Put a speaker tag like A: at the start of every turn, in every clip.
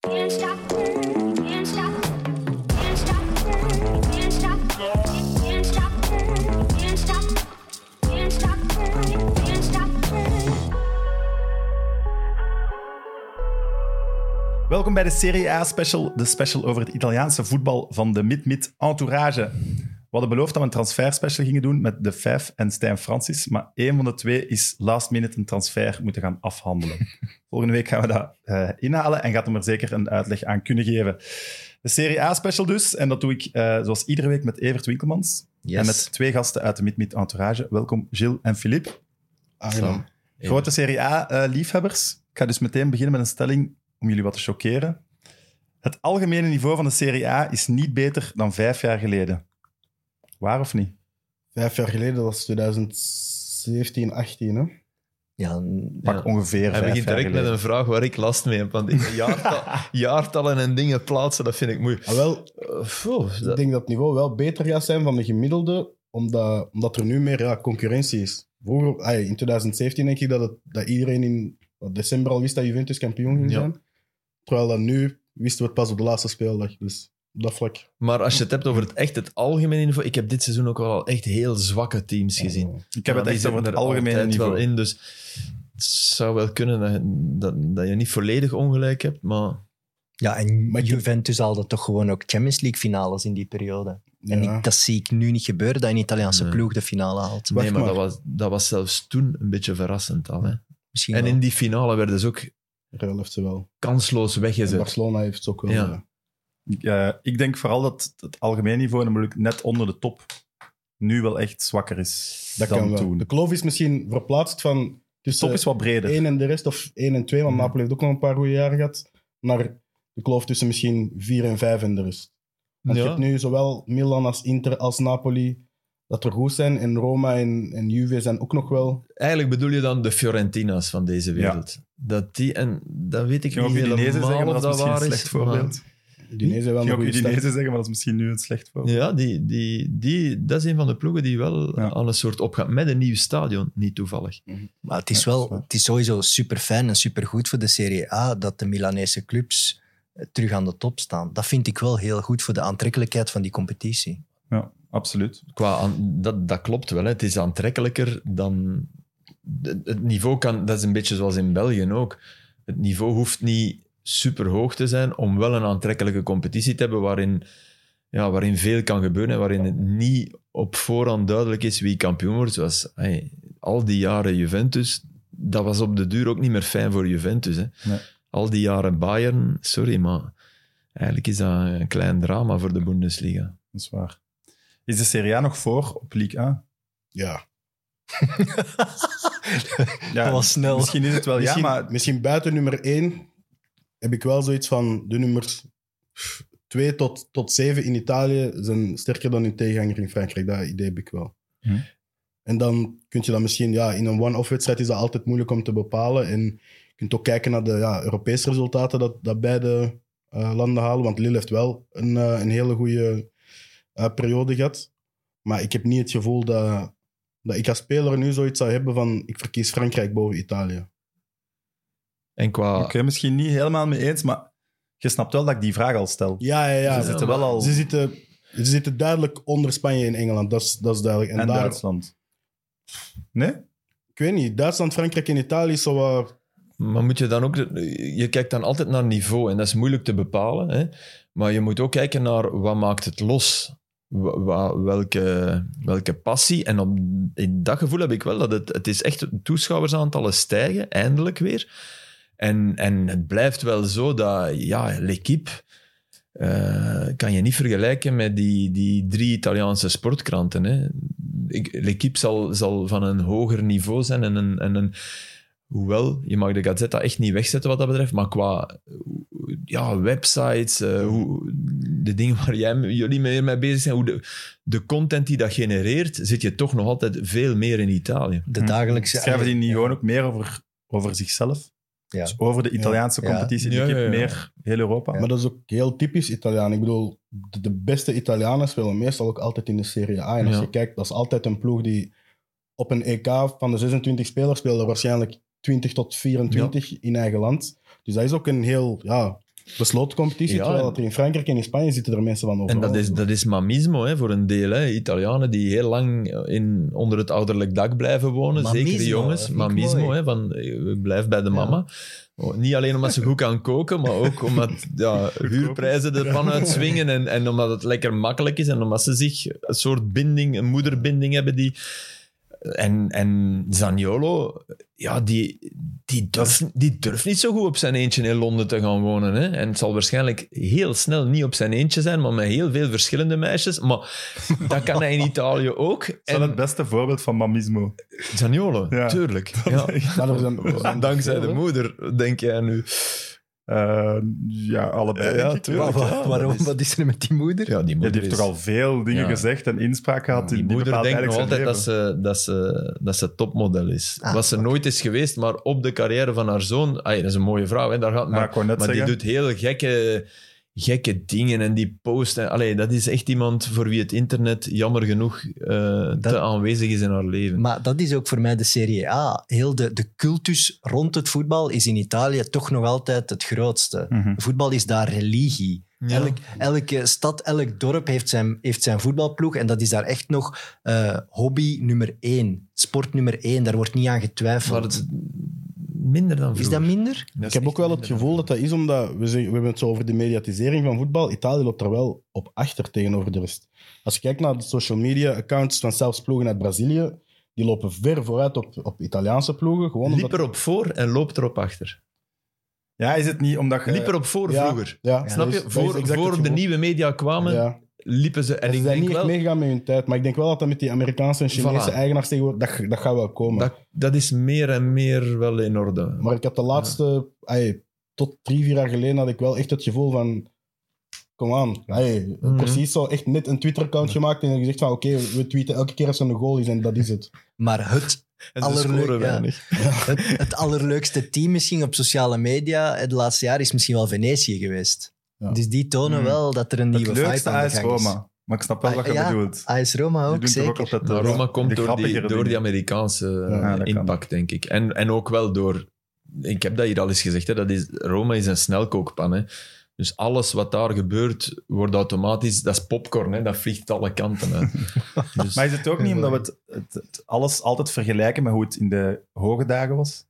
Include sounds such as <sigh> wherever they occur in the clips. A: Can't stop, can't stop, can't stop, can't stop, can't stop, can't stop, can't stop, can't stop.
B: Welkom bij de Serie A special, de special over het Italiaanse voetbal van de Mid-Mid Entourage. We hadden beloofd dat we een transfer special gingen doen met De Vijf en Stijn Francis, maar één van de twee is last minute een transfer moeten gaan afhandelen. Volgende week gaan we dat eh, inhalen en gaat hem er zeker een uitleg aan kunnen geven. De Serie A special dus, en dat doe ik eh, zoals iedere week met Evert Winkelmans
C: Yes.
B: en met twee gasten uit de Mid-Mid Entourage. Welkom Gilles en Philippe.
D: Ah,
C: Salam.
B: Grote Serie A-liefhebbers. ik ga dus meteen beginnen met een stelling om jullie wat te choqueren. Het algemene niveau van de Serie A is niet beter dan vijf jaar geleden. Waar of niet?
D: Vijf jaar geleden, dat was 2017, 18, hè?
C: Ja, n-
B: Pak
C: ja.
B: ongeveer
C: Hij
B: vijf
C: begint
B: jaar
C: direct met
B: geleden.
C: een vraag waar ik last mee heb. Want in jaartal,
B: <laughs>
C: jaartallen en dingen plaatsen, dat vind ik moeilijk.
D: Ah, wel,
C: Eh, phew,
D: ik
C: dat-
D: denk dat het niveau wel beter gaat zijn van de gemiddelde, omdat, omdat er nu meer ja, concurrentie is. Vroeger, ah, in 2017 denk ik dat, het, dat iedereen in december al wist dat Juventus kampioen ging
C: Ja.
D: zijn. Terwijl dat nu wisten we het pas op de laatste speeldag. Dus op dat vlak.
C: Maar als je het hebt over het echt het algemene niveau, ik heb dit seizoen ook wel al echt heel zwakke teams
D: ah,
C: gezien.
B: Ik heb het
C: Maar
B: echt
C: die
B: over het
C: zitten er
B: algemene
C: altijd
B: niveau.
C: Wel in, dus het zou wel kunnen dat, dat, dat je niet volledig ongelijk hebt, maar
E: Ja, en
D: Maar ik-
E: Juventus haalde toch gewoon ook Champions League finales in die periode. En
D: Ja.
E: ik, dat zie ik nu niet gebeuren, dat een Italiaanse
C: Nee.
E: ploeg de finale haalt.
D: Wacht
C: nee, maar,
D: maar.
C: Dat, was, dat was zelfs toen een beetje verrassend al. Hè?
E: Misschien
C: En
E: wel.
C: in die finale werden ze ook
D: Real heeft ze wel.
C: kansloos
D: En
C: weggezet.
D: Barcelona heeft ze ook wel.
C: Ja.
D: eh,
B: Ik, eh, ik denk vooral dat het algemene niveau, namelijk net onder de top, nu wel echt zwakker is
D: Dat
B: dan
D: kan wel.
B: toen.
D: De
B: De
D: kloof is misschien verplaatst van tussen
B: top is wat breder.
D: 1 en de rest, of 1 en 2, want
B: Mhm.
D: Napoli heeft ook nog een paar goede jaren gehad, naar de kloof tussen misschien 4 en 5 en de rest. Want je
C: Ja.
D: hebt nu zowel Milan als Inter als Napoli dat er goed zijn, en Roma en, en Juve zijn ook nog wel.
C: Eigenlijk bedoel je dan de Fiorentina's van deze wereld. Dat die, en dat weet ik
B: Ik ging ook
C: niet
B: Udinese
C: helemaal
B: zeggen, maar
C: of
B: dat is misschien een
C: waar
B: slecht
C: is,
B: voorbeeld. Ik
D: Udinese wel een
B: ging ook
D: goede
B: Udinese
D: start.
B: zeggen, maar dat is misschien nu een slecht
C: maar-
B: voorbeeld.
C: ja, die, die, die, dat is een van de ploegen die wel
B: Ja.
C: aan een soort opgaat. Met een nieuw stadion, niet toevallig.
E: Maar het is,
B: Ja, dat is
E: wel,
B: waar.
E: het is sowieso super fijn en super goed voor de Serie A dat de Milanese clubs eh, terug aan de top staan. Dat vind ik wel heel goed voor de aantrekkelijkheid van die competitie.
B: Ja, absoluut.
C: Qua aan- dat, dat klopt wel, hè. het is aantrekkelijker dan... Het het niveau kan, dat is een beetje zoals in België ook. Het niveau hoeft niet super hoog te zijn om wel een aantrekkelijke competitie te hebben waarin, ja, waarin veel kan gebeuren en waarin het niet op voorhand duidelijk is wie kampioen wordt. Zoals hey, al die jaren Juventus, dat was op de duur ook niet meer fijn voor Juventus. Hè.
B: Nee.
C: Al die jaren Bayern, sorry, maar eigenlijk is dat een klein drama voor de Bundesliga.
B: Dat is waar. Is de Serie A nog voor op League A?
D: Ja.
B: Ja,
E: dat was snel.
B: Misschien is het wel,
D: Misschien,
B: ja, maar
D: misschien buiten nummer 1 heb ik wel zoiets van de nummers 2 tot, tot 7 in Italië zijn sterker dan hun tegenhanger in Frankrijk. Dat idee heb ik wel.
B: Hm.
D: En dan kun je dat misschien, ja, in een one-off wedstrijd is dat altijd moeilijk om te bepalen. En je kunt ook kijken naar de ja, Europese resultaten dat, dat beide eh, landen halen. Want Lille heeft wel een, eh, een hele goede eh, periode gehad. Maar ik heb niet het gevoel dat, dat ik als speler nu zoiets zou hebben van ik verkies Frankrijk boven Italië.
C: En qua...
B: oké, misschien niet helemaal mee eens, maar je snapt wel dat ik die vraag al stel.
D: Ja, ja, ja.
B: Ze zitten
C: maar
B: wel al...
D: Ze zitten, ze zitten duidelijk onder Spanje en Engeland, dat is, dat is duidelijk.
B: en
D: En, daar,
B: Duitsland. Nee?
D: ik weet niet, Duitsland, Frankrijk en Italië is zo wat...
C: Maar moet je dan ook... Je kijkt dan altijd naar niveau en dat is moeilijk te bepalen. Hè? Maar je moet ook kijken naar wat maakt het los. Wa- wa- welke, welke passie. En op, in dat gevoel heb ik wel dat het, het is echt... Toeschouwersaantallen stijgen, eindelijk weer. En, en het blijft wel zo dat... Ja, L'Equipe eh, kan je niet vergelijken met die, die drie Italiaanse sportkranten. Hè? Ik- L'Equipe zal, zal van een hoger niveau zijn en een... En een Hoewel, je mag de Gazzetta echt niet wegzetten wat dat betreft, maar qua ja, websites, eh, hoe, de dingen waar jij, jullie meer mee bezig zijn, hoe de, de content die dat genereert, zit je toch nog altijd veel meer in Italië.
E: De dagelijkse...
B: Schrijven die niet gewoon ook meer over, over zichzelf?
E: Ja.
B: Dus over de Italiaanse
E: Ja.
B: competitie.
C: Ja,
B: die
C: ja, ja.
B: meer heel Europa.
D: Maar dat is ook heel typisch Italiaan. Ik bedoel, de, de beste Italianen spelen meestal ook altijd in de Serie A. En als
C: Ja.
D: je kijkt, dat is altijd een ploeg die op een EK van de 26 spelers speelde waarschijnlijk 20 tot 24 in eigen land. Dus dat is ook een heel ja, besloten competitie.
C: Ja,
D: terwijl
C: en-
D: dat er in Frankrijk en in Spanje zitten er mensen van over.
C: En dat is, dat is mamismo hè, voor een deel. Hè. Italianen die heel lang in, onder het ouderlijk dak blijven wonen. zeker de
E: Mamismo,
C: jongens.
E: dat vind ik
C: Mamismo,
E: mooi.
C: hè, van eh, blijf bij de mama. Oh, Niet alleen omdat
E: <laughs>
C: ze goed kan koken, maar ook omdat ja, huurprijzen ervan uitswingen. En, en omdat het lekker makkelijk is. En omdat ze zich een soort binding, een moederbinding hebben die... En, en Zaniolo, ja, die, die, durft, die durft niet zo goed op zijn eentje in Londen te gaan wonen. Hè? En het zal waarschijnlijk heel snel niet op zijn eentje zijn, maar met heel veel verschillende meisjes. Maar dat kan hij in Italië ook.
B: is wel het
C: En
B: beste voorbeeld van mamismo.
C: Zaniolo,
B: Ja.
C: tuurlijk. Ja.
D: Maar er zijn- er zijn
C: Dankzij de
D: veel, hè.
C: moeder, denk jij nu.
B: Eh, ja, allebei.
C: Ja,
B: denk ik.
C: tuurlijk.
E: Wa- wa-
C: ja,
E: waarom?
C: dat is-
E: Wat is er met die moeder?
C: Ja, die
B: Ja,
C: moeder
B: die heeft
C: is-
B: toch al veel dingen
C: Ja.
B: gezegd en inspraak gehad.
C: Die,
B: die die
C: moeder
B: bepaalt
C: denkt nog altijd
B: eigenlijk
C: dat
B: zijn
C: ze, dat, ze, dat ze topmodel is.
E: Ah,
C: Wat ze nooit is geweest, maar op de carrière van haar zoon... Ay, dat is een mooie vrouw, hè, daar gaat,
B: leven. Ja,
C: maar
B: ik wou net
C: maar die
B: zeggen.
C: doet heel gekke, gekke dingen en die post. En, allee, dat is echt iemand voor wie het internet jammer genoeg eh, te aanwezig is in haar leven.
E: Maar dat is ook voor mij de Serie A. Heel de, de cultus rond het voetbal is in Italië toch nog altijd het grootste.
B: Mhm.
E: Voetbal is daar religie.
C: Ja.
E: Elk, elke stad, elk dorp heeft zijn, heeft zijn voetbalploeg. En dat is daar echt nog eh, hobby nummer één. Sport nummer één. Daar wordt niet aan
C: maar
E: getwijfeld.
C: het, minder dan
E: is
C: vroeger.
E: dat minder?
C: Dat
D: Ik
C: is
D: heb ook
C: echt
D: wel het
C: minder dan
D: gevoel dat dat is omdat we, zeggen- we hebben het zo over de mediatisering van voetbal. Italië loopt daar wel op achter tegenover de rest. Als je kijkt naar de social media accounts van zelfs ploegen uit Brazilië, die lopen ver vooruit op, op Italiaanse ploegen. Gewoon
C: vroeger.
D: omdat-
C: Liep erop voor en loopt erop achter.
B: Ja, is het niet omdat je...
C: Liep erop voor
D: Ja,
C: vroeger.
D: Ja,
C: Snap
D: dat
C: je?
D: is- dat is
C: Voor,
D: exact het
C: voor de
D: gevoel.
C: nieuwe media kwamen,
D: Ja.
C: liepen ze. En
D: ze
C: ik
D: zijn
C: denk
D: niet
C: wel,
D: echt meegegaan met hun tijd. Maar ik denk wel dat dat met die Amerikaanse en Chinese
C: Voilà.
D: eigenaars tegenwoordig... Dat, dat gaat wel komen.
C: dat, dat is meer en meer wel in orde.
D: Maar ik had de laatste... ay, tot drie, vier jaar geleden had ik wel echt het gevoel van... Kom aan. ay,
C: Mhm.
D: Precies zo. Echt net een Twitter-account gemaakt en gezegd van... Oké, we tweeten elke keer als er een goal is en dat is het.
E: Maar
B: <laughs>
E: het,
B: dus
C: En ze
E: Allerleuk,
C: scoren
E: ja.
C: weinig.
E: het, het allerleukste team misschien op sociale media het laatste jaar is misschien wel Venetië geweest.
D: Ja.
E: Dus die tonen
B: Mm.
E: wel dat er een
B: Het
E: nieuwe vibe aan
B: leukste
E: de
B: AS
E: gang is.
B: Roma. Maar ik snap wel
E: Ah,
B: wat je
E: ja.
B: bedoelt.
E: AS Roma
B: Die
E: ook,
B: doen toch ook
E: zeker.
B: altijd
C: Maar
B: de-
C: Roma komt
B: de
C: door die,
B: grappigere
C: door die
B: dingen.
C: Amerikaanse eh,
B: Ja, dat kan.
C: impact, denk ik. En, en ook wel door... Ik heb dat hier al eens gezegd, hè, dat is, Roma is een snelkookpan. Hè. Dus alles wat daar gebeurt, wordt automatisch... Dat is popcorn, hè, dat vliegt alle kanten
B: <laughs>
C: uit. Dus-
B: Maar is het ook niet omdat we het, het- het alles altijd vergelijken met hoe het in de hoge dagen was?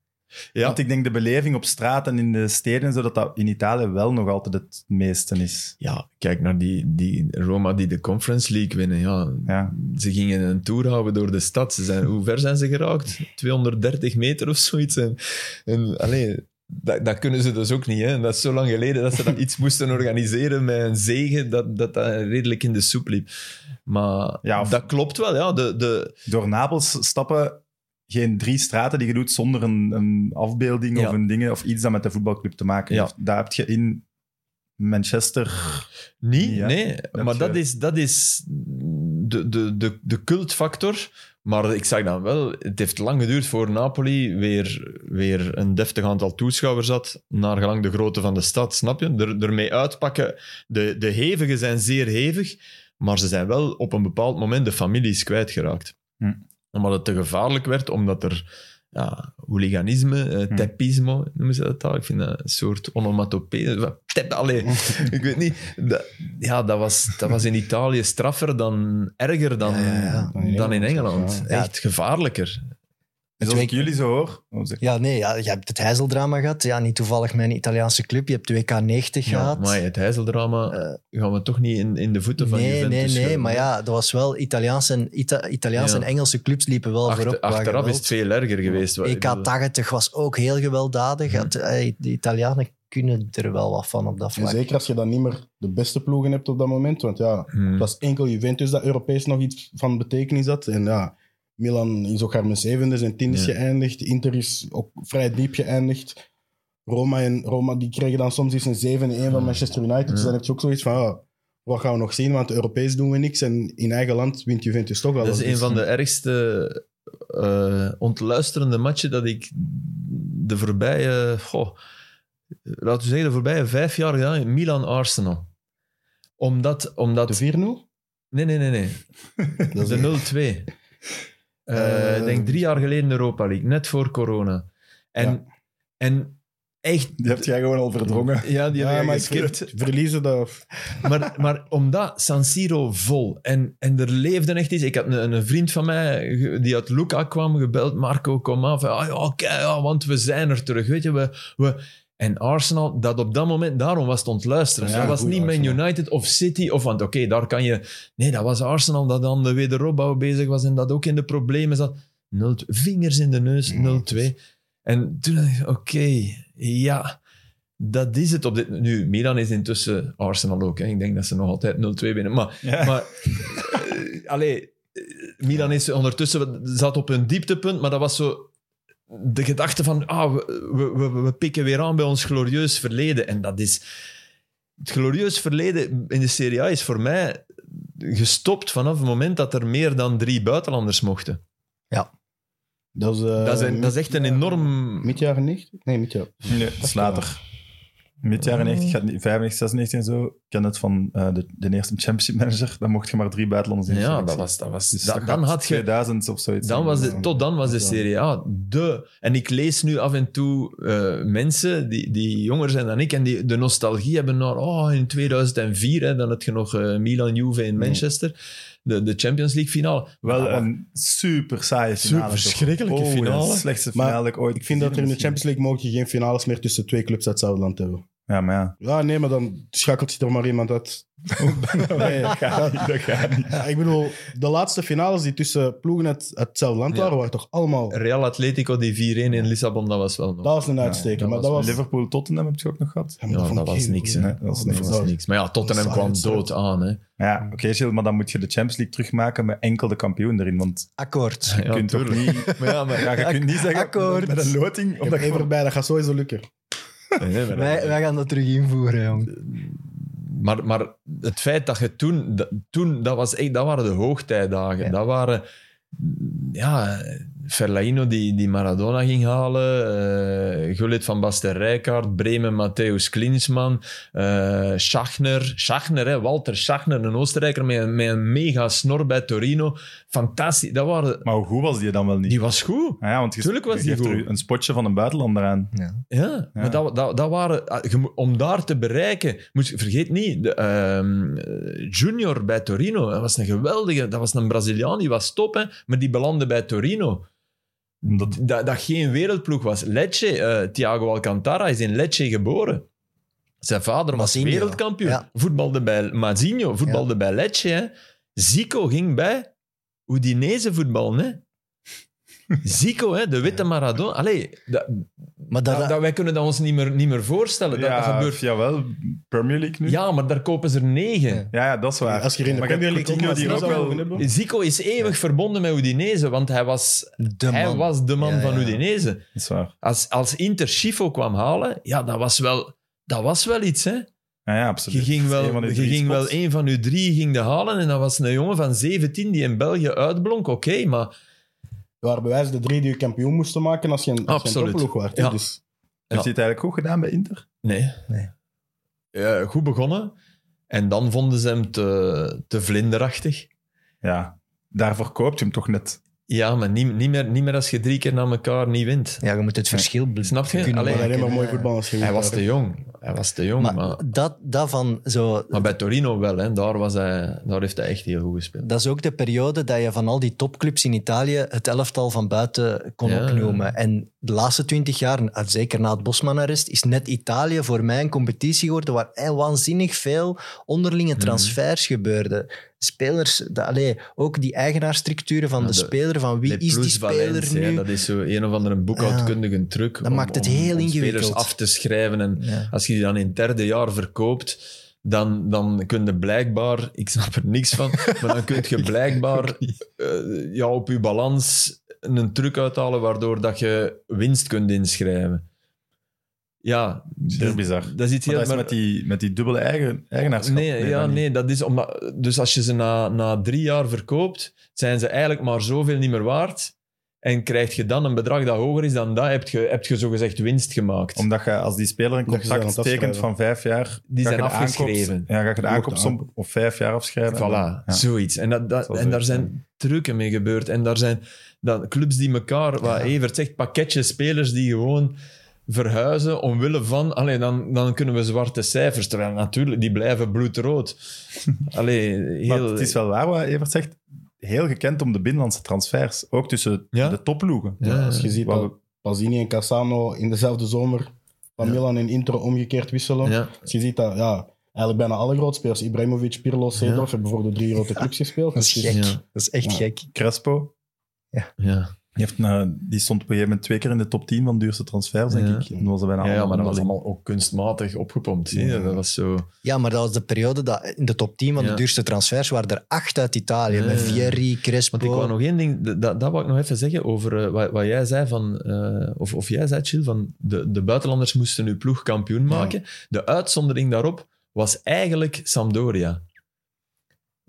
C: Ja.
B: Want ik denk de beleving op straat en in de steden, en zo, dat dat in Italië wel nog altijd het meeste is.
C: ja, kijk naar die, die Roma die de Conference League winnen. Ja.
B: Ja.
C: Ze gingen een tour houden door de stad. Ze zijn, hoe ver zijn ze geraakt? 230 meter of zoiets. En, en alleen, dat, dat kunnen ze dus ook niet. Hè? En Dat is zo lang geleden dat ze dat iets moesten organiseren met een zegen dat dat, dat redelijk in de soep liep. Maar
B: Ja, of-
C: dat klopt wel. Ja. De, de,
B: Door Napels stappen geen drie straten die je doet zonder een, een afbeelding
C: Ja.
B: of een ding, of iets dat met de voetbalclub te maken heeft. Daar heb je in Manchester...
C: niet,
B: Ja,
C: nee.
B: dat
C: maar
B: je-
C: dat is, dat is de, de, de, de cultfactor. Maar ik zag dan wel, het heeft lang geduurd voor Napoli weer, weer een deftig aantal toeschouwers had, naar gelang de grootte van de stad, snap je? Er, ermee uitpakken. De, de hevigen zijn zeer hevig, maar ze zijn wel op een bepaald moment de families kwijtgeraakt.
B: Hm.
C: Omdat het te gevaarlijk werd, omdat er ja, hooliganisme, eh,
B: Hm.
C: teppismo, noemen ze dat daar? Ik vind dat een soort onomatopee. Wat, Tep,
E: <laughs>
C: allee, ik weet niet. Dat, ja, dat was, dat was in Italië straffer dan, erger dan,
E: Ja, ja, ja.
C: dan in Engeland.
D: Ja.
C: Echt gevaarlijker.
B: Dus als
E: WK
B: ik jullie zo hoor... oh, zeg-
E: Ja, nee, ja, je hebt het heizeldrama gehad. Ja, niet toevallig mijn Italiaanse club. Je hebt de WK90
C: Ja,
E: gehad.
C: maar het heizeldrama gaan we toch niet in, in de voeten van
E: Eh. nee,
C: Juventus
E: nee, nee.
C: schuiven.
E: Maar ja, dat was wel Italiaans en, Ita- Italiaans
C: Ja.
E: en Engelse clubs liepen wel
C: Achter-
E: voorop. qua
C: achteraf is
E: geweld.
C: het veel erger geweest. Wat- ik bedoel-
E: EK80 was ook heel gewelddadig.
C: Hm.
E: Het- eh, De Italianen kunnen er wel wat van op dat
D: En
E: vlak.
D: zeker als je dan niet meer de beste ploegen hebt op dat moment. Want ja,
C: Hmm.
D: het was enkel Juventus dat Europees nog iets van betekenis had. En ja, Milan is ook haar met zevende en tiende is
C: Ja.
D: geëindigd. Inter is ook vrij diep geëindigd. Roma en Roma die kregen dan soms eens een 7 en 1 van
C: Ja.
D: Manchester United. Dus
C: Ja.
D: dan heb je ook zoiets van, ja, wat gaan we nog zien? Want Europees doen we niks en in eigen land wint Juventus toch wel. Dus
C: Dat is een van de ergste eh, ontluisterende matchen dat ik de voorbije, goh, laten we zeggen, de voorbije vijf jaar gedaan heb. Milan-Arsenal. Omdat, omdat...
D: De 4-0?
C: Nee, nee, nee, nee.
D: <laughs> Dat is
C: De Eh, 0-2. Eh,
D: Eh,
C: ik denk drie jaar geleden Europa League, net voor corona. En, en echt...
B: Die heb jij gewoon al verdrongen.
C: Ja, die
D: Ja,
C: hebben
D: maar
C: we
D: ik
C: geskipt.
D: ver- verliezen dat.
C: Maar, maar omdat San Siro vol en, en er leefde echt iets. Ik had een, een vriend van mij ge- die uit Luca kwam gebeld, Marco, kom af. Ah, ja, oké, ja, want we zijn er terug. Weet je, we, we... En Arsenal, dat op dat moment, daarom was het ontluisteren.
D: Ja,
C: dat was
D: goed,
C: niet Man
D: Arsenal.
C: United of City, of want oké, daar kan je. Nee, dat was Arsenal dat aan de wederopbouw bezig was en dat ook in de problemen zat. 0 vingers in de neus, 0-2. En toen dacht ik, oké, ja, dat is het op dit... Nu, Milan is intussen Arsenal ook. Hè. Ik denk dat ze nog altijd 0-2 winnen. Maar,
B: Ja.
C: <laughs> maar eh, allee, eh, Milan is ondertussen zat op een dieptepunt, maar dat was zo de gedachte van ah, we, we, we, we pikken weer aan bij ons glorieus verleden. En dat is... Het glorieus verleden in de Serie A is voor mij gestopt vanaf het moment dat er meer dan drie buitenlanders mochten.
D: Dat is, eh,
C: Dat is, een- dat is echt een enorm...
D: Midjaren 90? Nee, midjaren.
B: Nee, dat is later. Mid jaren 90, gaat niet- 95, 96 en zo. Ik ken het van eh, de, de eerste championship manager. Dan mocht je maar drie buitenlanders in. de
C: Ja,
B: selectie.
C: dat was... Dat was
B: Dus
C: dat-
B: dat
C: dan
B: gaat
C: had je...
B: 2000 of zoiets. eh,
C: Dan was de, tot dan was de
D: Ja.
C: Serie A de... En ik lees nu af en toe eh, mensen die, die jonger zijn dan ik en die de nostalgie hebben naar... Oh, in 2004, hè, dan had je nog eh, Milan-Juve in Manchester. De, de Champions League finale. eh,
B: Wel
C: Ja,
B: een super saaie
C: Super
B: finale. toch?
C: verschrikkelijke
B: oh, dat is
C: finale.
B: de slechtste
D: Maar
B: finale dat ik ooit
D: Ik vind dat er in de
B: gezien heb.
D: Champions League mogen geen finales meer tussen twee clubs uit Zuidland hebben.
B: Ja, maar ja.
D: Ja, nee, maar dan schakelt je er maar
C: <laughs>
D: iemand uit. nee,
B: Dat gaat niet, <laughs> dat gaat niet.
D: Ja, ik bedoel, de laatste finales die tussen ploegen uit uit hetzelfde land
C: Ja.
D: waren, waren toch allemaal...
C: Real Atletico, die 4-1 in Lissabon, dat was wel nog...
D: Dat was een uitsteker,
C: dat
D: maar
C: was
D: dat was...
B: Liverpool-Tottenham heb je ook nog gehad.
D: Ja, maar
C: ja,
D: vond
C: dat
D: ik
C: was
D: geen-
C: niks. hè.
B: Nee, dat was
C: Dat
B: niks.
C: was niks. Maar ja, Tottenham
D: Dat
C: kwam
D: is
C: dood aan. Hè.
B: Ja, oké, Gilles, maar dan moet je de Champions League terugmaken met enkel de kampioen erin. Want
C: <laughs>
E: Akkoord.
B: je kunt toch
C: tuurlijk.
B: niet...
C: Maar ja, maar... <laughs>
B: Ja, je kunt niet zeggen
E: akkoord.
B: met een loting...
D: Ik heb
B: Omdat je
D: één voorbij, dat gaat sowieso lukken.
C: Nee, maar-
E: Wij, wij gaan dat terug invoeren, jong.
C: Maar, maar het feit dat je toen, dat, toen dat, was echt, dat waren de hoogtijdagen.
E: Ja.
C: Dat waren, ja, Verlaino die, die Maradona ging halen, eh Gullit van Basten Rijkaard, Bremen Matthäus Klinsman, eh Schachner, Schachner hè, Walter Schachner, een Oostenrijker met, een- met een mega snor bij Torino. Fantastisch, dat waren,
B: Maar hoe goed was die dan wel niet?
C: die was goed.
B: Ah ja, want je,
C: Tuurlijk was
B: je
C: die
B: geeft er
C: goed.
B: een spotje van een buitenlander aan.
C: Ja, maar dat, dat, dat waren... ah, je moet- Om daar te bereiken... Moet, je- vergeet niet, de, ehm, eh, Junior bij Torino, dat was een geweldige... Dat was een Braziliaan, die was top, hè, maar die belandde bij Torino.
B: Omdat,
C: Dat, dat geen wereldploeg was. Lecce, eh, Thiago Alcantara is in Lecce geboren. Zijn vader was
E: Mazinho.
C: wereldkampioen.
E: Ja.
C: Voetbalde bij Mazinho, voetbalde bij Lecce. Hè. Zico ging bij Udinese voetballen,
E: <laughs>
C: hè. Zico, hè, de witte Maradona. Allee, dat,
E: Maar dat,
C: dat, dat- wij kunnen dat ons niet meer, niet meer voorstellen. Dat,
B: ja,
C: dat gebeurt.
B: Jawel, Premier League nu.
C: Ja, maar daar kopen ze er negen.
B: ja, ja, dat is waar.
D: Als je er in de
B: Maar je
D: Premier
B: hebt
D: League ook
B: Coutinho die
D: maar snel
B: ook
D: zou
B: wel-
D: mogen hebben.
C: Zico is eeuwig verbonden met Udinese, want hij was
E: de man.
C: hij was de man
E: Ja,
C: van
E: ja.
C: Udinese.
B: Dat is waar.
C: Als, als Inter Schifo kwam halen, ja, dat was wel, dat was wel iets. Hè?
B: Ja, ja,
C: Je
B: absoluut.
C: ging,
B: Een van
C: wel,
B: die
C: je
B: drie
C: ging wel
B: spots.
C: een van uw drie ging de halen en dat was een jongen van 17 die in België uitblonk. Oké, maar
D: Waar bewijs de drie die je kampioen moesten maken als je een, als je een
C: Absoluut.
D: topploeg waard.
C: Ja.
D: Dus
B: Heeft hij het eigenlijk goed gedaan bij Inter?
C: nee.
E: Nee.
C: Ja, goed begonnen. En dan vonden ze hem te, te vlinderachtig.
B: Ja. Daarvoor koopt je hem toch net.
C: Ja, maar niet, niet, meer, niet meer als je drie keer na elkaar niet wint.
E: Ja, je moet het verschil bl-
C: Snap je?
E: kunnen
C: Allee,
D: maar alleen maar
E: maken,
D: mooi
E: eh.
D: voetbal als je
C: Hij
D: goed
C: was te
D: bent.
C: jong. Hij was te jong, maar,
E: Maar
C: maar,
E: dat, dat van zo...
C: bij Torino wel. Hè. Daar, was hij, daar heeft hij echt heel goed gespeeld.
E: Dat is ook de periode dat je van al die topclubs in Italië het elftal van buiten kon
C: Ja.
E: opnoemen. En de laatste twintig jaar, eh, zeker na het Bosman-arrest, is net Italië voor mij een competitie geworden waar eh, waanzinnig veel
C: Mhm.
E: onderlinge transfers gebeurden. Spelers, de, allee, ook die eigenaarstructuren van
C: Ja,
E: de,
C: de-
E: speler, van wie
C: Le
E: is die
C: Plus
E: speler
C: Valencia,
E: nu?
C: Dat is zo een of andere boekhoudkundige truc.
E: Dat maakt het heel ingewikkeld.
C: spelers af te schrijven. En
E: Ja.
C: als je die dan in het derde jaar verkoopt, dan, dan kun je blijkbaar... Ik snap er niks
E: <laughs>
C: van, maar dan kun je blijkbaar eh, ja, op je balans een truc uithalen waardoor dat je winst kunt inschrijven. Ja,
B: Heel
C: dat,
B: bizar.
C: dat is iets
B: Maar
C: heel...
B: dat is
C: maar-
B: met die, met die dubbele eigen, eigenaarschap.
C: Nee, ja,
B: dat niet.
C: nee, dat is omdat... Dus als je ze na, na drie jaar verkoopt, zijn ze eigenlijk maar zoveel niet meer waard. En krijg je dan een bedrag dat hoger is dan dat, heb je, heb je zogezegd winst gemaakt.
B: Omdat je als die speler een
D: Dat je ze aan
B: contract
D: het
B: tekent
D: afschrijven.
B: van vijf jaar...
C: Die
B: ga je
C: zijn
B: de aankoop-
C: afgeschreven.
B: ja, ga je de
D: Wordt
B: aankoopsom op vijf jaar afschrijven.
C: Voilà,
B: Ja.
C: zoiets. En, dat, dat,
B: zal
C: en daar
B: zoiets
C: zijn trucken mee gebeurd. En daar zijn dan clubs die elkaar, wat Evert zegt, pakketjes spelers die gewoon verhuizen omwille van... Allee, dan, dan kunnen we zwarte cijfers. Terwijl natuurlijk, die blijven
B: <laughs>
C: bloedrood. Allee,
B: Maar
C: heel...
B: het is wel waar wat Evert zegt. Heel gekend om de binnenlandse transfers. Ook tussen
C: Ja?
B: de topploegen.
C: Ja,
D: Als je ziet
B: Wat
D: dat Pazzini en Cassano in dezelfde zomer van Milan en Inter omgekeerd wisselen.
C: Ja.
D: Dus je ziet dat ja, eigenlijk bijna alle grootspelers, Ibrahimovic, Pirlo, Seedorf, hebben voor de drie grote clubs gespeeld.
E: Dat is
D: Dus
E: gek.
C: Ja.
E: Dat is echt
D: Ja.
E: gek.
B: Crespo,
C: Ja.
B: die, heeft, eh, die stond op een gegeven moment twee keer in de top 10 van duurste transfers, denk
C: Ja.
B: ik. En was er bijna
C: Ja, ja, maar dat was
B: allemaal
C: allemaal ook kunstmatig opgepompt. zie je. Dat was zo...
E: Ja, maar dat was de periode dat in de top 10 van
C: Ja.
E: de duurste transfers waren er acht uit Italië.
C: Ja,
E: Met
C: ja, ja.
E: Vieri, Crespo.
C: Want ik wou nog één ding, d- dat, dat wou ik nog even zeggen over eh, wat, wat jij zei van, eh, of, of jij zei, Chill, van de, de buitenlanders moesten hun ploeg kampioen maken. De uitzondering daarop was eigenlijk Sampdoria.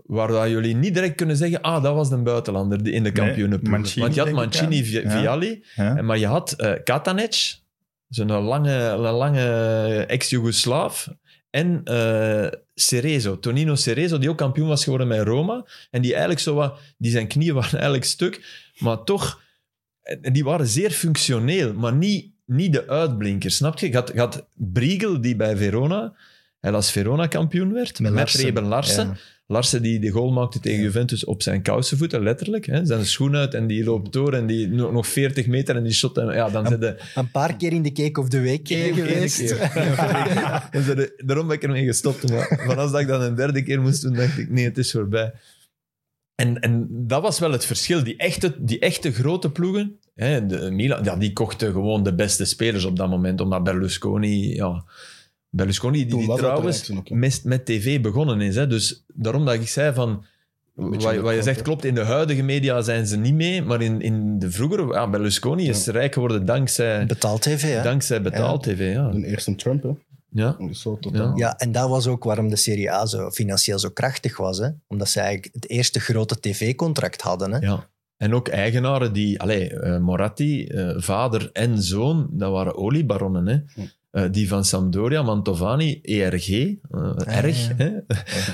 C: Waar dat jullie niet direct kunnen zeggen, ah, dat was een buitenlander die in de
B: Nee,
C: kampioenenploeg.
B: Mancini,
C: Want je had
B: denk ik,
C: Mancini,
B: ja.
C: Vi-
B: Ja.
C: Vialli,
B: Ja.
C: en maar je had eh Katanec, zo'n lange, een lange ex-Jugoslaaf. En eh, Cerezo, Tonino Cerezo, die ook kampioen was geworden met Roma. En die eigenlijk zo wat, die zijn knieën <laughs> waren eigenlijk stuk. Maar toch, eh, die waren zeer functioneel, maar niet, niet de uitblinkers, snap je? Je had, je had Briegel, die bij Verona, helaas Verona kampioen werd,
E: Met
C: met,
E: Larsen.
C: Preben Larsen. Larsen die de goal maakte tegen Juventus op zijn kousenvoeten, letterlijk. Hè. Zijn schoen uit en die loopt door en die no- nog 40 meter en die shot. En, ja, dan zijn de,
E: Een paar keer in de Cake of the Week eh,
C: Eén
E: geweest.
C: keer. <laughs> Dan zijn de- daarom ben ik ermee gestopt. Maar vanaf dat ik dat een derde keer moest doen, dacht ik, nee, het is voorbij. En, en dat was wel het verschil. Die echte, die echte grote ploegen, hè, de Milan, ja, die kochten gewoon de beste spelers op dat moment. Omdat Berlusconi... Ja, Berlusconi, die,
D: Toen
C: die
D: was dat de
C: trouwens
D: reactie ook, ja.
C: met, met tv begonnen is. Hè. Dus daarom dat ik zei van... Wat, wat je zegt klopt, in de huidige media zijn ze niet mee, maar in, in de vroegere... Ja, Berlusconi is rijk geworden dankzij,
E: <laughs> Betaald tv, hè?
C: dankzij betaald tv. Ja.
D: De eerste Trump, hè.
C: Ja.
D: Dus zo totaal.
E: Ja, en dat was ook waarom de Serie A zo financieel zo krachtig was. Hè? Omdat ze eigenlijk het eerste grote tv-contract hadden. Hè?
C: ja. En ook eigenaren die, allee, eh, Moratti, eh, vader en zoon, dat waren oliebaronnen. Hè?
D: Hm.
C: Eh, die van Sampdoria, Mantovani, ERG, eh, erg.
E: ja.
C: Hè?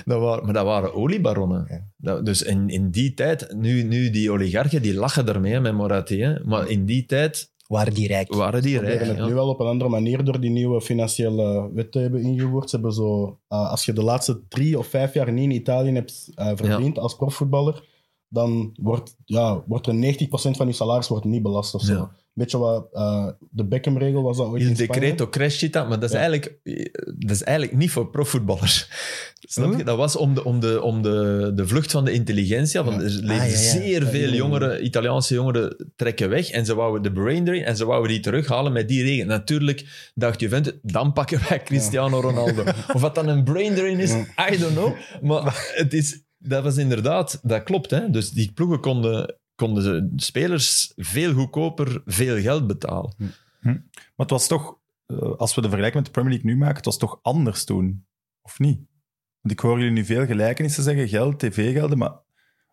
C: dat waren, maar dat waren oliebaronnen.
E: Ja.
C: Dat- dus in, in die tijd, nu, nu die oligarchen, die lachen ermee hè, met Moratti. Hè? Maar in die tijd
E: Waren die rijk.
C: waren die
D: Ze
C: rijk.
D: hebben het
C: ja.
D: nu wel op een andere manier door die nieuwe financiële wetten hebben ingevoerd. Ze hebben zo, eh, als je de laatste drie of vijf jaar niet in Italië hebt eh, verdiend als profvoetballer, dan wordt, ja, wordt er 90% van je salaris wordt niet belast of zo.
C: Ja.
D: Beetje wat eh, de Beckham-regel was dat ooit
C: Il
D: in Spanje.
C: decreto crescita, maar dat is,
D: Ja.
C: eigenlijk, dat is eigenlijk niet voor profvoetballers. <laughs> Snap je? Dat was om de, om de, om de, de vlucht van de intelligentia. Want
D: Ja.
C: er leven
E: Ah, ja, ja.
C: zeer
D: Ja,
C: veel
D: ja.
C: jongeren, Italiaanse jongeren trekken weg. En ze wouden de brain drain en ze wouden die terughalen met die regen. Natuurlijk dacht Juventus, dan pakken wij Cristiano
D: <laughs>
C: Ronaldo. Of wat dan een brain drain is, I don't know. Maar het is, dat was inderdaad, dat klopt. Hè? Dus die ploegen konden, konden ze spelers veel goedkoper veel geld betalen.
B: Maar het was toch, eh, als we de vergelijking met de Premier League nu maken, het was toch anders toen, of niet? Want ik hoor jullie nu veel gelijkenissen zeggen, geld, tv-gelden, maar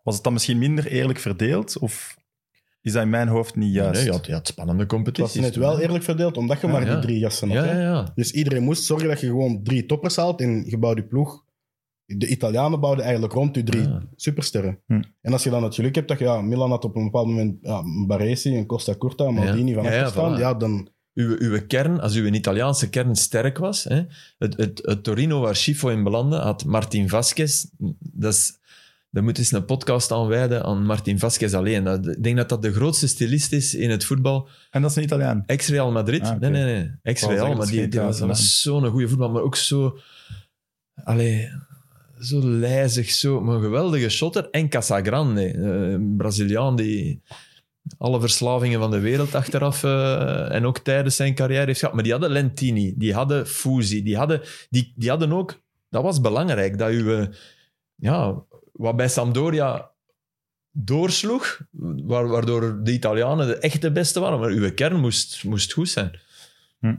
B: was het dan misschien minder eerlijk verdeeld? Of is dat in mijn hoofd niet juist?
C: Nee, je had, je had spannende
D: Het was
C: competities.
D: net wel eerlijk verdeeld, omdat je maar
C: Ah, ja.
D: die drie gasten had.
C: Ja,
D: hè.
C: ja, ja.
D: Dus iedereen moest zorgen dat je gewoon drie toppers haalt en je bouwt je ploeg. De Italianen bouwden eigenlijk rond je drie
C: Ja.
D: supersterren.
B: Hm.
D: En als je dan het geluk hebt dat je ja, Milan had op een bepaald moment ja, Baresi en Costa Curta, Maldini van
C: Ja,
D: achter
C: ja,
D: staan,
C: voilà.
D: ja, dan
C: Uw, uw kern, als uw Italiaanse kern sterk was, hè, het, het, het Torino waar Schifo in belandde, had Martin Vasquez. Dat is, daar moet eens een podcast aan wijden aan Martin Vasquez alleen. Dat, ik denk dat dat de grootste stilist is in het voetbal.
B: En dat is een Italiaan.
C: Ex-Real Madrid.
B: Ah, oké.
C: Nee, nee, nee.
B: Ik wou
C: Ex-Real,
B: zeggen,
C: maar
B: dat is
C: die,
B: geen
C: die was, dat was zo'n goede voetbal, maar ook zo... Allee, zo lijzig, zo, maar een geweldige shotter. En Casagrande, eh, een Braziliaan die alle verslavingen van de wereld achteraf eh, en ook tijdens zijn carrière heeft gehad. Maar die hadden Lentini, die hadden Fusi, die hadden, die, die hadden ook... Dat was belangrijk, dat u... eh, ja, wat bij Sampdoria doorsloeg, wa- waardoor de Italianen de echt de beste waren. Maar uw kern moest, moest goed zijn.
B: Eh,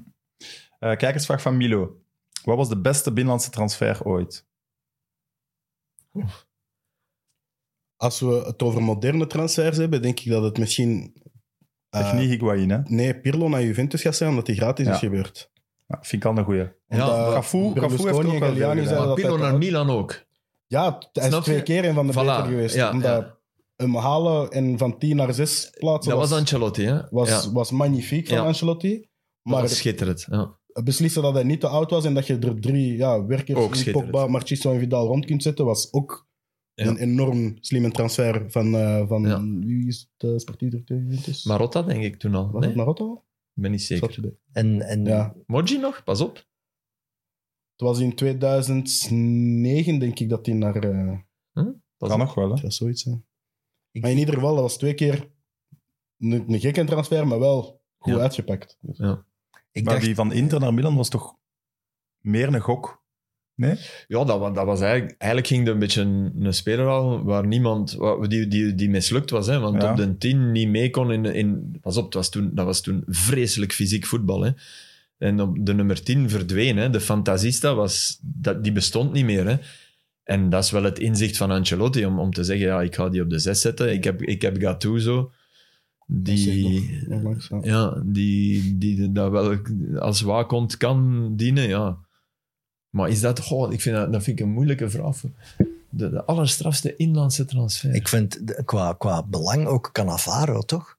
B: kijkersvraag van Milo. Wat was de beste binnenlandse transfer ooit?
D: als we het over moderne transfers hebben, denk ik dat het misschien eh,
B: Zeg niet Higuain, hè?
D: nee, Pirlo naar Juventus gaat zijn, omdat die gratis
B: Ja.
D: is gebeurd.
B: Ja, vind ik al een goeie.
D: Omdat
C: maar
B: Cafu- Cafu heeft ook
D: Berlusconi
B: wel
D: en
B: veel
D: Galliani
B: gedaan.
D: zeiden
B: Maar
C: Maar
D: dat
C: Pirlo
D: hij-
C: naar Milan ook.
D: Ja, hij
C: Snap
D: is twee
C: je?
D: keer een van de
C: Voilà.
D: beter geweest.
C: Ja,
D: omdat
C: ja.
D: hem halen en van 10 naar 6 plaatsen
C: Dat was
D: was,
C: Ancelotti, hè?
D: was,
C: Ja.
D: was magnifiek van
C: Ja.
D: Ancelotti.
C: Maar
D: Maar
C: schitterend. Ja.
D: beslissen dat hij niet te oud was en dat je er drie ja, werkers,
C: Ook
D: die
C: schitterend.
D: Pogba, Marchiso en Vidal rond kunt zetten, was ook
C: Ja.
D: een enorm slimme transfer van, eh, van
C: Ja.
D: wie is eh, de sportief directeur Juventus?
C: Marotta, denk ik toen al.
D: was
C: Nee,
D: het
C: ik
D: Marotta?
C: ben niet zeker.
D: Zat je er?
E: En, en
D: Ja.
C: Moji nog? Pas op.
D: Het was in 2009, denk ik, dat hij naar... eh,
C: Pas
B: Kan
C: op.
B: nog wel, hè?
D: het was zoiets, hè.
E: Ik-
D: Maar in ieder geval, dat was twee keer een, een gekke transfer, maar wel goed
C: Ja.
D: uitgepakt. Dus
E: ik
B: maar
E: dacht,
B: die van Inter naar Milan was toch meer een gok? Nee?
C: Ja, dat, wa- dat was eigenlijk... Eigenlijk ging er een beetje een, een speler aan waar niemand... wa- Die, die, die mislukt was, hè. Want
B: Ja.
C: op de 10 niet mee kon in... in pas op, het was toen, dat was toen vreselijk fysiek voetbal, hè. En op de nummer 10 verdween, hè. De Fantasista was... Dat, die bestond niet meer, hè. En dat is wel het inzicht van Ancelotti om, om te zeggen, ja, ik ga die op de 6 zetten. Ik heb, ik heb Gattuso, die...
D: nog langs, ja.
C: Ja, die, die dat wel als waakhond kan dienen, ja. Maar is dat... Goh, ik vind dat, dat vind ik een moeilijke vraag. De, de allerstrafste inlandse transfer.
E: ik vind de- qua, qua belang ook Cannavaro, toch?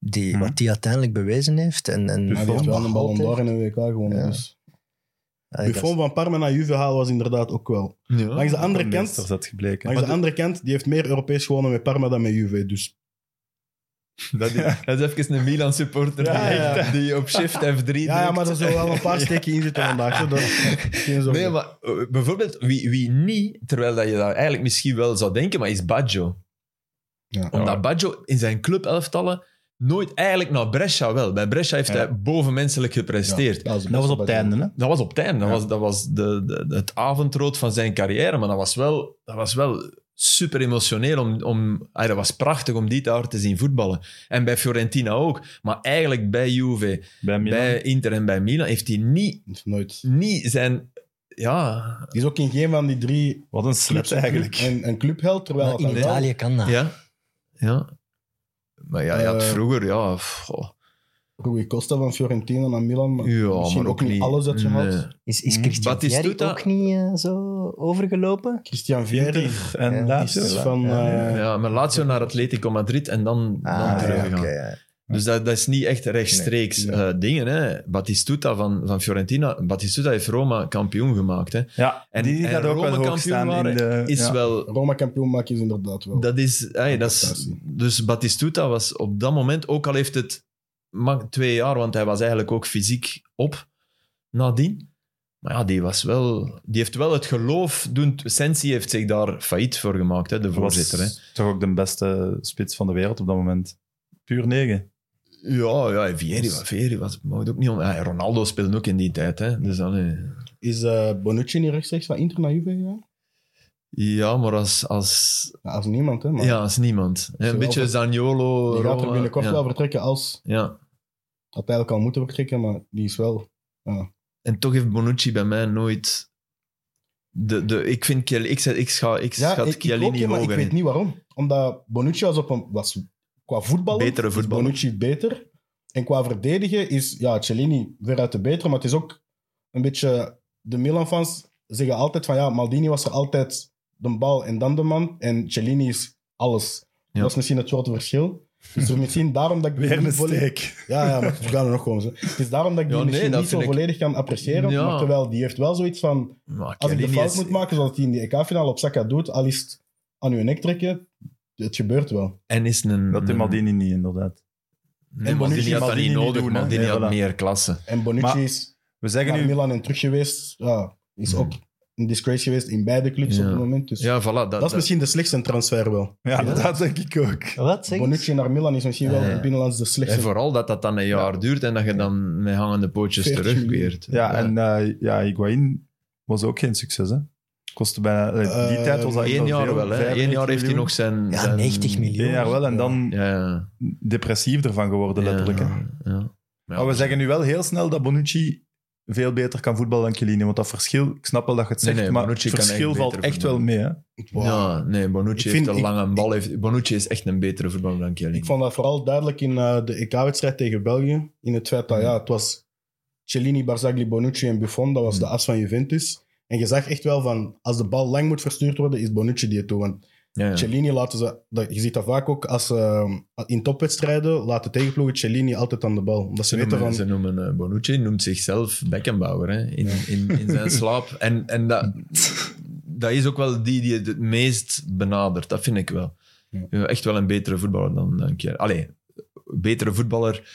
E: Die,
C: Hm.
B: Mhm.
E: Wat die uiteindelijk bewezen heeft. En, en
D: Hij heeft wel een Ballon
E: behaald
D: d'Or en een WK gewonnen.
E: Ja.
D: Dus.
E: heeft. Ja,
D: Buffon van Parma naar Juve haal was inderdaad ook wel.
C: ja.
D: Langs de andere
B: Een
D: kant...
B: meester is dat gebleken.
D: Maar aan de andere kant, die heeft meer Europees gewonnen met Parma dan met Juve. Dus
C: dat, is, dat is even een Milan-supporter
D: Ja,
C: die,
D: ja, ja.
C: die op shift F3
D: ja, ja,
C: drukt.
D: maar er zullen wel een paar steken in zitten vandaag. hoor. Dat geen zorgen.
C: Nee, maar eh, bijvoorbeeld, wie, wie niet, terwijl dat je daar eigenlijk misschien wel zou denken, maar is Baggio.
D: Ja.
C: Omdat Baggio in zijn club-elftallen nooit eigenlijk naar Brescia wel. Bij Brescia heeft
B: Ja.
C: hij bovenmenselijk gepresteerd.
D: Ja,
B: Dat was op het einde, hè?
C: Dat was op het einde. Dat
B: Ja.
C: was, dat was de, de- het avondrood van zijn carrière. Maar dat was wel, dat was wel super emotioneel. Om, om, ah, dat was prachtig om die daar te zien voetballen. En bij Fiorentina ook. Maar eigenlijk bij Juve,
B: Bij Milan.
C: bij Inter en bij Milan heeft hij niet,
D: Of Nooit.
C: niet zijn... Ja,
D: Die is ook in geen van die drie
B: Wat een slet
D: clubs
B: eigenlijk.
D: een, een clubheld. Terwijl
E: maar in
D: dat
E: Italië kan dat.
C: ja, ja. Maar ja, je had
D: Eh,
C: vroeger... Ja, pff, goh.
D: wel Rui Costa van Fiorentina naar Milan. maar
C: ja
D: misschien
C: maar
D: ook niet alles dat je
C: nee.
D: had.
E: Is, is
B: Mm.
E: Christian
C: Hm. Batistuta-
E: Vieri ook niet eh, zo overgelopen?
D: Christian Vieri
B: Inter en
E: Ja,
B: Lazio.
D: is van... eh,
C: Ja, maar Lazio naar Atletico Madrid en dan, dan
E: Ah,
C: teruggegaan.
E: ja, oké, ja.
C: Dus dat, dat is niet echt rechtstreeks
D: Nee,
C: eh, dingen. Hè. Batistuta van, van Fiorentina. Batistuta heeft Roma kampioen gemaakt. Hè.
B: Ja,
C: En-
B: die
C: en
B: gaat ook wel
C: Rome
B: hoog
C: kampioen
B: staan in
C: waren,
B: de...
C: Is
B: ja.
C: wel...
D: Roma kampioen maken is inderdaad wel.
C: Dat is, hey, dat is,
D: prestatie.
C: dus Batistuta was op dat moment, ook al heeft het maar twee jaar, want hij was eigenlijk ook fysiek op nadien. Maar ja, die, was wel, die heeft wel het geloof doen. Sensi heeft zich daar failliet voor gemaakt, hè, de voorzitter. Hè.
B: was toch ook de beste spits van de wereld op dat moment. Puur negen.
C: Ja, ja, Vieri, was- Vieri was, mag het ook niet om. ja, Ronaldo speelde ook in die tijd. Hè. Dus allee.
D: Is eh, Bonucci niet rechtstreeks van Inter naar Juve gegaan?
C: Ja, maar als, als,
D: Ja, als niemand, hè. Maar
C: ja, als niemand. Hè, Een
D: Zowel
C: beetje
D: voor-
C: Zaniolo.
D: die gaat er
C: Roma,
D: binnenkort
C: ja.
D: wel vertrekken als...
C: Ja.
D: Had eigenlijk al moeten vertrekken, maar die is wel...
C: En toch heeft Bonucci bij mij nooit. De, de, ik vind Chiell- ik, zet- ik, scha, ik
D: Ja,
C: schat
D: ik, ik ook,
C: Chiellini
D: ja, maar ik
C: hoger
D: weet
C: in.
D: niet waarom. Omdat Bonucci was, op een, was qua voetballen...
C: Betere
D: is
C: voetballer.
D: Bonucci beter. En qua verdedigen is ja, Cellini veruit de betere. Maar het is ook een beetje... De Milan-fans zeggen altijd van... Ja, Maldini was er altijd de bal en dan de man. En Cellini is alles.
C: Ja.
D: Dat is misschien het grote verschil. Dus er misschien daarom dat ik... die
B: Weer een
D: niet volledig-
B: steek.
D: Ja, ja, maar we gaan er nog gewoon. zo. Het is daarom dat ik die
C: Ja, nee,
D: misschien
C: dat
D: niet zo
C: vind ik-
D: volledig kan appreciëren.
C: Ja.
D: Maar terwijl die heeft wel zoiets van...
C: Maar
D: Als ik de
C: Chiellini
D: fout
C: is-
D: moet maken zoals hij in die EK-finale op Saka doet, al is het aan uw nek trekken, het gebeurt wel.
C: En is een.
B: Dat
C: een,
B: deed Maldini niet, inderdaad.
C: Nee,
B: en
C: Maldini
B: Bonucci
C: had dat niet
B: Maldini
C: nodig.
B: doen, hè.
C: Maldini
B: Nee,
C: had
B: voilà.
C: meer klasse.
D: En Bonucci
B: Maar-
D: is
B: We zeggen
D: naar
B: nu...
D: Milan en terug geweest. Ja, is
C: Hmm.
D: ook een disgrace geweest in beide clubs
C: Ja.
D: op het moment. Dus
C: Ja, voilà. Dat,
D: dat is misschien de slechtste transfer wel.
B: Ja, dat denk ik ook.
E: Wat zeg je?
D: Bonucci naar Milan is misschien wel
C: Ja, ja.
D: in binnenlands de
C: En
D: slechtste.
C: vooral dat dat dan een jaar duurt en dat je dan met hangende pootjes
D: 40
C: terugkeert.
B: Ja, en eh, ja, Higuaïn was ook geen succes, hè. Kostte bijna... eh, die
D: Eh,
B: tijd was dat
C: Eén
B: heel
C: jaar
B: veel,
C: wel, hè.
B: 95
C: Eén jaar heeft hij
B: miljoen.
C: nog zijn...
E: Ja,
C: zijn-
E: 90 miljoen.
B: Eén jaar wel, en dan
C: Ja, ja.
B: depressief ervan geworden, letterlijk. hè.
C: Ja, ja.
B: Maar we zeggen nu wel heel snel dat Bonucci veel beter kan voetballen dan Chiellini. Want dat verschil, ik snap wel dat je het
C: Nee,
B: zegt,
C: nee,
B: maar het
C: Bonucci kan
B: verschil
C: echt
B: valt
C: beter
B: echt wel mee. Hè?
D: Wow.
C: Ja, nee, Bonucci
D: Ik
C: heeft
D: vind-
C: een
D: ik-
C: lange bal. Heeft, Bonucci is echt een betere voetballer dan Chiellini.
D: Ik vond dat vooral duidelijk in eh, de EK-wedstrijd tegen België. In het feit
C: Mhm.
D: dat ja, het was Cellini, Barzagli, Bonucci en Buffon. Dat was
C: Hmm.
D: de as van Juventus. En je zag echt wel van, als de bal lang moet verstuurd worden, is Bonucci die het doet. Want
C: Ja, ja.
D: Cellini laten ze, dat- je ziet dat vaak ook als ze in topwedstrijden laten tegenploegen Cellini altijd aan de bal. Omdat ze
C: Ze
D: weten
C: noemen,
D: van.
C: ze noemen, eh, Bonucci noemt zichzelf Beckenbauer hè, in, in, in
D: <laughs>
C: zijn slaap. En, en dat, dat is ook wel die die het het meest benadert. Dat vind ik wel.
D: Ja.
C: Echt wel een betere voetballer dan dan een keer. Allee, betere voetballer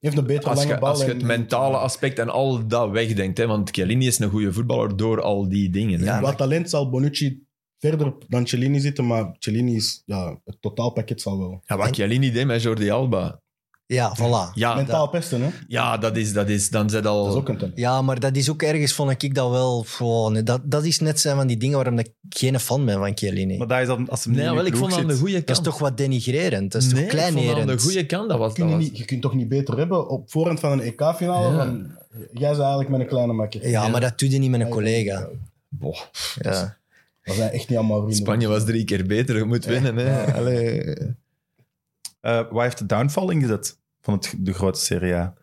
D: Heeft een betere
C: als
D: lange
C: je,
D: bal.
C: als je
D: en-
C: het mentale aspect en al dat wegdenkt. Hè, want Chiellini is een goede voetballer door al die dingen. hè.
D: Qua talent zal Bonucci verder dan Cellini zitten, maar Cellini is ja, het totaalpakket zal wel.
C: Ja, wat Chiellini deed met Jordi Alba.
E: Ja, voilà.
C: Ja,
D: Mentaal pesten, hè?
C: ja dat, is, dat, is, dan zit al...
D: Dat is ook een talent.
E: Ja, maar dat is ook ergens, vond ik dat wel... goh, nee, dat, dat is net zijn van die dingen waarom ik geen fan ben van Chiellini.
B: Maar daar is dan, als hem niet
C: Nee,
B: in
C: wel, ik
B: ploeg
C: vond aan
B: zit-
C: de goede kant.
E: Dat is toch wat denigrerend? Dat is
C: nee,
E: toch
C: ik vond aan de
E: kleinerend?
C: goede kant. Dat was,
D: Kun
C: dat
D: je,
C: was,
D: niet, je kunt toch niet beter hebben op voorhand van een EK-finale?
C: Ja.
D: van Jij is eigenlijk met een kleine makker.
E: Ja, maar dat doe je niet met een
D: Ja.
E: collega.
C: Boah.
E: Ja.
D: Dat zijn echt niet allemaal vrienden.
C: Spanje was drie keer beter, je moet winnen. Hè. Allee.
B: Eh, waar heeft de downfall in gezet van het, de grote Serie A?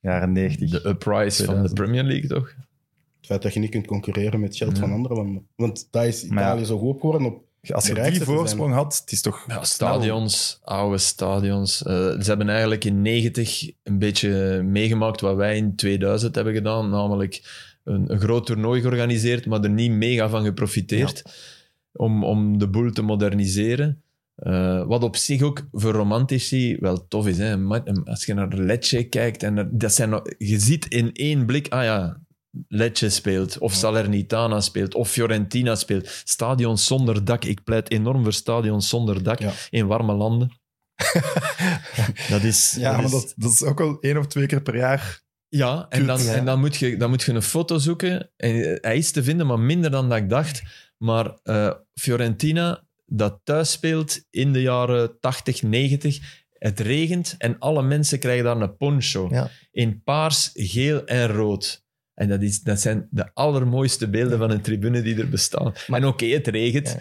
B: Jaren 90.
C: De uprise van de
B: 2000.
C: Premier League, toch?
D: Het feit dat je niet kunt concurreren met geld
C: Ja.
D: van andere landen. Want daar is
B: Maar ja.
D: Italië zo goed op geworden. Op,
B: Als je
D: De rijkste
B: die
D: te
B: voorsprong had, het is toch...
C: Ja, stadions, oude stadions. Eh, ze hebben eigenlijk in 90 een beetje meegemaakt wat wij in 2000 hebben gedaan. Namelijk een, een groot toernooi georganiseerd, maar er niet mega van geprofiteerd. Om, om de boel te moderniseren. Eh, wat op zich ook voor romantici wel tof is. Hè? Een ma- een- Als je naar Lecce kijkt, en er- dat zijn, nog- je ziet in één blik, ah ja, Lecce speelt, of Salernitana speelt, of Fiorentina speelt. Stadions zonder dak. Ik pleit enorm voor stadions zonder dak
D: Ja.
C: in warme landen. dat is...
B: Ja, maar
C: is-
B: dat, dat is ook al één of twee keer per jaar.
C: ja, en,
B: Kut.
C: dan,
B: Ja.
C: en dan, moet je, dan moet je een foto zoeken. En eh, hij is te vinden, maar minder dan dat ik dacht. Maar eh, Fiorentina, dat thuis speelt in de jaren 80, 90. Het regent en alle mensen krijgen daar een poncho.
E: Ja.
C: In paars, geel en rood. En dat, is, dat zijn de allermooiste beelden van een tribune die er bestaan. en oké, het regent.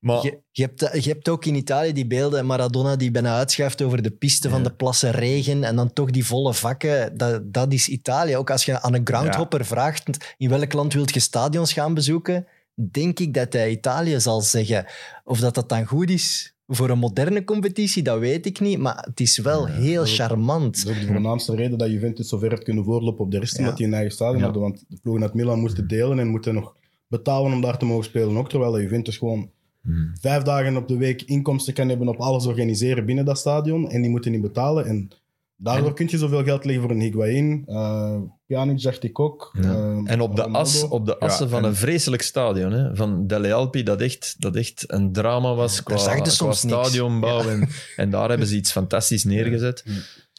C: Maar
E: Je, je, hebt, eh, je hebt ook in Italië die beelden, Maradona die bijna uitschuift over de piste van
C: Ja.
E: de plassen regen en dan toch die volle vakken. Dat, dat is Italië. Ook als je aan een groundhopper vraagt in welk land wilt je stadions gaan bezoeken, denk ik dat hij Italië zal zeggen. Of dat dat dan goed is voor een moderne competitie, dat weet ik niet. Maar het is wel heel
D: dat
E: charmant.
D: is ook de voornaamste reden dat Juventus zo ver heeft kunnen voorlopen op de rest.
E: Ja.
D: Omdat die een eigen stadion
C: Ja.
D: hadden. Want de ploegen uit Milan moesten delen en moeten nog betalen om daar te mogen spelen. Ook terwijl Juventus gewoon
C: Hmm.
D: vijf dagen op de week inkomsten kan hebben op alles organiseren binnen dat stadion. En die moeten niet betalen. En daardoor kun je zoveel geld leggen voor een Higuain. eh Pjanic dacht ik ook.
C: Ja.
D: eh,
C: En op de,
D: Ronaldo.
C: as, op de assen van
B: en-
C: een vreselijk stadion. Hè? Van Delle Alpi, dat echt, dat echt een drama was qua,
E: Daar zag je
C: qua
E: soms niks.
C: stadionbouw. En, en daar hebben ze iets fantastisch neergezet.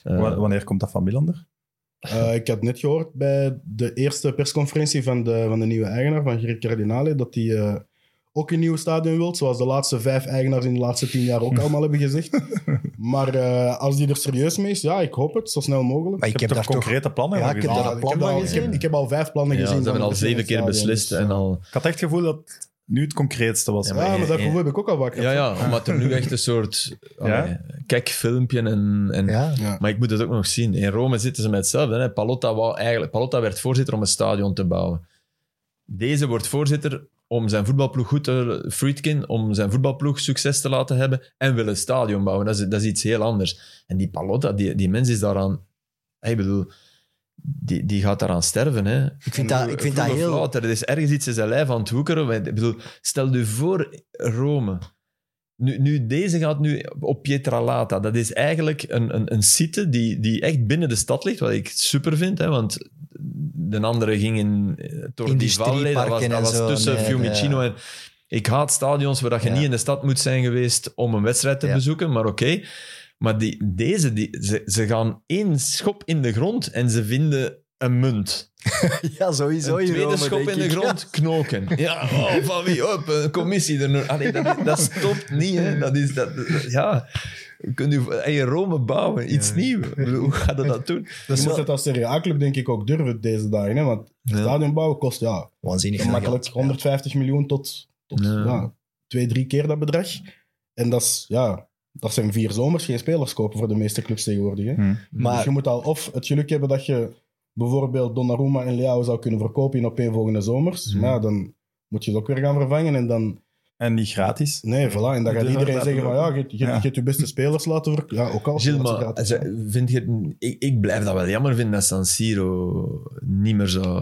C: Eh,
B: Wa- Wanneer komt dat van Milander?
D: Eh, ik had net gehoord bij de eerste persconferentie van de, van de nieuwe eigenaar, van Gerrit Cardinale, dat hij eh, ook een nieuw stadion wil, zoals de laatste vijf eigenaars in de laatste tien jaar ook allemaal hebben gezegd. Maar eh, als die er serieus mee is, ja, ik hoop het, zo snel mogelijk.
E: Maar ik heb
B: toch
E: daar toch...
B: concrete plannen
E: Ja,
B: van
E: ik heb
B: gezien?
E: daar-
D: ik
E: plan
D: heb
E: wel
D: al-
E: gezien.
D: ik heb- ik heb al vijf plannen
C: ja, ze
D: gezien.
C: hebben
D: van
C: al
D: de
C: zeven keer
D: stadions,
C: beslist.
D: dus,
C: En
D: eh,
C: al,
B: Ik had echt het gevoel dat nu het concreetste was.
C: Ja,
D: Ja, maar dat
C: Ja,
D: gevoel heb ik ook al wakker.
C: Eh, ja, ja, omdat er nu echt een soort allee, kek filmpje en... en
E: Ja.
C: Maar ik moet het ook nog zien. In Rome zitten ze met hetzelfde. Hè? Palotta, wou eigenlijk, Palotta werd voorzitter om een stadion te bouwen. Deze wordt voorzitter om zijn voetbalploeg goed te... Friedkin, om zijn voetbalploeg succes te laten hebben en wil een stadion bouwen. Dat is, dat is iets heel anders. En die Palotta, die, die mens is daaraan... Ik bedoel, die, die gaat daaraan sterven. Hè?
E: Ik vind dat, ik vind dat
C: Vroeg of
E: heel...
C: laat, er is ergens iets in zijn lijf aan het woekeren. Ik bedoel, stel je voor Rome. Nu, nu, deze gaat nu op Pietralata. Dat is eigenlijk een, een, een site die, die echt binnen de stad ligt, wat ik super vind. Hè, want de andere ging in eh, Tor di Valle. Dat was,
E: Industrieparken
C: dat
E: en
C: was
E: zo,
C: tussen
E: nee,
C: Fiumicino en... Ik haat stadions waar dat je
E: Ja.
C: niet in de stad moet zijn geweest om een wedstrijd te
E: Ja.
C: bezoeken, maar oké. Maar die, deze, die, ze, ze gaan één schop in de grond en ze vinden een munt
E: <laughs> Ja, sowieso
C: een
E: in
C: tweede
E: Rome,
C: schop
E: denk
C: in de
E: ik.
C: grond knoken. Ja, oh, van wie? Hop, een commissie er nu. Allee, dat, dat stopt niet. Hè. Dat is, dat, ja. Kunt u hey, Rome bouwen? Iets nieuws. Ik bedoel, Hoe gaat dat <laughs> dat doen?
D: Je moet
E: wel-
D: het als Serie A-club denk ik ook durven deze dagen. Hè? Want
C: Ja.
D: stadion bouwen kost ja,
E: Waanzinnig veel
D: makkelijk
E: geld.
D: 150 miljoen tot, tot
C: Ja.
D: ja. twee, drie keer dat bedrag. En dat, is, ja, dat zijn vier zomers geen spelers kopen voor de meeste clubs tegenwoordig. Hè?
B: Hm.
D: Dus
E: Maar
D: je moet al of het geluk hebben dat je bijvoorbeeld Donnarumma en Leao zou kunnen verkopen in opeenvolgende zomers.
C: Hmm.
D: Maar ja, dan moet je ze ook weer gaan vervangen. En dan
B: En niet gratis.
D: Nee, voilà. En dan
B: Dus
D: gaat
B: dat
D: iedereen
B: gaat
D: zeggen van ja, je, je,
B: Ja.
D: je hebt je beste spelers laten verk- Ja, ook al.
C: Gilles,
D: dat ze
C: maar
D: gratis zijn.
C: ze- vind je het- ik, ik blijf dat wel jammer vinden dat San Siro niet meer zo...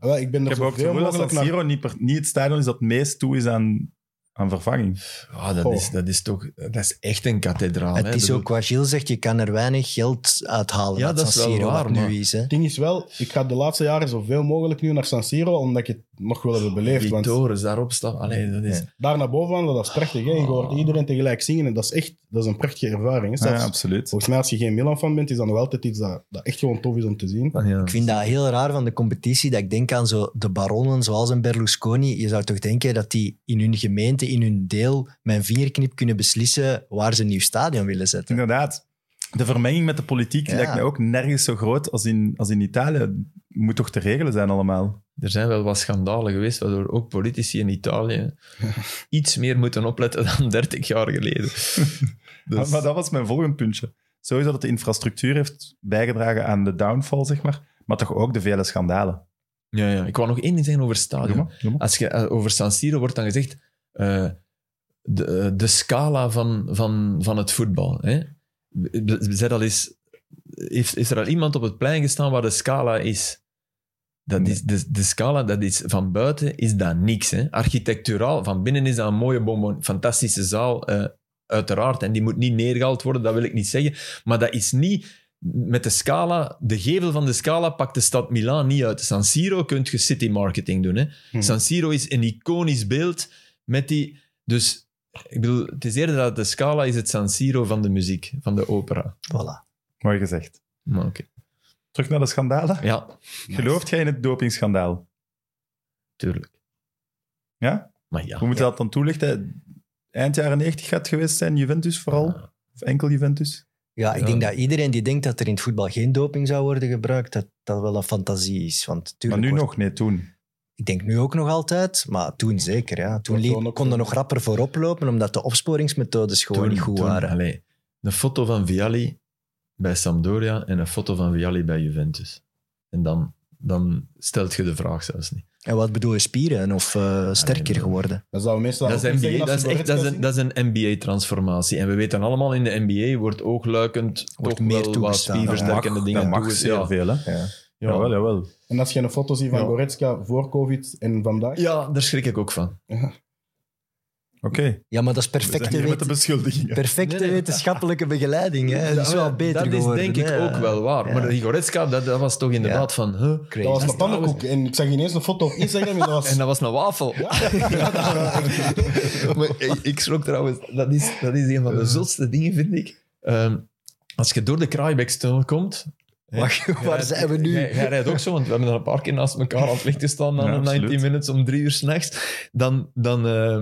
D: Ja, ik ben
B: Ik
D: er
B: heb ook het
D: zoveel
B: gevoel dat San
D: mogelijk naar...
B: Siro niet, per- niet het stadion is dat het meest toe is aan, aan vervanging.
C: Ah, dat,
D: Goh.
C: is, dat is toch... Dat is echt een kathedraal. hè.
E: Het is
C: Bedoel-
E: ook wat Gilles zegt, je kan er weinig geld uithalen.
C: Ja,
E: uit
C: dat is
E: San
C: wel
E: Siro, wat
C: waar, maar-
E: nu is. Hè.
D: Het ding is wel, ik ga de laatste jaren zoveel mogelijk nu naar San Siro, omdat je het nog wil hebben beleefd.
C: Die
D: Want
C: torens daarop staan. Allee, dat is...
D: daar naar boven wandelen, dat is prachtig. Hè? Je hoort iedereen tegelijk zingen en dat is echt dat is een prachtige ervaring. Hè?
B: Ja,
D: Zelfs-
B: absoluut.
D: volgens mij, als je geen Milan-fan bent, is dat nog altijd iets dat, dat echt gewoon tof is om te zien.
C: Ja.
E: Ik vind dat heel raar van de competitie, dat ik denk aan zo de baronnen zoals een Berlusconi. Je zou toch denken dat die in hun gemeente, in hun deel, met een vingerknip kunnen beslissen waar ze een nieuw stadion willen zetten.
B: Inderdaad. De vermenging met de politiek
E: Ja.
B: lijkt mij ook nergens zo groot als in, als in Italië. Moet toch te regelen zijn allemaal?
C: Er zijn wel wat schandalen geweest, waardoor ook politici in
B: <laughs>
C: Italië iets meer moeten opletten dan 30 jaar
B: <laughs>
C: geleden. Dus-
B: Maar dat was mijn volgend puntje. Sowieso dat de infrastructuur heeft bijgedragen aan de downfall, zeg maar. Maar toch ook de vele schandalen.
C: ja, ja. Ik wou nog één ding zeggen over het
B: Doe
C: stadion.
B: maar, doe maar.
C: Als je eh, over San Siro wordt dan gezegd eh, de, eh, de scala van, van, van het voetbal. Hè? B- Zeg dat eens, heeft, is er al iemand op het plein gestaan waar de scala is? Dat is de, de scala, dat is, van buiten is dat niks. Hè? Architecturaal, van binnen is dat een mooie bonbon, fantastische zaal, eh, uiteraard. En die moet niet neergehaald worden, dat wil ik niet zeggen. Maar dat is niet... Met de scala, de gevel van de scala pakt de stad Milaan niet uit. San Siro kun je city marketing doen. Hè?
D: Hmm.
C: San Siro is een iconisch beeld met die... Dus, ik bedoel, het is eerder dat de scala is het San Siro van de muziek, van de opera.
E: Voilà.
B: Mooi gezegd.
C: Maar oké.
B: Terug naar de schandalen.
C: Ja,
B: Gelooft jij in het dopingschandaal?
C: tuurlijk.
B: Ja?
C: Maar ja.
B: Hoe moet je dat dan toelichten? Eind jaren 90 gaat het geweest zijn, Juventus vooral.
C: Ja.
B: Of enkel Juventus.
E: Ja, ik
C: Ja.
E: denk dat iedereen die denkt dat er in het voetbal geen doping zou worden gebruikt, dat dat wel een fantasie is. Want
B: Maar
E: tuurlijk
B: nu
E: wordt-
B: nog, nee, toen.
E: Ik denk nu ook nog altijd, maar toen zeker. Ja. Toen
D: Dat
E: liep-
D: kon ook
E: kon er
D: wel.
E: nog rapper voor oplopen, omdat de opsporingsmethodes gewoon
C: Toen-
E: niet goed
C: toen-
E: waren.
C: allee, een foto van Vialli bij Sampdoria en een foto van Vialli bij Juventus. En dan, dan stelt je de vraag zelfs niet.
E: En wat bedoel je, spieren of eh, sterker
C: maar-
E: geworden?
D: Dat zou meestal
C: Dat is,
D: ook niet zeggen
C: NBA, dat,
D: als
C: is
D: ze
C: echt, dat, is
D: Goretzka
C: een, dat is een NBA-transformatie. En we weten allemaal, in de NBA wordt oogluikend
E: Wordt
C: toch
E: meer
C: wel wat
E: toegestaan.
C: spierversterkende dingen.
B: dat mag
C: doen.
B: zeer
C: ja.
B: veel, hè? Ja.
D: zien.
B: Jawel,
D: Ja.
B: jawel.
D: En als je een foto ziet van
B: Ja.
D: Goretzka voor COVID en vandaag,
C: ja, daar schrik ik ook van.
B: Oké.
E: Ja, maar dat is
B: We zijn
E: perfecte,
B: hier met de
E: wet-
B: beschuldigingen.
E: perfecte
C: Nee, nee.
E: wetenschappelijke
C: <laughs>
E: begeleiding. Hè? Dat is wel beter
C: Dat is
E: geworden,
C: denk ik
E: hè.
C: ook wel waar.
E: Ja.
C: Maar die Goretzka, dat, dat was toch inderdaad van... Huh?
E: Crazy.
D: dat was een pannenkoek. En ik zag ineens een foto op Instagram en dat was...
C: <laughs> En dat was een wafel.
E: <laughs>
C: <laughs> maar ik, ik schrok trouwens. Dat is, dat is een van de zotste dingen, vind ik. Ehm, als je door de Kraaibeekstunnel komt...
E: Wacht, waar zijn we nu?
C: Jij, jij rijdt ook zo, want we hebben er een paar keer naast elkaar aan het licht gestaan aan
B: Ja,
C: de 19
B: absoluut.
C: minutes om drie uur s'nachts. Dan, dan, eh,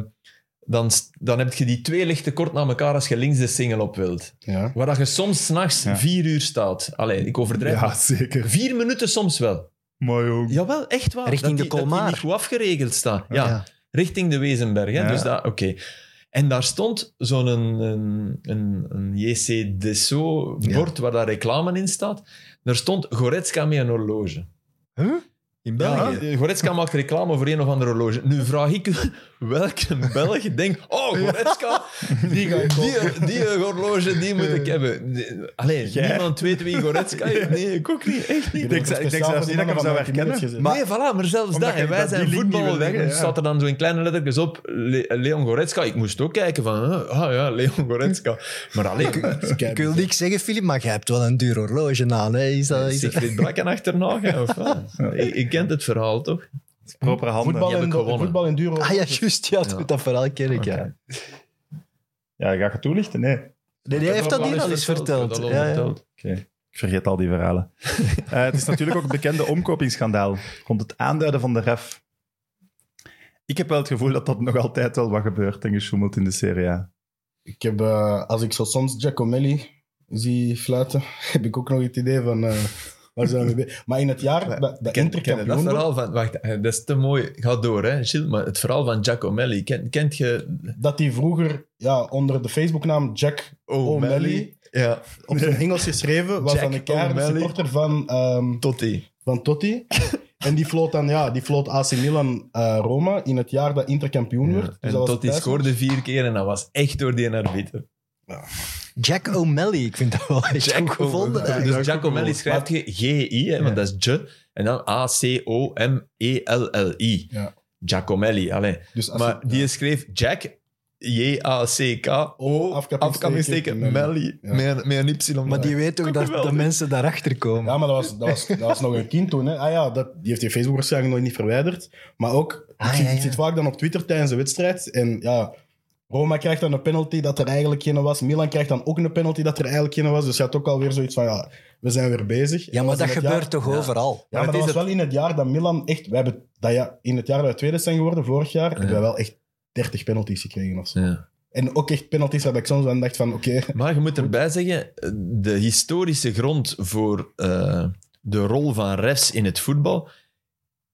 C: dan, s- dan heb je die twee lichten kort na elkaar als je links de single op wilt.
D: Ja.
C: Waar dat je soms s'nachts
B: Ja.
C: vier uur staat. Allee, ik overdrijf.
B: Ja,
C: maar
B: zeker.
C: Vier minuten soms wel.
B: Mooi ook.
C: Jawel, echt waar.
E: Richting
C: dat
E: de
C: die, dat die
E: Colmar.
C: niet goed afgeregeld staan. Ja,
E: Ja.
C: richting de Wezenberg. Hè?
B: Ja.
C: Dus dat, oké. En daar stond zo'n een, een, een, een JC
E: Ja.
C: Dessau-bord waar daar reclame in staat. Daar stond Goretzka met een horloge.
E: In
C: Ja,
E: België?
C: Goretzka maakt reclame voor een of andere horloge. Nu vraag ik u welke Belg denkt: Oh, Goretzka, die,
D: ga ik
C: die, die horloge die moet ik hebben. Alleen,
B: Jij?
C: niemand weet wie Goretzka is. Nee, ik ook niet. Echt niet.
B: Ik denk, ik denk zelfs niet dat ik hem zou herkennen.
E: Maar-
C: nee, voilà, maar zelfs
B: Omdat
C: dat.
B: je
C: En wij
B: dat
C: zijn
B: die link niet
C: voetballer.
B: wil leggen,
C: Er
B: ja.
C: staat er dan zo in kleine lettertjes op. Le- Leon Goretzka. Ik moest ook kijken van... huh, Ah ja, Leon Goretzka. Maar
E: <laughs>
C: alleen...
E: Ik wil niks zeggen, Filip, maar jij hebt wel een duur horloge aan. Hè? Is dat, is dat-
C: Sigrid Brakken achterna gaan, of wat? <laughs> Ik, ik kent het verhaal, toch?
B: Propere handen.
D: Voetbal
C: Die heb
D: en,
C: ik gewonnen.
D: voetbal en duur.
E: <laughs> Ah ja, juist. Ja,
C: Ja.
E: dat verhaal ken ik, ja.
B: Ja, ga ik het toelichten? Nee.
E: Nee,
C: Ik
E: die
C: heb
E: heeft
C: dat
E: dat hier al eens verteld.
C: Ik heb dat al
E: Ja, ja.
C: verteld.
B: Ik vergeet al die <laughs> verhalen. Eh, het is natuurlijk ook het bekende omkopingsschandaal rond het aanduiden van de ref. Ik heb wel het gevoel dat dat nog altijd wel wat gebeurt en gesjoemeld in de Serie A.
D: Ik heb, eh, als ik zo soms Giacomelli zie fluiten, <laughs> heb ik ook nog het idee van... eh, waar zijn we mee bezig? Maar in het jaar dat, dat
C: Ken,
D: Inter
C: ken je
D: kampioen
C: dat
D: wordt-
C: verhaal van... Wacht, eh, dat is te mooi. Ga door, hè, Gilles. Maar het verhaal van Giacomelli. Kent, kent je...
D: dat hij vroeger ja, onder de Facebooknaam Jack O'Malley
C: Ja,
D: op zijn Engels geschreven was
C: Jack
D: dan een keer
C: O'Malley.
D: supporter van, ehm,
C: Totti.
D: van Totti. En die floot dan, ja, die floot AC Milan eh, Roma in het jaar dat Inter kampioen werd. Dus
C: En
D: dat was
C: tot die
D: thuis-
C: scoorde vier keer en dat was echt door die arbiter.
E: Jack O'Malley, ik vind dat wel echt goed gevonden.
C: Ja,
E: eigenlijk.
C: dus Giacomelli schrijft je G-I, hè, want dat is J. En dan E A-C-O-M-E-L-L-I.
D: Ja.
C: Giacomelli, alleen.
D: Dus als
C: Maar
D: je-
C: die schreef Jack, J-A-C-K-O,
D: afkappingsteken,
C: afkappingsteken, Melly,
D: Ja.
C: met, met een Y.
E: Maar die weet ook dat,
C: Geweldig.
E: dat mensen daarachter komen.
D: Ja, maar dat was, dat was, dat was nog een kind toen. Hè. Ah ja, dat, die heeft die Facebook waarschijnlijk nog niet verwijderd. Maar ook,
E: Ah,
D: ik, zit,
E: ja,
D: ik
E: ja.
D: zit vaak dan op Twitter tijdens de wedstrijd. En ja, Roma krijgt dan een penalty dat er eigenlijk geen was. Milan krijgt dan ook een penalty dat er eigenlijk geen was. Dus je had ook alweer zoiets van, ja, we zijn weer bezig.
E: Ja,
D: En
E: maar
D: was in
E: dat
D: het
E: gebeurt
D: jaar-
E: toch overal?
D: Ja, maar,
C: Maar
D: dat
C: het
D: was
C: is
D: wel in het jaar dat Milan echt... We hebben, dat ja, in het jaar dat we tweede zijn geworden, vorig jaar, hebben we wel echt 30 penalties gekregen of zo.
C: Ja.
D: En ook echt penalties dat ik soms dan dacht van, oké...
C: Maar je moet erbij zeggen, de historische grond voor eh, de rol van refs in het voetbal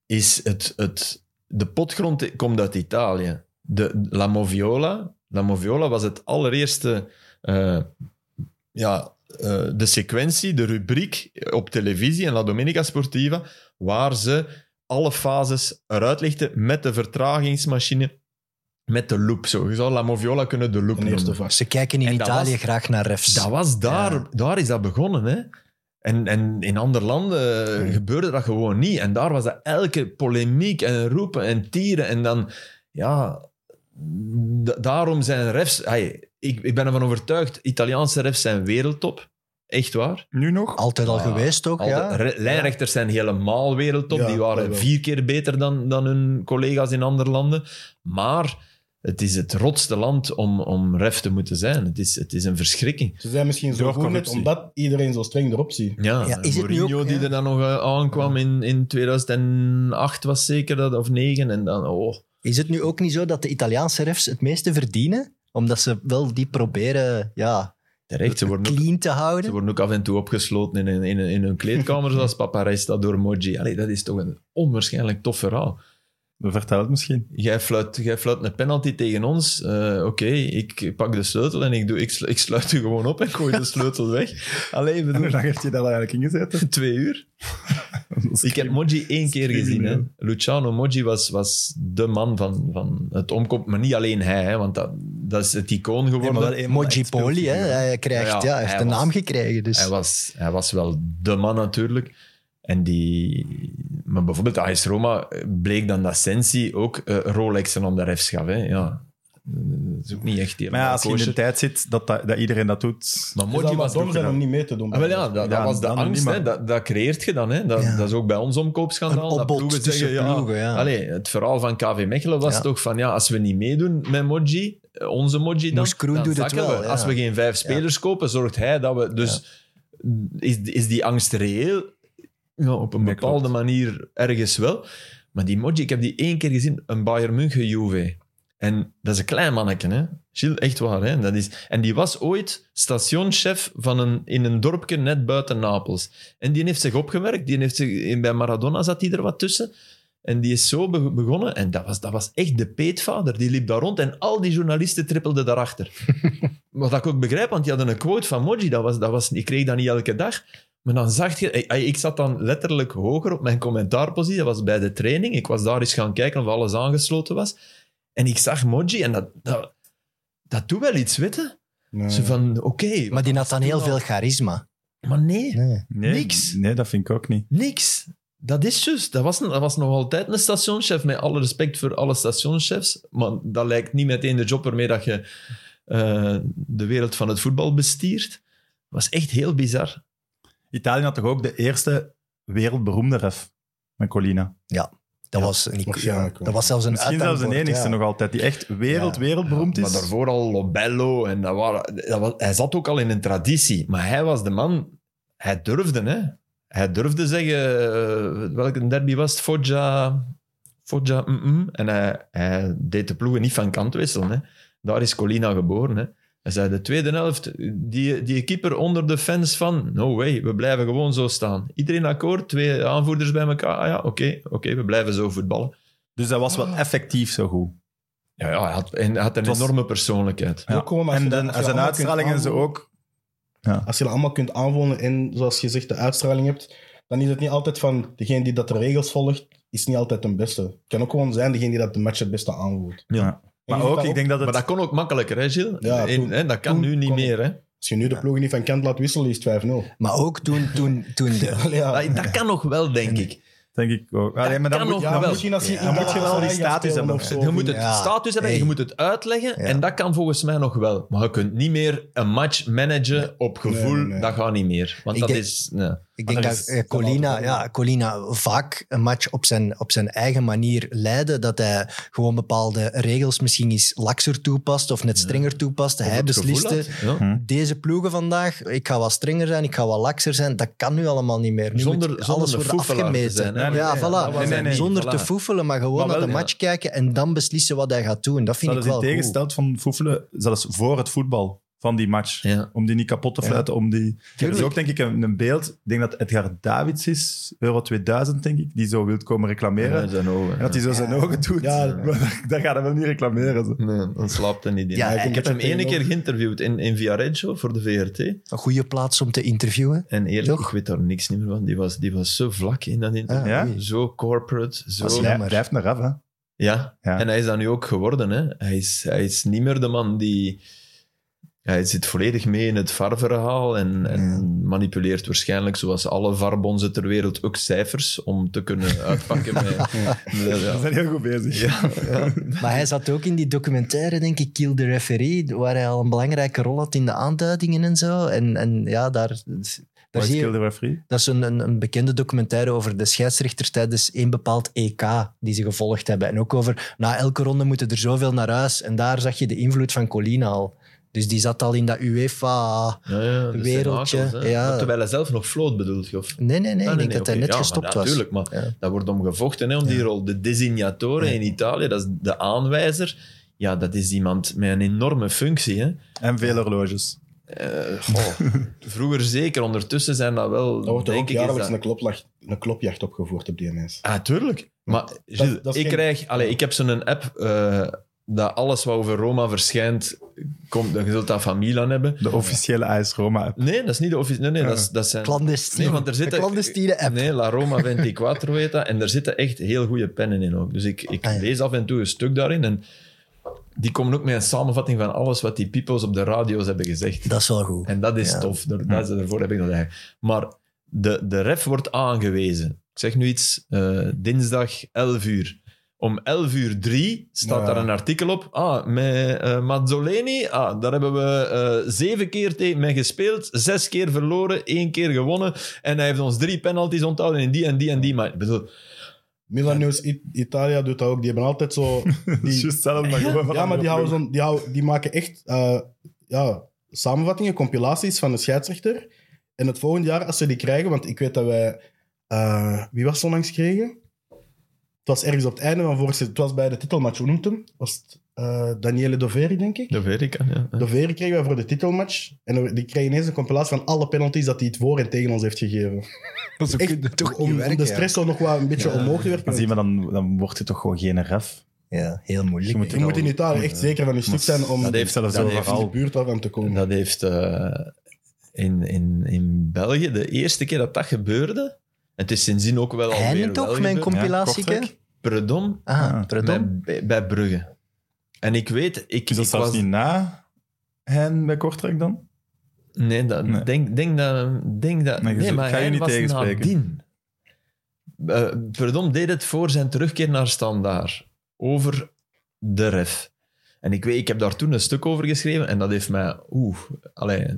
C: is het... het de potgrond komt uit Italië. De, La Moviola. La Moviola was het allereerste... eh, ja, eh, de sequentie, de rubriek op televisie en La Domenica Sportiva, waar ze alle fases eruit lichten met de vertragingsmachine, met de loop. Zo, je zou La Moviola kunnen de loop
D: Een eerste <laughs>
C: noemen.
D: vak.
E: Ze kijken in
C: En dat
E: Italië
C: was-
E: graag naar refs.
C: Dat was daar, daar is dat begonnen, hè. En, en in andere landen eh, gebeurde dat gewoon niet. En daar was dat elke polemiek en roepen en tieren. En dan, ja, da- daarom zijn refs... Hey, ik, ik ben ervan overtuigd, Italiaanse refs zijn wereldtop. Echt waar.
B: Nu nog?
E: Altijd al
C: Ja,
E: geweest ook,
C: Altijd-
E: ja.
C: re- Lijnrechters zijn helemaal wereldtop.
D: Ja,
C: die
D: dat
C: waren
D: wel.
C: vier keer beter dan, dan hun collega's in andere landen. Maar het is het rotste land om, om ref te moeten zijn. Het is, het is een verschrikking.
D: Ze zijn misschien zo
B: Door
D: goed net
B: corruptie.
D: omdat iedereen zo streng erop ziet.
C: Ja,
E: Ja, is het nu
C: Mourinho
E: ook,
C: die
E: ja.
C: er dan nog eh, aankwam in, in 2008 was zeker dat, of 9 en dan, oh.
E: Is het nu ook niet zo dat de Italiaanse refs het meeste verdienen? Omdat ze wel die proberen ja,
C: Terecht, ze worden, ook,
E: clean te
C: ze
E: houden.
C: worden ook af en toe opgesloten in, een- in, een- in hun kleedkamer,
E: <laughs>
C: zoals Paparesta door Moji. Allee, dat is toch een onwaarschijnlijk tof verhaal.
B: We vertellen het misschien.
C: Jij fluit, jij fluit een penalty tegen ons. Eh, Oké, ik pak de sleutel en ik, doe, ik, slu- ik sluit u gewoon op en gooi
E: <laughs>
C: de sleutel weg. Allee,
B: En hoe
C: bedoel,
B: lang heeft je dat eigenlijk ingezeten?
C: <laughs> twee
B: <laughs>
C: uur. Ik heb Moji één keer gezien. Hè. Luciano Moji was, was de man van, van het omkoop. Maar niet alleen hij, hè, want dat, dat is het icoon geworden.
E: Moji Poli, hè, hij krijgt,
C: Ja,
E: ja,
C: ja,
E: hij heeft
C: hij
E: de
C: was-
E: naam gekregen. Dus.
C: hij, was, hij was wel de man natuurlijk. En die... Maar bijvoorbeeld AS Roma bleek dan dat Sensi ook eh, Rolexen om de refs gaf. Hè. Ja. Dat is ook niet echt helemaal
B: Maar ja, als je in de
C: kosher.
B: tijd zit dat, dat, dat iedereen dat doet...
C: Maar
D: Het
C: Moji
D: zou maar
C: was
D: dom
C: ook
D: zijn
C: gedaan.
D: om niet mee te doen.
C: Ah, wel ja, dat, dat
B: Ja,
C: was de
B: dan nog
C: angst.
B: niet, maar-
C: Hè. Dat, dat creëert je dan. Hè. Dat,
E: Ja.
C: dat is ook bij ons
E: een
C: omkoopschandaal. dat
E: opbod
C: ploegen
E: tussen
C: zeggen, ja,
E: ploegen, ja.
C: Allee, het verhaal van KV Mechelen was
E: Ja.
C: toch van ja, als we niet meedoen met Moji, eh, onze Moji dan,
E: Moes Kroen
C: dan
E: doet het
C: zakken
E: wel,
C: we.
E: ja.
C: Als we geen vijf spelers kopen, zorgt hij dat we... Dus is, is die angst reëel? Ja, op een
B: Dat
C: bepaalde
B: klopt.
C: manier ergens wel. Maar die Moji, ik heb die één keer gezien, een Bayern München Juve. En dat is een klein manneke, hè. Gilles, echt waar, hè. Dat is... En die was ooit stationschef van een, in een dorpje net buiten Napels. En die heeft zich opgewerkt. Die heeft zich, in- bij Maradona zat hij er wat tussen. En die is zo be- begonnen. En dat was, dat was echt de peetvader. Die liep daar rond en al die journalisten trippelden daarachter. Wat ik ook begrijp, want die hadden een quote van Moji. Dat was, dat was, ik kreeg dat niet elke dag. Maar dan zag je... Ik, ik zat dan letterlijk hoger op mijn commentaarpositie. Dat was bij de training. Ik was daar eens gaan kijken of alles aangesloten was. En ik zag Moji en dat, dat, dat doet wel iets, weet je?
D: Nee.
C: Ze van, oké.
E: maar die had dan heel
C: Ja.
E: veel charisma.
C: maar nee,
E: Nee.
B: Nee,
C: Niks.
B: Nee, dat vind ik ook niet.
C: niks. Dat is juist. Dat was, dat was nog altijd een stationschef. Met alle respect voor alle stationschefs. Maar dat lijkt niet meteen de job waarmee dat je eh, de wereld van het voetbal bestiert. was echt heel bizar.
B: Italië had toch ook de eerste wereldberoemde ref? Met Colina.
E: Dat, was een, ja,
D: waarschijnlijk wel.
E: dat was zelfs een
B: Misschien zelfs de
E: uithangbord,
B: enigste
E: ja.
B: nog altijd, die echt wereld,
E: Ja.
B: wereldberoemd is.
C: Maar daarvoor al Lobello. En dat waren, dat was, hij zat ook al in een traditie. Maar hij was de man... Hij durfde, hè. Hij durfde zeggen... eh, welke derby was het? Foggia... Foggia... mm, mm. En hij, hij deed de ploegen niet van kant wisselen, hè. Daar is Colina geboren, hè. Hij zei, de tweede helft, die, die keeper onder de fans van... No way, we blijven gewoon zo staan. Iedereen akkoord, twee aanvoerders bij elkaar. Ah ja, oké, oké, we blijven zo voetballen.
B: Dus dat was wel effectief zo goed.
C: Ja, ja hij had, en hij had een
B: Het was-
C: enorme persoonlijkheid.
D: Ook gewoon als je
B: en
D: dat-
B: dan,
D: als
B: en
D: je
B: zijn
D: allemaal kunt
B: uitstraling en zo
D: aanvoelen.
B: ook.
D: Als je dat allemaal kunt aanvoelen en, zoals je zegt, de uitstraling hebt, dan is het niet altijd van degene die dat de regels volgt, is niet altijd de beste. Het kan ook gewoon zijn degene die dat de match het beste aanvoelt.
B: Ja. Maar
D: En je
B: ook,
D: ziet
B: ik denk dat
C: Maar
B: het...
C: dat kon ook makkelijker, hè, Gilles?
D: Ja,
C: En-
D: toen-
C: hè, dat kan
D: toen
C: nu niet
D: kon
C: meer, hè?
D: Als je nu de ploegen niet van kant laat wisselen, is het 5-0.
E: Maar ook toen, toen, toen de...
D: Allee, ja.
C: Dat, dat kan nog wel, denk ik.
B: Denk ik ook. Allee, maar dan
C: kan
B: moet,
C: nog
D: Ja,
B: dan
C: wel.
B: moet je...
D: misschien als je
E: Ja,
D: in
E: dan
D: dat
B: moet je
D: geval
B: wel die
D: gaat
B: status
D: spelen
B: hebben
D: of zo.
C: Je moet het
E: Ja.
C: status hebben,
E: Hey.
C: je moet het uitleggen. En dat kan volgens mij nog wel. Maar je kunt niet meer een match managen op gevoel.
D: Nee, nee, nee.
C: Dat gaat niet meer. Want
E: Ik
C: dat
E: denk-
C: is... nee.
E: Ik denk
B: er
E: dat
B: is-
E: eh, Colina, ja, Colina vaak een match op zijn, op zijn eigen manier leidde. Dat hij gewoon bepaalde regels misschien eens lakser toepast of net strenger toepast. Hij
C: Het gevoel
E: besliste... Hm.
C: had, Hm. ja.
E: Deze ploegen vandaag, ik ga wat strenger zijn, ik ga wat lakser zijn. Dat kan nu allemaal niet meer. Nu
C: Zonder-
E: moet
C: zonder
E: alles
C: een
E: worden
C: foefelaar te
E: afgemeten.
C: zijn, hè?
E: ja,
C: Nee,
E: voilà.
C: dat was
B: hij niet.
E: Zonder
C: Voilà.
E: te foefelen, maar gewoon
B: Maar wel,
E: naar de
B: ja.
E: match kijken en dan beslissen wat hij gaat doen. Dat vind
B: Dat
E: ik
B: is
E: wel
B: in
E: goed.
B: tegensteld van Foefelen, zelfs voor het voetbal van die match.
C: Ja.
B: Om die niet kapot te fluiten. Om die... Er is ook denk ik een, een beeld, ik denk dat Edgar Davids is, Euro 2000 denk ik, die zo wilt komen reclameren.
C: Ja, zijn ogen.
B: En dat hij zo zijn ogen doet.
D: Ja.
B: <laughs> dat gaat hij wel niet reclameren. zo.
C: Nee, dan slaapt hij niet in.
E: Ja,
C: ik,
E: ik
C: heb hem ene keer
D: tegenover-
C: geïnterviewd in, in Via Reggio voor de VRT.
E: Een goede plaats om te interviewen.
C: En eerlijk,
E: Toch?
C: ik weet daar niks niet meer van. Die was, die was zo vlak in dat interview.
E: Ah,
B: Ja?
E: oei.
C: Zo corporate, zo...
E: Dat is
B: Hij
E: jammer.
B: hij heeft naar af, hè.
C: Ja.
B: Ja.
C: en hij is dat nu ook geworden. Hè? Hij, is, hij is niet meer de man die. Hij zit volledig mee in het VAR-verhaal en, en manipuleert waarschijnlijk, zoals alle VAR-bonzen ter wereld, ook cijfers om te
E: <laughs>
C: kunnen uitpakken. met, met-
B: We
C: ja.
B: zijn heel goed bezig. <laughs>
C: Ja, ja.
E: Maar hij zat ook in die documentaire, denk ik, Kill the Referee, waar hij al een belangrijke rol had in de aanduidingen en zo. En, en ja, daar, daar
B: Maar
E: zie
B: is
E: je...
B: Kill the referee?
E: Dat is een, een, een bekende documentaire over de scheidsrechters tijdens één bepaald EK die ze gevolgd hebben. En ook over, na elke ronde moeten er zoveel naar huis. En daar zag je de invloed van Colina al. Dus die zat al in dat UEFA...
C: Ja, ja, dat zijn
E: Wereldje,
C: hakels, hè.
E: ja.
C: Maar Terwijl hij zelf nog floot bedoelt, of?
E: Nee, nee, nee.
C: Ah,
E: ik denk
C: nee,
E: dat hij
C: oké.
E: net
C: Ja,
E: gestopt
C: maar
E: was.
C: Natuurlijk, maar
E: Ja.
C: daar wordt om gevochten, hè, om die rol. De designatore in Italië, dat is de aanwijzer. Ja, dat is iemand met een enorme functie. Hè.
B: En veel horloges.
C: Eh, goh, <laughs> vroeger zeker, ondertussen zijn dat wel.
D: Daar wordt er ook
C: denk ik, is
D: jaarlijks
C: dat-
D: Oh, een, klopjacht, een klopjacht opgevoerd op die mensen.
C: Ah, tuurlijk. Maar Gilles,
D: dat is
C: ik,
D: geen-
C: krijg, allee, ik heb zo'n app eh, dat alles wat over Roma verschijnt, komt, je zult dat van Milan hebben.
B: De officiële AS Roma app.
C: Nee, dat is niet de office. Nee, nee, dat,
D: Eh,
C: is- dat zijn.
E: Clandestine.
C: Nee, want er
E: de
C: zitten-
E: clandestine app.
C: Nee, La Roma 24 weet dat. En daar zitten echt heel goede pennen in ook. Dus ik, ik
E: Ah, ja.
C: lees af en toe een stuk daarin. En die komen ook met een samenvatting van alles wat die peoples op de radio's hebben gezegd.
E: Dat is wel goed.
C: En dat is
E: Ja.
C: tof. Daar, daar- daarvoor heb ik dat eigenlijk. Maar de, de ref wordt aangewezen. Ik zeg nu iets, eh, dinsdag 11 uur. Om 11 uur 3 staat
D: Ja.
C: daar een artikel op. Ah, met eh, Mazzoleni. Ah, daar hebben we eh, zeven keer tegen mee gespeeld. Zes keer verloren, één keer gewonnen. En hij heeft ons drie penalties onthouden in die en die en die. Maar ik bedoel,
D: Milan News It- Italia doet dat ook. Die hebben altijd zo...
B: Dat is
D: Die,
B: juist zelf, maar gewoon van
D: ja, maar
B: andere
D: die, houden
B: ploegen.
D: zo'n- die, houden- die maken echt eh, ja, samenvattingen, compilaties van de scheidsrechter. En het volgende jaar, als ze die krijgen, want ik weet dat wij... eh, wie was zo langs kregen? Het was ergens op het einde van vorig seizoen. Het was bij de titelmatch, hoe noemt hem? Was het eh, Daniele Doveri, denk ik?
C: dat weet ik. Ja.
D: Doveri kregen wij voor de titelmatch. En we- die kregen ineens een compilatie van alle penalties dat hij het voor en tegen ons heeft gegeven. Echt,
E: Ze kunnen toch niet
D: om, om
E: werken,
D: de stress al nog wel een beetje omhoog te werken.
B: Maar zie je, maar dan, dan wordt het toch gewoon geen ref.
E: ja. Ja, heel moeilijk.
B: Je moet-
D: Je moet in Italië echt zeker van je stuk zijn om
B: dat heeft zelfs
D: van
B: overal.
D: de buurt af aan te komen.
C: Dat heeft eh, in, in, in België, de eerste keer dat dat gebeurde, het is sindsdien ook wel alweer
E: Heinen
C: wel
E: toch, mijn
C: gebeurd,
E: compilatie?
B: Kortrijk.
C: Predom
E: Ah,
B: Ah,
E: pardon.
C: bij, bij- bij Brugge. En ik weet, ik,
B: Is dat
C: ik
B: zelfs
C: was...
B: niet na hen bij Kortrijk dan?
C: Nee, dat,
B: Nee.
C: Denk, denk dat... Denk dat
B: Nee,
C: nee,
B: je zult-
C: maar
B: ga je
C: hij
B: niet
C: was
B: tegenspreken.
C: nadien. Eh, Predom deed het voor zijn terugkeer naar Standaard. Over de ref. En ik, weet, ik heb daar toen een stuk over geschreven en dat heeft mij... Oeh, allee, eh,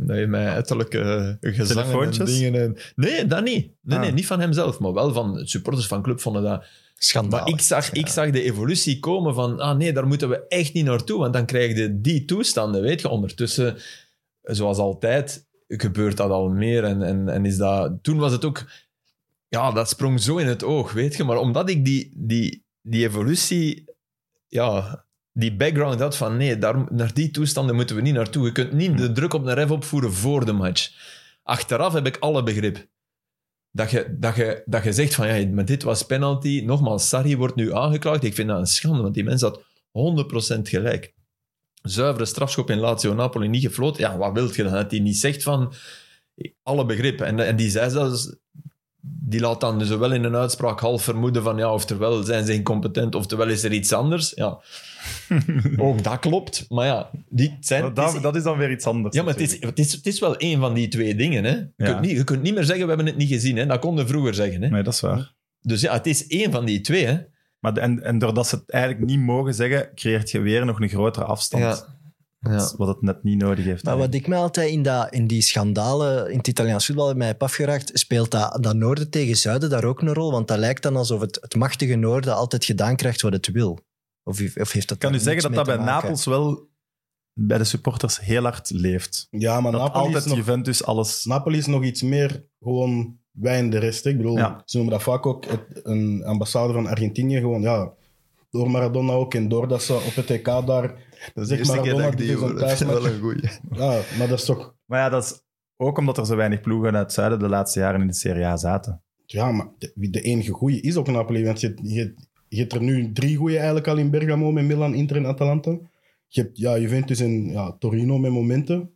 C: dat heeft mij uiterlijke eh, gezangen en
B: Telefoontjes?
C: dingen. En, nee, dat niet. Nee,
B: Ah.
C: nee, niet van hemzelf, maar wel van supporters van club vonden dat... Maar
E: Schandalig.
C: ik zag, ik zag de evolutie komen van, ah nee, daar moeten we echt niet naartoe, want dan krijg je die toestanden, weet je. Ondertussen, zoals altijd, gebeurt dat al meer en, en, en is dat... Toen was het ook... Ja, dat sprong zo in het oog, weet je. Maar omdat ik die, die, die evolutie, ja, die background had van, nee, daar, naar die toestanden moeten we niet naartoe. Je kunt niet de druk op een ref opvoeren voor de match. Achteraf heb ik alle begrip dat je, dat je, dat je zegt van ja, maar dit was penalty. Nogmaals, Sarri wordt nu aangeklaagd. Ik vind dat een schande, want die mens had 100% gelijk. Zuivere strafschop in Lazio Napoli niet gefloten. Ja, wat wil je dan? Dat hij niet zegt van alle begrip. En, en die zei zelfs die laat dan dus wel in een uitspraak half vermoeden van ja, oftewel zijn ze incompetent, oftewel is er iets anders.
B: <laughs>
C: Ja. Ook dat klopt, maar ja, die zijn...
B: Maar
C: het is-
B: dat, dat is dan weer iets anders.
C: ja, maar het is, het, is, het is wel één van die twee dingen. Hè. Je,
B: Ja.
C: kunt niet, je kunt niet meer zeggen, we hebben het niet gezien. Hè. Dat konden we vroeger zeggen. Hè.
B: Nee, dat is waar.
C: Dus ja, het is één van die twee. Hè.
B: Maar de- en, en doordat ze het eigenlijk niet mogen zeggen, creëert je weer nog een grotere afstand. Dat is Wat het net niet nodig heeft.
E: Maar wat ik mij altijd in, dat, in die schandalen in het Italiaans voetbal mij heb afgeraakt, speelt dat, dat noorden tegen zuiden daar ook een rol? Want dat lijkt dan alsof het, het machtige noorden altijd gedaan krijgt wat het wil. Of, of heeft dat
B: Ik kan u
E: daar
B: zeggen dat dat
E: niks
B: bij
E: mee te maken?
B: Napels wel bij de supporters heel hard leeft.
D: Ja, maar
B: Dat
D: Napoli is,
B: altijd
D: nog,
B: Juventus alles...
D: Napoli is nog iets meer gewoon wij en de rest. hè. Ik bedoel,
B: Ja.
D: ze noemen dat vaak ook het- een ambassade van Argentinië. Gewoon, ja, door Maradona ook en doordat ze op het EK daar... Dat is echt Maradona die
B: <laughs>
C: <laughs>
D: zo'n thuismatch...
C: een goeie.
D: Ja, maar dat is toch...
B: Maar ja, dat is ook omdat er zo weinig ploegen uit het zuiden de laatste jaren in de Serie A zaten.
D: Ja, maar de, de enige goeie is ook Napoli. Want je, je, je hebt er nu drie goeie eigenlijk al in Bergamo met Milan, Inter en Atalanta. Je hebt ja, Juventus en ja, Torino met momenten.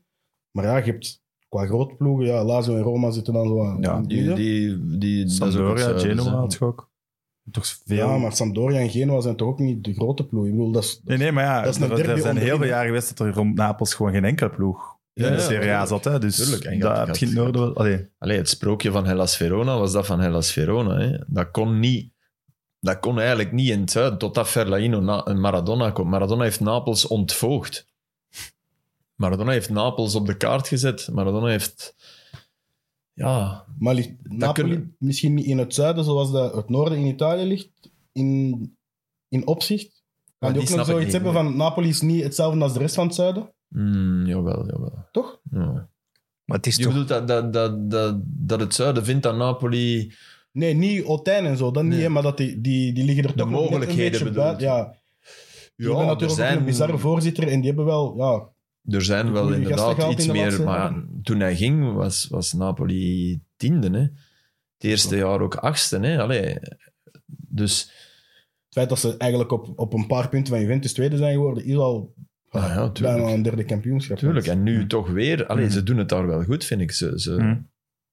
D: Maar ja, je hebt qua grootploegen, ja, Lazio en Roma zitten dan zo aan
B: Ja,
D: aan het
C: Die,
D: midden.
C: die, die, dat is ook dus,
B: Sampdoria,
C: het zuiden,
B: Genoa
C: hè.
B: had je ook. Toch veel...
D: Ja, maar Sampdoria en Genoa zijn toch ook niet de grote ploegen. Ik bedoel, dat is...
B: Nee, nee, maar ja,
D: Dat is een
B: er, er
D: derby
B: zijn
D: onderin,
B: heel veel
D: hè.
B: jaren geweest dat er rond Napels gewoon geen enkele ploeg
C: Ja,
B: in
C: ja,
B: de Serie A
C: tuurlijk.
B: zat. Hè? Dus
C: Tuurlijk, en je
B: daar
C: had- je
B: heb
C: had-
B: je het noorden wel... Allee,
C: Allee, het sprookje van Hellas Verona was dat van Hellas Verona. Hè. Dat, kon niet, dat kon eigenlijk niet in het zuiden, totdat Verlaino na- en Maradona komt. Maradona heeft Napels ontvoogd. Maradona heeft Napels op de kaart gezet. Maradona heeft... Ja,
D: Maar ligt Napoli
C: kunnen-
D: misschien niet in het zuiden zoals dat het noorden in Italië ligt, in, in opzicht?
C: Maar
D: Kan
C: die
D: die ook
C: snap
D: nog
C: ik
D: zoiets
C: niet,
D: hebben
C: nee.
D: van Napoli is niet hetzelfde als de rest van het zuiden?
C: mm, jawel, jawel.
D: Toch?
C: Ja.
E: Maar het is
C: Je
E: toch
C: bedoelt dat, dat, dat, dat, dat het zuiden vindt dat Napoli...
D: Nee, niet Otijn en zo, dat niet,
C: Nee.
D: hè, maar dat die, die, die liggen er
C: De
D: toch nog net
C: mogelijkheden
D: een beetje
C: bedoel
D: buiten.
C: je?
D: Ja,
C: Ja,
D: die hebben
C: er
D: natuurlijk
C: zijn-
D: ook een bizarre voorzitter en die hebben wel... Ja,
C: Er zijn wel
D: goede gasten
C: inderdaad
D: gehaald
C: iets
D: in de
C: meer,
D: laatste
C: maar ja,
D: jaren.
C: toen hij ging was, was Napoli tiende. Hè. Het eerste jaar ook achtste. Hè. Allee, dus
D: het feit dat ze eigenlijk op, op een paar punten van Juventus tweede zijn geworden, is al
C: Ah ja, tuurlijk.
D: bijna een derde kampioenschap.
C: natuurlijk, en nu toch weer. Allee,
B: Mm.
C: Ze doen het daar wel goed, vind ik. Ze, ze,
B: Mm.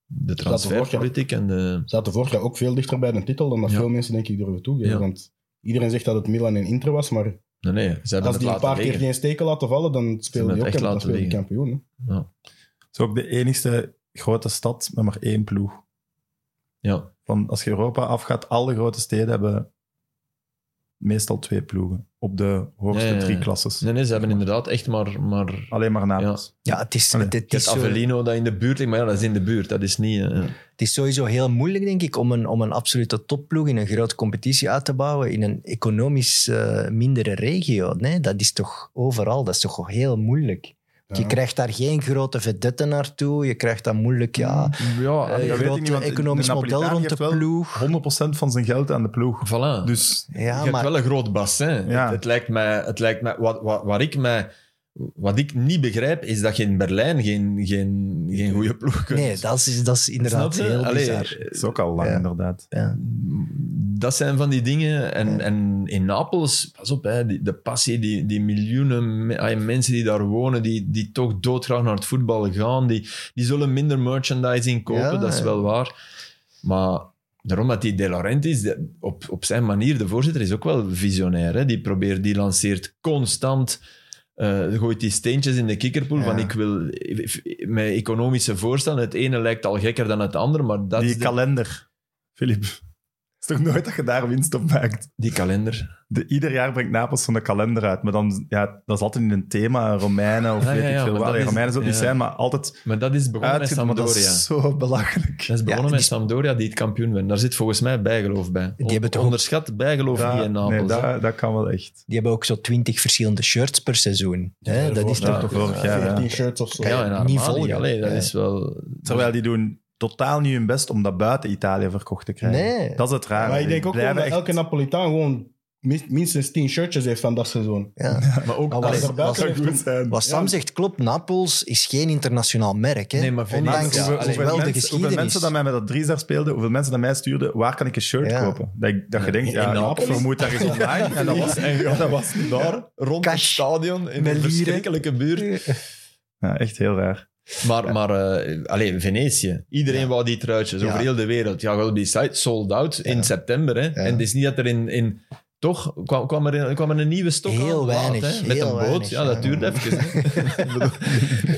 C: De transferpolitiek en de...
D: Ze zaten vorig jaar ook veel dichter bij de titel dan dat
C: Ja.
D: veel mensen denk ik durven toegeven.
C: Ja.
D: Want iedereen zegt dat het Milan en Inter was, maar
C: Nee, nee, ze hebben
D: als
C: het
D: die een
C: laten
D: paar keer
C: liggen.
D: geen steken laten vallen, dan speel
C: hebben het
D: die ook
C: echt
D: en dan
C: laten
D: speel je
C: liggen.
D: kampioen. hè.
B: Het is ook de enigste grote stad met maar één ploeg.
C: Ja.
B: Van als je Europa afgaat, alle grote steden hebben meestal twee ploegen. Op de hoogste
C: Ja, ja, ja.
B: drie klasses.
C: Nee, nee, ze hebben inderdaad echt maar... maar
B: Alleen maar Napels.
E: Ja, het is,
B: Allee,
E: het, het
C: het
E: is
C: is
E: zo-
C: Avellino dat in de buurt ligt, maar ja, dat is in de buurt. Dat is niet... eh,
E: het is sowieso heel moeilijk, denk ik, om een, om een absolute topploeg in een grote competitie uit te bouwen in een economisch eh, mindere regio. Nee, dat is toch overal, dat is toch heel moeilijk. Je
D: Ja.
E: krijgt daar geen grote vedetten naartoe, je krijgt dat moeilijk,
B: Mm.
E: ja,
C: ja,
E: eh,
B: weet ik
E: grote
B: niet, want de
E: economisch
B: Napolitaan
E: model rond de
B: heeft wel-
E: ploeg.
B: 100% van zijn geld aan de ploeg.
C: voilà.
B: Dus
E: Ja,
C: je
E: maar
C: hebt wel een groot bassin.
B: Ja.
C: Het, het lijkt mij, het lijkt mij wat, wat, waar ik mij, wat ik niet begrijp, is dat je in Berlijn geen, geen, geen goede ploeg kunt.
E: nee, dat is, dat is inderdaad
C: Snap je?
E: heel
C: Allee,
E: bizar.
B: dat is ook al lang,
E: Ja.
B: inderdaad.
C: dat zijn van die dingen. En, en in Napels, pas op, hè, die, de passie, die, die miljoenen me- ay, mensen die daar wonen, die, die toch doodgraag naar het voetbal gaan, die, die zullen minder merchandising kopen,
E: Ja.
C: dat is wel waar. Maar daarom dat die De Laurentiis, de- op, op zijn manier, de voorzitter, is ook wel visionair. Hè? Die probeert, die lanceert constant... eh, gooit die steentjes in de kikkerpoel van
E: Ja.
C: ik wil met economische voorstellen. Het ene lijkt al gekker dan het andere, maar dat
B: die
C: is de-
B: kalender, Filip. Het is toch nooit dat je daar winst op maakt?
C: die kalender.
B: De, ieder jaar brengt Napels zo'n kalender uit. Maar dan, ja, dat is altijd in een thema, Romeinen of
C: Ja,
B: weet
C: ja, ja,
B: ik veel
C: maar
B: wat.
C: dat
B: Allee,
C: is-
B: Romeinen zullen het
C: ja.
B: niet zijn, maar altijd
C: Maar dat is begonnen met
B: uitgedoen. maar Dat
C: Sampdoria.
B: is zo belachelijk.
C: Dat is begonnen
E: Ja,
C: met
E: die-
C: Sampdoria die het kampioen werd. Daar zit volgens mij bijgeloof bij.
E: Die hebben toch ook-
C: Onderschat bijgeloof
B: Dat-
C: niet in Napels.
B: Nee,
C: hè.
B: dat, dat kan wel echt.
E: Die hebben ook zo twintig verschillende shirts per seizoen. hè? Dat is
B: Ja,
E: toch
B: toch vorig jaar, ja.
D: 14 shirts of zo.
C: ja,
E: niet
C: in Armani,
E: volgen.
C: allee, dat
E: Ja.
C: is wel...
B: Terwijl die doen totaal niet hun best om dat buiten Italië verkocht te krijgen.
E: Nee.
B: Dat is het raar.
D: Maar ik denk ook gewoon dat elke
B: elke
D: Napolitaan gewoon min- minstens 10 shirtjes heeft van dat seizoen.
E: Ja.
C: Maar ook...
E: Maar
D: Als
E: was-
D: er buiten
E: was-
D: heeft, doen-
B: zijn.
E: Wat Sam zegt klopt, Napels is geen internationaal merk. Hè?
C: Nee, maar Venetië-
E: Ondanks
C: Ja,
E: hoewel
C: allee,
E: de
B: mensen, hoeveel
E: geschiedenis.
B: mensen dat mij met dat driesdar speelden, hoeveel mensen dat mij stuurden, waar kan ik een shirt
E: Ja.
B: kopen? Dat, ik, dat je denkt,
D: In
B: ja, ik
D: Napels?
B: vermoed daar is online. En
C: <laughs>
B: dat was, ja, dat was niet daar.
C: rond
E: Cash.
C: stadion, in
E: Met lieren.
C: buurt.
B: Ja, echt heel raar.
C: Maar, maar eh, allee, Venetië. Iedereen wou die truitjes
E: Ja.
C: over heel de wereld. Ja, wel op die site, sold out in september. Hè. En het is niet dat er in... in toch kwam, kwam, er in- kwam er een nieuwe stok
E: Heel
C: aan,
E: weinig,
C: hè. Met
E: heel
C: een boot,
E: weinig,
C: ja,
E: ja.
C: dat duurt even.
E: <laughs>
C: hè. Ik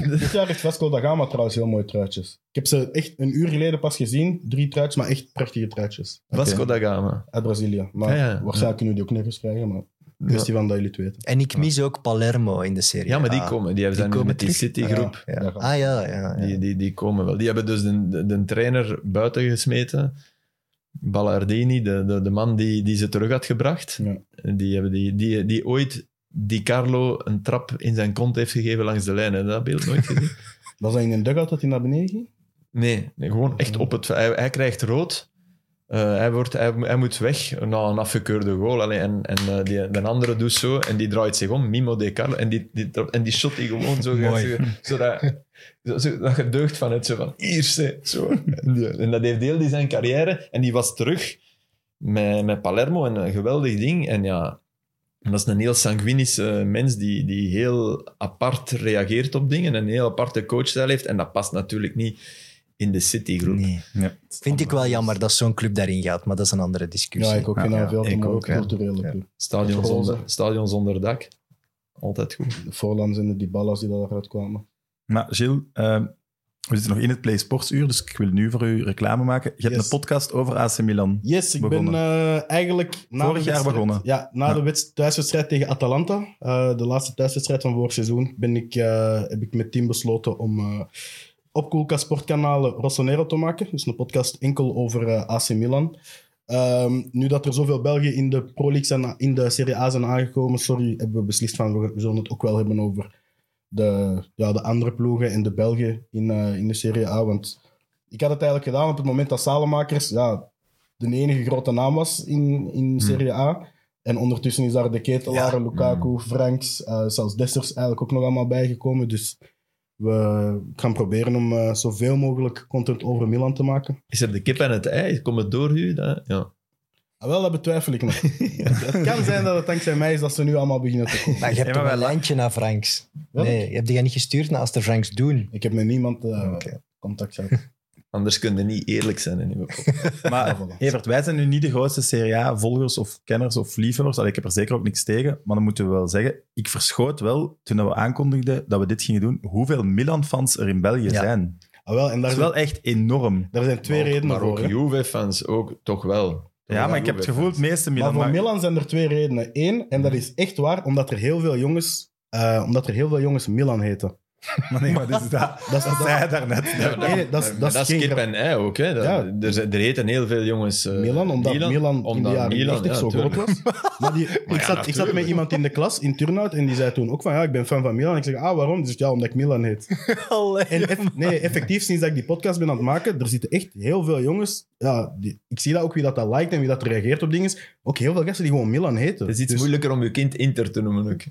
C: bedoel,
D: Dit jaar heeft Vasco da Gama trouwens heel mooie truitjes. Ik heb ze echt een uur geleden pas gezien. Drie truitjes, maar echt prachtige truitjes.
C: Vasco da Gama.
D: Uit Brazilië. Maar
C: Ja, ja.
D: waarschijnlijk kunnen we die ook nergens krijgen, maar
E: Dus
C: Ja,
D: kwestie van dat jullie het weten.
E: En ik mis ook Palermo in de serie.
C: Ja, maar die
E: A.
C: komen. Die zijn nu
E: Ah, komen
C: met die
E: terug.
C: City-groep.
D: Ja, daar gaan we.
E: Ah ja, ja. ja.
C: Die, die, die komen wel. Die hebben dus de, de, de trainer buiten gesmeten. Ballardini, de, de, de man die, die ze terug had gebracht.
D: Ja.
C: Die, hebben die, die, die ooit Di Carlo een trap in zijn kont heeft gegeven langs de lijn. Heb je dat beeld nooit
E: <laughs>
C: gezien?
D: Was dat in een dugout dat hij naar beneden ging?
C: Nee, nee, gewoon echt op het... Hij, hij krijgt rood. Eh, hij, wordt, hij, hij moet weg na een afgekeurde goal. Allee, en en eh, die, de andere doet zo en die draait zich om. Mimo de Carlo. En die, die, trapt- en die shot die gewoon zo... gaat,
B: Mooi.
C: zo- Zodat, zo, zo- dat je deugt van het zo van... Hier, ze, zo. En die- En dat heeft heel die zijn carrière. En die was terug met, met Palermo. En een geweldig ding. En ja... Dat is een heel sanguinische mens die, die heel apart reageert op dingen. En een heel aparte coachstijl heeft. En dat past natuurlijk niet in de City-groep.
E: Nee.
B: Ja.
E: Vind ik wel jammer dat zo'n club daarin gaat, maar dat is een andere discussie.
D: Ja, ik ook.
B: Ja,
D: vind dat
B: ja,
D: een veel te
C: ik
D: mooi
C: ook, ja.
D: culturele
B: Ja.
D: club.
C: Stadion
D: Roze.
C: zonder, stadion zonder dak. Altijd goed.
D: De Forlans en de Dybalas die daaruit kwamen.
B: Maar Gilles, ehm, we zitten nog in het Play Sportsuur, dus ik wil nu voor u reclame maken. Je hebt
D: Yes.
B: een podcast over AC Milan.
D: Yes, ik
B: Begonnen.
D: ben eh, eigenlijk... Na
B: Vorig
D: de
B: jaar
D: wedstrijd-
B: begonnen.
D: Ja, na
B: Ja.
D: de wedst- thuiswedstrijd tegen Atalanta, eh, de laatste thuiswedstrijd van vorig seizoen, ben ik, eh, heb ik met team besloten om eh, op Koelkast Sportkanaal Rossonero te maken. Dus een podcast enkel over eh, AC Milan. Ehm, nu dat er zoveel Belgen in de Pro League zijn, in de Serie A zijn aangekomen, sorry, hebben we beslist van we zullen het ook wel hebben over de, ja, de andere ploegen en de Belgen in, eh, in de Serie A. Want ik had het eigenlijk gedaan op het moment dat Salemakers ja, de enige grote naam was in,
C: Hmm.
D: in Serie A. En ondertussen is daar de ketelaar, Lukaku,
C: Hmm.
D: Franks, eh, zelfs Dessers eigenlijk ook nog allemaal bijgekomen. Dus we gaan proberen om eh, zoveel mogelijk content over Milan te maken.
C: Is er de kip en het ei? Komt het door u? Dat, ja.
D: Ah, wel, dat betwijfel ik
C: <laughs>
D: nog. Het kan zijn dat het dankzij mij is dat ze nu allemaal beginnen te komen.
E: Maar je hebt
B: Ja, maar
E: toch
B: wij
E: een
B: la-
E: lijntje naar Franks?
D: Wel,
E: Nee, je hebt die niet gestuurd naar Aster Franks Doen.
D: Ik heb met niemand
C: <laughs>
D: eh,
E: Oké.
D: contact gehad.
C: Anders kun je niet eerlijk zijn
D: <laughs>
C: in uw
B: <laughs> Maar
D: voilà.
B: Evert, wij zijn nu niet de grootste Serie A-volgers of kenners of liefhebbers. Allee, ik heb er zeker ook niks tegen, maar dan moeten we wel zeggen, ik verschoot wel, toen we aankondigden dat we dit gingen doen, hoeveel Milan-fans er in België
E: Ja.
B: zijn.
D: Ah, wel, en
B: Dat
D: daar
B: is
D: zijn,
B: wel echt enorm.
D: daar zijn twee
C: Maar ook-
D: redenen
C: maar
D: voor.
C: ook
D: hè.
C: Juve-fans ook, toch wel.
B: Ja, maar ik heb het gevoel, het meeste
D: Maar
B: Milan...
D: voor
B: maar-
D: Milan zijn er twee redenen. Eén, en dat is echt waar, omdat er heel veel jongens, eh, omdat er heel veel jongens Milan heten.
B: <laughs> Maar nee, maar dit is dat,
D: Dat
B: dat
D: is
B: zei hij
E: <laughs>
B: daarnet.
D: Ja, dat-
C: <laughs>
D: nee, dat is- dat
C: dat
D: is
C: is
D: geen
C: kip
D: grap.
C: en ei ook. Hè. Dat-
D: Ja.
C: er, zijn- er heten heel veel jongens eh,
D: Milan, omdat Milan, in de
C: omdat
D: jaren
C: Milan,
D: 90
C: ja,
D: zo groot
C: tuurlijk.
D: was.
C: <laughs>
D: Maar die, ik, zat, ik zat met
C: natuurlijk.
D: iemand in de klas in Turnhout en die zei toen ook van ja, ik ben fan van Milan. Ik zeg, ah, waarom? Dus ja, omdat ik Milan heet. En
C: <laughs>
D: eff- nee, effectief, sinds dat ik die podcast ben aan het maken, er zitten echt heel veel jongens. Ja, die- ik zie dat ook wie dat, dat liked en wie dat reageert op dingen. Ook heel veel gasten die gewoon Milan heten.
C: Het is iets
D: Dus
C: moeilijker om je kind inter te noemen ook.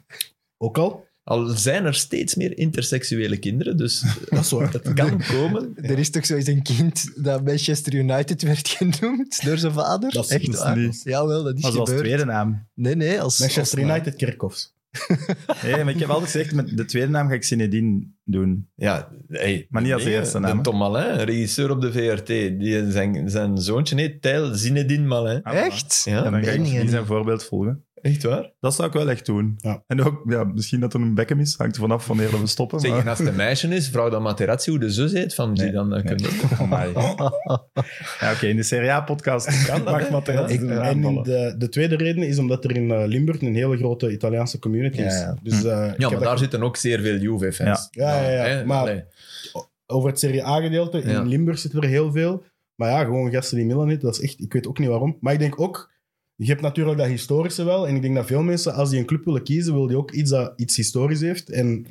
D: Ook al,
C: Al zijn er steeds meer interseksuele kinderen, dus
D: dat is
C: <laughs>
D: waar.
C: het
D: <laughs>
C: kan komen.
E: Er is toch zoiets een kind dat Manchester United werd <laughs> genoemd door zijn vader?
D: Dat is-
E: Echt
B: dat is
E: waar?
B: niet-
E: Jawel, dat is
B: Maar zoals
E: gebeurd.
B: tweede naam.
E: Nee, nee. Als,
D: Manchester
E: als-
D: United Kerkhoffs.
B: Nee, maar ik heb altijd gezegd, met de tweede naam ga ik Zinedine <laughs> doen.
C: Ja, hey,
B: Maar niet als
C: nee,
B: eerste
C: de
B: naam, hè?
C: Tom Malin, regisseur op de VRT, die zijn, zijn zoontje heet Tijl Zinedine Malin.
B: Ah, voilà.
E: Echt?
C: Ja,
B: En dan ga
E: meen
B: ik
E: je
B: die
E: niet.
B: zijn voorbeeld volgen.
C: Echt waar?
B: Dat zou ik wel echt doen.
D: Ja.
B: En ook, ja, misschien dat er een Beckham is. Hangt er vanaf wanneer dat we stoppen.
C: Zeg,
B: maar-
C: en als het een meisje is, vraag dan Materazzi hoe de zus heet van
B: Nee,
C: Zidane. Dan
B: nee.
C: kun je-
B: Amai. Ja, oké, in de Serie
C: <laughs>
B: A-podcast kan dat. Mag Materazzi
D: Ik-
B: doen
D: en
B: aanvallen.
D: de, de tweede reden is omdat er in eh, Limburg een hele grote Italiaanse community is.
E: Ja, ja.
D: Dus, eh, <laughs> ik
C: Ja,
D: heb
C: maar
D: dat-
C: daar zitten ook zeer veel Juve-fans.
D: Ja, ja, ja,
C: hè,
D: maar-
C: allee.
D: over het Serie A-gedeelte. In
C: Ja.
D: Limburg zitten er heel veel. Maar ja, gewoon gasten die Milan heten, dat is echt... Ik weet ook niet waarom. Maar ik denk ook... Je hebt natuurlijk dat historische wel. En ik denk dat veel mensen, als die een club willen kiezen, wil die ook iets dat iets historisch heeft. En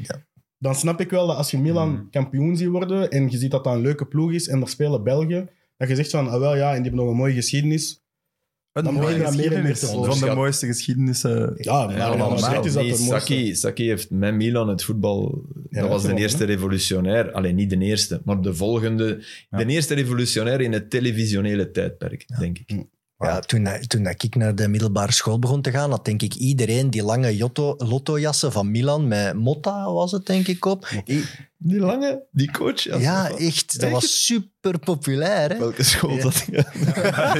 D: dan snap ik wel dat als je Milan
C: Mhm.
D: kampioen ziet worden en je ziet dat dat een leuke ploeg is en er spelen Belgen, dat je zegt van, ah wel ja, en die hebben nog een mooie geschiedenis.
B: Een
D: Dan
B: mooie
D: begin je dat meer en meer
B: geschiedenis.
D: te
B: Van
D: volgen.
B: de mooiste geschiedenissen.
D: Ja, maar
C: Ja,
D: Real Madrid is dat
C: die
D: het mooiste.
C: Saki, Saki heeft met Milan het voetbal...
D: Ja,
C: dat was de
D: klopt,
C: eerste revolutionair. Alleen niet de eerste, maar de volgende.
B: Ja.
C: De eerste revolutionair in het televisionele tijdperk, denk ik.
E: Ja, toen, dat- toen dat ik naar de middelbare school begon te gaan, had denk ik iedereen die lange Jotto- lottojassen van Milan met Motta was het denk ik op. I-
C: Die lange, die coach. Ja,
E: ja, echt. Dat was super populair. Hè?
C: Welke school dat
E: <laughs>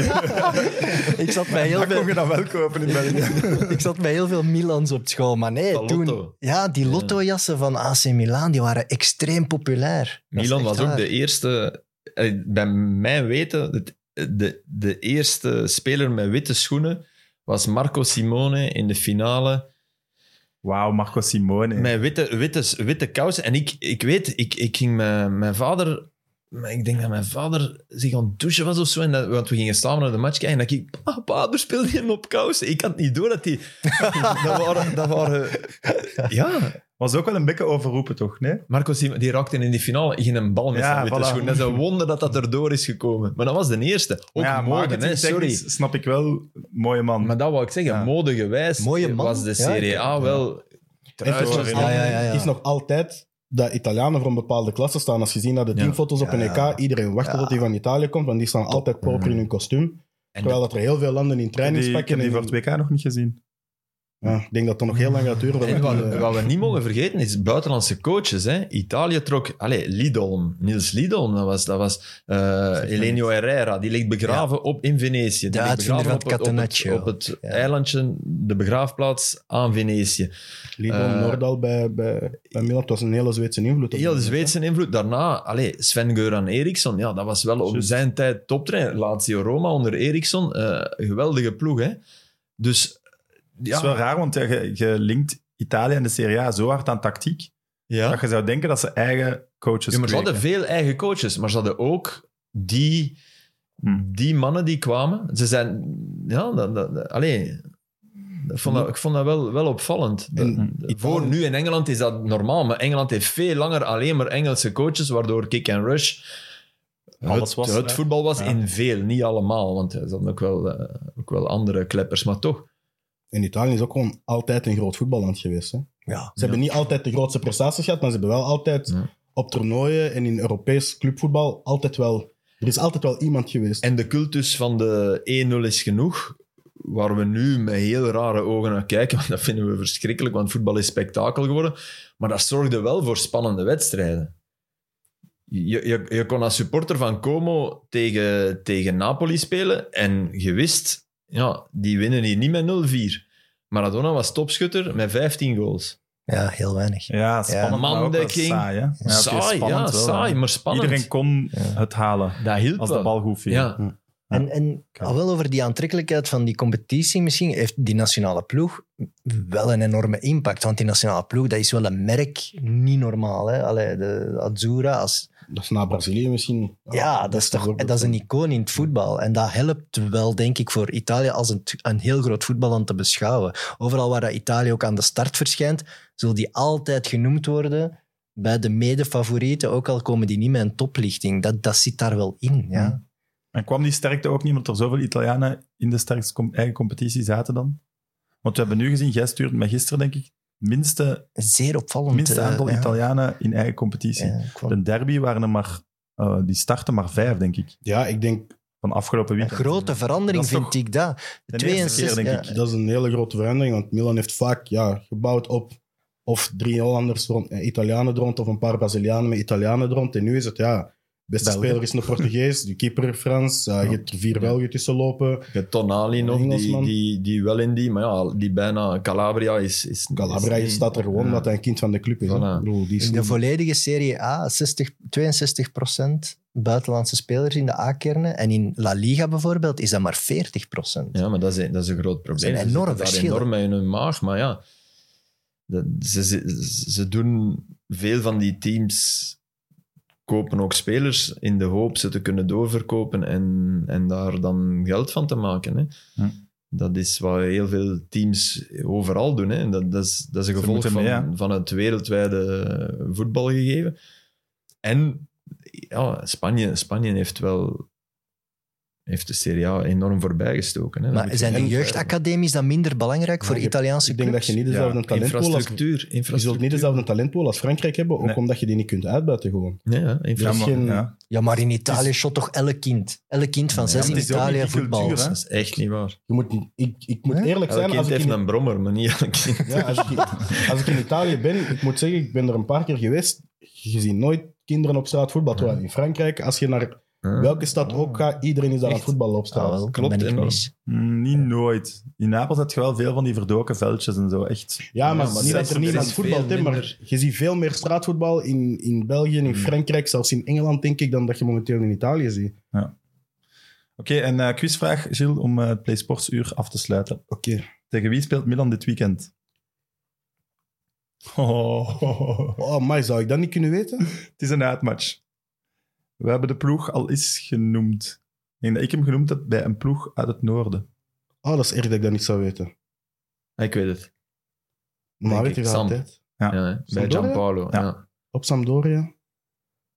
E: Ik zat bij heel
B: Dat
E: veel
B: kon je dan wel kopen in België.
E: ik zat bij heel veel Milans op school, maar nee,
C: Van
E: toen...
C: Lotto.
E: Ja, die lottojassen van AC Milan, die waren extreem populair. Dat is
C: Milan
E: echt
C: was ook
E: waar.
C: de eerste, eh, bij mijn weten, het- de, de eerste speler met witte schoenen was Marco Simone in de
B: <laughs>
C: finale.
B: Wauw, Marco Simone.
C: Met witte, witte, witte kousen. En ik, ik weet, ik, ik ging mijn, mijn vader... maar Ik denk dat mijn vader zich aan het douchen was of zo. En dat, want we gingen samen naar de match kijken. En dat ik... "Pa, Pa, er speelde je op kousen. Ik had niet door dat
E: <laughs>
C: die... <laughs> dat waren... Dat waren ja,
B: Was ook wel een beetje overroepen, toch? Nee?
C: Marco Simon, die raakte in die finale in een bal met
B: Ja,
C: zijn witte
B: voilà.
C: schoen. Dat is een wonder dat dat erdoor is gekomen. Maar dat was de eerste.
B: Maar
C: Ook
B: ja,
C: mode, hè,
B: marketingtechnisch
C: sorry.
B: snap ik wel. Mooie man.
C: Maar dat wou ik zeggen,
B: Ja.
C: modegewijs
E: Mooie man.
C: was de
E: Ja, ik-
C: Serie A wel...
D: En het is nog
B: Ja,
D: altijd-
E: ja, Ah, ja, ja.
D: is nog altijd dat Italianen voor een bepaalde klasse staan. Als je ziet naar de
C: Ja.
D: teamfoto's op
E: Ja,
D: een EK,
E: ja.
D: iedereen wacht
E: Ja. Mm.
D: tot die van Italië komt, want die staan altijd proper in hun kostuum.
C: En
D: Terwijl dat er heel veel landen in
B: die, ik
D: trainingspakken...
B: heb die voor
D: en
B: het
D: in-
B: WK nog niet gezien.
D: Ja, ik denk dat het nog heel lang gaat
E: <laughs>
D: duren.
C: En
D: voordat die,
C: wat,
D: eh,
C: wat we niet mogen vergeten is buitenlandse coaches. Hè. Italië trok, allez, Lidolm, Niels Lidolm, dat was, dat was eh, Elenio Herrera. Die ligt begraven op, in Venetië. Die
E: De
C: ligt
E: uitvinder
C: begraven
E: van het
C: op het-
E: Catenaccio.
C: Op het, op het
E: Ja.
C: eilandje, de begraafplaats aan Venetië.
D: Lidl,
C: Eh,
D: Nordaal bij, bij, bij Milan. Het was een hele Zweedse invloed. op
C: Heel de
D: Milan.
C: Zweedse invloed. Daarna, allez, Sven-Göran Eriksson, ja, dat was wel op
B: Juist.
C: zijn tijd toptrainer. Lazio Roma onder Eriksson, eh, geweldige ploeg. Hè? Dus
B: Het is wel
C: ja,
B: raar, want je, je linkt Italië en de Serie A zo hard aan tactiek, dat
C: ja.
B: je zou denken dat ze eigen coaches
C: Ja, maar ze
B: kweken.
C: hadden veel eigen coaches, maar ze hadden ook die,
B: Hm.
C: die mannen die kwamen. Ze zijn, ja, dat, dat, dat- allez, ik vond
B: Hmm.
C: dat, ik vond dat wel, wel opvallend. Dat-
D: En
C: voor nu in Engeland is dat normaal, maar Engeland heeft veel langer alleen maar Engelse coaches, waardoor kick and rush.
B: Alles
C: het,
B: was,
C: het
B: hè?
C: voetbal was
B: Ja.
C: in veel, niet allemaal, want er zijn ook wel, eh, ook wel andere kleppers, maar toch.
D: En Italië is ook gewoon altijd een groot voetballand geweest. Hè? Ze
E: Ja.
D: hebben niet altijd de grootste prestaties gehad, maar ze hebben wel altijd
C: Ja.
D: op toernooien en in Europees clubvoetbal altijd wel... Er is altijd wel iemand geweest.
C: En de cultus van de 1-0 is genoeg, waar we nu met heel rare ogen naar kijken, <laughs> want dat vinden we verschrikkelijk, want voetbal is spektakel geworden. Maar dat zorgde wel voor spannende wedstrijden. Je, je, je kon als supporter van Como tegen, tegen Napoli spelen en je wist, ja, die winnen hier niet met 0-4. Maradona was topschutter met 15 goals.
E: ja, heel weinig.
B: Ja, spannend,
C: Ja.
B: maar ook wel
C: Mandeking.
B: saai. Hè? Ja, oké,
C: saai, ja,
B: spannend wel,
C: saai,
B: hè.
C: maar spannend.
B: Iedereen kon het halen
C: dat hielp
B: als
C: wel.
B: de bal goed viel. Hm.
C: Ja,
E: En, en al wel over die aantrekkelijkheid van die competitie misschien, heeft die nationale ploeg wel een enorme impact. Want die nationale ploeg, dat is wel een merk, niet normaal. Hè? Allee, de Azzurra, als,
D: Dat is na Brazilië misschien.
B: Ah,
E: ja, dat, is toch,
D: ook-
E: dat is een icoon in het voetbal. En dat helpt wel, denk ik, voor Italië als een, een heel groot voetballand te beschouwen. Overal waar dat Italië ook aan de start verschijnt, zullen die altijd genoemd worden bij de mede-favorieten, ook al komen die niet met een toplichting. Dat, dat zit daar wel in, ja.
B: Hmm. En kwam die sterkte ook niet, omdat er zoveel Italianen in de sterkste com- eigen competitie zaten dan? Want we hebben nu gezien, jij stuurt me gisteren, denk ik, minste,
E: Zeer opvallend.
B: minste
E: eh,
B: aantal
E: ja.
B: Italianen in eigen competitie.
E: Ja, ik kwam-
B: De derby waren er maar, eh, die starten maar vijf, denk ik,
D: Ja, ik denk
B: van afgelopen
E: Een
B: weekend.
E: grote verandering
B: Dat is
E: vind
B: toch
E: ik dat.
B: de eerste keer,
E: 62,
B: denk
E: ja.
B: ik.
D: dat is een hele grote verandering, want Milan heeft vaak ja, gebouwd op of drie Hollanders rond, eh, Italianen er rond, of een paar Brazilianen met Italianen er rond. En nu is het ja, beste
B: België.
D: speler is een Portugees, de keeper Frans, eh, je hebt er vier Belgen tussen lopen.
C: Je hebt Tonali nog, die,
D: Engelsman.
C: die, die wel in die, maar ja, die bijna Calabria is. is
D: Calabria
C: is-
D: staat er gewoon
C: Ja.
D: omdat hij een kind van de club is. hè.
C: Voilà.
D: Ik bedoel, die is
E: In de volledige Serie A, 60, 62 buitenlandse spelers in de A-kernen. En in La Liga bijvoorbeeld is dat maar 40
C: Ja, maar dat is, een- dat is een groot probleem.
E: Dat is een
C: Ze
E: enorm
C: zitten daar
E: verschil, hè.
C: enorm in hun maag, maar ja, dat, ze, ze, ze doen veel van die teams kopen ook spelers in de hoop ze te kunnen doorverkopen en, en daar dan geld van te maken. Hè.
B: Hm.
C: Dat is wat heel veel teams overal doen. Hè. En Dat, dat, is, dat is een
B: Ze
C: gevolg
B: moeten
C: van,
B: mee, hè.
C: van het wereldwijde voetbalgegeven. En ja, Spanje, Spanje heeft wel heeft de Serie A enorm voorbijgestoken. Hè. Dan moet
E: Maar
C: je-
E: zijn de
D: en-
E: jeugdacademies dan minder belangrijk voor
D: Ja, je-
E: Italiaanse
D: Ik denk dat
E: clubs?
D: je
C: Ja,
D: niet dezelfde talentpool als...
C: infrastructuur.
D: Je zult niet
C: infrastructuur.
D: dezelfde talentpool als Frankrijk hebben, ook
B: Nee.
D: omdat je die niet kunt uitbuiten gewoon.
C: Ja, ja,
B: Ja,
C: infra-
B: maar-
D: geen-
B: ja.
E: Ja, maar in Italië shot toch elk kind. Elk kind van zes
B: maar
E: in
B: het is ook niet
E: Italië
B: die
E: voetbal.
B: cultuur, hè?
C: Dat is echt niet waar.
D: Je moet, ik, ik moet
E: Hè?
D: eerlijk
C: Elk
D: zijn,
C: kind
D: als ik,
C: heeft
D: in,
C: een brommer, maar niet elk kind.
D: <laughs> ja, als, ik,
C: <laughs>
D: in- als ik in Italië ben, ik moet zeggen, ik ben er een paar keer geweest, je ziet nooit kinderen op straat voetbal. Terwijl in Frankrijk, als je naar
C: Ja.
D: welke stad ook gaat, iedereen is daar aan het
C: Echt? Ah,
D: voetballen op straat.
C: klopt,
E: klopt. Ben ik
C: enorm.
E: mis.
B: Mm, Niet nooit. In Napels had je wel veel van die verdoken veldjes en zo, echt.
D: Ja, maar,
C: Ja, maar
D: niet
C: dat
D: dat
C: is-
D: er niet
C: dat
D: aan
C: is
D: het voetbal
C: veel
D: is, maar
C: minder. Mm.
D: je ziet veel meer straatvoetbal in, in België, in Frankrijk, zelfs in Engeland, denk ik, dan dat je momenteel in Italië ziet.
B: Oké, en eh, quizvraag, Gilles, om eh, het Play Sports uur af te sluiten.
D: Oké.
C: <laughs>
B: Tegen wie speelt Milan dit weekend? Oh.
D: Oh, maar zou ik dat niet kunnen weten?
B: Het is een uitmatch. We hebben de ploeg al eens genoemd. Ik denk dat ik hem genoemd heb bij een ploeg uit het noorden.
D: Oh, dat is erg dat ik dat niet zou weten.
C: Ah, Ik weet het.
D: Maar
C: Denk
D: weet je
C: ik,
D: dat
C: Sam.
D: altijd?
B: Ja.
C: Ja, hè. bij
D: Sampdoria?
C: Gianpaolo.
B: Ja.
C: Ja.
D: Op Sampdoria.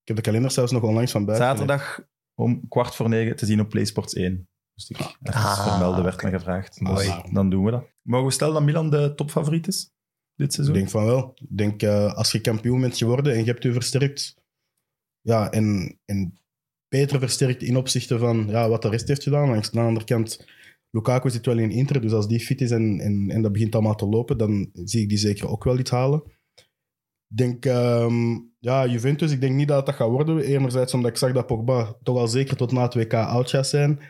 D: Ik heb de kalender zelfs nog onlangs van buiten.
B: Zaterdag om kwart voor negen te zien op PlaySports 1. Dus ik even
E: Ah,
B: vermelden, werd
E: oké.
B: me gevraagd. Dus
D: Mooi.
B: dan doen we dat. Mogen we stellen dat Milan de topfavoriet is dit
D: Ik
B: seizoen?
D: denk van wel. Ik denk, eh, als je kampioen bent geworden en je hebt je versterkt, ja, en, en beter versterkt in opzichte van ja, wat de rest heeft gedaan. Langs de andere kant, Lukaku zit wel in Inter, dus als die fit is en, en, en dat begint allemaal te lopen, dan zie ik die zeker ook wel iets halen. Ik denk, ehm, ja, Juventus, ik denk niet dat dat gaat worden. Enerzijds omdat ik zag dat Pogba toch al zeker tot na het WK oud gaat zijn.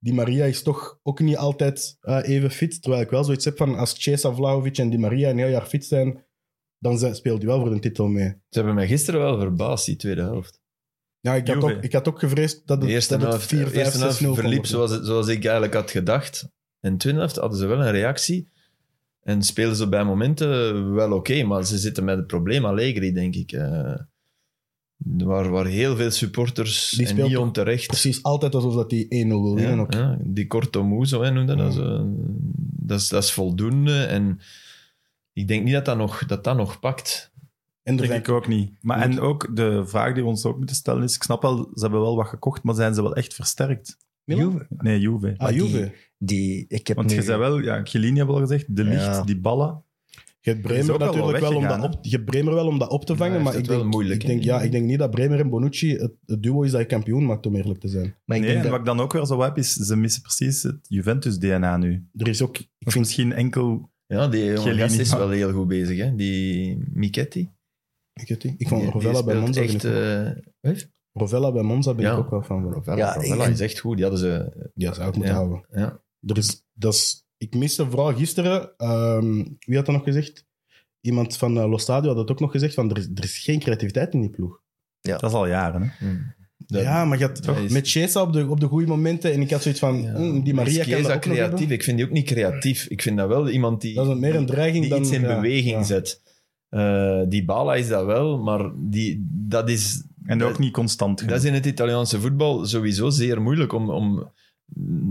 D: Di Maria is toch ook niet altijd eh, even fit. Terwijl ik wel zoiets heb van als Cesa Vlaovic en Di Maria een heel jaar fit zijn, dan zijn- speelt hij wel voor de titel mee.
C: Ze hebben mij gisteren wel verbaasd, die tweede helft.
D: Ja, ik had,
B: Juve.
D: ook, ik had ook gevreesd dat
C: De
D: het,
C: eerste
D: dat het
C: helft,
D: 4
C: de
D: 5
C: eerste
D: 6
C: helft
D: 0
C: verliep zoals, het- zoals ik eigenlijk had gedacht. In de tweede helft hadden ze wel een reactie. En spelen ze bij momenten wel oké, maar ze zitten met het probleem Allegri, denk ik. eh, waar, waar heel veel supporters,
D: Die
C: en
D: speelt
C: niet
D: toch
C: onterecht,
D: Precies, altijd alsof dat die 1-0 wil winnen.
C: Ja,
D: ook.
C: ja, die korte moe, zo hè, noemde
D: Ja.
C: dat. Zo. Dat, is, dat is voldoende. En ik denk niet dat dat nog, dat dat nog pakt.
D: En er
B: Denk
D: zijn,
B: ik ook niet. Maar en ook de vraag die we ons ook moeten stellen is: ik snap wel, ze hebben wel wat gekocht, maar zijn ze wel echt versterkt?
D: Milan?
E: Juve,
B: Nee, Juve.
D: Ah,
E: Maar die-
D: Juve.
E: Die, ik heb
B: Want
E: nu...
B: je zei wel, ja, Chiellini hebben we al gezegd, de licht,
E: Ja.
B: die ballen.
D: Je hebt
B: Die is
D: Bremer
B: ook al wel
D: natuurlijk wel om dat
B: weggegaan,
D: op, je hebt Bremer wel om dat op te vangen,
C: hij
D: maar
C: heeft
D: ik
C: het
D: denk,
C: wel moeilijk,
D: ik, denk,
C: hè?
D: ja, ik denk niet dat Bremer en Bonucci het, het duo is dat je kampioen maakt, om eerlijk te zijn.
E: maar ik
B: Nee, en
E: denk dat-
B: wat ik dan ook weer zo heb, is ze missen precies het Juventus-DNA nu.
D: Er is ook, ik
B: Of
D: vind,
B: misschien enkel...
C: Ja, die jonge
B: Chiellini,
C: gast is
B: ja.
C: wel heel goed bezig, hè? die Michetti.
D: ik, weet het niet, ik
C: Die-
D: vond
C: die
D: Rovella bij
C: speelt
D: Monza, ben
C: echt,
D: ik ook-
C: eh, wat?
D: Rovella bij Monza ben
C: Ja.
D: ik ook wel van. Rovella.
C: Rovella,
E: Ja,
C: Rovella
E: ik-
C: is echt goed. Die hadden ze...
D: Ja, zou ik moeten
C: Ja.
D: houden.
C: Ja.
D: Er is, dat is, ik miste vooral gisteren, ehm, wie had dat nog gezegd? Iemand van eh, Los Stadio had dat ook nog gezegd, van er is, er is geen creativiteit in die ploeg.
B: Dat is al jaren, hè?
C: Mm. Dat-
D: ja, maar je had
C: dat is-
D: met Chiesa op de, op de goede momenten en ik had zoiets van,
C: ja.
D: mm, die
C: Is
D: Maria kan
C: Chiesa
D: dat ook nog hebben.
C: creatief. Ik vind die ook niet creatief. Ik vind dat wel iemand die...
D: Dat is meer een dreiging
C: die
D: dan...
C: iets in
D: ja,
C: beweging
D: ja.
C: zet. Eh, die Bala is dat wel, maar die, dat, is,
B: En
C: Dat-
B: ook niet constant genoeg.
C: dat is in het Italiaanse voetbal sowieso zeer moeilijk om... om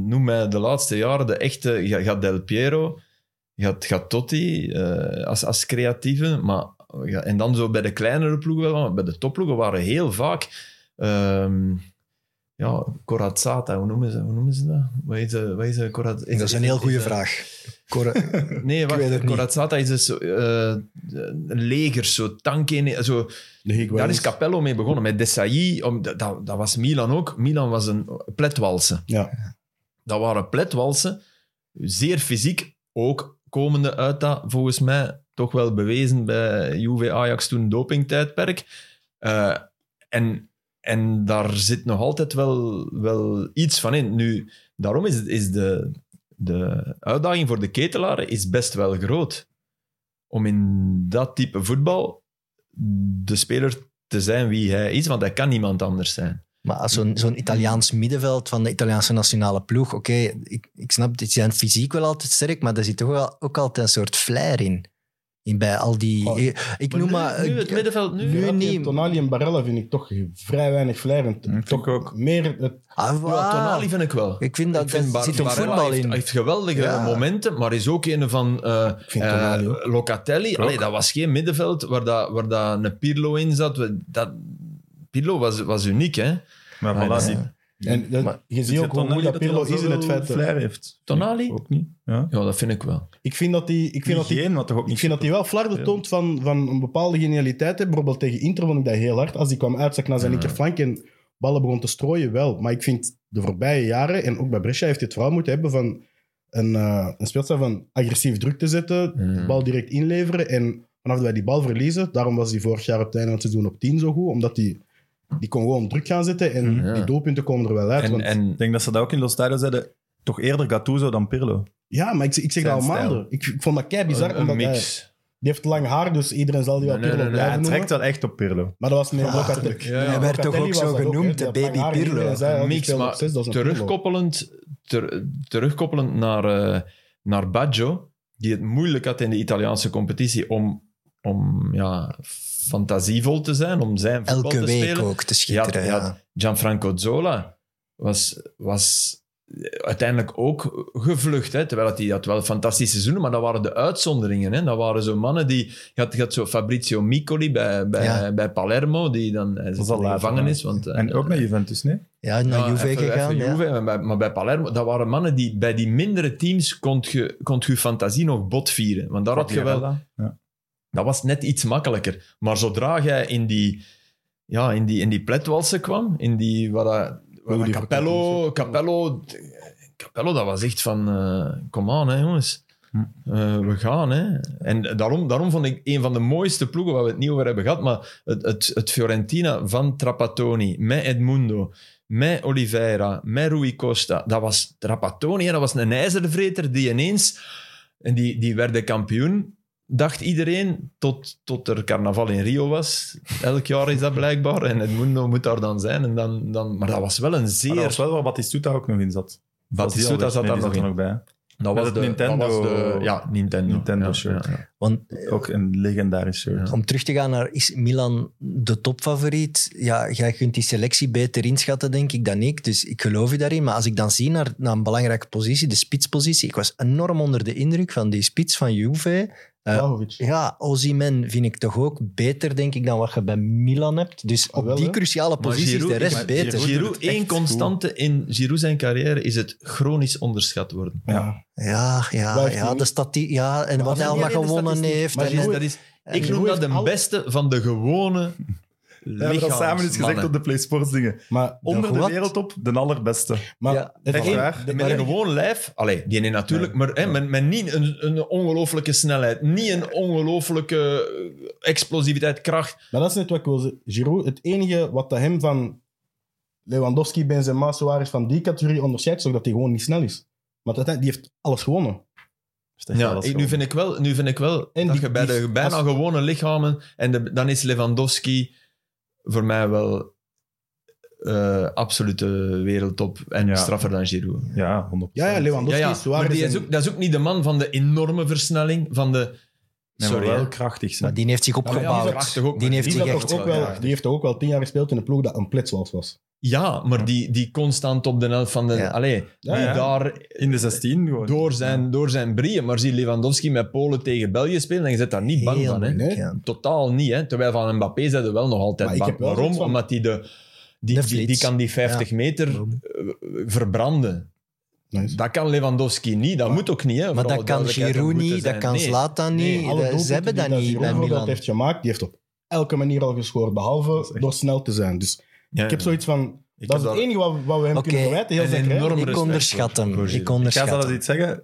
C: noem mij de laatste jaren de echte... Gaat ga Del Piero, gaat ga Totti eh, als, als creatieve, maar... ja, en dan zo bij de kleinere ploegen wel, maar bij de topploegen waren heel vaak... ehm, ja, Corazzata, hoe noemen ze, hoe noemen ze dat? Wat is, eh, wat is, eh, Corazza- is-
E: dat is een heel goede
C: is-
E: vraag. Corre-
C: Nee,
E: weet
C: wacht.
E: het niet.
C: Corazzata is dus eh legers, zo tanken. Zo.
D: De Higuains.
C: Daar is Capello mee begonnen, met Desailly. Om, dat, dat, dat was Milan ook. Milan was een pletwalsen.
D: Ja.
C: Dat waren pletwalsen, zeer fysiek. Ook komende uit dat, volgens mij, toch wel bewezen bij Juve Ajax toen dopingtijdperk. Eh, en, en daar zit nog altijd wel, wel iets van in. Nu, daarom is, is de, de uitdaging voor de ketelaren is best wel groot. Om in dat type voetbal de speler te zijn wie hij is, want hij kan niemand anders zijn.
E: Maar als
C: Hm.
E: zo'n zo'n Italiaans middenveld van de Italiaanse nationale ploeg, oké, ik, ik snap, die zijn fysiek wel altijd sterk, maar daar zit toch wel, ook altijd een soort flair in. in bij al die...
D: Oh,
E: ik noem
C: nu,
E: maar...
C: nu het
E: ik-
C: middenveld, nu...
E: nu-
D: Ja,
E: niet.
D: tegen Tonali en Barella vind ik toch vrij weinig flair.
B: Mm, vind
D: toch
B: ik ook.
D: Meer het,
E: Ah,
C: Ja,
E: waar.
C: Tonali vind ik wel.
E: Ik vind dat
C: Ik vind
E: daar
C: Bar-
E: zit ook
C: Barella
E: voetbal
C: heeft,
E: in.
C: heeft geweldige
E: Ja.
C: momenten, maar is ook een van eh,
D: vind
C: eh,
D: Tonali ook.
C: Locatelli. Allee, dat was geen middenveld waar, dat, waar dat een Pirlo in zat. We- Dat, Pirlo was, was uniek, hè?
B: Maar
C: Maar
B: voilà,
C: dat-
B: die,
D: En dat-
B: Maar
D: je ziet ook hoe goed dat Pirlo is in het feit. dat-
B: flair heeft.
C: Tonali?
B: Ook niet. Ja.
C: Ja, dat vind ik wel.
D: Ik vind dat die, ik vind dat die,
B: Geen, wat toch ook
D: ik
B: niet
D: vind dat die wel flarden
B: Ja.
D: toont van, van een bepaalde genialiteit. Hè. Bijvoorbeeld tegen Inter vond ik dat heel hard. Als die kwam uitzak naar zijn
C: Ja.
D: linkerflank en ballen begon te strooien, wel. Maar ik vind de voorbije jaren, en ook bij Brescia heeft hij het vooral moeten hebben van een, eh een speelstijl van agressief druk te zetten, de
C: Mm.
D: bal direct inleveren en vanaf dat wij die bal verliezen, daarom was hij vorig jaar op het einde van het seizoen op 10 zo goed, omdat die, die kon gewoon druk gaan zetten en
C: Ja.
D: die doelpunten komen er wel uit.
C: En,
D: want-
C: en
B: Ik denk dat ze dat ook in Los Stadio zeiden. Toch eerder Gattuso dan Pirlo.
D: ja, maar ik, ik zeg dat al
B: Zijn stijl.
D: maanden. Ik, ik vond dat kei bizar.
C: een,
D: omdat
C: een
D: hij-
C: mix.
D: Die heeft lang haar, dus iedereen zal die wel
C: Nee, nee,
D: Pirlo
C: nee, nee,
B: Ja,
D: blijven
B: hij
D: noemen.
B: trekt wel echt op Pirlo.
D: Maar dat was meer
E: Ja,
D: Locatelli.
C: Ja, ja.
E: Hij werd toch
D: Locatelli
E: ook
D: was
E: zo
D: dat hè.
E: genoemd,
D: Die had
E: de baby
D: lang haar en
E: Pirlo.
D: iedereen zei, ja, die
C: Mix,
D: speelde
C: maar
D: op zes, dat is een Pirlo.
C: Terugkoppelend, ter- terugkoppelend naar, eh, naar Baggio, die het moeilijk had in de Italiaanse competitie om, om ja, fantasievol te zijn, om zijn voetbal
E: Elke
C: te
E: week
C: spelen.
E: ook te schitteren.
C: Ja,
E: Ja,
C: ja. Gianfranco Zola was, was uiteindelijk ook gevlucht. Hè? Terwijl dat hij had wel fantastische seizoenen, maar dat waren de uitzonderingen. Hè? Dat waren zo mannen die... Je had, je had zo Fabrizio Miccoli bij, bij,
E: Ja.
C: bij Palermo, die dan hij zit
B: al
C: in de
B: later,
C: gevangenis. Want,
B: En
C: eh,
B: ook naar Juventus, nee?
E: Ja, naar
C: ja,
E: Juve
C: even-
E: gegaan.
C: even
E: ja.
C: Juve, maar, bij, maar bij Palermo, dat waren mannen die bij die mindere teams kon je, kon je fantasie nog bot vieren. Want daar had je wel... Dat was net iets makkelijker. Maar zodra jij in die, ja, in die, in die pletwalsen kwam, in die... Waar, dat- waar
D: Oeh, die
C: Capello, Capello... Capello, dat was echt van... eh kom aan, hè, jongens.
B: Hm.
C: Eh, we gaan, hè. En daarom, daarom vond ik een van de mooiste ploegen waar we het niet over hebben gehad, maar het, het, het Fiorentina van Trapattoni, met Edmundo, met Oliveira, met Rui Costa. Dat was Trapattoni, hè, dat was een ijzervreter die ineens... En die, die werden kampioen dacht iedereen, tot, tot er carnaval in Rio was. Elk jaar is dat blijkbaar. En Edmundo moet daar dan zijn. En dan, dan, maar dat was wel een zeer...
B: Maar dat was wel waar Batistuta ook nog in zat.
C: Batistuta
B: dat
C: zat daar nog
B: er
C: in.
B: nog bij. met
C: dat was
B: het
C: de,
B: Nintendo-
C: dat was de- ja, Nintendo.
B: Nintendo
C: Ja,
B: shirt.
C: ja, ja.
E: Want
B: hè. Ook een legendarisch shirt.
C: Ja.
E: om terug te gaan naar, is Milan de topfavoriet? Ja, jij kunt die selectie beter inschatten, denk ik, dan ik. Dus ik geloof je daarin. Maar als ik dan zie naar, naar een belangrijke positie, de spitspositie. Ik was enorm onder de indruk van die spits van Juve. Eh,
D: Vlahovic.
E: Ja, Ozyman vind ik toch ook beter, denk ik, dan wat je bij Milan hebt. Dus
D: Ah,
E: op
D: wel,
E: die
D: hè?
E: cruciale
C: Maar
E: posities
C: Giroud-
E: de rest
C: maar
E: beter.
B: Giroud doet
C: Giroud,
B: het echt
C: één
B: goed.
C: constante in Giroud zijn carrière is het chronisch onderschat worden.
B: Ja.
D: Ja.
E: Ja, ja,
D: Blijft
E: ja,
D: niet.
E: de stati ja en wat
C: dat is
E: hij
C: niet
E: allemaal
C: alleen de
E: gewonnen
C: statistiek,
E: heeft.
D: maar
E: en-
C: Dat is,
D: Giroud-
C: dat is,
E: en-
C: ik noem
D: Giroud
C: dat
D: heeft
C: de
D: al-
C: beste van de gewone
B: We hebben dat samen eens gezegd op de PlaySports dingen.
D: Maar,
B: Onder de
E: wat?
B: wereldtop, de allerbeste.
D: maar
E: Ja,
D: het
B: echt
D: één-
B: waar.
D: de-
C: Met een gewoon lijf, allee, die ene natuurlijk, maar hè, met, met niet een, een ongelooflijke snelheid, niet een ongelooflijke eh, explosiviteit, kracht.
D: Maar dat is net wat ik wil zeggen. Giroud, het enige wat dat hem van Lewandowski, Benzema, Suarez van die categorie onderscheidt, is ook dat hij gewoon niet snel is. Maar dat, die heeft alles gewonnen.
C: Ja, ik- nu, vind ik wel, nu vind ik wel
D: En
C: dat
D: die-
C: je bij
D: die-
C: de bijna
D: als-
C: gewone lichamen, en de- dan is Lewandowski voor mij wel eh, absolute wereldtop en
B: Ja.
C: straffer dan Giroud.
B: Ja, 100%.
D: Ja, ja Lewandowski,
C: Ja, ja. Maar
D: Suarez...
C: die is
D: en-
C: ook, dat is ook niet de man van de enorme versnelling, van de...
B: Nee, maar
C: Sorry,
B: wel
C: hè.
B: krachtig zijn.
E: Maar die heeft zich
D: maar ja, die is
E: opgebouwd.
C: krachtig ook,
E: die
C: maar
E: heeft
D: die,
E: zich
D: heeft
E: echt...
D: toch ook
C: wel,
D: wel,
C: ja.
D: die heeft toch ook wel tien jaar gespeeld in een ploeg dat een plitswals was.
C: Ja, maar die, die constant op de helft van de...
E: Ja.
C: Allee,
D: Ja,
C: die
B: ja.
C: daar
B: In de 16 gewoon.
C: door zijn, door zijn brieën. Maar zie Lewandowski met Polen tegen België spelen, dan je zit daar niet bang
E: Heel
C: van. Hè?
E: moeilijk,
D: Nee.
E: ja.
C: Totaal niet. Hè? Terwijl van Mbappé zijn er wel nog altijd
D: Maar ik
C: bang.
D: heb wel
C: Waarom?
D: zoiets van-
C: Omdat die, de, die,
E: De
C: die,
E: flits.
C: die kan die 50 meter
E: Waarom?
C: eh, verbranden.
D: Nice.
C: Dat kan Lewandowski niet. Dat
D: Maar-
C: moet ook niet. Hè? voor
E: Maar
C: alle
E: dat kan
C: duidelijkheid,
E: Giroud
C: moet er
E: niet, dat
C: zijn.
E: kan
C: Nee.
E: Zlatan
C: Nee,
E: niet.
D: Alle
E: dat- Ze
D: doelpunten
E: hebben
D: die
E: dat niet
D: Giroud
E: bij
D: bijvoorbeeld
E: Milan.
D: heeft gemaakt, die heeft op elke manier al gescoord, behalve door snel te zijn. Dus
C: Ja,
D: ik heb
C: ja.
D: zoiets van...
C: Ik
D: dat
C: heb
D: is
C: daar-
D: het enige wat, wat we hem
E: Oké,
D: kunnen verwijten, heel
C: een
D: zijn carrière.
C: enorm
E: Ik
C: respect
E: onderschat
C: voor-
E: hem.
C: voor
E: Ik
C: Giroud.
B: Ik ga
E: onderschat
B: zelfs
E: hem.
B: iets zeggen.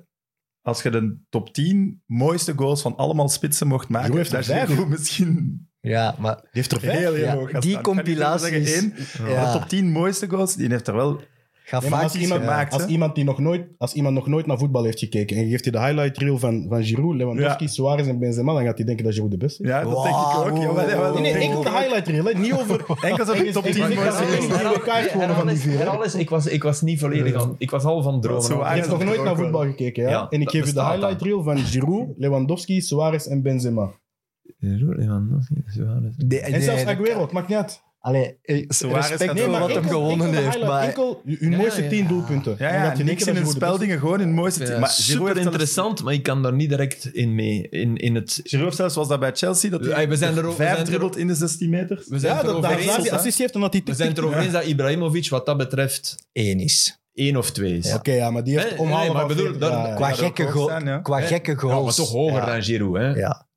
B: Als je de top 10 mooiste goals van allemaal spitsen mocht maken,
D: Giroud heeft
B: daar
D: er vijf.
B: Giroud misschien
E: Ja, maar...
D: Die heeft er vijf.
B: heel, heel
E: Ja,
B: hoog gaat
E: die
B: staan. Ik kan niet zeggen
E: compilaties.
B: één, maar
E: Ja.
B: De top 10 mooiste goals, die heeft er wel...
E: Ga
D: Nee, maar
E: vaak
D: als,
E: iets
D: iemand,
E: gemaakt.
B: hè?
D: als, iemand die nog nooit, als iemand nog nooit naar voetbal heeft gekeken en je geeft hij de highlight reel van, van Giroud, Lewandowski,
B: Ja.
D: Suarez en Benzema, dan gaat hij denken dat Giroud de beste is.
B: Ja, dat
E: Wow.
B: denk ik ook. Jawel, jawel, dat
D: Nee, nee,
B: denk ik
D: enkel de
B: ook.
D: highlight reel, hè. niet over...
B: Enkel zo'n top 10
D: Ik zeg
B: mooiste
D: dat
B: goals.
D: alleen maar- gele kaart gewonnen
C: Herhaal
D: van die
C: eens-
D: vier, hè?
C: herhaal eens, ik was, ik was niet volledig aan... Ik was al van dromen.
B: Zo
C: af.
D: Je
B: waar.
D: hebt nog nooit naar voetbal gekeken, ja?
C: Ja,
D: En ik
C: dat
D: geef je de
C: bestaat
D: highlight
C: dan.
D: reel van Giroud, Lewandowski, Suarez en Benzema.
C: Giroud, Lewandowski, Suarez.
E: Nee,
D: En
E: nee,
D: zelfs
E: dat-
D: Aguero, het maakt niet uit.
E: Allee, eh,
B: Suarez
E: respect
B: gaat
E: voor
B: ook-
E: wat
B: Nee,
E: hem
B: maar
E: gewonnen heeft. Maar
D: Enkel, je, je
C: Ja,
D: mooiste
C: ja,
D: tien
C: ja.
D: doelpunten.
B: Ja,
D: Omdat
B: ja,
D: je
B: niks in
D: denkt
B: een
D: dat je goed bent.
B: speldingen, gewoon in het mooiste team. Maar Giroud
C: super
B: heeft zelfs-
C: interessant, maar ik kan daar niet direct in mee. In, in het,
B: Giroud heeft zelfs was dat bij Chelsea, dat hij
C: Hey, we zijn er ook- we zijn
B: vijf
C: er
B: dribbelt in de 16 meter.
C: we zijn
D: Ja,
C: het
D: dat
C: erover
D: hij
C: eens,
D: die
C: hè.
D: assist heeft en dat hij
C: We zijn het erover eens dat Ibrahimovic wat dat betreft
E: één is.
C: één of twee is.
D: Oké, ja, maar die heeft
C: Nee,
D: omhalen
C: nee, maar
D: van
C: ik bedoel,
D: 40,
C: dat-
D: ja, ja.
E: Qua,
B: dat
E: gekke,
B: ook
E: go-
B: zijn, ja.
E: qua gekke
C: Ja,
E: goals.
C: maar toch hoger
E: Ja,
C: dan Giroud, hè?
E: ja.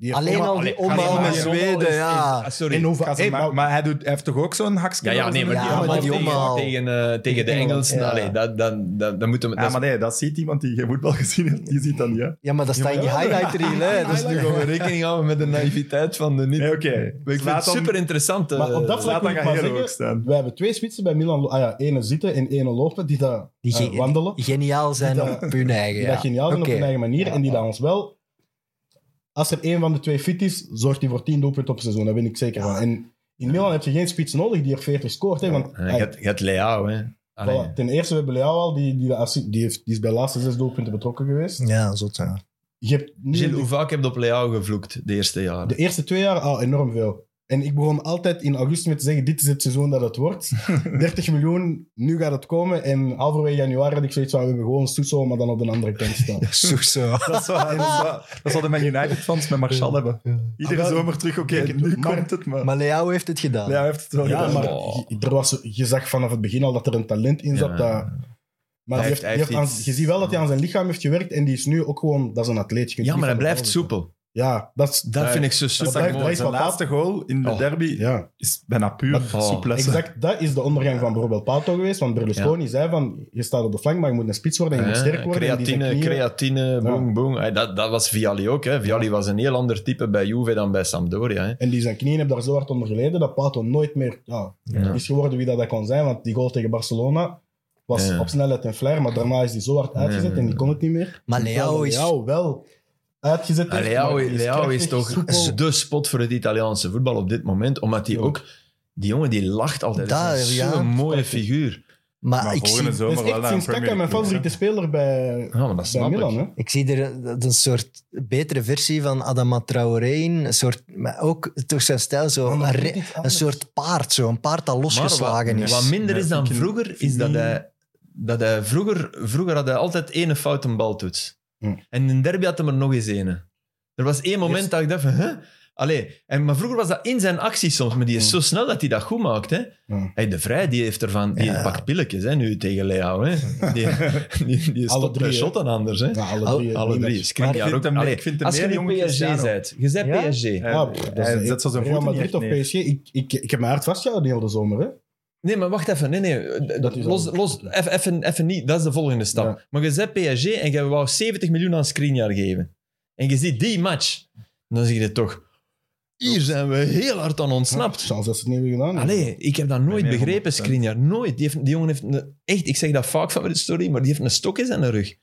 D: Die heeft
E: Alleen
D: omhaal-
E: al die
B: Allee, ga
E: omhaal
B: die
E: met
B: maar-
E: Zweden, ja.
C: Ah, sorry.
D: En hoeveel-
B: Gaat ze
D: Hey,
B: maar,
D: maar-
B: maar hij, doet, hij heeft toch ook zo'n hakske?
C: ja, ja, nee, maar die,
E: Ja, maar die omhaal.
C: tegen, tegen, eh, tegen de Engelsen,
E: Ja.
C: allee, dat, dat, dat, dat moeten we...
B: Ja,
C: dat is-
B: maar nee, dat ziet iemand die geen voetbal gezien heeft. Die ziet dat niet, hè.
E: Ja, maar dat staat in je
B: Ja, maar-
E: highlight reel, hè. Dat is nu
C: nu
E: gewoon...
C: gaan we rekening houden met de naïviteit van de nu.
B: Nee,
C: Maar
B: oké.
C: Ik vind het super interessant. eh,
D: Maar op dat
B: Laat
D: vlak
B: dat
D: moet ik
B: gaan
D: maar
B: hier ook
D: zeggen,
B: staan.
D: we hebben twee spitsen bij Milan. Ah ja, ene zitten en ene lopen, die daar
E: Die
D: eh,
E: ge-
D: wandelen.
E: die geniaal zijn
D: Die dat-
E: op hun eigen,
D: Die
E: ja.
D: dat geniaal doen op
E: Oké.
D: hun eigen manier.
E: Ja,
D: en die
E: ja.
D: dat ons wel... Als er één van de twee fit is, zorgt hij voor 10 doelpunten op het seizoen. Daar ben ik zeker van. En in Milan heb je geen spits nodig die er 40 scoort. Hè, want,
C: eh,
D: ah,
C: Je hebt- je hebt Leao, hè. Allee.
D: voilà. ten eerste, we hebben Leao al. Die, die, de assi- die, heeft, die is bij de laatste zes doelpunten betrokken geweest.
E: Ja, zot, ja.
D: Je hebt nu
C: Gilles,
D: de,
C: hoe vaak heb je op Leao gevloekt de eerste jaren?
D: de eerste twee jaar al enorm veel. En ik begon altijd in augustus met te zeggen, dit is het seizoen dat het
C: <laughs>
D: wordt. 30 miljoen, nu gaat het komen. En halverwege januari had ik zoiets van, we hebben gewoon Suso, maar dan op de andere kant
C: <laughs>
D: staan.
E: Soeso.
B: Dat is wel- <laughs> dat is wel- dat is wat de Man United fans met Martial hebben. Iedere
D: Ah, wel.
B: zomer terug, oké,
D: Ik denk het
B: nu
D: ook, maar-
B: komt het, maar...
E: Maar Leao heeft het gedaan.
B: Ja, hij heeft het wel
D: Ja,
B: gedaan.
D: maar
C: Oh.
D: je, er was, je zag vanaf het begin al dat er een talent in zat.
C: Ja.
D: Dat, maar
C: heeft-
D: die heeft,
C: hij
D: die
C: heeft
D: heeft aan-
C: iets-
D: je ziet wel dat hij aan zijn lichaam heeft gewerkt en die is nu ook gewoon... Dat is een atleet. Je kunt
C: Ja,
D: niet
C: maar hij
D: van hem
C: blijft
D: afzetten.
C: soepel.
D: Ja, dat is...
C: Dat
B: Ja,
C: vind ik zo
B: Dat
C: super
B: zijn-
D: blijft-
C: mooi.
B: dat is zijn laatste goal in de
C: Oh.
B: derby
D: Ja,
B: is bijna puur
C: Maar- oh.
B: souplesse.
D: exact. Dat is de ondergang van bijvoorbeeld Pato geweest. Want Berlusconi zei van, je staat op de flank, maar je moet een spits worden en je moet sterk worden. en die zijn
C: creatine,
D: knieën-
C: creatine, boom, boom. Hey, dat, dat was Vialli ook. Hè. Vialli was een heel ander type bij Juve dan bij Sampdoria. Hè.
D: En die zijn knieën hebben daar zo hard onder geleden dat Pato nooit meer ja,
C: Ja.
D: is geworden wie dat, hij kon zijn. Want die goal tegen Barcelona was
C: Ja.
D: op snelheid en flair, maar daarna is die zo hard uitgezet
C: Ja.
D: en die kon het niet meer.
E: Maar Leao is...
D: Leao wel uitgezet.
C: Ah,
D: heeft,
C: Leao,
D: maar die is
C: Leao
D: krachtig,
C: is toch
D: soepel.
C: de spot voor het Italiaanse voetbal op dit moment. Omdat hij
D: Ja.
C: ook... Die jongen die lacht altijd.
E: Daar,
C: Dat is een
E: ja.
C: zo'n mooie figuur.
E: Maar,
B: Maar
E: Ah, ik
B: volgende
E: zie,
D: Dat
B: zomer
D: is
B: wel
D: echt
B: naar een
D: sinds
B: Premier
D: Kaka mijn
B: League match, hè.
D: favoriete speler bij,
C: Ja, maar dat
D: bij
C: snap
D: Milan.
C: ik.
D: Hè?
E: ik zie er dat een soort betere versie van Adama Traoré in. Een soort, maar ook toch zijn stijl,
D: Oh,
E: zo een, re- een soort paard, zo, een paard dat losgeslagen
C: wat,
E: is.
C: wat minder
B: Nee,
C: is dan
B: ik-
C: vroeger, is dat hij, dat hij vroeger, vroeger had hij altijd één fout een baltoets.
D: Hm.
C: En in derby had hij er nog eens ene. Er was één moment
D: Yes.
C: dat ik dacht van, huh? Allee. En, maar vroeger was dat in zijn actie soms, maar die is
D: Hm.
C: zo snel dat hij dat goed maakt. Hè?
D: Ja.
C: Hey, de Vrij die heeft ervan, die
E: Ja.
C: pakt pilletjes hè, nu tegen Leao. Hè? Die, die, die stopt
D: drie,
C: bij
D: hè?
C: shotten anders. Hè?
D: Ja, alle drie.
C: Alle
D: die
C: drie.
D: match.
C: Skriniar
B: Maar ik vind
C: ook.
B: hem-
C: Allee,
B: ik vind hem
C: als je
B: meer
C: nu
B: jongen
C: PSG
B: Cristiano.
C: bent, je bent
E: Ja?
C: PSG.
D: Ja, pff, dat is
B: Hij
D: een-
B: zet zo zijn
D: Real
B: voeten niet
D: Madrid
B: echt
D: of
B: neer.
D: PSG, ik, ik, ik heb mijn hart vastgehouden die hele zomer. Hè?
C: Nee, maar wacht even. Nee, nee.
D: Dat is
C: los,
D: al-
C: los, even, even, even niet. Dat is de volgende stap.
D: Ja.
C: Maar je zet PSG en je wou 70 miljoen aan Skriniar geven. En je ziet die match. Dan zeg je toch... Hier zijn we heel hard aan ontsnapt.
D: Chance dat ze het niet hebben gedaan.
C: Allee, ik heb dat
B: Nee,
C: nooit
B: nee,
C: begrepen,
B: 100%.
C: Skriniar. Nooit. Die, heeft, die jongen heeft... een- echt, ik zeg dat vaak van de story, maar die heeft een stok in zijn rug.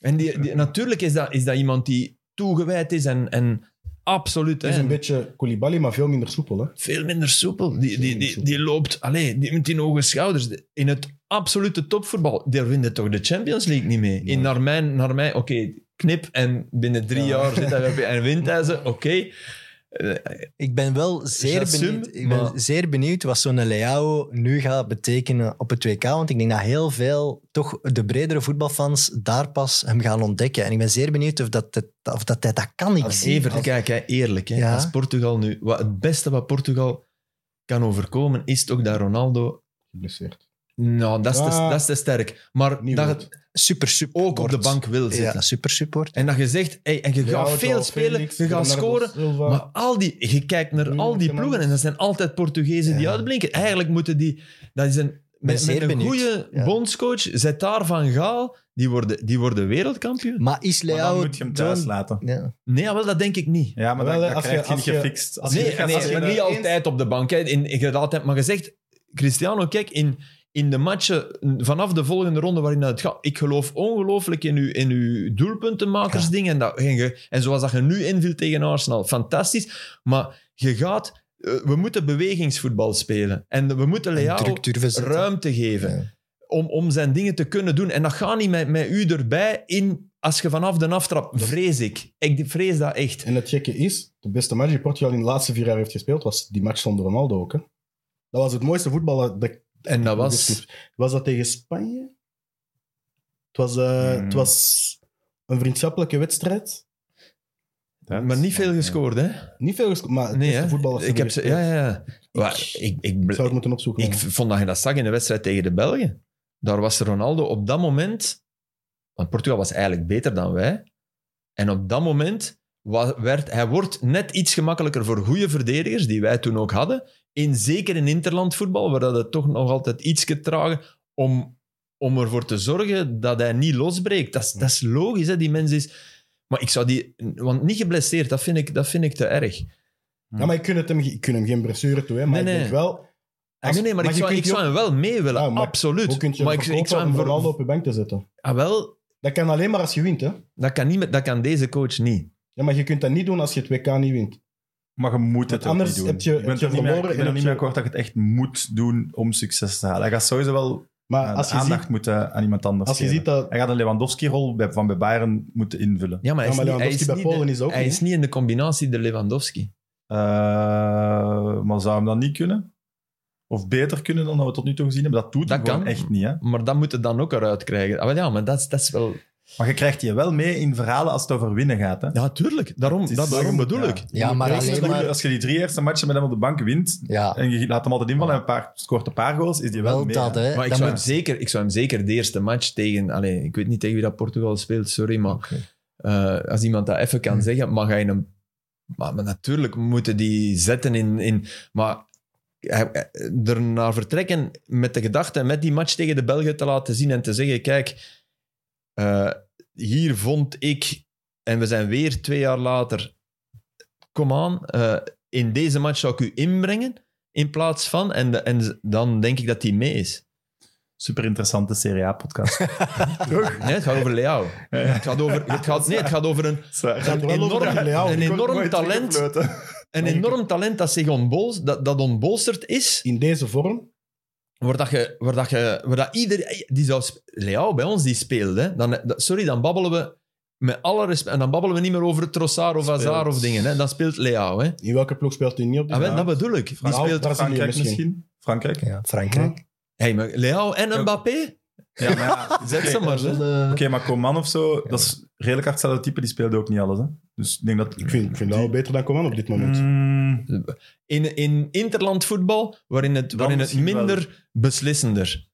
C: En die, die- natuurlijk is dat, is dat iemand die toegewijd is en, en absoluut...
D: Het is
C: hè,
D: een beetje Koulibaly, maar veel minder soepel. Hè?
C: veel minder soepel. Die, die, die,
D: soepel.
C: die loopt allee, die, met die hoge schouders. In het absolute topvoetbal, daar wint toch de Champions League niet mee. In, naar mijn, naar mijn oké, knip en binnen drie
D: Ja.
C: jaar zit hij weer bij- en wint hij
D: <laughs>
C: ze. Oké,
E: Ik ben wel zeer
C: Jassum,
E: benieuwd, ik ben
C: maar-
E: zeer benieuwd wat zo'n Leao nu gaat betekenen op het WK. Want ik denk dat heel veel, toch de bredere voetbalfans, daar pas hem gaan ontdekken. En ik ben zeer benieuwd of dat, het- of dat hij dat kan. Ik
D: Als
E: zie
C: even kijk, hè, eerlijk. Hè,
E: Ja.
C: Als Portugal nu, wat, het beste wat Portugal kan overkomen, is toch dat Ronaldo.
D: Geblesseerd.
C: Nou, dat is, te,
D: Ja.
C: dat is te sterk. Maar
D: Niet
C: dat
D: goed.
C: het
E: super support.
C: ook op de bank wil zitten.
E: Ja, super support.
C: En dat je zegt, hey, en je gaat
D: Leao,
C: veel
D: Joao
C: spelen,
D: Felix,
C: je gaat
D: Bernardo
C: scoren.
D: Silva.
C: Maar al die, je kijkt naar
D: Nu
C: al die
D: met de
C: ploegen en
D: mannen.
C: dat zijn altijd Portugezen die
E: Ja.
C: uitblinken. Eigenlijk moeten die... Dat is een, met,
E: zeer
C: met een
E: benieuwd.
C: goede
E: Ja.
C: bondscoach, zet daar Van Gaal, die worden, die worden wereldkampioen.
E: Maar is
B: Maar
E: Leao...
B: dan moet je hem thuis
E: zo'n-
B: laten.
E: Ja.
C: Nee, wel, dat denk ik niet.
B: Ja, maar
D: Wel,
B: dat, dat
D: als je-
B: krijg je niet
D: als je-
B: gefixt. Als je-
C: nee,
B: als
C: nee,
B: je-
C: maar
B: als
C: niet
B: je-
C: altijd op de bank. Hè. In, ik heb altijd maar gezegd, Cristiano, kijk, in, in de matchen vanaf de volgende ronde waarin dat het gaat, ik geloof ongelooflijk in uw, in uw doelpuntenmakersding. En, dat, en, je- en zoals dat je nu invielt tegen Arsenal, fantastisch. Maar je gaat, eh, we moeten bewegingsvoetbal spelen. En we moeten
E: En
C: Leao
E: druk durven zetten.
C: ruimte geven
E: Ja.
C: om, om zijn dingen te kunnen doen. En dat gaat niet met, met u erbij in... Als je vanaf de aftrap, vrees ik. Ik vrees dat echt.
D: En het gekke is, de beste match die Portugal in de laatste vier jaar heeft gespeeld, was die match zonder Ronaldo ook. Hè? Dat was het mooiste voetbal dat, dat
C: En dat was...
D: was... dat tegen Spanje? Het was, eh,
B: Hmm.
D: het was een vriendschappelijke wedstrijd.
B: Dat-
C: Maar niet veel gescoord, hè?
D: Niet veel gescoord, maar het
C: Nee,
D: beste voetbal dat
C: hè?
D: ze
C: Ik heb ze...
D: hebben
C: Ja,
D: gespeeld.
C: ja, ja. Maar ik, ik,
D: Zou ik moeten opzoeken.
C: ik vond dat je dat zag in de wedstrijd tegen de Belgen. Daar was Ronaldo op dat moment... Want Portugal was eigenlijk beter dan wij. En op dat moment wa- werd... Hij wordt net iets gemakkelijker voor goede verdedigers, die wij toen ook hadden. In, zeker in interlandvoetbal, waar dat het toch nog altijd iets trager... Om, om ervoor te zorgen dat hij niet losbreekt. Dat is, dat is logisch, hè? die mens is... Maar ik zou die... Want niet geblesseerd, dat vind ik, dat vind ik te erg.
D: Ja, maar ik kun, het hem, ik kun hem geen blessure toe, hè, maar
C: Nee,
D: ik
C: nee.
D: denk wel...
C: Ah, nee, nee, maar,
D: maar
C: ik,
D: je
C: zou,
D: kunt
C: ik
D: je
C: zou hem wel mee willen,
D: Ja, maar
C: absoluut.
D: Hoe kun je
C: maar
D: hem
C: ik, ik zou
D: verkopen
C: hem
D: om
C: voor...
D: Ronaldo op je bank te zetten?
C: Ah, wel,
D: Dat kan alleen maar als je wint, hè?
C: dat kan, niet, met- dat kan deze coach niet.
D: Ja, maar je kunt dat niet doen als je het WK niet wint.
B: Maar je moet het
D: Want
B: ook
D: anders
B: niet doen.
D: heb je-
B: ik ben
D: heb je
B: er niet meer,
D: verloren
B: ik
D: en
B: ben er
D: heb
B: niet
D: je-
B: meer akkoord dat je het echt moet doen om succes te halen. Hij gaat sowieso wel
D: Maar
B: eh,
D: als je
B: aandacht
D: ziet,
B: moeten aan iemand anders
D: als je
B: geven.
D: ziet dat...
B: Hij gaat een Lewandowski-rol bij- van bij Bayern moeten invullen.
C: Ja, maar hij
D: Ja,
C: is,
D: maar
C: niet, hij is
D: Lewandowski bij
C: niet de-
D: Polen is ook
C: hij
D: niet,
C: is niet in de combinatie de Lewandowski.
B: Eh, maar zou hem dat niet kunnen? Of beter kunnen dan dat we tot nu toe gezien hebben? Dat doet
C: Dat
B: hij gewoon
C: kan.
B: echt niet. Hè?
C: Maar dat moet het dan ook eruit krijgen. Ah, wel ja, maar dat, is- dat is wel...
B: Maar je krijgt je wel mee in verhalen als het over winnen gaat. Hè?
C: Ja, tuurlijk. Daarom,
B: Het is-
C: dat, daarom bedoel
B: ja.
C: ik.
E: Ja, maar
B: Als je-
E: alleen maar...
B: Als je die drie eerste matchen met hem op de bank wint
E: Ja,
B: en je laat hem altijd invallen en een paar, scoort een paar goals, is die wel,
E: wel
B: mee.
E: dat,
B: hè.
E: hè.
C: Maar ik
E: Dat
C: zou,
E: moet-
C: hem zeker, ik zou hem zeker de eerste match tegen... Allee, ik weet niet tegen wie dat Portugal speelt, sorry, maar... eh, als iemand dat even kan zeggen, mag hij hem... Maar, maar natuurlijk moeten die zetten in... in maar hij- hij- ernaar vertrekken met de gedachte, met die match tegen de Belgen te laten zien en te zeggen, kijk, eh, hier vond ik... En we zijn weer twee jaar later... Kom aan, eh, in deze match zou ik u inbrengen in plaats van... En, de- en dan denk ik dat hij mee is.
B: Super interessante Serie A-podcast.
C: Nee, het gaat over Leao. Het gaat over, het gaat, nee, het gaat over een,
D: Het gaat wel over
C: enorm-
D: die Leao.
C: een
D: Ik word
C: enorm
D: nooit
C: talent. Een enorm talent dat zich ontbols, dat, dat ontbolsterd is.
D: In deze vorm,
C: Waar dat je, waar dat je, waar dat ieder, die zou, sp- Leao bij ons die speelde. Hè, dan, dat- sorry, dan babbelen we met alle respect. En dan babbelen we niet meer over Trossard of Hazard of dingen. Hè, dan speelt Leao. Hè.
D: in welke ploeg speelt hij niet op? dit
C: Ah, wel,
D: moment?
C: dat bedoel ik. Die
D: Verhaal-
C: speelt,
D: Brazilië
B: Frankrijk misschien.
D: misschien.
B: Frankrijk?
E: Ja, Frankrijk.
C: hey, maar Leao en Mbappé?
B: Ja, maar <laughs> ja,
C: Zet ze
B: Oké,
C: maar. Hè.
E: eh,
B: Oké, maar Coman of zo, dat is redelijk hard hetzelfde type. Die speelde ook niet alles. Hè? Dus ik denk dat...
D: Ik vind, ik vind Leao beter dan Coman op dit moment.
B: Mm,
C: In, in interland voetbal, waarin het, waarin het
B: misschien
C: minder beslissender.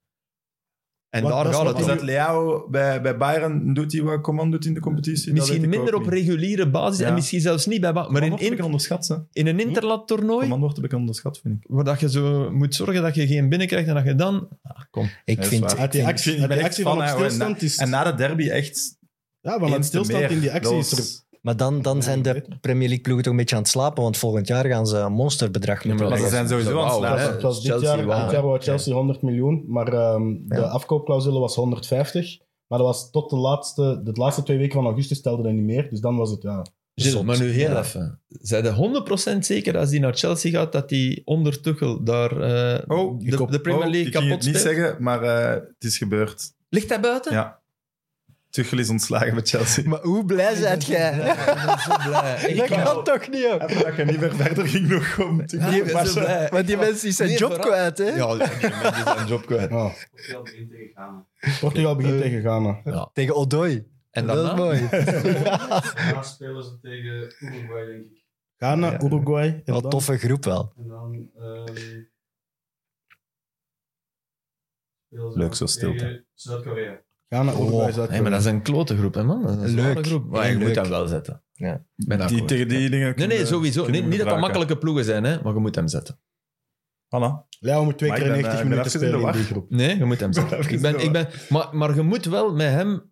C: En
D: Wat-
C: daar
D: dat is
C: gaat
D: wat
C: het
B: maar
D: ik-
C: om.
B: dat Leao bij, bij Bayern doet hij wat Coman doet in de competitie?
C: Misschien
B: dat weet ik
C: minder
B: ook
C: op
B: niet.
C: reguliere basis
B: Ja.
C: en misschien zelfs niet bij... ba- Maar in,
B: Coman wordt een
C: in,
B: onderschat, hè.
C: in een interlandtoernooi,
B: Coman wordt een beetje onderschat, vind ik.
C: waar dat je zo moet zorgen dat je geen binnenkrijgt en dat je dan... Ah, kom.
E: Ik
B: Dat is
E: vind...
B: waar.
D: Uit die
B: Ik
D: actie,
B: vind- ik
D: uit
B: ben echt
D: die actie
B: fan,
D: van op
B: hè, hoor.
D: stilstand is...
B: En na de derby echt...
D: Ja, maar
B: eens
D: met
B: te
D: stilstand
B: meer.
D: in die actie
B: Dat
D: is
B: was-
D: er...
E: Maar dan, dan zijn
D: Ja,
E: de
D: ik weet
E: Premier League ploegen toch een beetje aan het slapen, want volgend jaar gaan ze een monsterbedrag moeten
B: maar
E: leggen.
B: ze zijn sowieso aan het
C: wou,
B: slapen.
C: hè.
B: Ja,
D: Het was dit
C: Chelsea
D: jaar, dit
C: wou, hè.
D: jaar wou Chelsea 100 miljoen, maar ehm,
E: Ja.
D: de afkoopclausule was 150. Maar dat was tot de laatste, de laatste twee weken van augustus telde dat niet meer. Dus dan was het, ja...
C: Gilles,
E: Zot.
C: maar nu heel
E: Ja.
C: even. Zijn de 100% zeker als die naar Chelsea gaat, dat die onder Tuchel daar eh,
B: Oh,
C: de, de Premier
B: Oh,
C: League
B: ik ging
C: kapot
B: het niet
C: speelt?
B: zeggen, maar eh, het is gebeurd.
C: Ligt hij buiten?
B: Ja. Tuchel is ontslagen met Chelsea.
E: Maar hoe blij zijt jij? <laughs>
C: ik ben zo <laughs> blij.
E: Dat
C: Ik
E: kan
C: wou-
E: toch niet, joh?
B: Even dat je niet meer verder ging nog om Tuchel.
C: ik ben zo blij.
E: Want die mensen die zijn
C: Nee,
E: job
C: vooral-
E: kwijt, hè?
C: Ja, die mensen zijn job kwijt.
D: ja. Ah, Portugal begint tegen Ghana.
E: Tegen Odoi.
C: En
E: dat is
C: daarna?
E: mooi.
F: Daarna spelen ze tegen Uruguay, denk ik.
D: Ghana, Uruguay. en
E: Wat
D: dan-
E: toffe groep wel.
F: En dan... ehm spelen ze
B: Leuk,
F: ook
B: zo stilte.
F: tegen Zuid-Korea.
D: Ghana, Uruguay,
E: Oh,
D: Zuid-Korea.
C: Nee, maar dat is een klote groep, hè, man. Dat is een
E: Leuk.
C: zware groep. Maar
E: Heel
C: je moet
E: leuk.
C: hem wel zetten.
E: Ja.
C: Ik ben
B: Die,
C: akkoord.
B: tegen die dingen
C: Nee, nee,
B: kunnen-
C: sowieso.
B: kunnen
C: Nee,
B: we
C: niet dat dat
B: gebruiken.
C: makkelijke ploegen zijn, hè, maar je moet hem zetten.
B: Voilà.
D: Leao moet twee
B: Maar
D: keer
B: ik ben,
D: 90
B: eh, ik ben even
D: minuten
B: in de
D: spelen in die
B: war.
D: groep.
C: Nee, je moet hem zetten.
B: Even
C: Ik ben,
B: door.
C: ik ben, maar, maar je moet wel met hem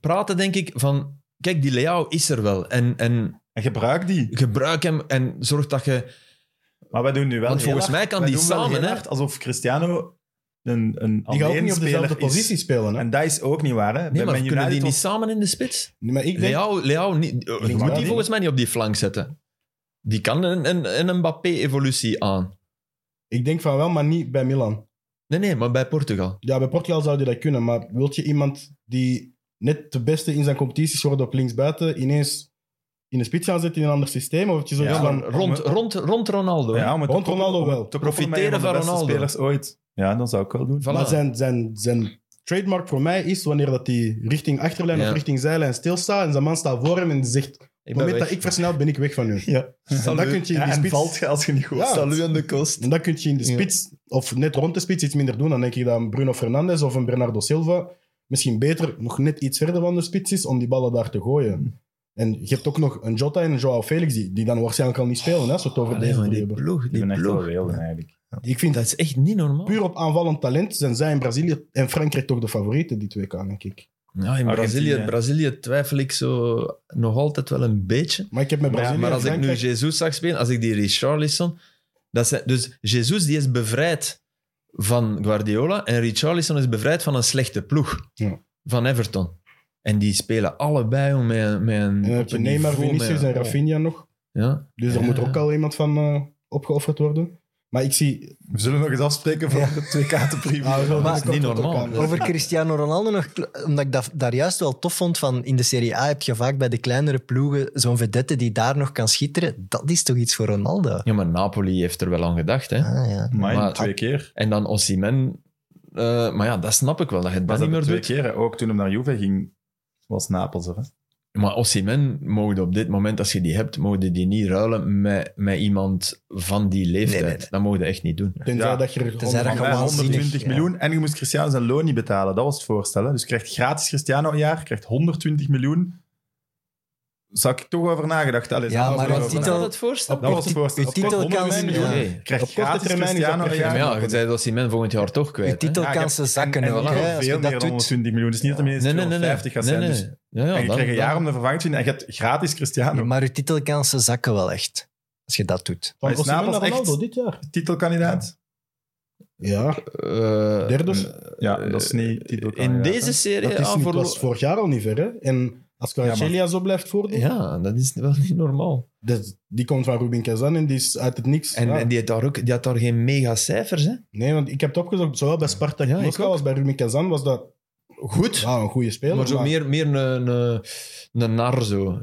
C: praten, denk ik, van... Kijk, die Leao is er wel. En, en
B: En gebruik die.
C: gebruik hem en zorg dat je...
B: Maar wij doen nu wel
C: Want
B: heel
C: volgens
B: hard-
C: mij kan
B: wij
C: die
B: doen wel
C: samen,
B: heel
C: hè.
B: hard Alsof Cristiano een, een
D: Die gaat ook niet op
B: alleenspeler
D: dezelfde
B: is.
D: positie spelen. Hè?
B: En dat is ook niet waar, hè.
C: Nee,
B: Bij
C: maar
B: Man
C: kunnen die
B: United
C: niet
B: was-
C: samen in de spits?
D: Nee, maar ik denk,
C: Leao, Leao niet, je
D: wel,
C: moet die
D: hè.
C: volgens mij niet op die flank zetten. Die kan een, een, een Mbappé-evolutie aan.
D: ik denk van wel, maar niet bij Milan.
C: Nee, nee, maar bij Portugal.
D: Ja, bij Portugal zou je dat kunnen, maar wilt je iemand die net de beste in zijn competities wordt op linksbuiten, ineens in de spits gaan zetten in een ander systeem. Of dat je zo
B: Ja,
D: ja,
B: maar-
D: van,
C: Rond, rond, rond Ronaldo.
B: Ja, om het
D: Rond
B: te koppelen-
D: Ronaldo
B: om
D: wel.
B: het Te profiteren van,
C: Profiteren
B: een van
C: van
B: de beste
C: Ronaldo.
B: spelers ooit. Ja, dat zou ik wel doen.
C: Voilà.
D: Maar zijn, zijn, zijn trademark voor mij is wanneer dat hij richting achterlijn
C: Ja.
D: of richting zijlijn stilstaat en zijn man staat voor hem en zegt: Op
C: ik
D: het moment
C: weg.
D: dat ik versnel, ben ik weg van u.
B: Ja.
D: En dat kun je in die
B: en
D: spits-
B: valt je als je niet goed
D: Ja.
B: staat.
D: Salut
C: aan de kost.
D: En dat kun je in de
C: Ja.
D: spits, of net rond de spits, iets minder doen. Dan denk ik dat een Bruno Fernandes of een Bernardo Silva misschien beter nog net iets verder van de spits is om die ballen daar te gooien. En je hebt ook nog een Jota en een Joao Felix, die, die dan waarschijnlijk al niet spelen, hè, als we het over deze drie
C: Ah, die
D: hebben.
C: ploeg,
B: Die
C: die
B: ben echt wel
C: ploeg.
B: wilden, eigenlijk.
D: Ik vind
C: Dat is echt niet normaal.
D: puur op aanvallend talent zijn zij in Brazilië en Frankrijk toch de favorieten, die twee kan, denk ik.
C: Ja, in Brazilië,
B: Argentinië.
C: Brazilië twijfel ik zo nog altijd wel een beetje.
D: Maar ik heb met
B: Maar ja,
D: Brazilië
C: maar
D: en
C: als ik nu
D: Frankrijk-
C: Jesus zag spelen, als ik die Richarlison... Dat zijn, dus Jesus die is bevrijd van Guardiola en Richarlison is bevrijd van een slechte ploeg.
D: Ja.
C: Van Everton. En die spelen allebei om met, een- met een...
D: En dan
C: op
D: heb je
C: een
D: Neymar,
C: niveau, met
D: Vinicius
C: een-
D: en Rafinha nog.
C: Ja.
D: Dus er
C: Ja.
D: moet er ook al iemand van eh, opgeofferd worden. Maar ik zie...
B: We zullen nog eens afspreken voor de twee
C: <laughs>
B: kaarten
C: Nou,
B: preview.
D: Ah, we zullen
E: Maar-
D: er kort
C: niet
D: op
C: normaal.
D: elkaar.
E: Over Cristiano Ronaldo nog, kl- omdat ik dat daar juist wel tof vond van in de Serie A heb je vaak bij de kleinere ploegen zo'n vedette die daar nog kan schitteren. Dat is toch iets voor Ronaldo?
C: ja, maar Napoli heeft er wel aan gedacht. Hè.
E: Ah, ja.
B: Maar,
C: Maar-
B: twee keer.
C: En dan Osimhen. eh, maar ja, dat snap ik wel, dat je het
B: Maar
C: dat
B: dat
C: niet meer
B: twee
C: doet.
B: keer. hè. Ook toen hem naar Juve ging, was Napels er. hè.
C: Maar Osimhen mogen op dit moment, als je die hebt, mogen die niet ruilen met, met iemand van die leeftijd.
E: Nee, nee, nee.
C: Dat mogen je echt niet doen.
D: Tenzij
B: Ja.
D: dat je er
E: Tenzij dat
B: Van
E: je
B: mij
E: waanzinnig,
B: 120
E: ja.
B: Eh, miljoen. En je moest Cristiano zijn loon niet betalen. Dat was het voorstel. Hè. Dus je krijgt gratis Cristiano een jaar, je krijgt 120 miljoen. Zou ik toch over nagedacht. Allee,
E: Ja,
B: zou
E: maar
B: ik toch
E: als
B: over
E: titel-
B: nagedacht.
C: het voorstel?
B: Dat was het
E: ti-
B: voorstel.
E: uw
B: Op korte
E: titel kan
B: termijn
E: zijn,
B: miljoen.
E: ja.
B: Je krijgt
D: Op korte
B: gratis
D: termijn is dat
B: Cristiano een
D: perfect.
B: jaar.
C: maar ja, je zei dat Osimhen volgend jaar toch
E: Je
C: kwijt. hè?
E: titel
B: Ja, ik
E: kan
B: heb-
E: ze
B: en-
E: zakken
B: en,
E: ook.
B: ik heb
E: hè, als
B: veel
E: je
B: meer
E: dat
B: dan
E: doet.
B: 120 miljoen. Het is niet dat hij
C: Nee,
B: minstens
C: nee, nee. nee.
B: 250 gaat
C: Nee,
B: zijn.
C: nee.
B: dus-
C: Ja, ja,
B: en je
C: dan-
B: krijgt een
C: dan-
B: jaar om de vervanger te vinden. En je hebt gratis Cristiano.
E: Maar je titel kan ze zakken wel echt. Als je dat doet.
D: Van
B: Is
D: Osimhen
B: Napels
D: naar Ronaldo
B: echt-
D: dit jaar.
B: Titelkandidaat?
D: Ja,
C: Eh,
D: derde.
C: eh,
B: Ja, dat is niet titelkandidaat. hè.
C: In deze serie...
D: dat is
C: ja,
D: niet,
C: voor-
D: was vorig jaar al niet ver. Hè? En als Kvaratskhelia zo blijft voordoen,
C: ja, dat is wel niet normaal.
D: dat- die komt van Rubin Kazan en die is uit het niks.
C: En,
D: Ja.
C: en die, had daar ook, die had daar geen mega cijfers, hè?
D: Nee, want ik heb het opgezocht, zowel bij Spartak
C: Ja, ik
D: Moskou
C: ook.
D: als bij Rubin Kazan was dat
C: Goed.
D: ja, een goede speler.
C: maar zo meer, meer een, een, een nar zo.
D: Ja.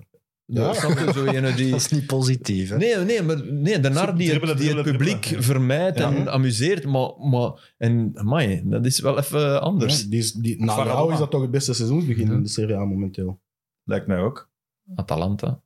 C: Ja. Snap je? Zo ene <laughs> die...
E: Dat is niet positief. Hè?
C: Nee, nee, maar, nee de nar die
B: Dribbelen,
C: het, die
B: dribbelen,
C: het publiek
B: dribbelen.
C: vermijdt en
D: Ja.
C: amuseert. Maar, maar en, amai, dat is wel even anders.
D: Ja, die is, die, na
B: Varela.
D: Rauw is dat toch het beste seizoensbegin
C: Ja.
D: in de Serie A momenteel.
B: Lijkt mij ook.
C: Atalanta.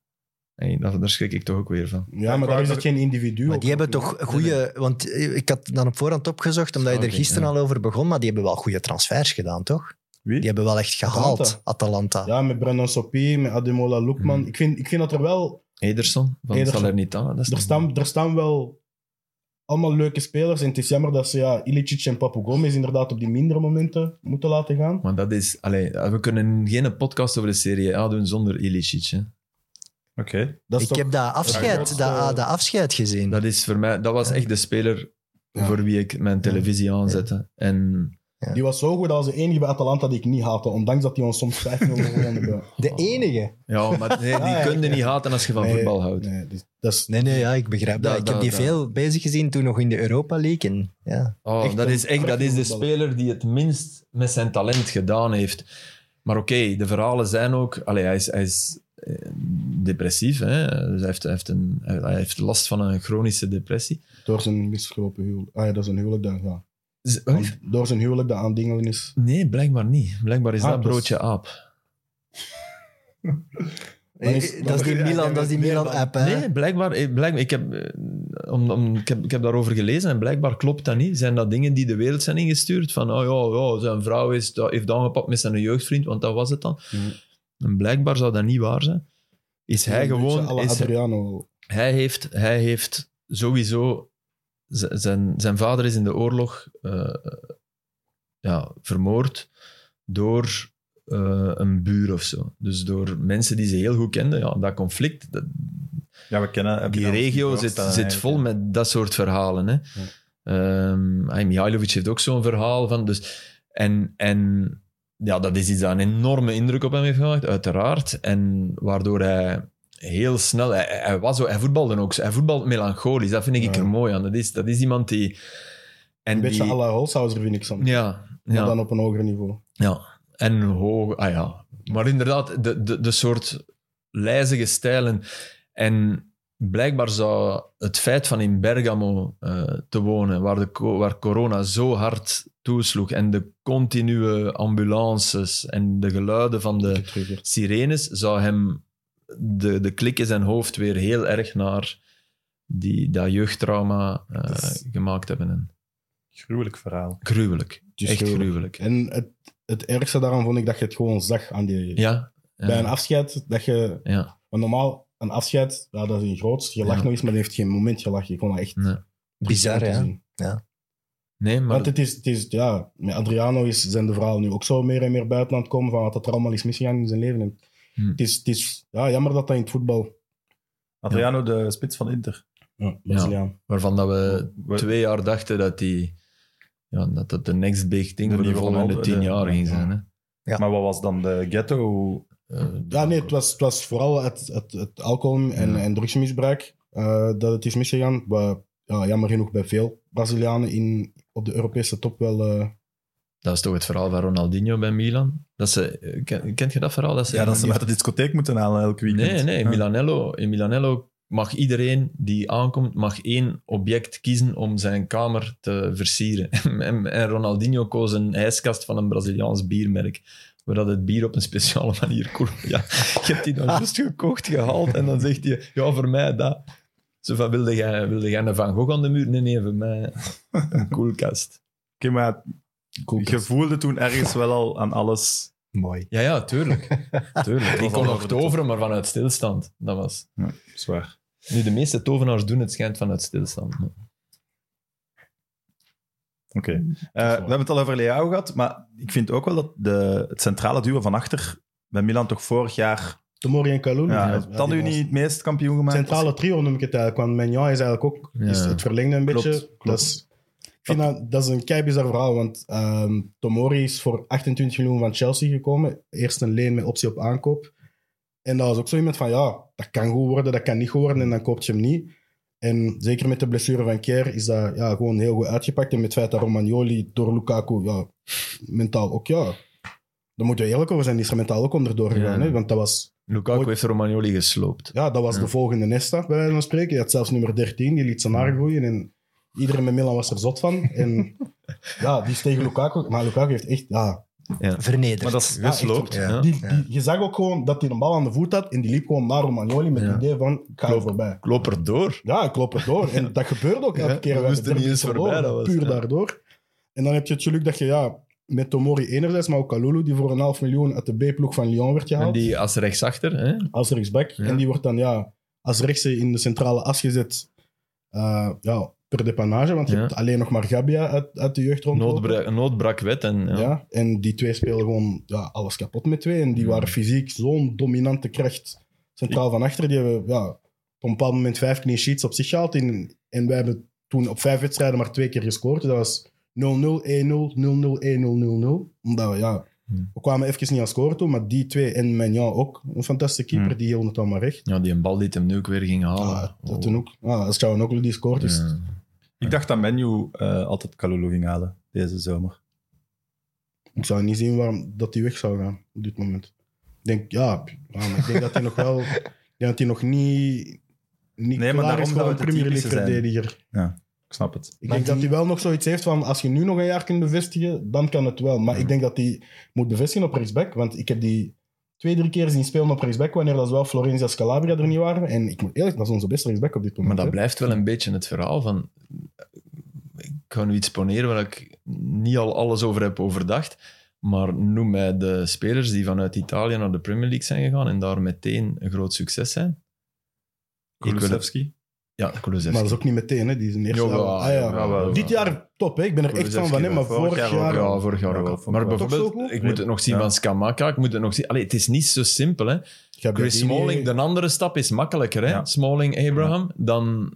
C: Hey, daar, daar schrik ik toch ook weer van.
D: Ja,
B: ik
D: maar
B: wou
D: daar is
B: dat-
D: het geen individu.
E: Maar
D: op.
E: die hebben toch goede. Want eh, ik had dan op voorhand opgezocht, omdat je er
C: Oké,
E: gisteren
C: ja.
E: al over begon. Maar die hebben wel goede transfers gedaan, toch?
B: Wie?
E: Die hebben wel echt gehaald, Atalanta.
D: Atalanta. Ja, met Brandon Sopie, met Ademola Loekman.
C: Hmm.
D: Ik, vind, ik vind dat er wel...
C: Ederson van
D: Ederson.
C: Salernitana. Dat is
D: Dus Er
C: toch-
D: staan, er staan wel allemaal leuke spelers. En het is jammer dat ze ja, Ilicic en Papu Gomez inderdaad op die mindere momenten moeten laten gaan.
C: Maar dat is... Allee, we kunnen geen podcast over de Serie A doen zonder Ilicic. Hè.
B: Oké.
D: Dat is
E: Ik
D: toch-
E: heb dat afscheid,
D: grootste-
E: dat, ah, dat afscheid gezien.
C: Dat is voor mij... Dat was echt de speler
D: Ja.
C: voor wie ik mijn televisie aanzette. En
D: Die was zo goed als de enige bij Atalanta die ik niet haatte. Ondanks dat die ons soms 5-0
E: <laughs>
D: gewonnen hebben.
E: De enige.
C: Ja,
D: <laughs>
C: maar nee, die
D: ja,
C: kun je
D: ja.
C: niet haten als je van
D: Nee,
C: voetbal houdt.
D: Nee, dus, dat is,
E: Nee, nee, ja, ik begrijp dat.
C: Dat-
E: ik
C: dat-
E: heb die
C: dat.
E: veel bezig gezien toen nog in de Europa League. En, ja.
C: Oh,
D: Echt
C: dat
D: een
C: is echt dat is de
D: prachtige
C: speler die het minst met zijn talent gedaan heeft. Maar oké, de verhalen zijn ook... Allee, hij is, hij is eh, depressief. Hè? Dus hij heeft, hij, heeft een, hij heeft last van een chronische depressie.
D: Door zijn misgelopen huwelijk. Ah ja, dat is een huwelijk dat... Ja.
C: Z-
D: Aan- Door zijn huwelijk dat aan dingen is.
C: Nee, blijkbaar niet. Blijkbaar is
D: Ah,
C: dat
D: dus-
C: broodje aap.
D: Dan is-
E: Eh, eh, dat is die
B: dan-
E: Milan, dat is die
B: Nee, dan-
E: Milan-app. hè.
C: Nee, blijkbaar... eh, blijkbaar ik, heb, eh, om, om, ik, heb, ik heb daarover gelezen en blijkbaar klopt dat niet. Zijn dat dingen die de wereld zijn ingestuurd? Van, oh ja, ja zijn vrouw is, heeft aangepakt met zijn jeugdvriend, want dat was het dan.
D: Mhm.
C: En blijkbaar zou dat niet waar zijn. Is hij
D: Een beetje à
C: gewoon...
D: la
C: Is,
D: Adriano.
C: hij, heeft, hij heeft sowieso... z- Zijn, zijn vader is in de oorlog eh, ja, vermoord door eh, een buur of zo. Dus door mensen die ze heel goed kenden. Ja, dat conflict, dat,
B: Ja, we kennen... heb je Ah,
C: die
B: daar
C: regio
B: misschien
C: zit,
B: voorstellen,
C: zit
B: eigenlijk,
C: vol met dat soort verhalen. Hè. Ehm, ah, Mihailovic heeft ook zo'n verhaal van. Dus, en en ja, dat is iets dat een enorme indruk op hem heeft gemaakt, uiteraard. En waardoor hij heel snel. Hij, hij, was zo, hij voetbalde ook. zo. Hij voetbalt melancholisch. Dat vind ik
D: Ja.
C: er mooi aan. Dat is, dat is iemand die. En
D: Een beetje
C: die,
D: à la Holshouser vind ik soms.
C: Ja,
D: Maar
C: ja.
D: dan op een hoger niveau.
C: Ja, en hoog. Ah ja. Maar inderdaad, de, de, de soort lijzige stijlen. En blijkbaar zou het feit van in Bergamo eh, te wonen, waar, de, co- waar corona zo hard toesloeg en de continue ambulances en de geluiden van de sirenes, zou hem de, de klik in zijn hoofd weer heel erg naar die, dat jeugdtrauma eh,
B: Dat is-
C: gemaakt hebben. En
B: Gruwelijk verhaal.
C: gruwelijk.
D: Het is
C: Echt
D: gruwelijk.
C: gruwelijk.
D: En het, het ergste daaraan vond ik dat je het gewoon zag aan die...
C: Ja. ja.
D: Bij een afscheid, dat je...
C: Ja.
D: Want normaal, een afscheid, ja, dat is een groot. Je lacht
C: Ja.
D: nog eens, maar die heeft geen moment gelachen. Je kon dat echt...
C: Nee.
E: Bizar,
D: goed om te
E: ja.
D: zien.
C: Nee, maar...
D: Want het is, het is, ja, met Adriano is, zijn de verhalen nu ook zo meer en meer buiten aan het komen van wat er allemaal is misgegaan in zijn leven. En
C: Hm.
D: Het is, het is ja, jammer dat dat in het voetbal...
B: Adriano, de spits van Inter.
D: Ja, Braziliaan.
C: Waarvan dat we
B: We-
C: twee jaar dachten dat die... Ja, dat dat de next big thing
B: De eh,
C: voor de
B: nieuwe
C: volgende
B: Ronaldo,
C: tien
B: de-
C: jaar ging zijn. Hè?
E: Ja.
B: Maar wat was dan de ghetto?
C: Eh,
D: Ja, nee, het was, het was vooral het, het, het alcohol en,
C: Ja.
D: en drugsmisbruik eh, dat het is misgegaan. Wat ja, jammer genoeg bij veel Brazilianen in, op de Europese top wel... eh,
C: Dat is toch het verhaal van Ronaldinho bij Milan? Dat ze, eh, ken, kent je dat verhaal? Dat ze,
B: Ja, dat ze hem uit de discotheek moeten halen elke weekend.
C: Nee, nee. In
B: Ja.
C: Milanello, in Milanello mag iedereen die aankomt, mag één object kiezen om zijn kamer te versieren. <laughs> En, en Ronaldinho koos een ijskast van een Braziliaans biermerk. Waar dat het bier op een speciale <laughs> manier koelt. Ja, je hebt die dan
B: Ah.
C: juist gekocht, gehaald. En dan zegt hij, ja, voor mij dat. Zo van, wilde jij, wilde jij een Van Gogh aan de muur? Nee, nee, voor mij
B: <laughs>
C: een koelkast.
B: Oké, maar je voelde toen ergens wel al aan alles.
E: Mooi.
C: Ja, ja, tuurlijk.
B: <laughs>
C: tuurlijk. Ik kon
B: wel
C: nog
B: over de top.
C: toveren, maar vanuit stilstand. Dat was...
B: Zwaar.
C: Nu, de meeste tovenaars doen het schijnt vanuit stilstand. maar-
B: Oké. Eh, we hebben het al over Leao gehad, maar ik vind ook wel dat de, het centrale duo van achter bij Milan toch vorig jaar.
D: Tomori en Kalou.
B: Ja, heeft dat u niet het meest kampioen gemaakt?
D: Centrale trio noem ik het eigenlijk, want Mignon is eigenlijk ook
C: Ja.
D: is het verlengde een
B: Klopt,
D: beetje.
B: klopt.
D: Dat is, ik vind dat, dat is een kei bizar verhaal, want ehm, Tomori is voor 28 miljoen van Chelsea gekomen. Eerst een leen met optie op aankoop. En dat was ook zo iemand van, ja, dat kan goed worden, dat kan niet goed worden en dan koopt je hem niet. En zeker met de blessure van Kier is dat ja, gewoon heel goed uitgepakt. En met het feit dat Romagnoli door Lukaku ja, mentaal ook, ja... Daar moeten we eerlijk over zijn, die is er mentaal ook onderdoor gegaan.
C: Ja.
D: Hè? Want dat was
C: Lukaku
D: Ooit-
C: heeft Romagnoli gesloopt.
D: ja, dat was
C: Ja.
D: de volgende Nesta, bij wijze van spreken. Je had zelfs nummer 13, die liet zijn haar groeien. En iedereen met Milan was er zot van. En
C: <laughs>
D: ja, die is tegen Lukaku. Maar Lukaku heeft echt... Ja,
E: Vernederd.
B: Maar dat is,
D: ja, echt
C: Gesloopt,
D: zo.
E: ja.
C: ja.
D: Die, die, je zag ook gewoon dat hij een bal aan de voet had. En die liep gewoon naar Romagnoli met
C: Ja.
D: het idee van, ik ga er
C: Klopt.
D: voorbij.
C: Ik loop er door.
D: Ja, ik loop er door. En dat gebeurde ook elke
C: Ja,
D: keer.
C: we
D: hebben
C: moesten
D: de derby
C: niet eens
D: verloren,
C: voorbij, dat was-
D: Puur
C: ja.
D: daardoor. En dan heb je het geluk dat je ja, met Tomori enerzijds, maar ook Kalulu, die voor een half miljoen uit de B-ploeg van Lyon werd gehaald.
C: En die als rechtsachter. Hè?
D: als rechtsback.
C: Ja.
D: En die wordt dan ja, als rechtse in de centrale as gezet eh, ja, per depanage. Want je
C: Ja.
D: hebt alleen nog maar Gabia uit, uit de jeugd rondlopen.
C: Noodbra noodbrak wet. En, ja.
D: Ja. En die twee spelen gewoon ja, alles kapot met twee. En die
C: Ja.
D: waren fysiek zo'n dominante kracht centraal van achter. Die hebben ja, op een bepaald moment vijf clean sheets op zich gehaald. En, en wij hebben toen op vijf wedstrijden maar twee keer gescoord. Dus dat was 0-0, 1-0, 0-0, 1-0, 0-0. Omdat we, ja,
C: Hmm.
D: we kwamen even niet aan scoren toe. Maar die twee en Mignon ook. Een fantastische keeper,
B: Hmm.
D: die hield het allemaal recht.
C: Ja, die een bal die het hem nu ook weer ging halen.
D: Ah, dat toen ook. Ah, als ook die scoort, is
C: oh. Ja.
B: Dus ik dacht dat Menu eh, altijd Kalulu ging halen deze zomer.
D: ik zou niet zien waarom dat hij weg zou gaan op dit moment. Ik denk, ja, p- ja, maar ik denk dat hij nog wel... Ik denk dat hij nog niet, niet
B: maar
D: klaar
B: daarom
D: is
B: dat
D: voor
B: we
D: een
B: de
D: Premier League
B: typische zijn.
D: verdediger.
B: Ik snap het.
D: Ik
E: Maar
D: denk dat
E: die-
D: hij wel nog zoiets heeft van, als je nu nog een jaar kunt bevestigen, dan kan het wel. Maar ik denk dat hij moet bevestigen op rechtsback, want ik heb die twee, drie keer zien spelen op rechtsback, wanneer dat wel Florencia Calabria er niet waren. En ik moet eerlijk, dat is onze beste rechtsback op dit
C: Maar
D: moment.
C: dat
D: hè.
C: blijft wel een beetje het verhaal van... Ik ga nu iets poneren waar ik niet al alles over heb overdacht. Maar noem mij de spelers die vanuit Italië naar de Premier League zijn gegaan en daar meteen een groot succes zijn. wil het-
B: Kulusevski.
C: Ja, Kulusevski.
D: Maar dat is ook niet meteen, hè. Die is een eerste
C: Jawel,
D: jaar. Ah, ja.
C: jawel, jawel.
D: Dit jaar top, hè. Ik ben er echt van van, hè. Maar
B: Vorig
D: vorig
B: jaar
D: jaar...
B: ook, ja.
C: Ja, vorig jaar
B: Ja,
C: wel.
B: dat vond
C: Maar
B: ik wel.
C: bijvoorbeeld,
D: Toch zo goed?
C: ik moet het nog zien
B: Ja.
C: van Skamaka, ik moet het nog zien... Allee, het is niet zo simpel, hè.
D: Gabbiadini-
C: Chris Smalling, de andere stap is makkelijker, hè.
B: Ja.
C: Smalling, Abraham, dan...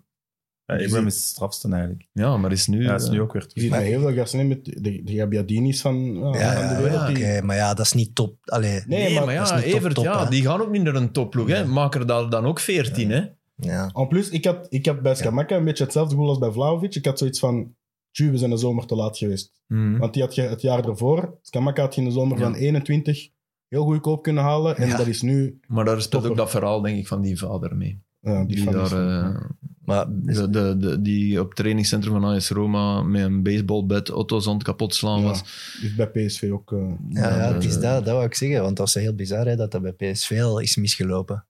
B: Ja, Abraham is het strafste eigenlijk.
C: Ja, maar is nu...
B: Dus Ja, is
C: eh,
B: nu ook weer
D: Je ziet
B: terug.
D: maar heel veel gasten hè, met de, de Gabbiadini's van, ja,
E: ja,
D: van
E: ja,
D: de wereld.
E: ja,
D: die-
E: oké, maar ja, dat is niet top. Allee,
D: Nee, maar
C: maar
E: dat is
C: ja,
E: niet top,
C: Evert,
E: top,
C: ja,
E: hè.
C: die gaan ook niet naar een topploeg, hè.
E: Ja.
C: Maak er daar dan ook veertien, hè.
E: ja.
D: En plus, ik had, ik had bij Skamaka een beetje hetzelfde gevoel als bij Vlaovic. Ik had zoiets van, tju, we zijn de zomer te laat geweest.
C: Mhm.
D: Want die had je het jaar ervoor, Skamaka had je in de zomer
C: Ja.
D: van 21 heel goedkoop kunnen halen. En
E: Ja.
D: dat is nu...
C: Maar daar speelt ook
D: Topper.
C: dat verhaal, denk ik, van die vader mee.
D: ja,
C: Die,
D: van-
C: daar, eh,
E: Maar
C: de, de, de- die op het trainingscentrum van AS Roma met een baseballbat auto's aan het kapot slaan
D: Ja.
C: was.
D: is bij PSV ook... eh,
E: ja, ja, het is
C: eh,
E: dat, dat wou ik zeggen. Want dat is heel bizar hè, dat dat bij PSV al is misgelopen.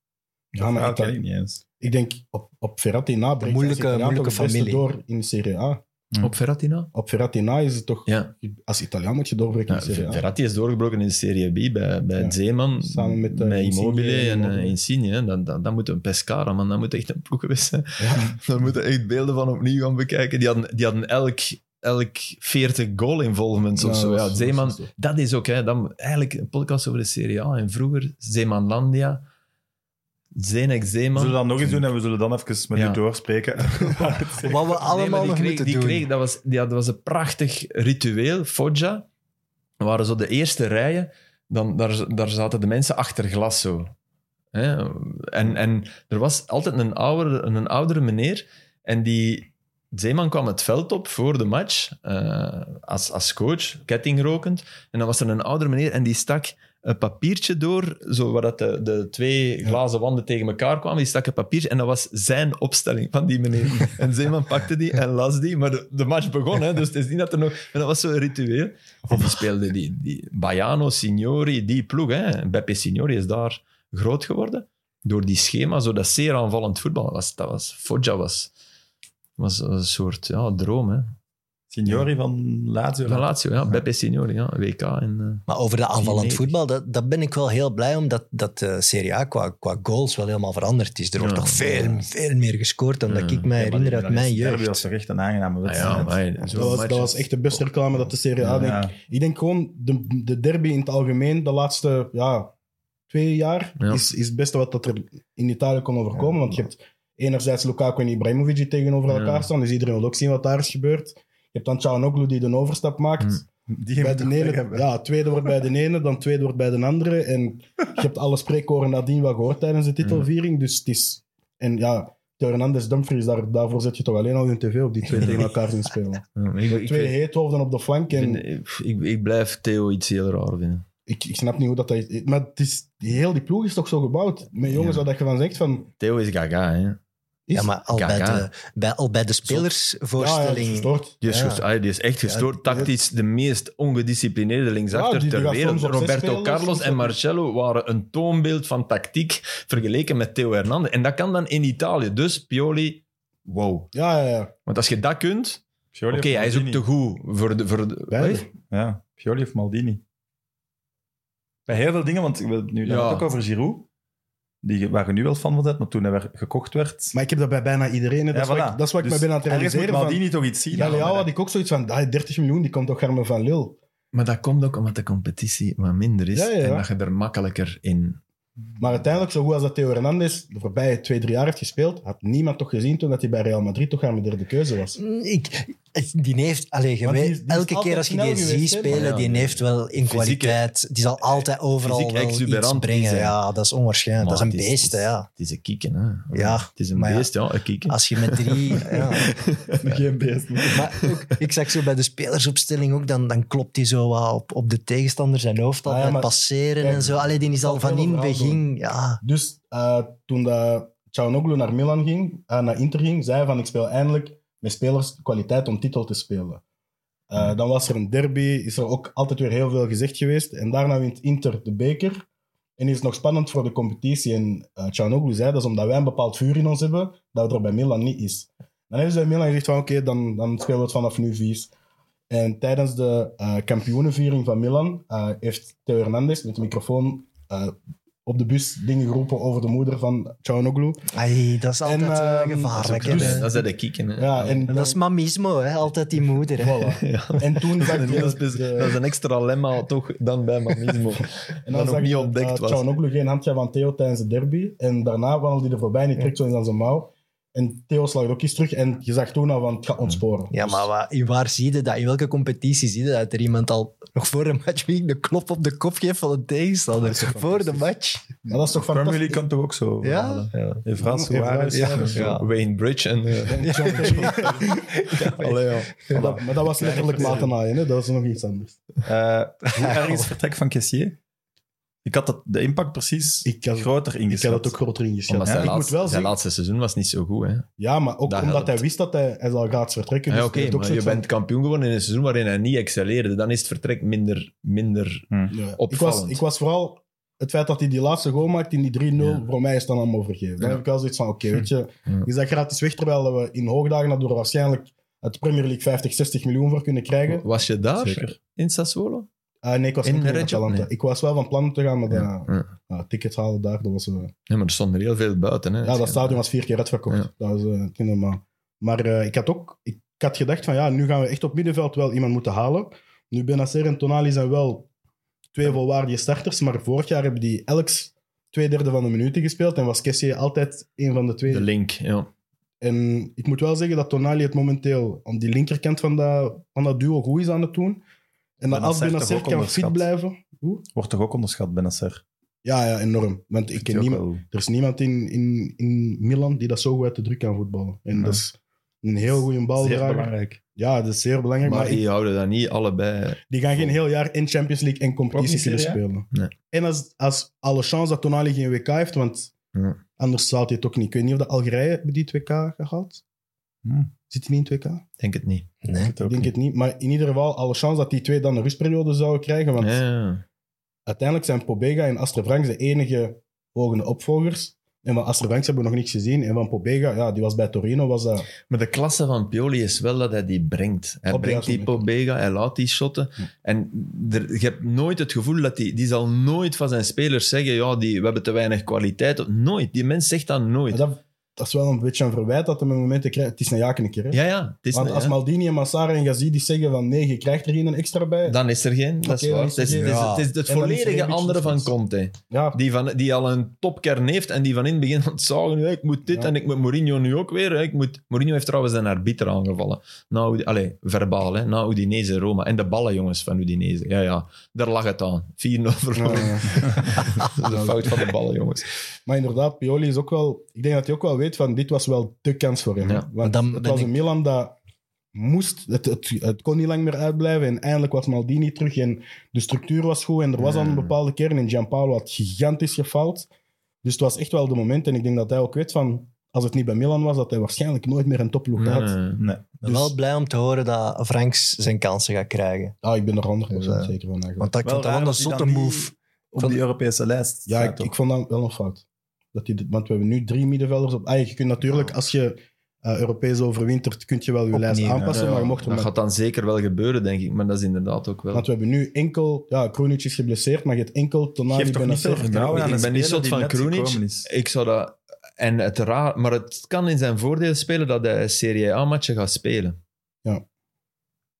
D: ja, maar
B: dat
D: ik-
B: ken ik niet eens.
D: Ik denk op, op Verratti na breekt
E: Moeilijke-
D: als Italiaan
E: moeilijke
D: toch het beste
E: familie.
D: door in de Serie A.
C: Op Ferratina?
D: Op Verratti na is het toch...
C: Ja.
D: Als Italiaan moet je doorbreken
C: ja
D: in de Serie A.
C: Verratti is doorgebroken in de Serie B bij, bij
D: Ja.
C: Zeeman,
D: Samen met, eh,
C: bij Immobile
D: Insigne en
C: en
D: Immobile.
C: eh, Insigne. hè. Dat, dat, dat moet een pescara, man. Dat moet echt een ploeg geweest zijn.
D: Ja.
C: Daar moeten echt beelden van opnieuw gaan bekijken. Die hadden, die hadden elk, elk 40 goal involvements of
D: Ja,
C: zo.
D: dat
C: Ja,
D: is-
C: Zeeman,
D: dat is zo.
C: dat is ook hè, dat, eigenlijk een podcast over de Serie A. En vroeger Zeemanlandia, Zenek
B: We
C: Zeeman.
B: zullen dat nog eens doen en we zullen dan even met
C: Ja.
B: u doorspreken.
E: Wat we
C: Nee, maar
E: allemaal
C: die
E: nog
C: kreeg,
E: moeten
C: die
E: doen.
C: Kreeg, dat, was, ja, dat was een prachtig ritueel, Foggia. Dat waren zo de eerste rijen. Dan, daar, daar zaten de mensen achter glas zo. Hè? En, en er was altijd een oudere, een oudere meneer. En die Zeeman kwam het veld op voor de match. eh, als, als coach, kettingrokend. En dan was er een oudere meneer en die stak een papiertje door, zo waar dat de, de twee glazen wanden tegen elkaar kwamen. Die stak een papiertje en dat was zijn opstelling van die meneer. <laughs> En Zeeman pakte die en las die, maar de, de match begon, hè, dus het is niet dat er nog... En dat was zo'n ritueel. En die speelde die, die Baiano, Signori, die ploeg. Hè. Beppe Signori is daar groot geworden door die schema, zo dat zeer aanvallend voetbal. Dat was, dat was, Foggia was, was een soort ja, droom. Hè.
B: <laughs> Signori van Lazio.
C: Van Lazio, ja. Beppe Signori, ja. WK en... eh,
E: Maar over dat aanvallend
C: Genetisch.
E: voetbal, dat, dat ben ik wel heel blij om. Dat, dat de Serie A qua, qua goals wel helemaal veranderd is. Er wordt
C: Ja.
E: toch veel, veel meer gescoord dan dat
C: Ja.
E: ik mij herinner uit mijn
B: Dat
E: jeugd.
B: was toch echt een aangename
C: Ah
B: wedstrijd.
C: ja, maar,
D: Dat was, dat was echt de beste reclame dat de Serie A
C: Ja.
D: denk.
B: Ja.
D: Ik denk gewoon, de, de derby in het algemeen, de laatste ja, twee jaar,
C: Ja.
D: is, is het beste wat dat er in Italië kon overkomen. want je hebt enerzijds Lukaku en Ibrahimovic die tegenover
C: Ja.
D: elkaar staan, dus iedereen wil ook zien wat daar is gebeurd. Je hebt dan Cianoglu die de overstap maakt.
C: Hmm.
B: Die
D: Bij
B: moet
D: de
B: ik
D: ene,
B: hebben.
D: ja, het tweede wordt bij de ene, dan het tweede wordt bij de andere. En je hebt alle spreekkoren nadien wel gehoord tijdens de titelviering. Dus het is... En ja, Theo Hernandez Dumfries, daar, daarvoor zet je toch alleen al je tv op die
C: <laughs>
D: twee tegen elkaar zien spelen.
C: ik,
D: Twee heethoofden op de flank. En
C: vind- ik, ik, ik blijf Theo iets heel raar vinden.
D: ik, ik snap niet hoe dat, dat is. Maar het is, heel die ploeg is toch zo gebouwd. Met jongens
C: Ja.
D: waar dat je van zegt van...
C: Theo is gaga, hè.
D: Is,
E: Ja, maar al bij
C: Kaka.
E: de, bij, al bij de
D: Ja, ja, dat is
E: spelersvoorstelling.
D: gestoord.
C: Die is,
E: Ja.
C: gesto- ah, die is echt gestoord.
D: die-
C: Tactisch de meest ongedisciplineerde
D: Ja,
C: linksachter
D: die- die
C: ter
D: gaat
C: wereld.
D: soms op zes
C: Roberto
D: spelers,
C: Carlos
D: soms
C: en
D: op-
C: Marcello waren een toonbeeld van tactiek vergeleken met Theo Hernandez. En dat kan dan in Italië. Dus Pioli, wow.
D: ja, ja, ja.
C: Want als je dat kunt...
B: Pioli
C: Oké,
B: of
C: hij is ook
B: Maldini.
C: te goed voor de... Voor de
D: Beide.
C: Wat?
B: Ja, Pioli of Maldini. Bij heel veel dingen, want we hebben het nu
C: Ja.
B: ja. ook over Giroud. Die, waar je nu wel fan van bent, maar toen hij werd- gekocht werd...
D: Maar ik heb dat bij bijna iedereen. hè. Dat,
B: Ja,
D: is, wat
B: voilà.
D: ik, dat is wat ik
B: Dus
D: me ben aan het
B: ergens moet
D: realiseren. Van,
B: Maldini toch iets zien.
D: ja,
B: Ja,
D: Leao had ik ook zoiets van... ah, 30 miljoen, die komt toch Germen van Lille.
C: Maar dat komt ook omdat de competitie wat minder is.
D: Ja, ja, ja.
C: En dat je er makkelijker in
D: Maar uiteindelijk, zo goed als dat Theo Hernandez de voorbije twee, drie jaar heeft gespeeld, had niemand toch gezien toen dat hij bij Real Madrid toch aan de derde keuze was.
E: Ik, die heeft, allee, je
D: Want die
E: weet-
D: is- die is
E: elke keer
D: altijd
E: als je
D: snel
E: die
D: geweest,
E: ziet
D: hè?
E: spelen,
C: Ja.
E: die heeft wel in
C: Fysieke-
E: kwaliteit. Die zal altijd overal
C: fysiek
E: wel iets
C: exuberant
E: brengen.
C: is, hè.
E: Ja, dat is onwaarschijnlijk.
C: Maar
E: dat is een
C: het is-
E: beest, hè, ja.
C: Het is een kieken, hè.
E: Ja,
C: Het is een
E: maar ja.
C: beest, ja. Een kieken.
E: Als je met drie... ja.
B: <laughs>
C: <laughs>
B: Geen beest.
E: Maar ook, ik zag zo bij de spelersopstelling ook, dan, dan klopt hij zo wat op, op de tegenstander zijn hoofd al,
D: Ah ja,
E: en
D: maar-
E: passeren
D: kijk,
E: en zo. Allee, die is al
D: dat is
E: van
D: wel
E: in
D: een
E: het
D: verhaal,
E: begin. Ja,
D: Dus eh, toen dat Cianoglu naar Milan ging, eh, naar Inter ging, zei hij van ik speel eindelijk met spelers de kwaliteit om titel te spelen. Eh, Dan was er een derby, is er ook altijd weer heel veel gezegd geweest. En daarna wint Inter de beker. En is het nog spannend voor de competitie. En eh Cianoglu zei, dat is omdat wij een bepaald vuur in ons hebben, dat er bij Milan niet is. Dan hebben ze bij Milan gezegd van oké, dan, dan spelen we het vanaf nu vies. En tijdens de eh, kampioenenviering van Milan eh, heeft Theo Hernandez met de microfoon eh, op de bus dingen geroepen over de moeder van Cianoglu.
E: Ai, dat is altijd
D: En,
E: eh,
D: ehm,
E: gevaarlijk.
D: dat is ook
E: hè.
D: dus-
C: dat is de kieken, hè.
D: Ja, en,
E: dat is mamismo, hè? altijd die moeder.
C: <laughs>
E: Hè?
D: voilà. En toen zag
C: Dat
D: je
C: is
D: dat,
C: een- dat is-
D: eh,
C: dat is een extra lemma toch dan bij Mamismo.
D: en
C: dat
D: dan
C: nog
D: zag
C: niet
D: je
C: ontdekt
D: dat
C: was.
D: Cianoglu geen handje van Theo tijdens de derby. En daarna wandelde hij er voorbij en die trekt zo in zijn mouw. En Theo slaat ook eens terug en je zag toen al van het gaat ontsporen. Dus
E: Ja,
B: Dus-
E: maar wa- in waar zie je dat? In welke competitie zie je dat er iemand al nog voor een match week de klop op de kop geeft van een tegenstander? Voor de match.
B: Dus-
D: Maar dat is toch
B: Premier
D: fantastisch.
B: League kan toch ook zo?
E: Ja? ja.
B: Evra Suarez.
D: Ja.
E: ja.
C: Wayne Bridge en... eh,
D: En Cianoglu-
C: allee, ja.
D: Maar dat- Maar dat was letterlijk matenaaien, hè? dat was nog iets anders.
B: Eh, Hoe erg is het vertrek van Kessier? Ik had dat, de impact precies
D: Ik had-
B: groter
D: Ik heb
B: ingeschat.
D: dat ook groter ingeschat.
C: Omdat
D: Ja,
C: zijn,
D: ik moet
C: laatste,
D: wel
C: zijn
D: zeggen...
C: laatste seizoen was niet zo goed. Hè?
D: Ja, maar ook
C: Dat
D: omdat
C: helpt.
D: hij wist dat hij, hij zal gaat vertrekken.
C: Ja,
D: Dus
C: oké,
D: hij heeft ook
C: maar je
D: zoiets
C: bent kampioen geworden in een seizoen waarin hij niet excelleerde. Dan is het vertrek minder... minder...
D: van- Ja. Ik, was,
C: opvallend.
D: ik was vooral... Het feit dat hij die laatste goal maakt in die 3-0,
C: Ja.
D: voor mij is dan allemaal vergeven. Dan
C: Ja.
D: heb ik wel zoiets van, oké, weet je,
C: Ja.
D: is dat gratis weg, terwijl we in hoogdagen dat we er waarschijnlijk uit de Premier League 50, 60 miljoen voor kunnen krijgen.
C: Was je daar?
B: Zeker.
C: In Sassuolo?
D: Ah, nee, ik was
C: In
D: niet meer op
C: Reggio?
D: Atalanta.
C: Nee.
D: Ik was wel van plan om te gaan, maar dat-
C: Ja. Ja.
D: ah, tickets halen daar, dat was... eh,
C: Ja, maar er stonden er heel veel buiten. Hè.
D: Ja, dat stadion was vier keer uitverkocht.
C: Ja.
D: Dat was, eh, het is normaal. Maar eh, ik had ook ik, ik had gedacht van ja, nu gaan we echt op middenveld wel iemand moeten halen. Nu Benacer en Tonali zijn wel twee volwaardige starters, maar vorig jaar hebben die elk twee derde van de minuten gespeeld en was Kessie altijd een van de twee.
C: De link, ja.
D: en ik moet wel zeggen dat Tonali het momenteel aan die linkerkant van dat, van dat duo goed is aan het doen. En dat als
B: Benacer toch
D: Benacer
B: ook
D: kan fit
B: onderschat?
D: blijven... Hoe?
B: Wordt toch ook onderschat, Benacer?
D: Ja, ja, enorm. Want ik ken
B: Die ook
D: niemand,
B: wel-
D: er is niemand in, in, in Milan die dat zo goed uit de druk kan voetballen. En
B: Nee.
D: dat is een heel goede
B: Zeer
D: baldrager.
B: belangrijk.
D: Ja, dat is zeer belangrijk.
C: Maar,
D: Maar,
C: die
D: ik-
C: houden dat niet allebei.
D: die gaan geen heel jaar in Champions League en competitie
B: Ook niet
D: kunnen
B: Serie A?
D: spelen.
C: Nee.
D: En als, als alle chance dat Tonali geen WK heeft, want
C: Ja.
D: anders zou hij het ook niet. Ik weet niet of de Algerije hebben die 2K gehaald.
B: Hm.
D: Zit hij niet in 2K?
C: Denk het niet.
E: Nee.
D: Ik denk het niet. Maar in ieder geval, alle chance dat die twee dan een rustperiode zouden krijgen. Want
C: Ja.
D: uiteindelijk zijn Pobega en Astre Franks de enige volgende opvolgers. En van Astre Franks hebben we nog niks gezien. En van Pobega, ja, die was bij Torino, was dat...
C: Maar de klasse van Pioli is wel dat hij die brengt. Hij
D: Op de
C: brengt die
D: juiste
C: Pobega, hij laat die shotten. En er- je hebt nooit het gevoel dat die... Die zal nooit van zijn spelers zeggen, ja, die, we hebben te weinig kwaliteit. Nooit. Die mens zegt dat nooit.
D: Maar dat, dat is wel een beetje een verwijt dat hij met momenten krijgt. Het is een jakenkeer, hè?
C: Ja, ja. Het is
D: Want
C: een-
D: als
C: ja.
D: Maldini en Massara en Gazidis zeggen van nee, je krijgt er geen extra bij.
C: Dan is er geen, dat is
D: Oké,
C: waar.
D: dan
C: Het
D: is er
C: is,
D: geen.
C: het is-
E: Ja.
C: het is het
D: En dan is er
C: volledige
D: een beetje
C: andere van
D: soms.
C: Conte.
D: ja,
C: Die, van, die al een topkern heeft en die van in het begin aan het zagen, "Hey, ik moet dit
D: Ja.
C: en ik moet Mourinho nu ook weer. hè, Ik moet... Mourinho heeft trouwens een arbiter aangevallen. Na Udi- Allee, verbaal, hè, na Udinese Roma. En de ballen, jongens, van Udinese. Ja, ja, daar lag het aan. 4-0 verloren.
D: eh,
C: Dat is de fout van de ballen, jongens.
D: maar inderdaad, Pioli is ook wel... Ik denk dat hij ook wel weet van dit was wel de kans voor hem.
C: Ja.
D: hè.
E: Maar
D: Want
E: dan
D: het
E: ben
D: was
E: ik-
D: een Milan dat moest... Het, het, het kon niet lang meer uitblijven. En eindelijk was Maldini terug en de structuur was goed. En er was al een
C: Hmm.
D: bepaalde kern. En Gianpaolo had gigantisch gefaald. Dus het was echt wel de moment. En ik denk dat hij ook weet van... Als het niet bij Milan was, dat hij waarschijnlijk nooit meer een topploeg had.
C: Nee.
E: Ik
B: Dus
E: ben wel blij om te horen dat Franks zijn kansen gaat krijgen.
D: Ah, ik ben er 100% zeker
E: Ja.
D: van. Eigenlijk.
E: Want dat, ik
B: Wel raar
E: vond dat wel een
B: dat hij
E: zotte
B: dan niet
E: move.
B: Op
E: Van-
B: die Europese lijst.
D: Ja,
B: staat
D: ik,
B: ook.
D: ik vond dat wel een fout. Dat die, dit- want we hebben nu drie middenvelders op. Ah, je kunt natuurlijk, als je eh, Europees overwintert, kun je wel je
E: Opnieuw,
D: lijst
E: hè.
D: aanpassen.
C: Ja,
D: maar je mocht er
C: dat
D: maar-
C: gaat dan zeker wel gebeuren, denk ik. Maar dat is inderdaad ook wel...
D: Want we hebben nu enkel... Ja, Kroenic is geblesseerd, maar je hebt enkel Tonali
B: Geeft toch niet veel
D: Benacer.
B: vertrouwen
C: Ik
B: aan
C: ben
B: een
C: niet
B: speler
C: zot
B: die
C: van
B: net
C: Kroenic.
B: gekomen is.
C: Ik zou dat... En het raar... Maar het kan in zijn voordeel spelen dat hij Serie A-matchen gaat spelen.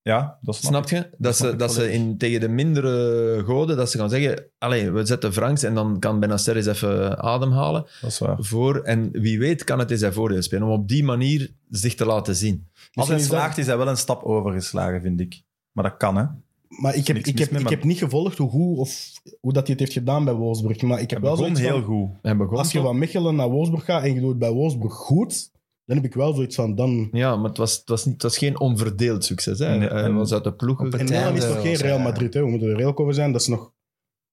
B: Ja, dat snap,
C: Snap je? Dat
B: snap
C: ze,
B: ik
C: dat ze
B: volledig.
C: in, tegen de mindere goden, dat ze gaan zeggen, allee, we zetten Franks en dan kan Benacer eens even ademhalen.
B: ik. Dat is waar.
C: Voor, en wie weet kan het in zijn voordeel spelen, om op die manier zich te laten zien.
B: Als
D: Misschien
B: hij
D: is dat-
B: slaagt, is hij wel een stap overgeslagen, vind ik. Maar dat kan, hè.
D: Maar ik heb,
B: Niks
D: ik,
B: mis
D: heb,
B: mee,
D: ik
B: maar-
D: heb niet gevolgd hoe goed of hoe dat hij het heeft gedaan bij Wolfsburg. Maar ik heb
B: Hij
D: wel
B: begon
D: zoiets
B: heel
D: van,
B: goed.
C: Hij begon
D: Als je
C: toch-
D: van Mechelen naar Wolfsburg gaat en je doet het bij Wolfsburg goed, dan heb ik wel zoiets van... Dan,
C: Ja, maar het was, het, was niet, het was geen onverdeeld succes. Hè?
B: Nee,
C: hij
B: en-
C: was uit de ploeg.
E: op
D: en
E: het
C: gekomen.
D: Milan is
E: einde
D: nog geen
E: was hij-
D: Real Madrid, hè. we moeten er eerlijk over zijn. Dat is nog,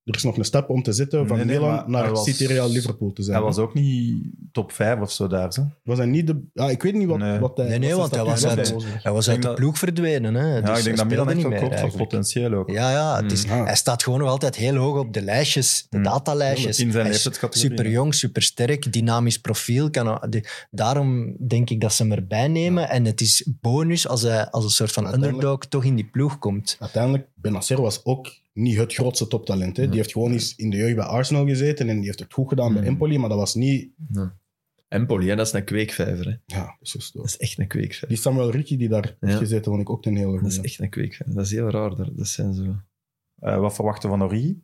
D: er is nog een stap om te zetten van
B: Nee, nee,
D: Milan
B: maar hij
D: naar
B: was-
D: City Real Liverpool te zijn.
B: Hij
D: hè.
B: was ook niet top 5 of zo daar. Zo.
D: Was hij niet de... Ja, ik weet niet wat,
B: Nee.
D: wat hij...
E: Nee, nee,
D: wat
E: want hij
D: statuut
E: was
D: bij
E: uit-
D: Wolfsburg.
E: Hij was
B: Ik
E: uit
B: denk
E: de
B: dat-
E: ploeg verdwenen. Hè.
B: Ja,
E: Dus
B: ik
E: hij
B: denk dat Milan
E: speelde
B: echt
E: niet
B: wel
E: meer
B: koopt voor
E: eigenlijk.
B: potentieel ook.
E: Ja, ja, het is,
D: Ja.
E: hij staat gewoon nog altijd heel hoog op de lijstjes, de
B: Mm.
E: datalijstjes.
B: In zijn
E: Hij is
B: leeftijdscategorie.
E: super jong, super sterk, dynamisch profiel. Kan, al- de- daarom denk ik dat ze hem erbij nemen. En het is bonus als hij als een soort van
D: Uiteindelijk-
E: underdog toch in die ploeg komt.
D: Uiteindelijk, Benacer was ook niet het grootste toptalent. Hè. Die heeft gewoon eens in de jeugd bij Arsenal gezeten en die heeft het goed gedaan bij
C: Mm.
D: Empoli, maar dat was niet...
C: Empoli, hè? dat is een kweekvijver. Hè?
D: Ja, dat is juist, hoor.
C: Dat is echt een kweekvijver.
D: Die Samuel Ricci die daar
C: Ja.
D: heeft gezeten, vond ik ook een hele
C: Dat is
D: goede.
C: echt een kweekvijver. Dat is heel raar. daar. Dat zijn zo...
B: Eh, wat verwachten we van Origi?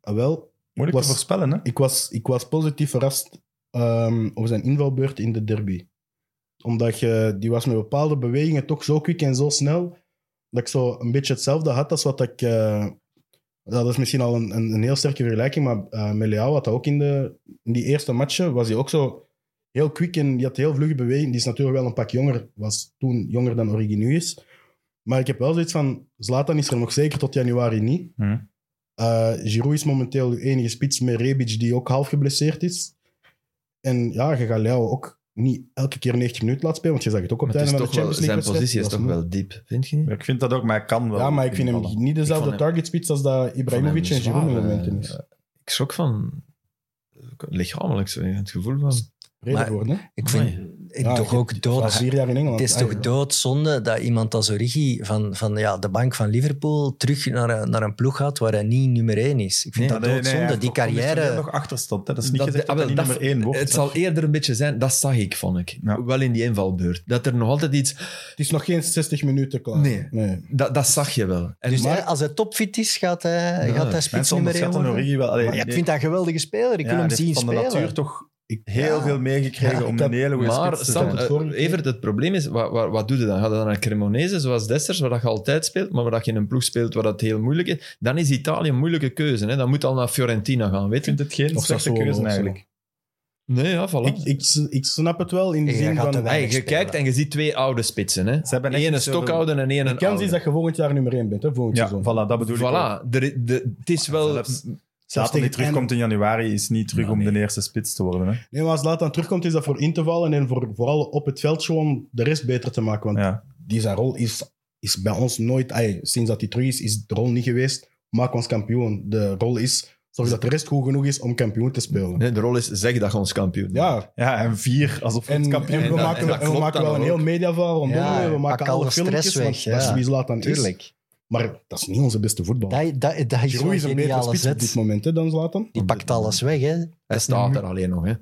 D: Ah, wel,
B: Moeilijk
D: Was-
B: te voorspellen, hè?
D: ik was, ik was positief verrast ehm, over zijn invalbeurt in de derby. Omdat je, die was met bepaalde bewegingen toch zo kwik en zo snel, dat ik zo een beetje hetzelfde had als wat ik... eh, dat is misschien al een, een, een heel sterke vergelijking, maar eh Meleao had dat ook in, de, in die eerste matchen, was hij ook zo heel kwik en die had heel vlugge beweging. Die is natuurlijk wel een pak jonger, was toen jonger dan Origi nu is. Maar ik heb wel zoiets van, Zlatan is er nog zeker tot januari niet.
B: Hm.
D: Eh, Giroud is momenteel uw enige spits met Rebic, die ook half geblesseerd is. En ja, je gaat Leao ook niet elke keer 90 minuten laten spelen, want je zag het ook op
C: Maar
D: het,
C: het is
D: einde van
C: toch
D: de
C: wel,
D: Champions League.
C: zijn positie is
D: wedstrijd.
C: toch
D: Dat
C: wel diep, vind je niet?
B: Ik vind dat ook, maar hij kan wel.
D: moe. Ja, maar ik vind hem
B: invallen.
D: niet
C: Ik
D: dezelfde
C: vond hem-
D: targetspits als dat Ibrahimovic en
C: Ik vond hem
D: Giroud in
C: zwaar,
D: momenten is.
C: eh, Ik schrok van lichamelijk zo, het gevoel van...
D: Reden
E: maar-
D: voor, hè?
E: Ik vind ik
D: Ja,
E: toch
D: je-
E: ook
D: Van
E: dood.
D: vier jaar in Engeland.
E: Het is
D: Ah,
E: toch
D: ja.
E: doodzonde dat iemand als Origi van, van ja, de bank van Liverpool terug naar, een- naar een ploeg gaat waar hij niet nummer één is. Ik vind
B: Nee,
E: dat
B: nee, nee,
E: doodzonde.
B: hij heeft
E: die
B: nog conditioneel
E: carrière...
B: nog achterstand. Hè. Dat is niet
C: Dat-
B: gezegd dat
C: ah,
B: hij
C: wel,
B: niet nummer één wordt.
C: Het
B: hè.
C: zal eerder een beetje zijn, dat zag ik, vond ik.
B: Ja.
C: Wel in die invalbeurt. Dat er nog altijd iets...
D: Het is nog geen 60 minuten klaar.
C: Nee.
D: nee.
C: Dat, dat zag je wel. En
E: Dus
C: maar-
E: hè, als hij topfit is, gaat hij,
C: Ja,
E: gaat hij spits
B: Mensen
E: nummer één
B: onderschatten
E: worden.
B: Origi wel. Allee,
E: Maar ja, ik
B: nee.
E: vind dat een geweldige speler. Ik
B: Ja,
E: wil hem
B: hij heeft
E: zien
B: van
E: spelen.
B: de natuur toch
D: Ik-
B: heel
E: Ja.
B: veel meegekregen
E: Ja,
B: om
D: ik
B: een
D: heb-
B: hele goede
C: Maar
B: spits te
C: Sam,
B: zijn.
D: Het
C: eh,
D: vorige-
C: Evert, het probleem is, wat, wat, wat doe je dan? Ga je dan naar Cremonese zoals Dessers, waar dat je altijd speelt, maar waar dat je in een ploeg speelt waar dat heel moeilijk is? Dan is Italië een moeilijke keuze. Hè? Dan moet al naar Fiorentina gaan,
B: Ik
C: weet je?
B: vind het geen
D: Of
B: slechte
D: Sassuolo,
B: keuze
D: of zo.
B: eigenlijk.
C: Nee, ja, voilà.
D: Ik, ik, ik snap het wel in de
E: Ja,
D: zin
E: gaat
D: van...
E: er wel-
C: Hey, je
E: spelen.
C: kijkt en je ziet twee oude spitsen. Hè?
B: Ze hebben echt
C: Eén een
B: niet zoveel-
C: stokhouden en één
D: De
C: een
D: kans is
C: oude.
D: dat je volgend jaar nummer 1 bent, hè, volgend
B: Ja,
D: seizoen.
B: voilà, dat bedoel ik ook.
C: Voilà, de, de, het is wel...
B: Zelfs- Zelfs
D: Zelfs tegen
B: die
D: het
B: terugkomt in januari is niet terug om de eerste spits te worden. Hè.
D: Nee, maar als Zlatan terugkomt, is dat voor in te vallen en voor, vooral op het veld gewoon de rest beter te maken. Want
B: Ja.
D: die zijn rol is, is bij ons nooit... ay, sinds dat hij terug is, is de rol niet geweest. Maak ons kampioen. De rol is zorg dat de rest goed genoeg is om kampioen te spelen.
C: Nee, de rol is zeg dat je ons kampioen bent.
D: Ja,
B: ja, en vier, alsof
D: en,
B: het
D: en
B: kampioen
D: we
C: dat-
D: maken,
C: en dat
D: en we
C: klopt
D: maken
C: dan
D: wel een
C: ook.
D: heel mediaval rondom.
E: Ja,
D: we maken
E: pak
D: alle
E: alle
D: filmpjes,
E: stress
D: want
E: weg,
D: dat is
E: ja.
D: wie Zlatan is.
E: Tuurlijk.
D: Maar dat is niet onze beste voetbal.
E: Dat, dat, dat is
D: Giroud
E: een
D: is een betere
E: geniale
D: spits op dit
E: zet.
D: moment hè, dan Zlatan.
E: Die pakt alles weg, hè.
C: Hij staat er alleen nog. Hè.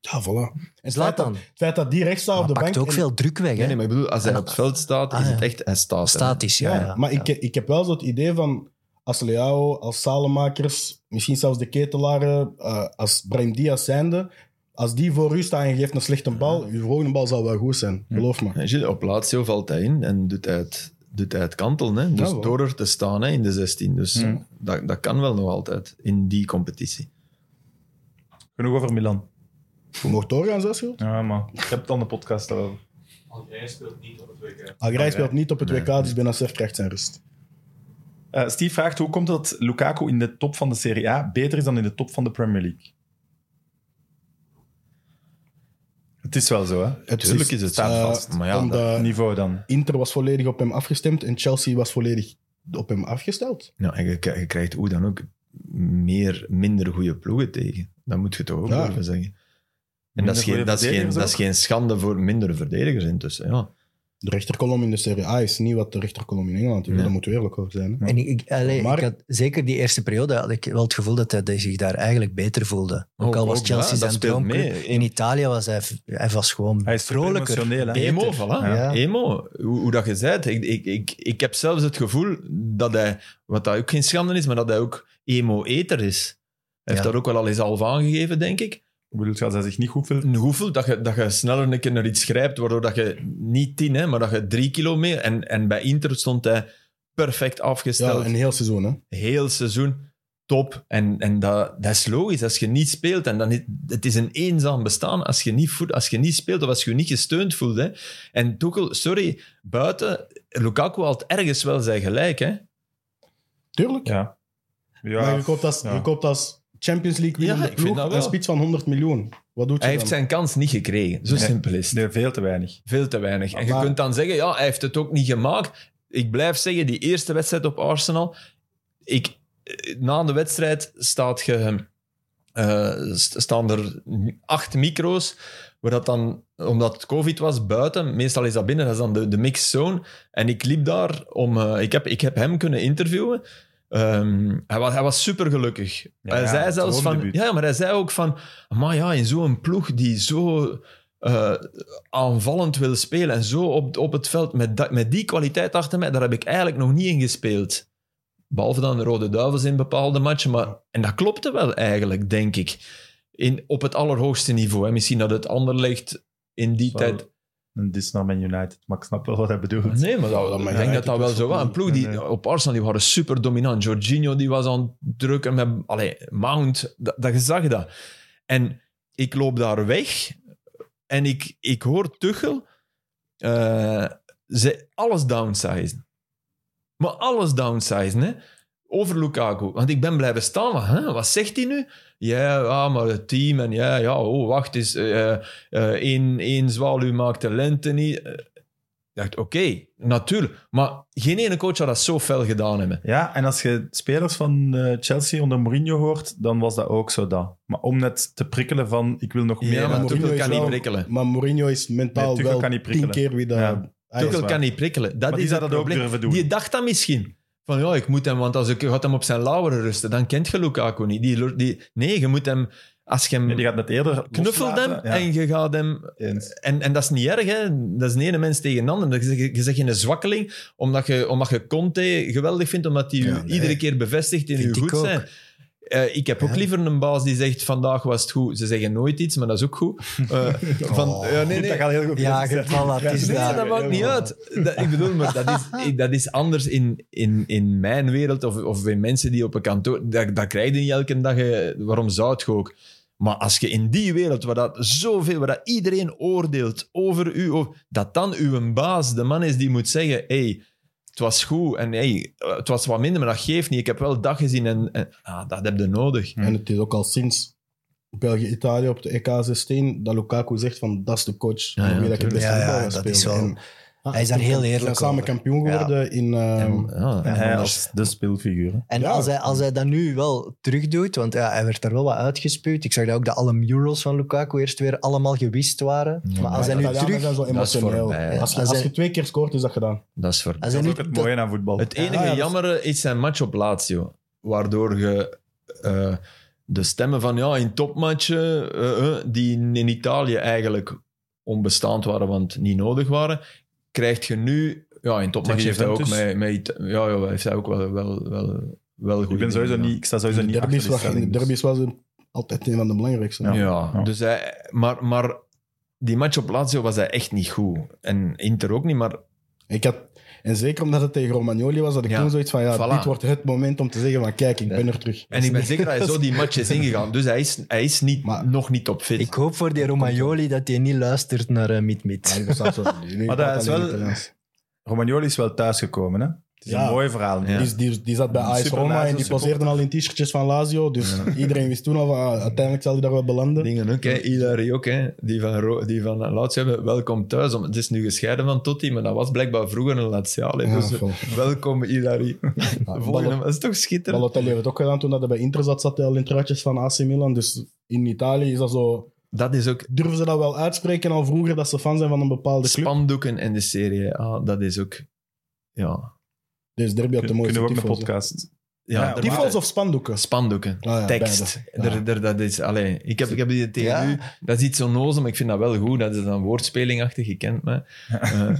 D: Ja, voilà. En
E: Zlatan.
D: Het feit dat die rechts staat op
E: Maar
D: de bank...
E: pakt ook
D: en-
E: veel druk weg,
C: Nee, nee,
E: hè.
C: maar ik bedoel, als hij op het veld staat,
E: Ah,
C: is
E: ja.
C: het echt... Hij staat er, hè.
E: Statisch, ja.
D: Ja,
E: ja.
D: maar Ik, ik heb wel zo het idee van... Als Leao, als Salemakers, misschien zelfs de ketelaren, eh, als Brahim Diaz zijnde... Als die voor u staan en je geeft een slechte bal, uw volgende bal zal wel goed zijn. Geloof me.
C: En Gilles, op Lazio valt hij in en doet hij het, doet hij het kantelen. Hè? Dus
D: wel.
C: door er te staan hè, in de 16. Dus
B: Hmm.
C: dat, dat kan wel nog altijd in die competitie.
B: Genoeg over Milan.
D: Je mocht doorgaan, zelfs Schild.
B: Ja, maar ik heb het aan de podcast daarover.
F: Want hij speelt niet op het WK.
D: Algerije speelt niet op het
C: Nee.
D: WK, dus Benacer krijgt zijn rust.
B: Eh, Steve vraagt, hoe komt het dat Lukaku in de top van de Serie A beter is dan in de top van de Premier League? Het is wel zo, hè?
D: Het
C: Tuurlijk is het
D: eh,
C: staat vast. Maar ja,
D: omdat
B: Het niveau dan.
D: Inter was volledig op hem afgestemd en Chelsea was volledig op hem afgesteld.
C: Ja, en je, k- je krijgt hoe dan ook meer, minder goede ploegen tegen. Dat moet je toch ook
D: Ja.
C: durven zeggen. En
B: Minder
C: dat is,
B: goede
C: geen, dat, is geen,
B: verdedigers
C: dat
B: ook?
C: is geen schande voor minder verdedigers intussen. Ja.
D: De rechterkolom in de Serie A is niet wat de rechterkolom in Engeland is.
C: Nee.
D: Daar moeten we eerlijk over zijn. hè.
E: En ik, ik, allee,
D: Maar-
E: ik had, zeker die eerste periode had ik wel het gevoel dat hij dat zich daar eigenlijk beter voelde. Ook al was
C: Ook,
E: Chelsea
C: ja, dat
E: zijn
C: speelt
E: droomclub.
C: mee.
E: In Italië was hij, hij was gewoon
B: Hij is
E: vrolijker.
B: emotioneel, hè?
C: Emo, voilà.
E: Ja.
C: Emo, hoe, hoe dat je zei. Ik, ik, ik, ik heb zelfs het gevoel dat hij, wat dat ook geen schande is, maar dat hij ook emo-eter is. Hij heeft
E: Ja.
C: dat ook wel al eens half aangegeven, denk ik.
B: Ik bedoel, als hij zich niet goed voelt...
C: Een hoeveel, dat je, dat je sneller een keer naar iets grijpt, waardoor dat je niet tien, hè, maar dat je drie kilo mee... En, en bij Inter stond hij perfect
D: Ja,
C: afgesteld.
D: een heel seizoen. Hè?
C: Heel seizoen, top. En, en dat, dat is logisch, als je niet speelt. En dan, is- het is een eenzaam bestaan als je niet, voet, als je niet speelt of als je je niet gesteund voelt. Hè. En Tuchel, sorry, buiten... Lukaku had ergens wel zijn gelijk, hè.
D: Tuurlijk.
B: Ja. Ja,
D: Maar je koopt als,
B: Ja.
D: je koopt als Champions League
C: Ja,
D: winnende
C: ik vind
D: ploeg
C: dat wel.
D: een spits van 100 miljoen. Wat doet je
C: Hij
D: dan?
C: heeft zijn kans niet gekregen. Zo
B: Nee.
C: simpel is het.
B: nee, veel te weinig.
C: Veel te weinig. En je
D: Maar-
C: kunt dan zeggen, ja, hij heeft het ook niet gemaakt. Ik blijf zeggen, die eerste wedstrijd op Arsenal, ik, eh, na de wedstrijd staat je, hem, eh, st- staan er acht micro's, waar dat dan, omdat het covid was, buiten, meestal is dat binnen, dat is dan de, de mixed zone. En ik liep daar om, eh, ik, heb, ik heb hem kunnen interviewen. Ehm, hij, was, hij was super gelukkig.
B: Ja,
C: hij
B: ja,
C: zei
B: het
C: zelfs van,
B: droomdebuut.
C: ja, maar hij zei ook van, maar ja, in zo'n ploeg die zo eh, aanvallend wil spelen en zo op, op het veld met, dat- met die kwaliteit achter mij, daar heb ik eigenlijk nog niet in gespeeld. Behalve dan de Rode Duivels in bepaalde matchen. Maar, en dat klopte wel eigenlijk, denk ik. In, op het allerhoogste niveau. Hè. Misschien dat het ander ligt in die
B: Zo.
C: tijd.
B: Een dis naar Man United, maar ik snap wel wat hij bedoelt.
C: Nee, maar, dat,
D: Ja, maar
C: ik denk
D: ja,
C: dat dat
D: ik
C: wel
D: was
C: zo was. Een
D: niet-
C: ploeg die
B: nee, nee.
C: op Arsenal die waren super dominant. Jorginho die was aan het drukken met allee, Mount. Dat, dat je zag dat. En ik loop daar weg en ik, ik hoor Tuchel eh, ze alles downsizen. Maar alles downsizen, hè. over Lukaku. Want ik ben blijven staan. Maar, hè, wat zegt hij nu? Ja, ah, maar het team en ja, ja oh, wacht eens. eh, eh, één, één zwaluw maakt de lente niet. Eh, Ik dacht, oké, natuurlijk. Maar geen ene coach had dat zo fel gedaan hebben.
B: Ja, en als je spelers van eh, Chelsea onder Mourinho hoort, dan was dat ook zo dat. Maar om net te prikkelen van, ik wil nog meer...
C: Ja,
B: en-
C: maar
D: Mourinho
C: Tuchel
D: is
C: kan niet
D: wel-
B: Ah,
C: prikkelen.
D: Maar Mourinho is mentaal
B: Nee, Tuchel
D: wel
B: kan niet
D: tien
B: prikkelen.
D: keer wie dat...
B: Ja.
D: hij is
C: Tuchel
D: waar.
C: kan niet prikkelen.
B: Maar
C: Dat is
B: die zou
C: het
B: dat ook
C: probleem.
B: durven doen.
C: Die dacht dat misschien. Van ja, ik moet hem, want als ik gaat hem op zijn lauweren rusten, dan kent je Lukaku niet. Die, die, nee, je moet hem, als je hem
B: Nee, die gaat net eerder
C: knuffelt hem
B: loslaten. Ja,
C: en je gaat hem.
B: eens.
C: En, en dat is niet erg, hè? dat is niet ene mens tegen een ander. Dat Je je zegt een zwakkeling, omdat je, omdat je Conte geweldig vindt, omdat hij u
D: Ja, nee.
C: iedere keer bevestigt in
E: Vind
C: uw
E: ik
C: goed
E: ook.
C: zijn. Eh, ik heb ook
E: Ja.
C: liever een baas die zegt: vandaag was het goed. Ze zeggen nooit iets, maar dat is ook goed. Eh, van,
E: Oh.
C: ja, nee,
B: Goed,
C: nee.
B: Dat gaat heel goed.
E: Ja,
B: bezig
E: je-
B: zijn.
E: voilà, het is
C: Nee,
E: daar.
C: dat maakt niet uit. Dat, ik bedoel, maar dat is, <laughs> ik- dat is anders in, in, in mijn wereld of, of in mensen die op een kantoor... Dat, dat krijg je niet elke dag. eh, Waarom zou het je ook? Maar als je in die wereld, waar dat zoveel, waar dat iedereen oordeelt over u, over- dat dan uw baas de man is die moet zeggen, hey, het was goed en hey, eh, het was wat minder, maar dat geeft niet. Ik heb wel dag gezien en, en ah, dat heb je nodig.
D: En het is ook al sinds België-Italië op de EK16 dat Lukaku zegt van dat is de coach
C: ja,
D: ja, wie dat ik het beste
E: Ja, ja,
D: voetbal ga
E: dat is
D: spelen.
E: wel-
D: En-
E: Hij is daar
D: Ze
E: heel
D: zijn
E: eerlijk
D: samen
E: over.
D: kampioen
E: Ja.
D: geworden in... eh,
C: En, ah. ja,
B: En hij
E: anders-
B: als de speelfiguur. hè.
E: En
D: Ja.
E: als, hij, als hij dat nu wel terugdoet, want ja, hij werd er wel wat uitgespuwd. Ik zag dat ook dat alle murals van Lukaku eerst weer allemaal gewist waren.
C: Ja,
E: maar als hij
D: ja,
E: nu
D: Italianen zijn
E: terug...
D: zo
C: Dat is
D: emotioneel.
C: voorbij, hè.
D: Als je,
E: Als
D: als
E: hij-
D: je twee keer scoort, is dat gedaan.
C: dat is voor
E: Als hij
B: Dat is
E: nu,
B: ook het
E: dat-
B: mooie aan voetbal.
C: Het enige
D: Ja, dat is-
C: jammere is zijn match op Lazio. Waardoor je eh, de stemmen van ja, in topmatchen, eh, eh, die in Italië eigenlijk onbestaand waren, want niet nodig waren, krijgt je nu... Ja, in topmatchen
B: Tegen
C: heeft hij ook,
B: Juventus?
C: met, met, Ita- ja, ja, heeft hij ook wel, wel, wel, wel goed
B: Ik, ben sowieso
C: gedaan, ja.
B: niet, ik sta sowieso
D: In de
B: niet achter
D: derbies,
B: die
D: was, in de
B: stelling. dus-
D: derbies was hij altijd een van de belangrijkste.
B: Ja.
C: Ja,
B: Ja.
C: Dus hij, maar, maar die match op Lazio was hij echt niet goed. En Inter ook niet, maar
D: Ik had, en zeker omdat het tegen Romagnoli was, had ik
C: Ja.
D: toen zoiets van, ja,
C: Voilà.
D: dit wordt het moment om te zeggen van, kijk, ik ben er terug.
C: en ik ben zeker dat hij zo die match is ingegaan. Dus hij is, hij is niet,
D: Maar-
C: nog niet op fit.
E: ik hoop voor die Romagnoli dat hij niet luistert naar eh, Mit
D: Ja,
E: Mit.
D: die bestaat zo niet. Nu
B: Maar dat
D: praat
B: is
D: alleen
B: wel-
D: Italiaans.
B: Romagnoli is wel thuisgekomen, hè? Het is
D: Ja.
B: een mooi verhaal.
C: Ja.
D: Die, die, die zat bij
B: Een
D: AS
B: super
D: Roma en
B: Lazio
D: die
B: supporter.
D: poseerde al in t-shirtjes van Lazio. Dus iedereen wist toen al van, ah, uiteindelijk zal hij daar wel belanden.
C: dingen ook, hè. Ilari ook, hè. Die van, Ro- die van Lazio hebben, welkom thuis. Om, het is nu gescheiden van Totti, maar dat was blijkbaar vroeger een Laziale.
D: Ja,
C: Dus
D: vol.
C: welkom Ilari. Volgende,
D: Ballo-
C: dat is toch schitterend?
D: Balotelli heeft het ook gedaan toen dat hij bij Inter zat, zat hij al in truitjes van AC Milan. Dus in Italië is dat zo...
C: Dat is ook
D: Durven ze dat wel uitspreken al vroeger, dat ze fan zijn van een bepaalde club?
C: spandoeken in de serie. Ah, dat is ook... Ja.
D: Deze Dus derby had de
B: Kunnen we
D: mooiste
B: ook een
D: tyfo's. hè.
B: podcast?
C: Ja,
B: Ja,
C: er
B: die
D: Tyfo's
C: waren-
D: of spandoeken?
C: Spandoeken.
D: Ah, ja,
C: tekst.
D: beide. Ja.
C: Er, er, dat is, allee, ik, heb, ik heb die tegen
E: Ja.
C: u. Dat is iets onnozel, maar ik vind dat wel goed. Dat is dan woordspelingachtig, je kent me. Eh, eh,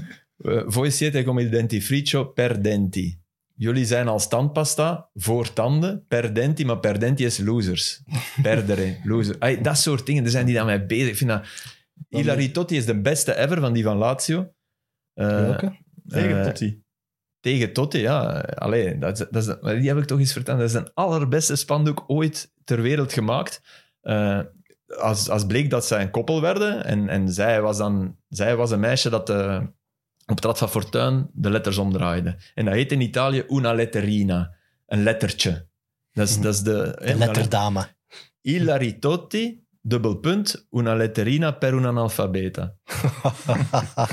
C: Voi siete come il dentifricio per denti. Jullie zijn als tandpasta voor tanden, per denti, maar per denti is losers. Perdere, loser. Ai, dat soort dingen, er zijn die daarmee bezig. Ik vind dat... Hilary Totti is de beste ever van die van Lazio. Eh,
D: Welke?
B: Tegen
C: eh,
B: Totti.
C: tegen Totti, ja. Allee, dat, is- dat is, maar die heb ik toch eens verteld. Dat is een allerbeste spandoek ooit ter wereld gemaakt. Eh, als, als bleek dat zij een koppel werden en, en zij, was dan, zij was een meisje dat eh, op het Rad van Fortuin de letters omdraaide. En dat heet in Italië una letterina. Een lettertje. Dat is, dat is de...
E: De letterdame.
C: Ilari Totti, dubbel punt, una letterina per un analfabeta.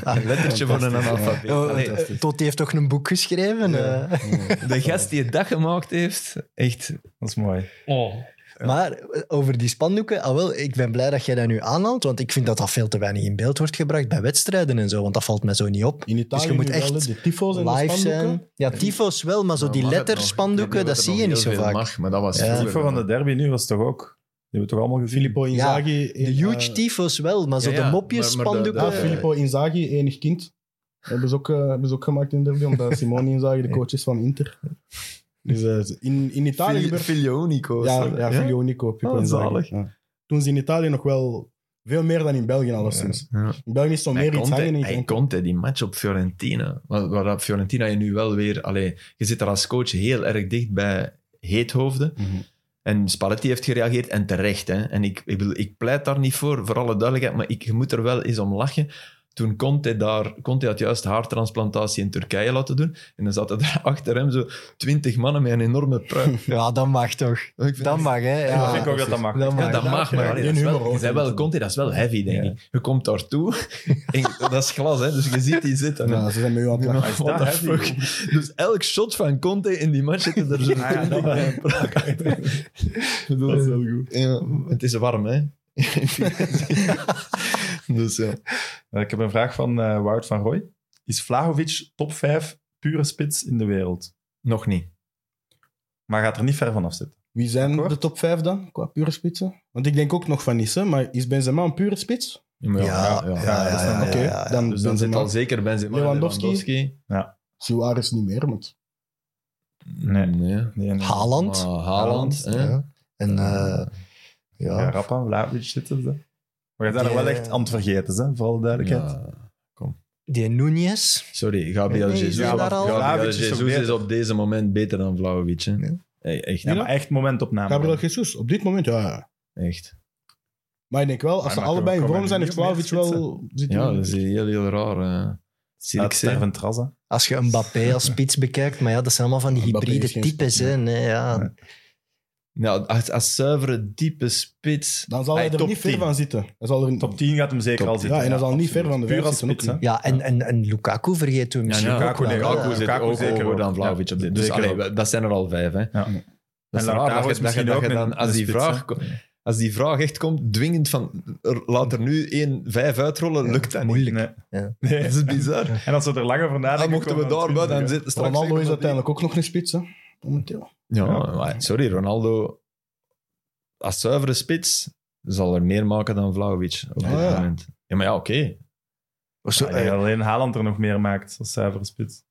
C: Een lettertje voor een
D: Fantastisch, ja.
C: analfabeta.
E: Oh,
C: Allee,
E: eh, Tot die heeft toch een boek geschreven?
D: Ja.
E: eh.
C: de gast die het dag gemaakt heeft, echt
B: Dat is mooi.
F: Oh.
E: <laughs> Maar eh, over die spandoeken, ah wel, ik ben blij dat jij dat nu aanhaalt, want ik vind dat dat veel te weinig in beeld wordt gebracht bij wedstrijden en zo, want dat valt mij zo niet op.
D: In Italië
E: Dus je moet
D: nu
E: echt
D: wel, hè, de tyfo's en de
E: Live
D: spandoeken.
E: zijn. Ja, tyfo's wel, maar zo die
C: Ja, mag het nog? Ik
E: letterspandoeken,
C: weet
E: dat
C: het
E: zie
C: nog
E: je niet
C: heel
E: zo
C: veel
E: vaak.
C: Mag, maar dat was
E: Ja.
B: De
C: vroeger
B: Tifo van de
C: wel.
B: derby nu was toch ook... Die hebben we toch allemaal gezien?
D: Filippo Inzaghi.
E: De huge tyfo's wel, maar zo
C: Ja, ja,
E: eh, de
C: maar- maar de-
E: mopjes-spandoeken...
D: Ja, Filippo Inzaghi, enig kind. Hebben ze ook, eh, hebben ze ook gemaakt in de derby, omdat Simone Inzaghi de coach is van Inter. Dus eh, in, in Italië
C: Fil-
D: gebeurt...
C: Filionico.
D: Ja,
C: zo.
D: ja, Filionico, Filippo
C: Oh, zalig.
D: Inzaghi. Ja. Toen ze in Italië nog wel veel meer dan in België alleszins. In België is zo
C: Hij
D: meer iets
C: Conte-
D: hangen in
C: hij
D: geen-
C: Conte, die match op Fiorentina. Waar, waar dat Fiorentina je nu wel weer... Allee, je zit daar als coach heel erg dicht bij Heethoofden.
D: Mhm.
C: En Spalletti heeft gereageerd, en terecht. Hè. En ik, ik, bedoel, ik pleit daar niet voor, voor alle duidelijkheid, maar ik, je moet er wel eens om lachen. Toen Conte daar, Conte had juist haartransplantatie in Turkije laten doen. En dan zaten er <laughs> achter hem zo twintig mannen met een enorme pruik.
E: Ja, dat mag toch.
C: Ik vind
E: Dat mag, hè.
B: Ja,
E: Ja,
B: ik ook dat dat mag.
E: dat
C: Ja, dat mag, maar allee, dat is wel, je zei wel, Conte, dat is wel heavy, denk
B: Ja.
C: ik. Je komt daartoe, en dat is glas, hè, dus je ziet die zitten. <laughs>
D: Ja, ze zijn met u aan het lachen.
B: Maar is
C: What
B: dat
C: the
B: heavy,
C: fuck?
B: joh?
C: Dus elk shot van Conte in die match zitten er zo'n
B: Ah, ja, dat
C: 20 bij een prak achter. <laughs> Dat is wel goed. het is warm, hè? dus ja.
B: Eh, Ik heb een vraag van eh, Wout van Roy. Is Vlahovic top 5 pure spits in de wereld?
C: Nog niet.
B: Maar gaat er niet ver vanaf zitten.
D: Wie zijn
B: Akkoord.
D: de top 5 dan, qua pure spitsen? Want ik denk ook nog van Nice, maar is Benzema een pure spits?
C: Ja,
E: ja, ja, ja,
D: dat is dan-
E: ja,
D: Oké,
E: ja, ja.
D: dan
C: Dus dan zit
D: Benzema.
C: al zeker Benzema en
D: Lewandowski?
C: Lewandowski.
D: Suarez niet meer, want
B: Nee.
C: nee.
B: Nee, nee.
E: Haaland.
C: Maar Haaland. hè?
E: Ja. En eh, ja.
B: Ja, rap aan Vlahovic zitten ze. Maar je bent er
E: Die,
B: wel echt aan het vergeten, hè? vooral de duidelijkheid.
C: eh, Ja.
E: die Nunez.
C: Sorry, Gabriel
E: Nee, nee,
C: Jesus.
E: is hij daar al?
C: Gabriel
B: Vlahovic is
C: Jesus
B: ook
C: is,
B: beter.
C: op deze moment beter dan Vlahovic. Hè?
E: Nee.
C: Hey, echt,
B: Ja, maar echt momentopname.
D: Gabriel Jesus, op dit moment, ja, ja.
C: echt.
D: Maar ik denk wel,
B: Maar
D: als ze
B: dan
D: allebei in
B: komen
D: vorm
B: we
D: zijn,
B: nu
D: heeft
B: op
D: Vlahovic wel... Zit
C: Ja,
D: in-
C: dat is heel, heel raar. eh. hè.
B: Uit het
C: Zirkzee.
B: sterven tras, hè.
E: Als je Mbappé als spits bekijkt, maar ja, dat zijn allemaal van die
D: Mbappé is
E: hybride
D: geen
E: types. Hè. Nee,
B: Nee.
E: ja.
C: Nou, als, als zuivere, diepe spits.
D: Dan zal
B: Hey,
D: hij er
B: top
D: niet ver
B: 10.
D: van zitten. Hij zal er
B: Top 10 gaat hem zeker
C: Top
B: al
C: 10.
B: zitten.
D: Ja, en dat is al niet ver van de
B: Puur
D: vijf
B: als
D: zitten ook
B: spits, hè.
D: niet.
E: ja en, en, en Lukaku vergeten we misschien
B: Lukaku,
E: ook wel.
B: nee,
E: hè.
B: Lukaku
E: ja.
B: zit- ook hoger dan Vlahovic
C: op
B: dit.
C: Dus
B: Zeker
C: allee,
B: ook.
C: we- dat zijn er al vijf. Hè. Dat is
B: En
C: raar dat
B: Lautaro
C: je,
B: is
C: dat je,
B: misschien
C: dat je
B: ook
C: dan,
B: een
C: als, die
B: spits,
C: vraag, ko- als die vraag echt komt, dwingend van er- laat er nu één vijf uitrollen, lukt dat niet.
E: Moeilijk.
B: Nee.
E: Ja.
B: Nee.
C: Dat is bizar.
B: En als we er langer voor nadenken...
C: Dan mochten we
B: komen
C: daar wel, dan
B: natuurlijk,
C: zit straks...
D: Ronaldo is
C: zeggen we
D: uiteindelijk ook nog een spits, hè. Momenteel.
C: die- Ja,
B: Ja.
C: maar sorry, Ronaldo als zuivere spits zal er meer maken dan Vlahovic op dit
D: Ah, ja.
C: moment. Ja, maar ja, oké.
E: Of
B: hè.
E: zo,
B: Ah, Ja,
E: eh,
B: ja, alleen Haaland er nog meer maakt als zuivere spits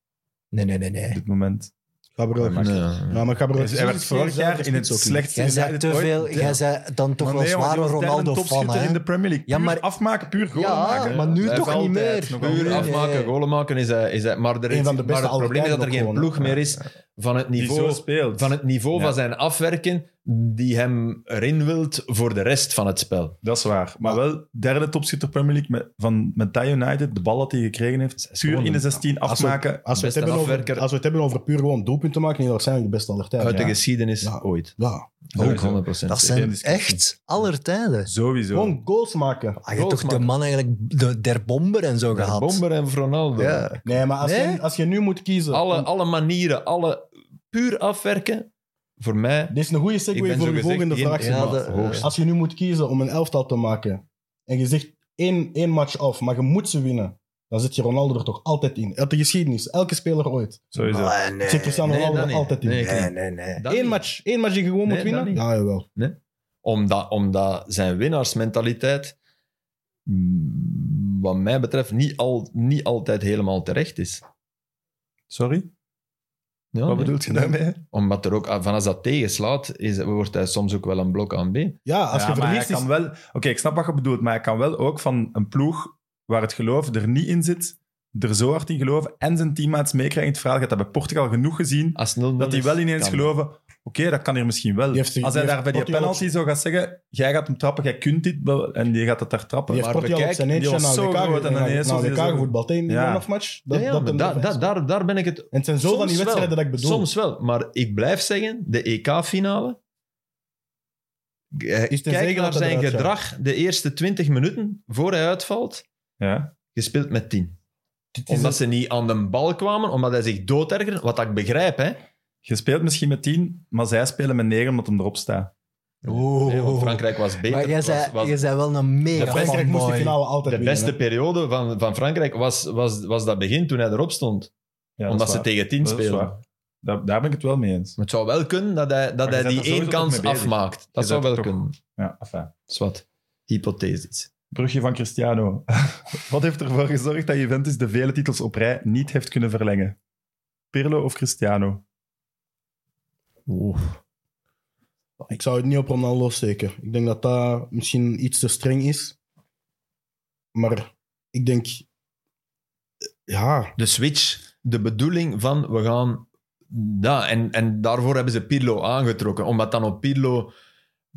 E: Nee, nee, nee. nee.
B: op dit moment.
D: Gabriel
C: Nee.
D: Jesus. Ja, maar Gabriel
B: Hij
D: Jesus
B: werd
D: is
B: vorig
D: geen
B: jaar in het
D: zelfspits ook niet.
B: slechtste...
E: Jij zei te veel.
B: ooit-
E: Jij zei dan toch
B: Maar
E: wel
B: nee, want
E: zware
B: die was derde
E: Ronaldo-fan.
B: topschutter
E: hè.
B: in de Premier League.
E: Ja,
B: Puur
E: maar-
B: afmaken, puur goal
E: Ja,
B: maken.
E: maar nu
B: Blijft
E: toch niet
B: altijd
E: meer.
B: nog wel
C: Puur
B: mee.
E: Nee,
C: afmaken,
E: nee.
C: goalen maken is, hij- is hij- maar er is
D: Een van de
C: maar
D: beste
C: het probleem is dat er
D: aller
C: geen
D: tijden ook
C: ploeg meer is van het
B: Die zo
C: niveau
B: speelt.
C: van het niveau
B: Ja.
C: van zijn afwerken die hem erin wilt voor de rest van het spel.
B: Dat is waar.
E: Ah.
B: Maar wel derde topschutter Premier League met, van, met Die United. De bal dat hij gekregen heeft.
C: is
B: Puur
C: gewoon
B: in de
C: een-
B: 16
D: Als we-
B: afmaken.
D: Als we, het
C: Beste
D: hebben over,
C: afwerker.
D: als we het hebben over puur gewoon doelpunten maken, nee, dat zijn de beste aller tijden.
C: Uit de
D: Ja.
C: geschiedenis
D: Ja.
C: ooit.
D: Ja.
C: Ook 100%.
B: Sowieso.
E: Dat
B: Geen
E: zijn
B: discussie.
E: echt aller tijden.
B: Sowieso.
D: Gewoon goals maken.
E: Ah, je hebt
C: Goals
E: toch de man eigenlijk de, der bomber en zo gehad.
C: Bomber en Ronaldo.
E: Ja.
D: Nee, maar als,
E: Nee?
D: Je, als je nu moet kiezen...
C: Alle, alle manieren, alle puur afwerken, voor mij...
D: Dit is een goede
C: Ik
D: segue
C: ben
D: voor
C: zo
D: de volgende
C: gezegd
D: vraag.
C: één-
D: Sebas.
E: Ja, de-
C: hoogst.
D: Als je nu moet kiezen om een elftal te maken en je zegt één, één match af, maar je moet ze winnen, dan zit je Ronaldo er toch altijd in. Uit de geschiedenis, elke speler ooit.
B: Sowieso.
E: Ah, nee.
D: Dus, eh, Zit Cristiano
C: Nee,
D: Ronaldo
C: dat
D: er
C: niet.
D: altijd in.
C: Nee,
E: Nee, nee, nee.
C: Dat
D: Eén
C: niet.
D: match, één match die je gewoon
C: Nee, dat
D: moet winnen?
C: niet.
D: Ja, jawel.
C: Omdat, omdat zijn winnaarsmentaliteit, mm, wat mij betreft, niet, al, niet altijd helemaal terecht is.
B: Sorry?
E: Oh,
C: Ja,
B: Wat
C: nee.
B: bedoelt je daarmee?
C: Omdat er ook, van als dat tegenslaat, is, wordt hij soms ook wel een blok aan B.
D: Ja, als
B: Ja,
D: je
B: maar hij
D: verliest is...
B: kan wel... Oké, ik snap wat je bedoelt, maar hij kan wel ook van een ploeg waar het geloof er niet in zit, er zo hard in geloven en zijn teammates meekrijgen in het verhaal. Je hebt dat bij Portugal genoeg gezien,
C: Als 0
B: dat die wel ineens geloven... Oké, dat kan hier misschien wel.
D: Die heeft- die
B: Als hij
D: heeft
B: daar bij die
D: Portugal op-
B: penalty zo gaat zeggen, jij gaat hem trappen, jij kunt dit, wel," en die gaat dat daar trappen.
D: Die heeft
C: Maar
D: Portugal op
C: bekijk,
D: zijn
B: die
D: eentje
B: was
D: naar
B: zo groot
D: elkaar
B: en ineens was hij zo-
D: voetbal in die
B: Ja.
D: afmatch.
C: Ja,
D: Dat,
C: ja,
D: dat
C: maar
D: een
C: daar-
D: defensie.
C: daar- daar, daar ben ik het
D: En het zijn zo van die
C: Soms wel.
D: wedstrijden dat ik bedoel.
C: Soms wel, maar ik blijf zeggen, de E EK-finale...
D: Is te
C: Kijk
D: zeggen
C: naar
D: dat hij
C: zijn
D: eruit
C: gedrag de eerste 20 minuten voor hij uitvalt.
B: Ja.
C: Je speelt met 10.
D: Dit is
C: Omdat
D: het-
C: ze niet aan de bal kwamen, omdat hij zich doodergerde. Wat dat ik begrijp, hè.
B: Je speelt misschien met 10, maar zij spelen met 9 omdat hem erop staat.
E: Oeh.
C: Nee, want Frankrijk was beter.
E: Maar jij
C: was-
E: zei,
C: was-
E: jij zei wel een mega
C: De
D: Frankrijk moest de
E: fanboy.
D: finale altijd
C: de
D: winnen,
C: beste
D: hè.
C: periode van, van Frankrijk was, was, was dat begin toen hij erop stond.
B: Ja, dat
C: omdat
B: is
C: ze
B: waar.
C: tegen 10
B: Dat is
C: speelden.
B: waar.
C: Maar
B: Daar, daar ben ik het wel mee eens.
C: het zou wel kunnen dat hij, dat
B: Maar
C: hij
B: je bent
C: die
B: er sowieso
C: één
B: toch mee
C: kans
B: bezig.
C: afmaakt. Dat
B: Je
C: zou wel
B: bent er toch-
C: kunnen.
B: Ja, enfin.
C: Zwat. Hypothetisch.
B: Brugje van Cristiano. <laughs> Wat heeft ervoor gezorgd dat Juventus de vele titels op rij niet heeft kunnen verlengen? Pirlo of Cristiano?
D: Ik zou het niet op Ronaldo steken. Ik denk dat dat misschien iets te streng is. Maar ik denk... eh, Ja,
C: De switch, de bedoeling van we gaan. Ja, en, en daarvoor hebben ze Pirlo aangetrokken. Om dat dan op Pirlo,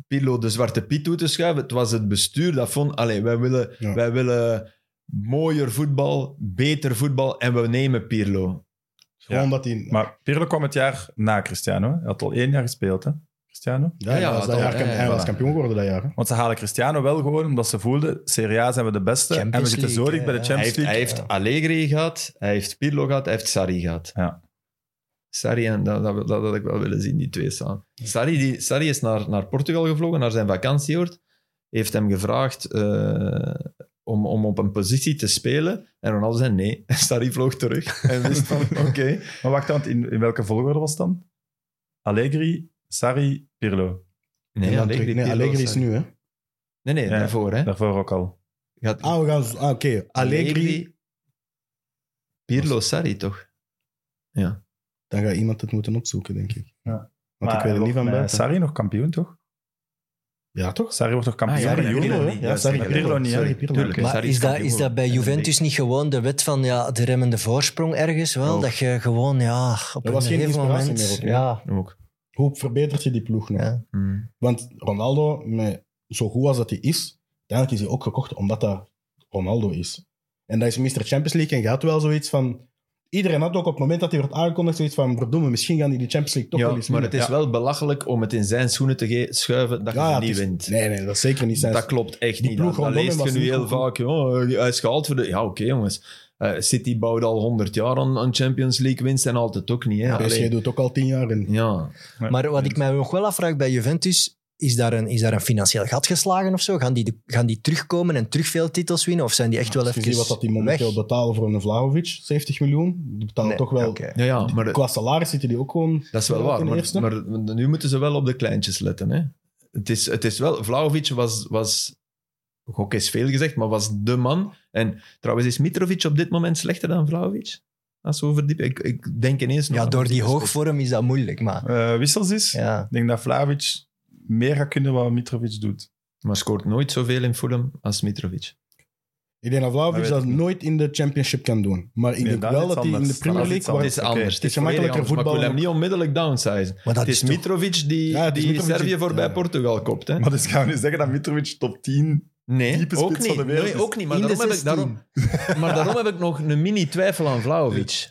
C: Pirlo de zwarte piet toe te schuiven. Het was het bestuur dat vond: allee, wij willen,
D: Ja.
C: wij willen mooier voetbal, beter voetbal en we nemen Pirlo.
D: Gewoon
B: Ja.
D: dat hij...
B: Maar Pirlo kwam het jaar na Cristiano. hè. Hij had al één jaar gespeeld, hè? Cristiano.
C: Ja,
D: Ja, ja,
C: ja,
D: hij was dat
C: dat-
D: jaar
C: ja,
D: kamp-
C: ja,
D: hij was
C: voilà.
D: kampioen geworden dat jaar. hè.
B: Want ze halen Cristiano wel gewoon omdat ze voelden, Serie A zijn we de beste en we
E: Champions
B: zitten zo
E: League,
B: dicht bij de
E: ja.
B: Champions
C: Hij heeft,
B: League.
C: hij heeft Allegri gehad, hij heeft Pirlo gehad, hij heeft Sarri gehad.
B: Ja.
C: Sarri, en dat, dat, dat, dat had ik wel willen zien, die twee samen. Sarri, die, Sarri is naar, naar Portugal gevlogen, naar zijn vakantieoord. Heeft hem gevraagd eh, om, om op een positie te spelen. En Ronaldo zei nee. <laughs> En Sarri vloog terug. En wist van, oké.
B: <laughs> Maar wacht, want in, in welke volgorde was het dan? Allegri, Sarri, Pirlo.
D: En
C: Nee,
D: dan
C: Allegri,
D: terug- nee,
C: Pirlo,
D: Allegri is
C: Sarri.
D: nu, hè.
C: Nee, nee,
B: Ja.
C: daarvoor. Hè.
B: Daarvoor ook al.
C: Gaat-
D: Ah, we gaan... zo- Ah, oké. Allegri.
C: Pirlo, Sarri toch?
D: Dan gaat iemand het moeten opzoeken, denk ik.
B: Ja.
D: Want ik weet het niet van
B: bij.
D: buiten.
B: Eh, Sarri nog kampioen, toch?
D: Ja, toch?
B: Sarri wordt toch kampioen?
C: Ah, ja,
B: bij
C: Pirlo,
B: Juve?
C: hè? Ja, Sarri,
B: Pirlo,
D: Pirlo.
B: niet, hè?
D: Sorry, Pirlo.
B: Tuurlijk.
C: Oké.
E: Maar
C: Sarri
E: is
C: is
E: dat,
C: kampioen
E: is dat bij
C: geworden.
E: Juventus niet gewoon de wet van ja, de remmende voorsprong ergens wel?
C: Ook.
E: Dat je gewoon, ja, op
D: Oh. Er
E: een
D: was geen
E: gegeven
D: inspiratie
E: moment...
D: meer op, hè?
E: ja,
C: Ook.
D: Hoe verbetert je die ploeg nog?
E: Ja.
C: Hmm.
D: Want Ronaldo, met, zo goed als dat hij is, uiteindelijk is hij ook gekocht omdat dat Ronaldo is. En dat is Mr. Champions League en je had wel zoiets van... Iedereen had ook op het moment dat hij werd aangekondigd zoiets van verdomme, misschien gaan die die Champions League toch
C: Ja,
D: wel eens
C: maar het
D: winnen.
C: is wel belachelijk om het in zijn schoenen te ge- schuiven dat je
D: Ja,
C: het
D: ja,
C: niet
D: het is-
C: wint.
D: Nee, nee, dat is zeker niet zijn...
C: Dat klopt echt
D: Die
C: niet.
D: ploeg
C: Dat, dat
D: rondom hem
C: leest je
D: was
C: nu
D: niet
C: heel
D: goed.
C: vaak. Oh, hij is gehaald voor de... Ja, oké jongens. Eh, City bouwde al 100 jaar aan, aan Champions League winst en altijd ook niet. Hè?
D: PSG
C: Allee.
D: doet ook al tien jaar en
C: ja.
E: Maar wat ik mij nog wel afvraag bij Juventus, is daar een, is daar een financieel gat geslagen of zo? Gaan die, de- gaan die terugkomen en terug veel titels winnen? Of zijn die echt wel
D: Als dus je
E: even
D: ziet wat dat die momenteel
E: weg?
D: betalen voor een Vlahovic, 70 miljoen. Die betalen
E: Nee,
D: toch wel...
E: oké.
C: Ja, ja, maar
D: Qua salaris zitten die ook gewoon...
C: dat is wel
D: in
C: waar.
D: de
C: Maar,
D: eerste.
C: maar nu moeten ze wel op de kleintjes letten. Hè? Het, is, het is wel... Vlaovic was... was Gok is veel gezegd, maar was de man. En trouwens, is Mitrovic op dit moment slechter dan Vlaovic? Als we verdiepen. Ik, ik denk ineens... nog
E: Ja,
C: aan
E: door die
C: Francisco
E: hoogvorm is dat moeilijk, maar...
B: Eh, wissels is.
E: Ja.
B: Ik denk dat Vlavic meer gaat kunnen wat Mitrovic doet. <laughs>
C: Maar scoort nooit zoveel in Fulham als Mitrovic.
D: Ik denk dat
B: Dat
D: Vlahovic
B: weet
D: dat
B: ik niet.
D: nooit in de championship kan doen. Maar ik
B: Nee,
D: denk
B: dat is
D: wel
B: iets
D: dat hij in
B: anders.
D: de Premier
B: Dat is
D: League...
B: iets
D: waar-
B: anders. Oké.
C: Het is anders.
B: Het
C: Het is
D: is gemakkelijker
C: volledig anders, Maar ik wil hem niet onmiddellijk downsizen.
E: Maar dat
C: Het is
E: is toch-
C: Mitrovic die,
D: Ja, het is
C: die
D: Mitrovic.
C: Servië voorbij
D: Ja.
C: Portugal kopt. Hè?
B: Maar dus gaan we nu zeggen dat Mitrovic top 10...
C: Nee,
B: diepe
C: ook
B: spits
C: niet.
B: van de wereld
C: nee,
B: is.
C: ook niet. Maar
E: In de
C: daarom, heb ik, daarom, maar daarom heb ik nog een mini twijfel aan Vlaovic.
E: <laughs>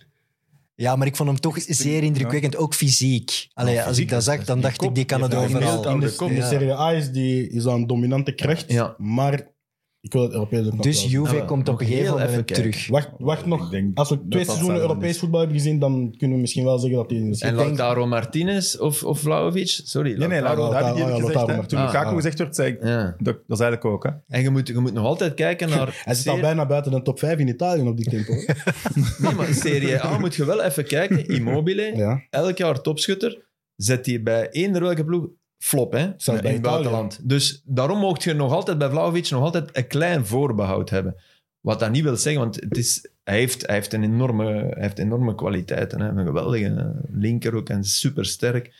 E: Ja, maar ik vond hem toch zeer indrukwekkend, ook fysiek. Allee, als ik dat zag, dan dacht ik, die kan het
D: in de-
E: overal.
D: in de,
E: Ja.
D: in de Serie A is, die, is dat een dominante kracht.
C: Ja.
D: Maar ik wil het Europees ook nog
E: Dus
D: wel zien.
E: Juve
C: Ja,
E: komt
C: nog
E: op een gegeven
C: heel even
E: moment
C: kijken.
E: terug.
D: Wacht, wacht
B: Ik
D: nog.
B: denk
D: Als we
B: dat
D: twee
B: dat
D: seizoenen
B: samen
D: Europees
B: is.
D: voetbal hebben gezien, dan kunnen we misschien wel zeggen dat hij... in de
C: En Lautaro Martinez of, of Vlaovic? Sorry,
B: Nee, nee, Lauro,
D: Lautaro,
B: dat heb ik
D: Lautaro,
B: eerlijk gezegd.
D: Lautaro,
B: hè. Toen
C: ah,
B: Lukaku
D: ah.
B: gezegd werd, zei ik...
C: Ja.
B: Dat, dat is eigenlijk ook, hè.
C: En je moet, je moet nog altijd kijken naar...
D: Hij zit al bijna buiten de top 5 in Italië op die tempo. hè.
E: <laughs>
C: Nee, maar Serie A moet je wel even kijken. Immobile,
D: ja.
C: elk jaar topschutter, zet hij bij eender welke ploeg flop, hè?
D: Zelfs bij
C: in het
D: Italië.
C: buitenland. Dus daarom mocht je nog altijd bij Vlaovic nog altijd een klein voorbehoud hebben. Wat dat niet wil zeggen, want het is, hij, heeft, hij, heeft een enorme, hij heeft enorme kwaliteiten. Hè? Een geweldige linker ook en supersterk.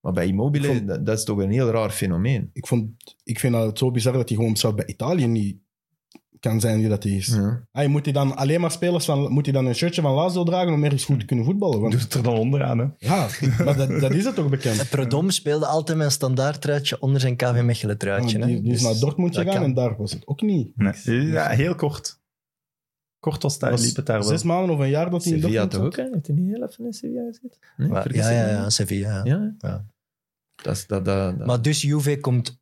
C: Maar bij Immobile,
D: Ik vond-
C: dat, dat is toch een heel raar fenomeen.
D: Ik, vond, ik vind dat het zo bizar dat hij gewoon zelf bij Italië niet kan zijn wie dat hij is.
C: Ja.
D: Hij moet hij dan alleen maar spelers van... Moet hij dan een shirtje van Lazio dragen om ergens goed te kunnen voetballen? Want,
B: Doet het er dan onderaan, hè.
D: ja, maar dat, dat is het toch
E: <laughs>
D: bekend?
E: Prodom speelde altijd met een standaard truitje onder zijn KV Mechelen truitje. hè.
D: die, die is
E: Dus
D: naar Dortmund
E: dat
D: gegaan
E: kan.
D: en daar was het ook niet.
B: Ja, heel kort. Kort was het,
D: Was
B: liep het daar wel.
D: Zes maanden of een jaar dat hij in
C: Sevilla
D: Dortmund
C: toch ook,
D: zat.
C: hè? Heeft hij niet heel even in Sevilla gezeten? Nee,
E: Maar-
C: vergis
E: ja,
C: ik
E: ja,
C: me
E: ja,
C: niet.
E: Sevilla. ja.
C: Ja, hè?
E: Ja.
C: Dat is... Dat, dat, dat.
E: Maar dus Juve komt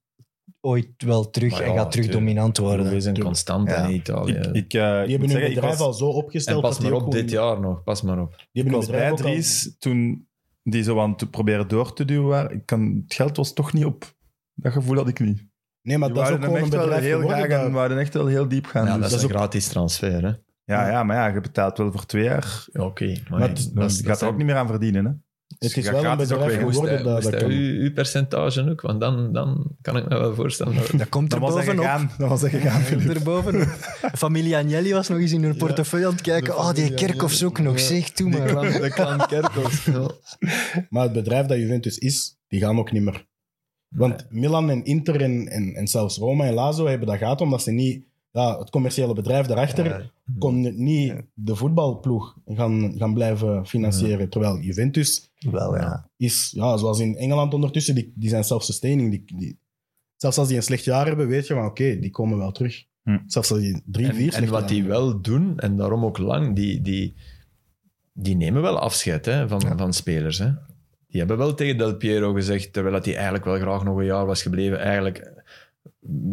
E: ooit wel terug
C: Maar
E: en
C: ja,
E: gaat terug
C: tuurlijk.
E: dominant worden.
C: We zijn
D: Tuurlijk.
C: constant
E: Ja.
C: in Italië.
B: Ik, ik, eh, ik
D: Die hebben
B: moet
D: hun
B: zeggen, ik
D: bedrijf
B: was-
D: al zo opgesteld.
C: en pas
D: dat die
C: maar
D: ook
C: op,
D: gewoon-
C: dit jaar nog. Pas maar op.
D: Die
B: Ik
D: hebben
B: was
D: hun
B: bij
D: bedrijf ook al-
B: Dries toen die zo aan te proberen door te duwen waren. Ik kan, het geld was toch niet op. Dat gevoel had ik niet.
D: Nee, maar
B: Die
D: dat is ook
B: wouden hem
D: gewoon een
B: echt wel
D: bedrijf
B: heel graag
D: geworden.
B: en
D: daar.
B: wouden echt wel heel diep gaan.
C: Ja,
B: dus-
C: dat is
D: dat
C: een
D: is
C: gratis transfer, hè.
B: ja, ja, maar ja, je betaalt wel voor twee jaar.
C: Ja, Oké.
D: Maar
C: Maar
D: het is-
C: dat
B: Dan
C: is-
B: gaat
C: dat
B: er ook niet meer aan verdienen. Hè?
D: Het is
B: Ja,
D: wel een
B: gratis ook
D: bedrijf
B: weer.
C: Moest hij-
D: geworden. dat-
C: moest
D: dat
C: hij
D: kan.
C: uw, uw percentage ook, want dan, dan kan ik me wel voorstellen. dat-
E: Dat komt er
B: Dan was hij
E: bovenop. <laughs>
B: gegaan. Dan was hij gegaan,
E: Komt
B: Filip.
E: er bovenop. Familie Agnelli was nog eens in hun portefeuille aan het kijken. Oh, die Kerkhoffs ook nog. Zeg, toe maar.
C: De Klan Kerkhoff.
B: <laughs>
D: Maar het bedrijf dat Juventus is, die gaan ook niet meer. Want Milan en Inter en, en, en zelfs Roma en Lazio hebben dat gehad, omdat ze niet... Ja, het commerciële bedrijf daarachter kon niet de voetbalploeg gaan, gaan blijven financieren. Terwijl Juventus
E: Wel, ja.
D: is, ja, zoals in Engeland ondertussen, die, die zijn zelfsustaining. Die, die, zelfs als die een slecht jaar hebben, weet je van oké, die komen wel terug.
B: Hm.
D: Zelfs als die drie,
C: En,
D: vier
C: en
D: slechte
C: wat die
D: dagen.
C: wel doen, en daarom ook lang, die, die, die nemen wel afscheid hè, van, van spelers. Hè. Die hebben wel tegen Del Piero gezegd, terwijl dat hij eigenlijk wel graag nog een jaar was gebleven, eigenlijk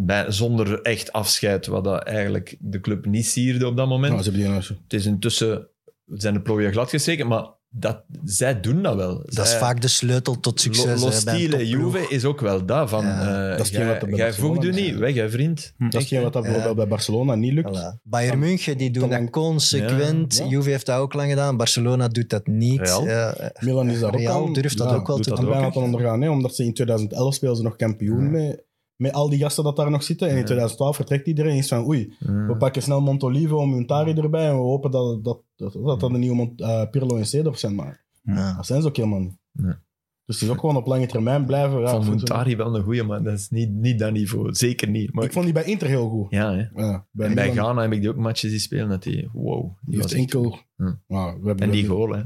C: bij- zonder echt afscheid, wat dat eigenlijk de club niet sierde op dat moment.
D: Nou, ze hebben die jongens.
C: Het is intussen, zijn de plooien gladgestreken, maar dat, zij doen dat wel.
E: Dat
B: Eh,
E: is vaak de sleutel tot succes.
C: Los
E: hè, bij een
C: Stile
E: topploeg.
C: Juve is ook wel dat van,
E: Ja,
C: eh,
D: dat is
C: jij-
D: hetgeen wat er bij
C: jij
D: Barcelona
C: voegt u
D: is.
C: niet weg hè vriend.
D: Dat is geen wat dat
E: Ja.
D: bijvoorbeeld bij Barcelona niet lukt.
E: eh, Voilà. Bayern München die doen
D: Kan
E: dat
D: lang-
E: consequent.
D: Ja, ja.
E: Juve heeft dat ook lang gedaan. Barcelona doet dat niet. Eh,
C: Real.
E: Ja,
D: Milan is daar ook
E: Real
D: aan-
E: durft dat
D: ja,
E: ook wel
D: doet
E: te
D: dat
E: doen.
D: bijna aan het ondergaan, hè, omdat ze in 2011 speelden ze nog kampioen mee. Met al die gasten dat daar nog zitten. En in 2012 vertrekt iedereen eens van oei,
C: Mm.
D: we
C: Hmm.
D: pakken snel Montolivo en Muntari erbij en we hopen dat dat, dat, dat, dat de nieuwe Mont- eh, Pirlo en Cedorf zijn. Maar
E: Ja.
D: dat zijn ze ook helemaal niet.
C: Nee.
D: Dus het is ook gewoon op lange termijn blijven. Ja, eh,
C: van
D: ik vond-
C: Montari wel een goeie, maar dat is niet, niet dat niveau. Zeker niet. Maar
D: Ik vond die bij Inter heel goed.
C: ja, hè.
D: Ja, bij
C: En bij
D: Milan,
C: Ghana heb ik die ook matches die spelen. Dat die, wow. Die
D: die heeft
C: was echt-
D: enkel...
C: Ja.
D: Ja, we hebben,
C: En
D: we
C: die
D: hebben-
C: goal, hè.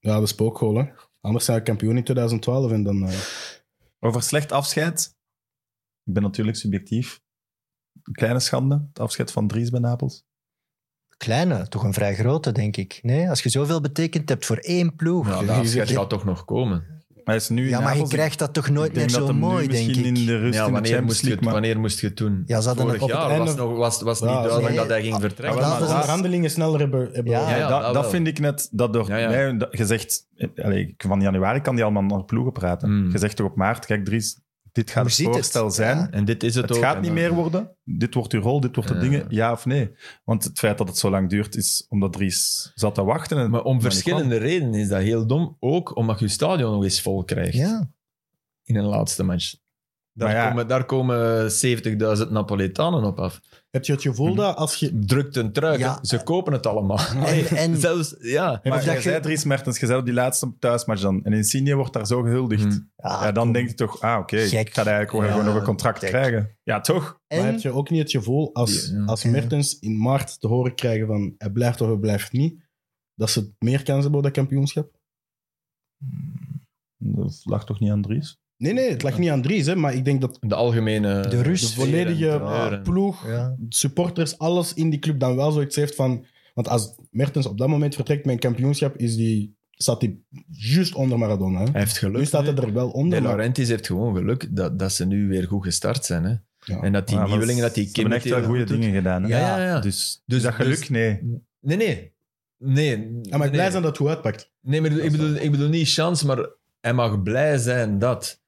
D: Ja, de spookgoal. hè. Anders zijn we kampioen in 2012 en dan... eh,
B: Over slecht afscheid. Ik ben natuurlijk subjectief. Een kleine schande. Het afscheid van Dries bij Napels.
E: Kleine, toch een vrij grote, denk ik. Nee, als je zoveel betekend hebt voor één ploeg.
C: Ja,
E: Ja,
C: dat
D: je
C: afscheid
D: zegt-
C: gaat toch nog komen.
B: Maar hij is nu in
E: maar je
B: Napels.
E: krijgt dat toch
B: Ik
E: nooit
B: denk
E: meer
B: dat
E: zo
B: hem nu
E: mooi, denk
B: misschien
E: ik.
B: in de rust
C: Ja,
B: in de
C: wanneer
B: Champions
C: moest, je
B: League.
C: het,
B: maar-
C: wanneer moest je het doen?
E: Ja, ze hadden
C: Vorig
E: het op
C: jaar
D: het einde-
C: was, nog, was, was
D: Ja,
C: niet duidelijk
E: nee.
C: dat hij ging vertrekken.
E: Ah,
D: Ja,
E: maar
D: dat
E: dat
D: de
E: is-
D: handelingen sneller hebben, hebben
E: Ja.
B: Ja,
C: Ja,
B: dat,
C: dat
B: dat
C: wel.
B: vind ik net, dat door
C: Ja, ja.
B: mij, dat, gezegd, allee, van januari kan die allemaal naar ploegen praten.
C: Mm.
B: Je zegt toch op maart, kijk Dries, dit gaat
E: Hoe
B: het
E: zit het?
B: voorstel zijn.
E: Ja.
C: en dit is het,
B: Het
C: ook.
B: gaat
C: En
B: niet
C: dan-
B: meer worden. Dit wordt uw rol, dit wordt de
C: Ja.
B: dingen, ja of nee. Want het feit dat het zo lang duurt, is omdat Dries zat te wachten. En,
C: Maar om
B: niet
C: verschillende redenen is dat heel dom. Ook omdat je stadion nog eens vol krijgt
E: Ja,
C: in een laatste match. Daar,
B: Maar ja.
C: komen, daar komen 70.000 Napoletanen op af.
D: Heb je het gevoel
C: Hmm.
D: dat als je...
C: Drukt een truik.
E: Ja.
C: hè. Ze kopen het allemaal. <laughs>
E: En- en-
C: Zelfs, ja.
B: maar
E: of dat
B: jij
E: je-
B: zei Dries Mertens, je zei op die laatste thuismatch dan. En Insigne wordt daar zo gehuldigd.
C: Mm.
E: ja,
B: ja, dan
E: kom.
B: denk je toch, ah oké, ik ga
E: Hmm. Gek.
B: eigenlijk gewoon,
C: Ja,
B: gewoon nog een contract
E: gek.
B: krijgen. Ja, toch?
E: En-
D: Maar heb je ook niet het gevoel, als,
C: Ja, ja.
D: als Mertens in maart te horen krijgen van hij blijft of hij blijft niet, dat ze meer kans hebben op dat kampioenschap?
B: Dat lag toch niet aan Dries?
D: Nee, nee, het lag niet aan Dries, hè, maar ik denk dat
C: De algemene...
E: De rust.
D: de
E: Dus
D: volledige
C: Trainer.
D: ploeg,
E: Ja.
D: supporters, alles in die club dan wel zoiets heeft van... Want als Mertens op dat moment vertrekt met een kampioenschap, is die, staat hij juist onder Maradona. Hè?
C: Hij heeft geluk.
D: Nu staat hij er wel onder.
C: De
D: maar-
C: Laurentiis heeft gewoon geluk dat, dat ze nu weer goed gestart zijn. Hè?
D: Ja.
C: En dat die
B: Ja, maar
C: nieuwelingen, dat die
B: Ze hebben
C: kinderen...
B: echt wel goede dingen gedaan. hè?
C: Ja, ja, ja.
B: Dus,
C: Dus-
B: dat geluk,
C: dus-
B: nee.
C: Nee, nee. Nee,
D: Ja, Ah, maar ik
C: nee.
D: blij zijn dat het goed uitpakt.
C: Nee, maar ik bedoel, ik bedoel niet chance, maar hij mag blij zijn dat,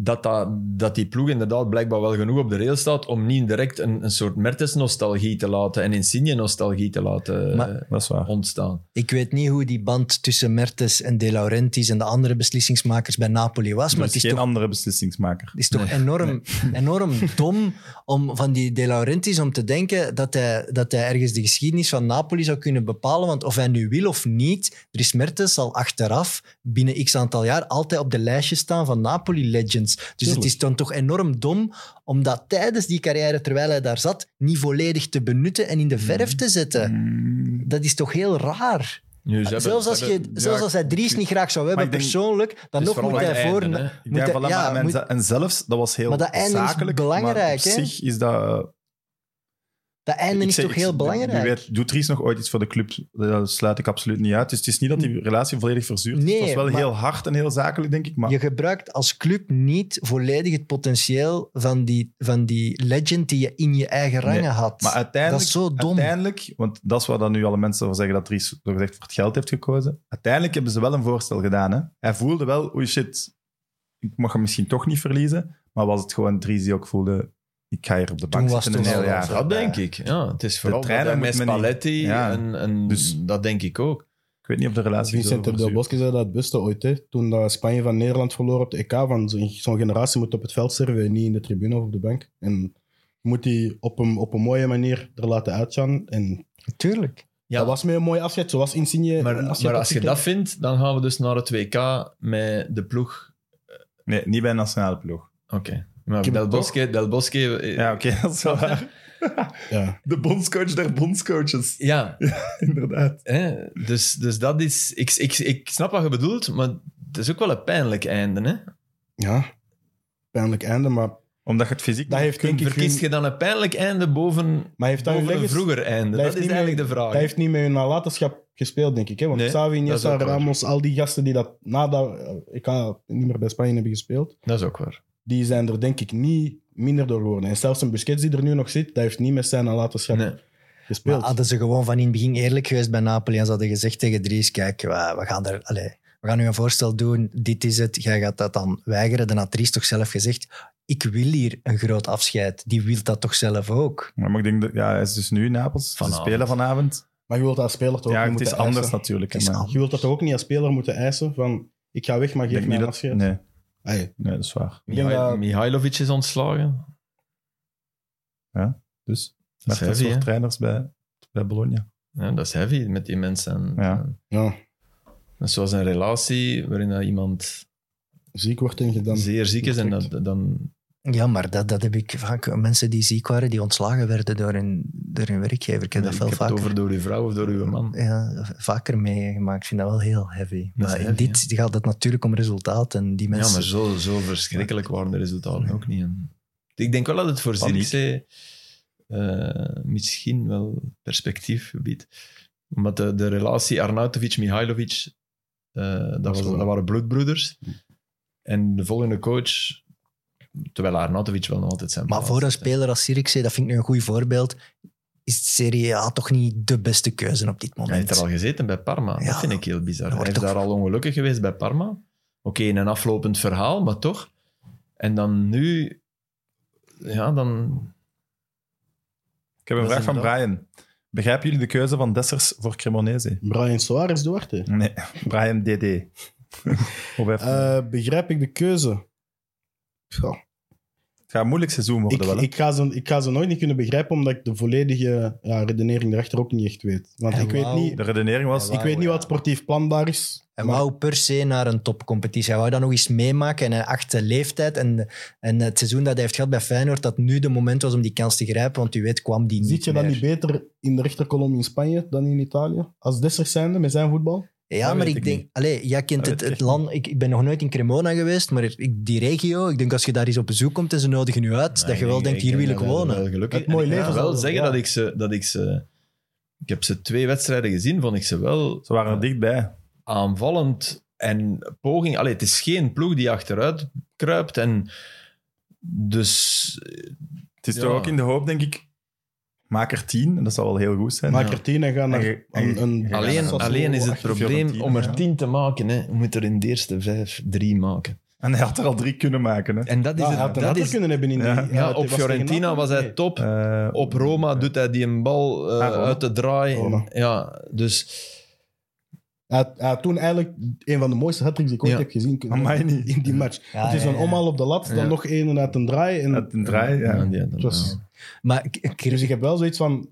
C: dat, dat, dat die ploeg inderdaad blijkbaar wel genoeg op de rail staat om niet direct een, een soort Mertens-nostalgie te laten en Insigne-nostalgie te laten eh,
E: Maar-
B: Dat is waar.
C: ontstaan.
E: Ik weet niet hoe die band tussen Mertens en De Laurentiis en de andere beslissingsmakers bij Napoli was, maar
B: Er
E: het is
B: Dus geen
E: toch
B: andere beslissingsmaker.
E: Het is toch enorm,
C: <laughs>
E: enorm dom om van die De Laurentiis om te denken dat hij, dat hij ergens de geschiedenis van Napoli zou kunnen bepalen. Want of hij nu wil of niet, Dries Mertens zal achteraf binnen x aantal jaar altijd op de lijstje staan van Napoli-legends. Dus het
D: Tuurlijk.
E: is dan toch enorm dom om dat tijdens die carrière, terwijl hij daar zat, niet volledig te benutten en in de verf te zetten.
B: Hmm.
E: Dat is toch heel raar.
C: Nu, Mm. ze hebben-
E: Ah, Zelfs als,
C: ze
E: je,
C: hebben-
E: zelfs
C: ja,
E: als hij Dries niet graag zou hebben
B: ik denk-
E: persoonlijk,
C: het
E: dan
C: is
E: nog
C: vooral
E: moet
C: het
E: hij voor...
C: einde, hè.
B: Ik
E: moet
B: denk
E: hij-
B: van, dat-
E: ja,
B: maar men
E: moet-
B: ze- en zelfs, dat was heel
E: Maar dat einde is
B: zakelijk. maar op
E: belangrijk, hè?
B: zich is dat...
E: dat einde
B: ik
E: is
B: zeg-
E: toch
B: ik-
E: heel
B: nu
E: belangrijk.
B: Weet, doet Dries nog ooit iets voor de club? Dat sluit ik absoluut niet uit. Dus het is niet dat die relatie volledig verzuurd is.
E: Hm. Nee,
B: het was wel
E: maar-
B: heel hard en heel zakelijk, denk ik. Maar
E: Je gebruikt als club niet volledig het potentieel van die, van die legend die je in je eigen rangen
B: Nee,
E: had.
B: Maar uiteindelijk,
E: Dat is zo dom.
B: uiteindelijk, want dat is waar dan nu alle mensen over zeggen dat Dries zogezegd voor het geld heeft gekozen. Uiteindelijk hebben ze wel een voorstel gedaan. Hè? Hij voelde wel, oei shit, ik mag hem misschien toch niet verliezen. Maar was het gewoon Dries die ook voelde, ik ga hier op de bank
E: Toen was
B: zitten een
E: het
B: heel
E: wel
B: jaar.
E: zo.
C: Dat denk ik. Ja, het is vooral dat
B: trainer
C: hij
B: moet men
C: met
B: niet-
C: Spalletti
B: Ja.
C: en, en
B: Dus-
C: dat denk ik ook.
B: Ik weet niet of de relatie...
D: Vincent
B: zo
D: Del
B: verzuurd
D: Bosque zei dat het beste ooit. Hè? Toen dat Spanje van Nederland verloor op de EK. Van zo'n zo'n generatie moet op het veld serven en niet in de tribune of op de bank. En je moet die op een, op een mooie manier er laten uitstaan. En
E: Natuurlijk.
C: Ja,
D: dat was met een mooi afscheid. Zoals Insigne.
C: maar,
D: een afscheid
C: maar
D: had
C: als je dat
D: gekregen.
C: vindt, dan gaan we dus naar het WK met de ploeg.
B: Nee, niet bij een nationale ploeg.
C: Oké. Maar
D: heb
C: Del
D: het toch.
C: Bosque, Del Bosque... eh,
B: Ja, oké, dat is wel waar.
D: Ja.
B: De bondscoach der bondscoaches,
D: <laughs>
C: ja,
B: inderdaad.
C: Hè? Dus, dus dat is... Ik, ik, ik snap wat je bedoelt, maar het is ook wel een pijnlijk einde. Hè?
D: ja, pijnlijk einde. Maar
B: Omdat je het fysiek...
D: Dat heeft denk ik
C: Verkies
D: hun-
C: je dan een pijnlijk einde boven,
D: maar heeft dat hun
C: boven een
D: legacy-
C: vroeger einde?
D: dat
C: Dat,
D: heeft
C: is
D: niet
C: eigenlijk
D: meer-
C: de vraag.
D: Dat heeft niet met hun nalatenschap gespeeld, denk ik. Hè? Want
C: Nee,
D: Xavi,
C: dat is
D: Iniesta,
C: ook waar.
D: Ramos, al die gasten die dat nadat... eh, Ik ga niet meer bij Spanje hebben gespeeld.
C: Dat is ook waar.
D: Die zijn er denk ik niet minder door geworden. En zelfs een Busquets die er nu nog zit, dat heeft niet met zijn nalatenschap
C: Nee.
E: Maar
D: gespeeld.
E: hadden ze gewoon van in het begin eerlijk geweest bij Napoli en ze hadden gezegd tegen Dries, kijk, we, we gaan er... Allez, we gaan nu een voorstel doen, dit is het, jij gaat dat dan weigeren. Dan had Dries toch zelf gezegd, ik wil hier een groot afscheid. Die wil dat toch zelf ook?
B: Maar ik denk, dat, ja, hij is dus nu in Napels. Ze
C: Vanavond.
B: spelen vanavond.
D: maar je wilt dat als speler toch ook
B: Ja,
D: niet
B: het is
D: moeten
B: anders
D: eisen?
B: natuurlijk.
E: Het is
B: maar
E: anders.
D: Je wilt dat toch ook niet als speler moeten eisen van... Ik ga weg, maar
B: ik
D: geef
B: denk niet
D: mij een
B: dat...
D: afscheid.
B: Nee,
D: Ai,
B: nee, dat is waar.
D: Ik denk
C: Mihai-
D: dat-
C: Mihailovic is ontslagen.
B: Dus,
C: Dat
B: maar dat
C: is heavy,
B: soort
C: hè?
B: trainers bij, bij Bologna.
C: Ja, dat is heavy met die mensen.
B: Ja.
C: En
D: ja,
C: dat is zoals een relatie waarin dat iemand
D: ziek wordt denk ik dan.
C: zeer ziek is en
D: Correct.
C: dat, dan...
E: Ja, maar dat, dat heb ik vaak. Mensen die ziek waren, die ontslagen werden door hun, door hun werkgever. Ik heb dat
C: ik
E: veel
C: heb het
E: vaker,
C: over door uw vrouw of door uw man.
E: ja, vaker meegemaakt. Ik vind dat wel heel heavy.
C: is
E: Maar in
C: heavy,
E: dit gaat het natuurlijk om resultaat. En die
C: Ja,
E: mensen...
C: maar zo, zo verschrikkelijk waren de resultaten ook niet. En ik denk wel dat het voor
B: Paniek.
C: Zirkzee eh, misschien wel perspectief biedt. Omdat de, de relatie Arnautovic-Mihailovic, eh, dat, was, dat waren bloedbroeders. En de volgende coach, terwijl Arnautovic wel nog altijd zijn
E: Maar
C: plaats
E: voor een
C: heeft, hè.
E: speler als Sirikse, dat vind ik nu een goed voorbeeld, is Serie A toch niet de beste keuze op dit
C: Hij heeft
E: moment.
C: er al gezeten bij Parma.
E: Ja.
C: dat vind ik heel bizar. Hij
E: wordt
C: is
E: ook-
C: daar al ongelukkig geweest bij Parma. Oké, in een aflopend verhaal, maar toch. En dan nu... Ja, dan...
B: Ik heb een
C: Dat is
B: vraag van Brian. Begrijpen jullie de keuze van Dessers voor Cremonese?
D: Brian Suarez Duarte.
B: Nee, Brian <laughs> DD. of even.
D: Eh, begrijp ik de keuze? Goh.
B: het gaat een moeilijk seizoen worden
D: Ik,
B: wel. hè?
D: ik, ga ze, ik ga ze nooit niet kunnen begrijpen, omdat ik de volledige ja, redenering erachter ook niet echt weet. Want
E: En
D: ik weet
E: wauw.
D: niet,
B: de redenering was...
E: Ja,
D: ik weet niet
E: ja.
D: wat sportief planbaar is.
E: Hij
D: maar-
E: wou per se naar een topcompetitie. Hij wou dat nog eens meemaken en hij acht de leeftijd. En, en het seizoen dat hij heeft gehad bij Feyenoord, dat nu de moment was om die kans te grijpen, want u weet, kwam die niet
D: Ziet je dat
E: meer.
D: niet beter in de rechterkolom in Spanje dan in Italië? Als Dessers zijnde met zijn voetbal?
E: Ja,
B: Dat
E: maar
B: weet
E: ik
B: ik
E: denk...
B: niet.
E: Allee, jij kent
B: Dat
E: het,
B: weet ik
E: het land... Ik, ik ben nog nooit in Cremona geweest, maar ik, die regio... Ik denk als je daar eens op bezoek komt en ze nodigen je uit, dat je wel denkt, hier wil ik wonen.
C: gelukkig.
D: Het mooie
C: En
D: leven
C: Ik wil
D: zal
C: wel
D: er-
C: zeggen
D: ja.
C: dat ik ze... Dat ik ze ik heb ze twee wedstrijden gezien, vond ik ze wel
B: Ze waren er dichtbij.
C: aanvallend en poging. Allee, het is geen ploeg die achteruit kruipt. En dus
B: Het is
C: Ja.
B: toch ook in de hoop, denk ik... Maak er tien, en dat zal wel heel goed zijn.
D: Maak
C: Ja.
D: er tien en ga naar
B: En je- en
D: een,
B: je-
D: een-
B: je gaat
C: Alleen,
B: naar Sassuolo,
C: alleen is het
B: achter
C: probleem
B: Fiorentina,
C: om er
B: ja.
C: tien te maken. Hè. Je moet er in de eerste vijf drie maken.
B: En hij had er al drie kunnen maken. Hè.
C: En dat is
D: Ja, hij
C: het.
D: had hem
C: Dat
D: later
C: is,
D: kunnen hebben in die...
B: Ja.
D: ja,
C: ja,
D: het
C: op
D: was tegen
C: Fiorentina
D: Napoli.
C: was hij top.
B: Eh,
C: Op Roma doet hij die een bal eh,
B: Ah, Roma.
C: uit de draai. En-
D: Roma.
C: Ja, dus
D: Hij had- hij had toen eigenlijk een van de mooiste hattricks die ik ooit
C: Ja.
D: heb gezien kunnen
B: Amai,
D: hebben
B: niet.
D: in die match.
E: Ja,
D: het is
E: ja,
D: een
E: ja.
D: omhaal op de lat, dan
C: Ja.
D: nog één uit een draai. En
B: uit een draai, ja.
C: ja, die- dat-
D: het was-
C: ja.
E: Maar ik- ik-
D: Dus ik heb wel zoiets van...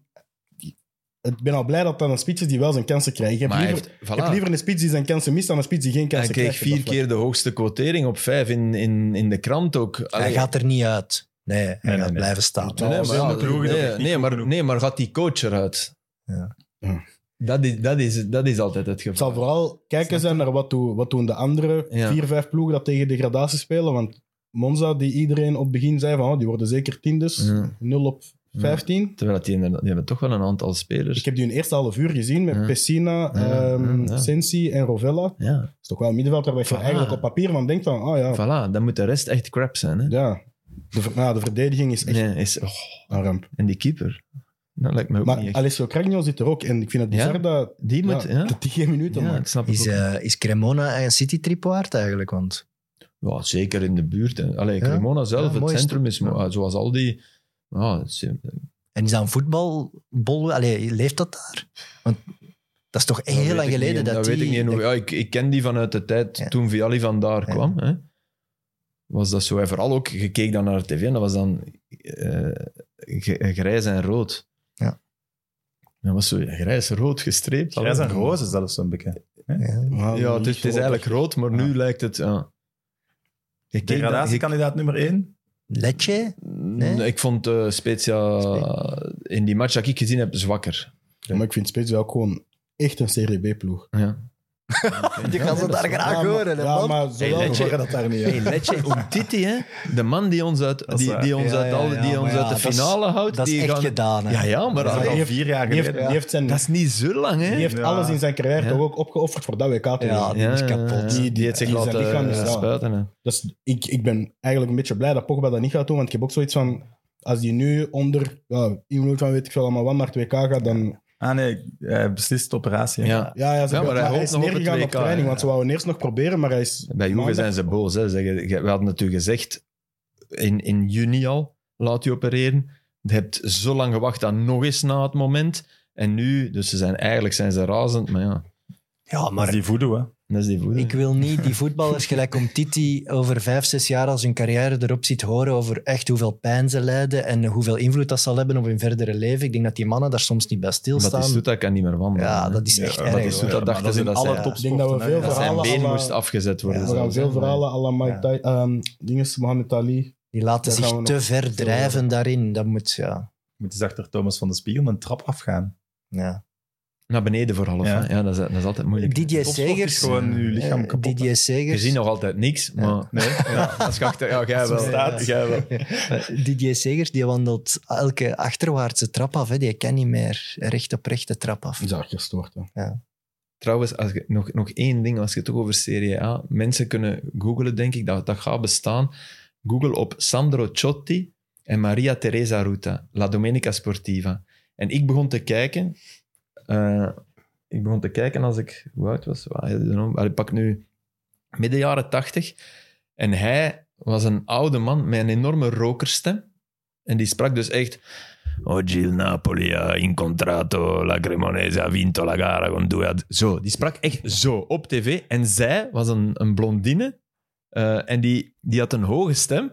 D: Ik ben al blij dat dat een speech is die wel zijn kansen krijgt. Ik heb,
C: Maar hij
D: liever,
C: heeft-
D: ik heb
C: voilà.
D: liever een speech die zijn kansen mist dan een speech die geen
C: Hij
D: kansen
C: kreeg
D: krijgt.
C: vier keer de hoogste quotering op vijf in, in, in de krant ook.
E: hij
C: Allee,
E: gaat er niet uit. Nee, hij
B: nee,
E: gaat
B: nee.
E: blijven staan.
C: nee,
B: Oh,
C: maar,
B: zijn de ploegen ook echt
C: nee,
B: niet
C: nee,
B: goed
C: maar,
B: genoeg.
C: nee, maar gaat die coach eruit?
E: Ja.
D: Ja.
C: Dat, is, dat, is, dat is altijd het
D: Het zal
C: geval.
D: vooral kijken zijn naar wat, doen- wat doen de andere
C: Ja.
D: vier, vijf ploegen dat tegen degradatie spelen. Want Monza, die iedereen op het begin zei van oh, die worden zeker tien dus.
C: Ja.
D: 0 op 15.
C: Terwijl die, inderdaad- die hebben toch wel een aantal spelers.
D: Ik heb die een eerste half uur gezien met
C: Ja.
D: Pessina,
C: Ja,
D: ehm,
C: ja, ja.
D: Sensi en Rovella. Dat
C: Ja,
D: is toch wel een middenveld waar je
C: Voilà.
D: eigenlijk op papier van denkt van oh ja,
C: voilà. Dan moet de rest echt crap zijn. Hè?
D: ja. De, ver- nou, de verdediging is echt
C: Nee, is, oh,
D: een ramp.
C: en die keeper. Dat lijkt me ook niet
D: Maar
C: echt.
D: Alessio Cragno zit er ook. En ik vind het
C: Ja?
D: bizar dat,
C: Die moet...
D: ja,
C: Ja,
D: dat die geen minuten
C: ja, ik
D: maakt.
C: snap het
E: Is,
C: ook.
E: eh, is Cremona een citytrip waard eigenlijk? Want
C: Ja, zeker in de buurt. hè. Allee, Cremona zelf, het
E: mooi
C: centrum is...
E: stuk.
C: mooi. Zoals al die... Ja, het is-
E: en is dat een voetbalbol? Allee, leeft dat daar? Want dat is toch
C: Dat
E: heel
C: weet
E: lang
C: ik
E: geleden
C: niet,
E: dat,
C: weet
E: die...
C: ik niet. hoe-
E: dat-
C: ja, ik, ik ken die vanuit de tijd
E: Ja.
C: toen Vialli vandaar
E: Ja.
C: kwam. Hè. Was dat zo. En vooral ook, je keek dan naar de tv en dat was dan eh, g- grijs en rood.
E: Ja.
C: Dat was zo grijs-rood gestreept.
B: Grijs en rozen zelfs zo'n beetje.
E: Ja.
C: Ja, het is, het is eigenlijk rood, maar nu lijkt het... Ja. Je keek dan-
B: Degradatiekandidaat nummer één.
E: Lecce?
C: Nee,
E: Nee?
C: Ik vond eh, Spezia in die match dat ik gezien heb zwakker.
D: Ja, maar ik vind Spits wel gewoon echt een Serie B-ploeg.
C: Ja.
E: Je kan ze daar graag horen. hè,
D: Ja,
E: man.
D: maar zo
C: Hey,
D: wel
C: Letje.
D: horen dat daar niet. hè.
C: Hey, let je op Titi, hè? De man die ons uit,
B: is
C: die,
B: waar.
C: die ons
E: Ja,
C: uit,
E: ja,
C: al-
E: ja,
C: die ons
E: maar
C: uit
E: ja,
C: de
E: dat is-
C: finale houdt.
E: dat is
C: die
E: echt
C: gaan-
E: gedaan, hè.
C: Ja, ja, maar
B: Dat is al
C: dat,
B: vier jaar
D: Die
B: geleden.
D: heeft, die heeft, zijn,
C: dat is niet zo lang, hè?
D: die heeft
B: Ja.
D: alles in zijn carrière
C: Ja.
D: toch ook opgeofferd voor dat WK. te
E: Ja,
D: winnen.
E: die is kapot.
C: Die, die heeft zich
D: Die zijn
C: laten
D: lichaam is
C: eh,
D: wel-
C: spuiten. hè.
D: Dus ik, ik ben eigenlijk een beetje blij dat Pogba dat niet gaat doen, want ik heb ook zoiets van... Als die nu onder ja, invloed van weet ik veel allemaal wat naar het WK gaat, dan...
B: Ah nee, hij beslist de operatie. hè.
C: Ja.
D: Ja, ja, ze
C: Ja, maar
D: maar
C: hij
D: hij,
C: hoopt
D: is
C: nog op het
D: neergegaan op,
C: WK,
D: training,
C: ja.
D: want ze wouden eerst nog proberen, maar hij is...
C: Bij Juve
D: maandag-
C: zijn ze boos. Hè. Zeggen, je- we hadden het u gezegd, in, in juni al, laat je opereren. Je hebt zo lang gewacht dan nog eens na het moment. En nu, dus ze zijn, eigenlijk zijn ze razend, maar ja,
E: Ja,
B: Maar
E: maar
B: die voodoo, hè.
C: dat is die voeding.
E: Ik
B: <laughs>
E: wil niet die voetballers gelijk om Titi over vijf, zes jaar als hun carrière erop ziet horen over echt hoeveel pijn ze lijden en hoeveel invloed dat zal hebben op hun verdere leven. Ik denk dat die mannen daar soms niet bij
C: Batistuta
E: stilstaan.
C: kan niet meer wandelen.
E: Ja,
C: hè.
E: dat is echt
B: Ja,
E: erg.
B: dat is
E: hoor.
C: dat dachten
B: maar
C: ze
B: in
C: dat
B: alle
E: zij-
B: topsporten,
D: Ik denk dat we
B: hè.
D: veel
B: Ja,
C: Dat zijn
D: verhalen
C: been
D: alla-
C: moest afgezet worden.
E: Ja,
D: We gaan
C: zelfs, hè.
D: veel verhalen à la Mike Ty- ehm, dinges, Mohamed Ali.
E: Die laten
D: Daar
E: zich
D: gaan we
E: te
D: nog
E: ver
D: veel
E: drijven daarin. Dat moet, ja.
B: Moet eens achter Thomas van de Spiegel een trap afgaan.
E: ja.
C: Naar beneden vooral. Ja,
B: Ja.
C: ja dat, is, dat is altijd moeilijk.
E: Didier
B: Topsport is
E: Segers.
B: gewoon je lichaam
E: eh,
B: kapot.
E: Didier
C: Je
E: Segers.
C: ziet nog altijd niks, maar...
B: Nee? <laughs>
C: Ja, als je achter... Ja, jij
B: Als het
C: wel.
B: staat.
C: Jij wel.
E: eh, Didier Segers die wandelt elke achterwaartse trap af. Hè. Die kan niet meer recht op recht de trap af.
B: Dus-
D: Is dat gestoord, hè.
C: Trouwens, als je, nog, nog één ding, als je het toch over Serie A... Mensen kunnen googlen, denk ik, dat, dat gaat bestaan. Google op Sandro Ciotti en Maria Teresa Ruta, La Domenica Sportiva. En ik begon te kijken... eh, ik begon te kijken als ik... Hoe oud was? Ah, I don't know. Allee, pak nu midden jaren tachtig. En hij was een oude man met een enorme rokerstem. En die sprak dus echt... Oggi il Napoli ha incontrato la Cremonese, ha vinto la gara con due ad-" Zo, die sprak echt zo op tv. En zij was een, een blondine eh, en die, die had een hoge stem.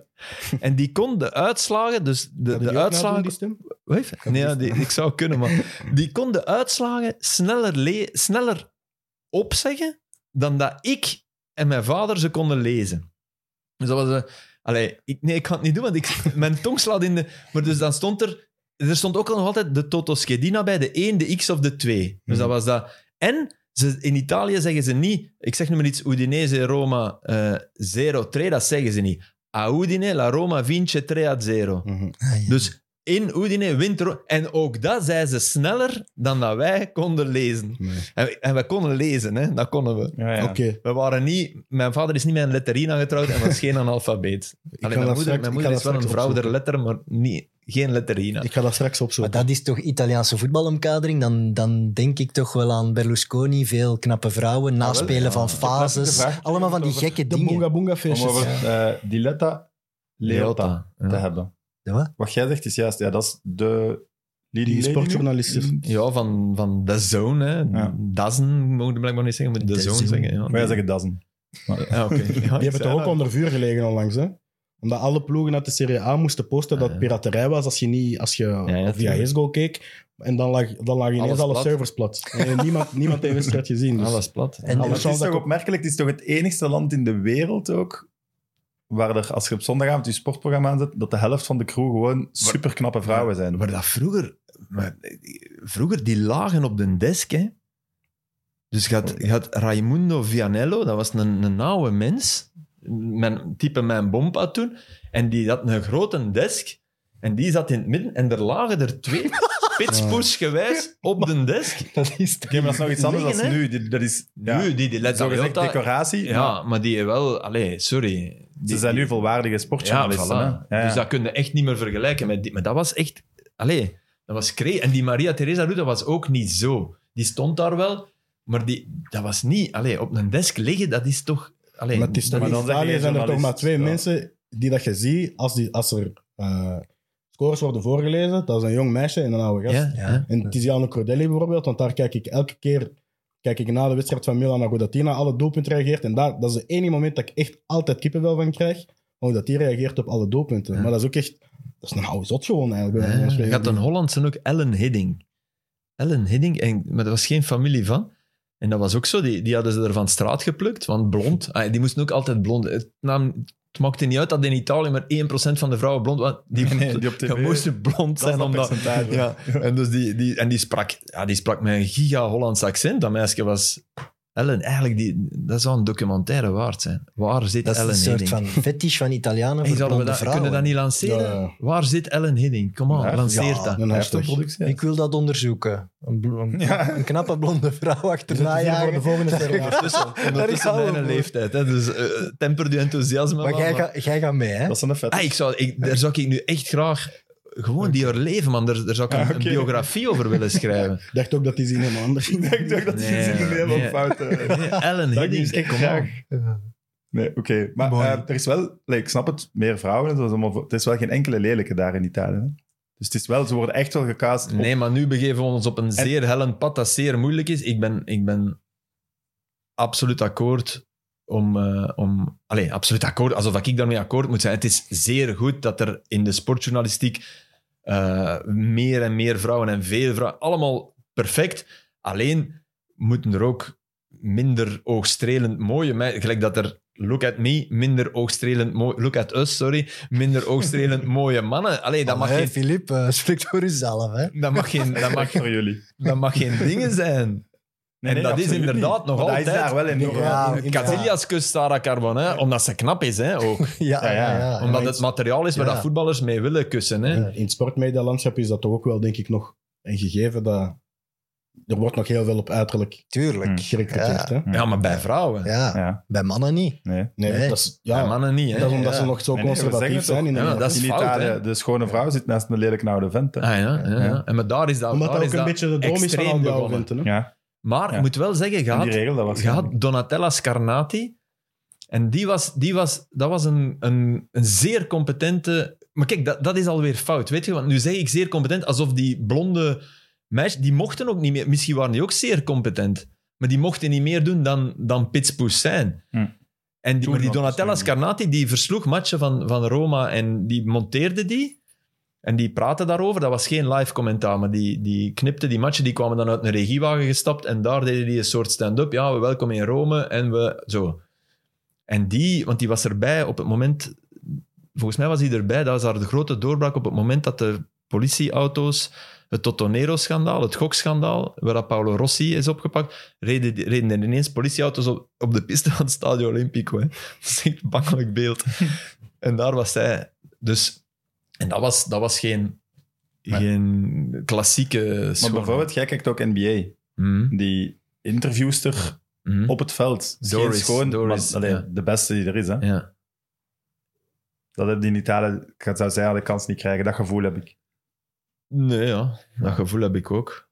C: En die kon de uitslagen, dus de,
D: Hadden die ook
C: de
D: nadoen,
C: uitslagen...
D: die stem?
C: Wat? Nee, ja, die, ik zou kunnen, maar die kon de uitslagen sneller, le- sneller opzeggen dan dat ik en mijn vader ze konden lezen. Dus dat was een... Allee, ik, nee, ik kan het niet doen, want ik, <laughs> mijn tong slaat in de... Maar dus dan stond er... Er stond ook nog altijd de Totoschedina bij, de 1, de X of de 2. Dus dat was dat. En ze, in Italië zeggen ze niet... Ik zeg nu maar iets, Udinese, Roma, eh 0-2, dat zeggen ze niet. A Udine, la Roma vince 3-0.
D: Mhm.
E: Ah, ja.
C: Dus in Udine wint Ro- En ook dat zei ze sneller dan dat wij konden lezen.
D: Nee.
C: En, we- en we konden lezen, hè? dat konnen we.
B: Ja, ja.
D: Oké,
C: We waren niet... Mijn vader is niet met een letterina getrouwd en was geen analfabeet.
D: <laughs> ik,
C: Allee,
D: ga
C: mijn
D: dat
C: moeder,
D: straks-
C: mijn
D: ik
C: moeder
D: ga dat
C: is wel een
D: straks
C: vrouw der
D: opzoeken.
C: letter, maar niet, geen letterina.
D: Ik ga dat straks
E: Maar
D: opzoeken.
E: dat is toch Italiaanse voetbalomkadering? Dan, dan denk ik toch wel aan Berlusconi, veel knappe vrouwen, naspelen van fases.
B: vraag.
E: Allemaal van die gekke
D: De
E: dingen.
D: Boonga Boonga
B: Om
D: feestjes.
B: over eh, Diletta Leota
C: Ja.
B: te hebben.
E: De wat?
B: Wat jij zegt is juist, ja, dat is de...
D: Die
B: lady nu?
D: sportjournalisten.
C: Ja, van, van de zone. Hè.
B: Ja.
C: Dazen mogen we blijkbaar niet zeggen, maar de,
E: De
C: zone
E: Zone.
C: zeggen. Ja.
B: Wij zeggen dozen.
C: Ja, oké. Ja, ik
D: <laughs> Die hebben
C: zei
D: toch ook
C: dat.
D: onder vuur gelegen onlangs, hè? Omdat alle ploegen uit de Serie A moesten posten dat
C: Ah, ja.
D: het piraterij was als je, niet, als je
C: ja,
D: via
C: tuurlijk.
D: Hisgo keek. En dan lag, dan lag ineens
C: Alles
D: alle
C: plat.
D: servers plat. En niemand, niemand heeft de wedstrijd gezien. Dus.
C: Alles plat.
E: En-
B: Maar
D: Alles
B: het is
D: zal dat
B: toch
D: ik-
B: opmerkelijk, het is toch het enigste land in de wereld ook, waar er, als je op zondagavond je sportprogramma aanzet, dat de helft van de crew gewoon superknappe vrouwen zijn.
C: Maar dat vroeger, maar vroeger die lagen op de desk, hè. Dus je had, je had Raimundo Vianello, dat was een, een oude mens, mijn, type mijn bompa toen, en die had een grote desk, en die zat in het midden, en er lagen er
B: <laughs>
C: twee, spitspoesgewijs, op de desk.
E: Dat is
B: Oké, maar dat is nog iets anders
C: Liggen,
B: dan
C: hè?
B: nu. Dit- Dat is ja,
C: Nu, die, die Letta
B: zogezegd
C: Viotta-
B: decoratie. maar
C: Ja, maar die wel, allee, sorry. Die,
B: ze zijn nu
C: die-
B: volwaardige
C: ja,
B: sportjournalisten.
C: voilà.
B: hè. Ja, ja.
C: Dus dat kun je echt niet meer vergelijken met die. Maar dat was echt... Allee, dat was crazy. En die Maria Teresa Ruta was ook niet zo. Die stond daar wel, maar die, dat was niet... Allee, op een desk liggen, dat is toch... Allee,
D: Maar het is
C: dat
D: toch
B: Maar
D: in
B: dan zeg je
D: Italië zijn er toch
B: journalist,
D: maar twee
B: ja.
D: mensen die dat je ziet als, die, als er eh, scores worden voorgelezen. Dat is een jong meisje en een oude gast.
C: Ja, ja.
D: En Tiziano Cordelli bijvoorbeeld, want daar kijk ik elke keer kijk ik na de wedstrijd van Milan naar hoe dat die naar alle doelpunten reageert. En daar, dat is het enige moment dat ik echt altijd kippenvel van krijg, hoe dat die reageert op alle doelpunten.
C: Ja.
D: Maar dat is ook echt... Dat is een oude zot gewoon eigenlijk. bij wijze van
C: Je
D: spreken.
C: had een Hollandse ook, Ellen Hidding. Ellen Hidding, en, maar daar was geen familie van. En dat was ook zo, die, die hadden ze er van straat geplukt, want blond. Ah, die moesten ook altijd blond. Het, nam, het maakte niet uit dat in Italië maar 1% van de vrouwen blond was.
B: <laughs>
C: Die,
B: Nee, die op
C: je
B: tv.
C: moest blond
B: dat is
C: zijn
B: dat
C: omdat...
B: percentage.
C: Ja, en, dus die, die, en die, sprak, ja, die sprak met een giga-Hollands accent. Dat meisje was Ellen, eigenlijk, die, dat zou een documentaire waard zijn. Waar zit
E: Dat is
C: Ellen
E: een soort
C: Hiddink?
E: van fetish van Italianen
C: Hey,
E: voor
C: zouden we
E: blonde
C: dat,
E: vrouwen.
C: kunnen we dat niet lanceren?
D: Ja, ja.
C: Waar zit Ellen Hiddink? Kom on,
B: Ja,
C: lanceer
E: ja,
C: dat.
D: Een
B: Hij heeft een
D: hashtag.
B: productie.
E: Ik wil dat onderzoeken. Een, blo- een-
B: Ja.
E: een knappe blonde vrouw achterna
D: Zet je voor
E: jagen.
D: de <laughs> volgende keer.
E: Daar
C: Ondertussen
E: gaan we
C: mijn
E: voor.
C: leeftijd, hè, dus eh, temper je enthousiasme.
E: Maar
C: wat,
E: jij,
C: maar-
E: ga, jij gaat mee, hè?
B: Dat is een fetish.
C: Ah, ik zou, ik, daar zou ik nu echt graag... Gewoon die haar leven, man. Daar, daar zou ik een,
B: Ah,
C: een
B: oké.
C: biografie over willen
E: <laughs>
C: schrijven.
D: Ik dacht ook dat die zin helemaal
B: <laughs>
D: anders
B: Ik denk toch dat die
C: Nee,
B: zin helemaal
C: nee.
B: fout eh,
C: Nee, Ellen
B: Dat
C: Hiddink,
B: is echt
C: kom
B: graag.
C: on.
B: Nee, oké. Maar
E: Mooi.
B: eh, er is wel, like, ik snap het, meer vrouwen. en zo, dat is allemaal voor- er is wel geen enkele lelijke daar in Italië. hè. Dus het is wel, ze worden echt wel gecast. op-
C: Nee, maar nu begeven we ons op een zeer hellend pad dat zeer moeilijk is. Ik ben, ik ben absoluut akkoord om... eh om Allee, absoluut akkoord, alsof ik daarmee akkoord moet zijn. Het is zeer goed dat er in de sportjournalistiek eh, meer en meer vrouwen en veel vrouwen... Allemaal perfect. Alleen moeten er ook minder oogstrelend mooie meiden... Gelijk dat er... Look at me, minder oogstrelend mooi. Look at us, sorry. Minder oogstrelend <laughs> mooie mannen. Allee, dat mag
E: Allee,
C: geen
E: Filip, eh, spreekt voor uzelf, hè?
C: dat mag geen, dat
B: <laughs>
C: mag,
B: voor jullie.
C: dat mag geen dingen zijn. en dat is
B: absoluut
C: inderdaad
B: niet.
C: nog
B: Maar
C: altijd.
B: Dat is daar wel enorm.
E: Ja,
B: Ja,
E: inderdaad.
C: Casillas kust Sarah Carbonin, omdat ze knap is, hè, ook.
E: Ja,
B: Ja, ja.
E: ja, ja.
C: Omdat het materiaal is waar
E: Ja.
C: dat voetballers mee willen kussen. Hè.
D: Ja, in het sportmedialandschap is dat toch ook wel, denk ik, nog een gegeven dat... Er wordt nog heel veel op uiterlijk
E: Tuurlijk.
C: Hmm.
D: gerecruiteerd. Hè?
C: Ja, maar bij vrouwen.
E: Ja,
B: ja,
E: bij mannen niet.
B: nee.
D: Nee,
E: Nee.
D: dat is...
C: Bij
D: Ja,
C: mannen niet. Hè.
D: dat is omdat
E: Ja.
D: ze nog zo
B: Nee, nee, we zeggen
D: conservatief
B: het
D: zijn.
B: toch.
D: in
C: Ja, maar dat is
B: in
C: fout,
B: Italië,
C: hè.
B: de schone vrouw zit naast een lelijk oude vent. hè.
C: Ah, ja, ja, ja.
B: Ja.
C: En maar daar is dat,
D: Omdat
C: daar
D: dat ook
C: is
D: een
C: dat
D: beetje de droom is van
C: extreem
D: al die oude
C: begonnen.
D: venten, hè.
B: Ja,
C: Maar
B: Ja.
C: ik moet wel zeggen,
B: en
C: gaat,
B: die regel, dat was
C: gaat Donatella Scarnati. En die was, die was, dat was een, een, een zeer competente. Maar kijk, dat, dat is alweer fout. Weet je, want nu zeg ik zeer competent alsof die blonde meisjes. die mochten ook niet meer. Misschien waren die ook zeer competent. Maar die mochten niet meer doen dan, dan pitspoes zijn.
B: Hm.
C: En die,
B: Toen
C: maar die
B: nog,
C: Donatella
B: misschien.
C: Scarnati die versloeg matchen van, van Roma en die monteerde die. En die praten daarover. Dat was geen live commentaar, maar die, die knipte die matchen. Die kwamen dan uit een regiewagen gestapt en daar deden die een soort stand-up. Ja, we welkom in Rome en we... Zo. En die, want die was erbij op het moment... Volgens mij was hij erbij. Dat was haar grote doorbraak op het moment dat de politieauto's... Het Totonero-schandaal, het gokschandaal, waar dat Paolo Rossi is opgepakt, reden, die- reden er ineens politieauto's op, op de piste van het Stadio Olimpico. Hè. Dat is echt een
B: <laughs>
C: bangelijk beeld. En daar was zij. Dus, en dat was, dat was geen,
B: Nee.
C: geen klassieke
B: Maar
C: schoonheid.
B: bijvoorbeeld, jij kijkt ook NBA.
C: Mhm,
B: Die interviewster
C: mhm.
B: op het veld. Is
C: Doris,
B: geen schoon,
C: Doris,
B: maar allee,
C: ja.
B: de beste die er is. Hè?
C: Ja.
B: Dat heb die in Italië, ik zou zeggen, de kans niet krijgen. Dat gevoel heb ik.
C: Nee, ja. Dat gevoel heb ik ook.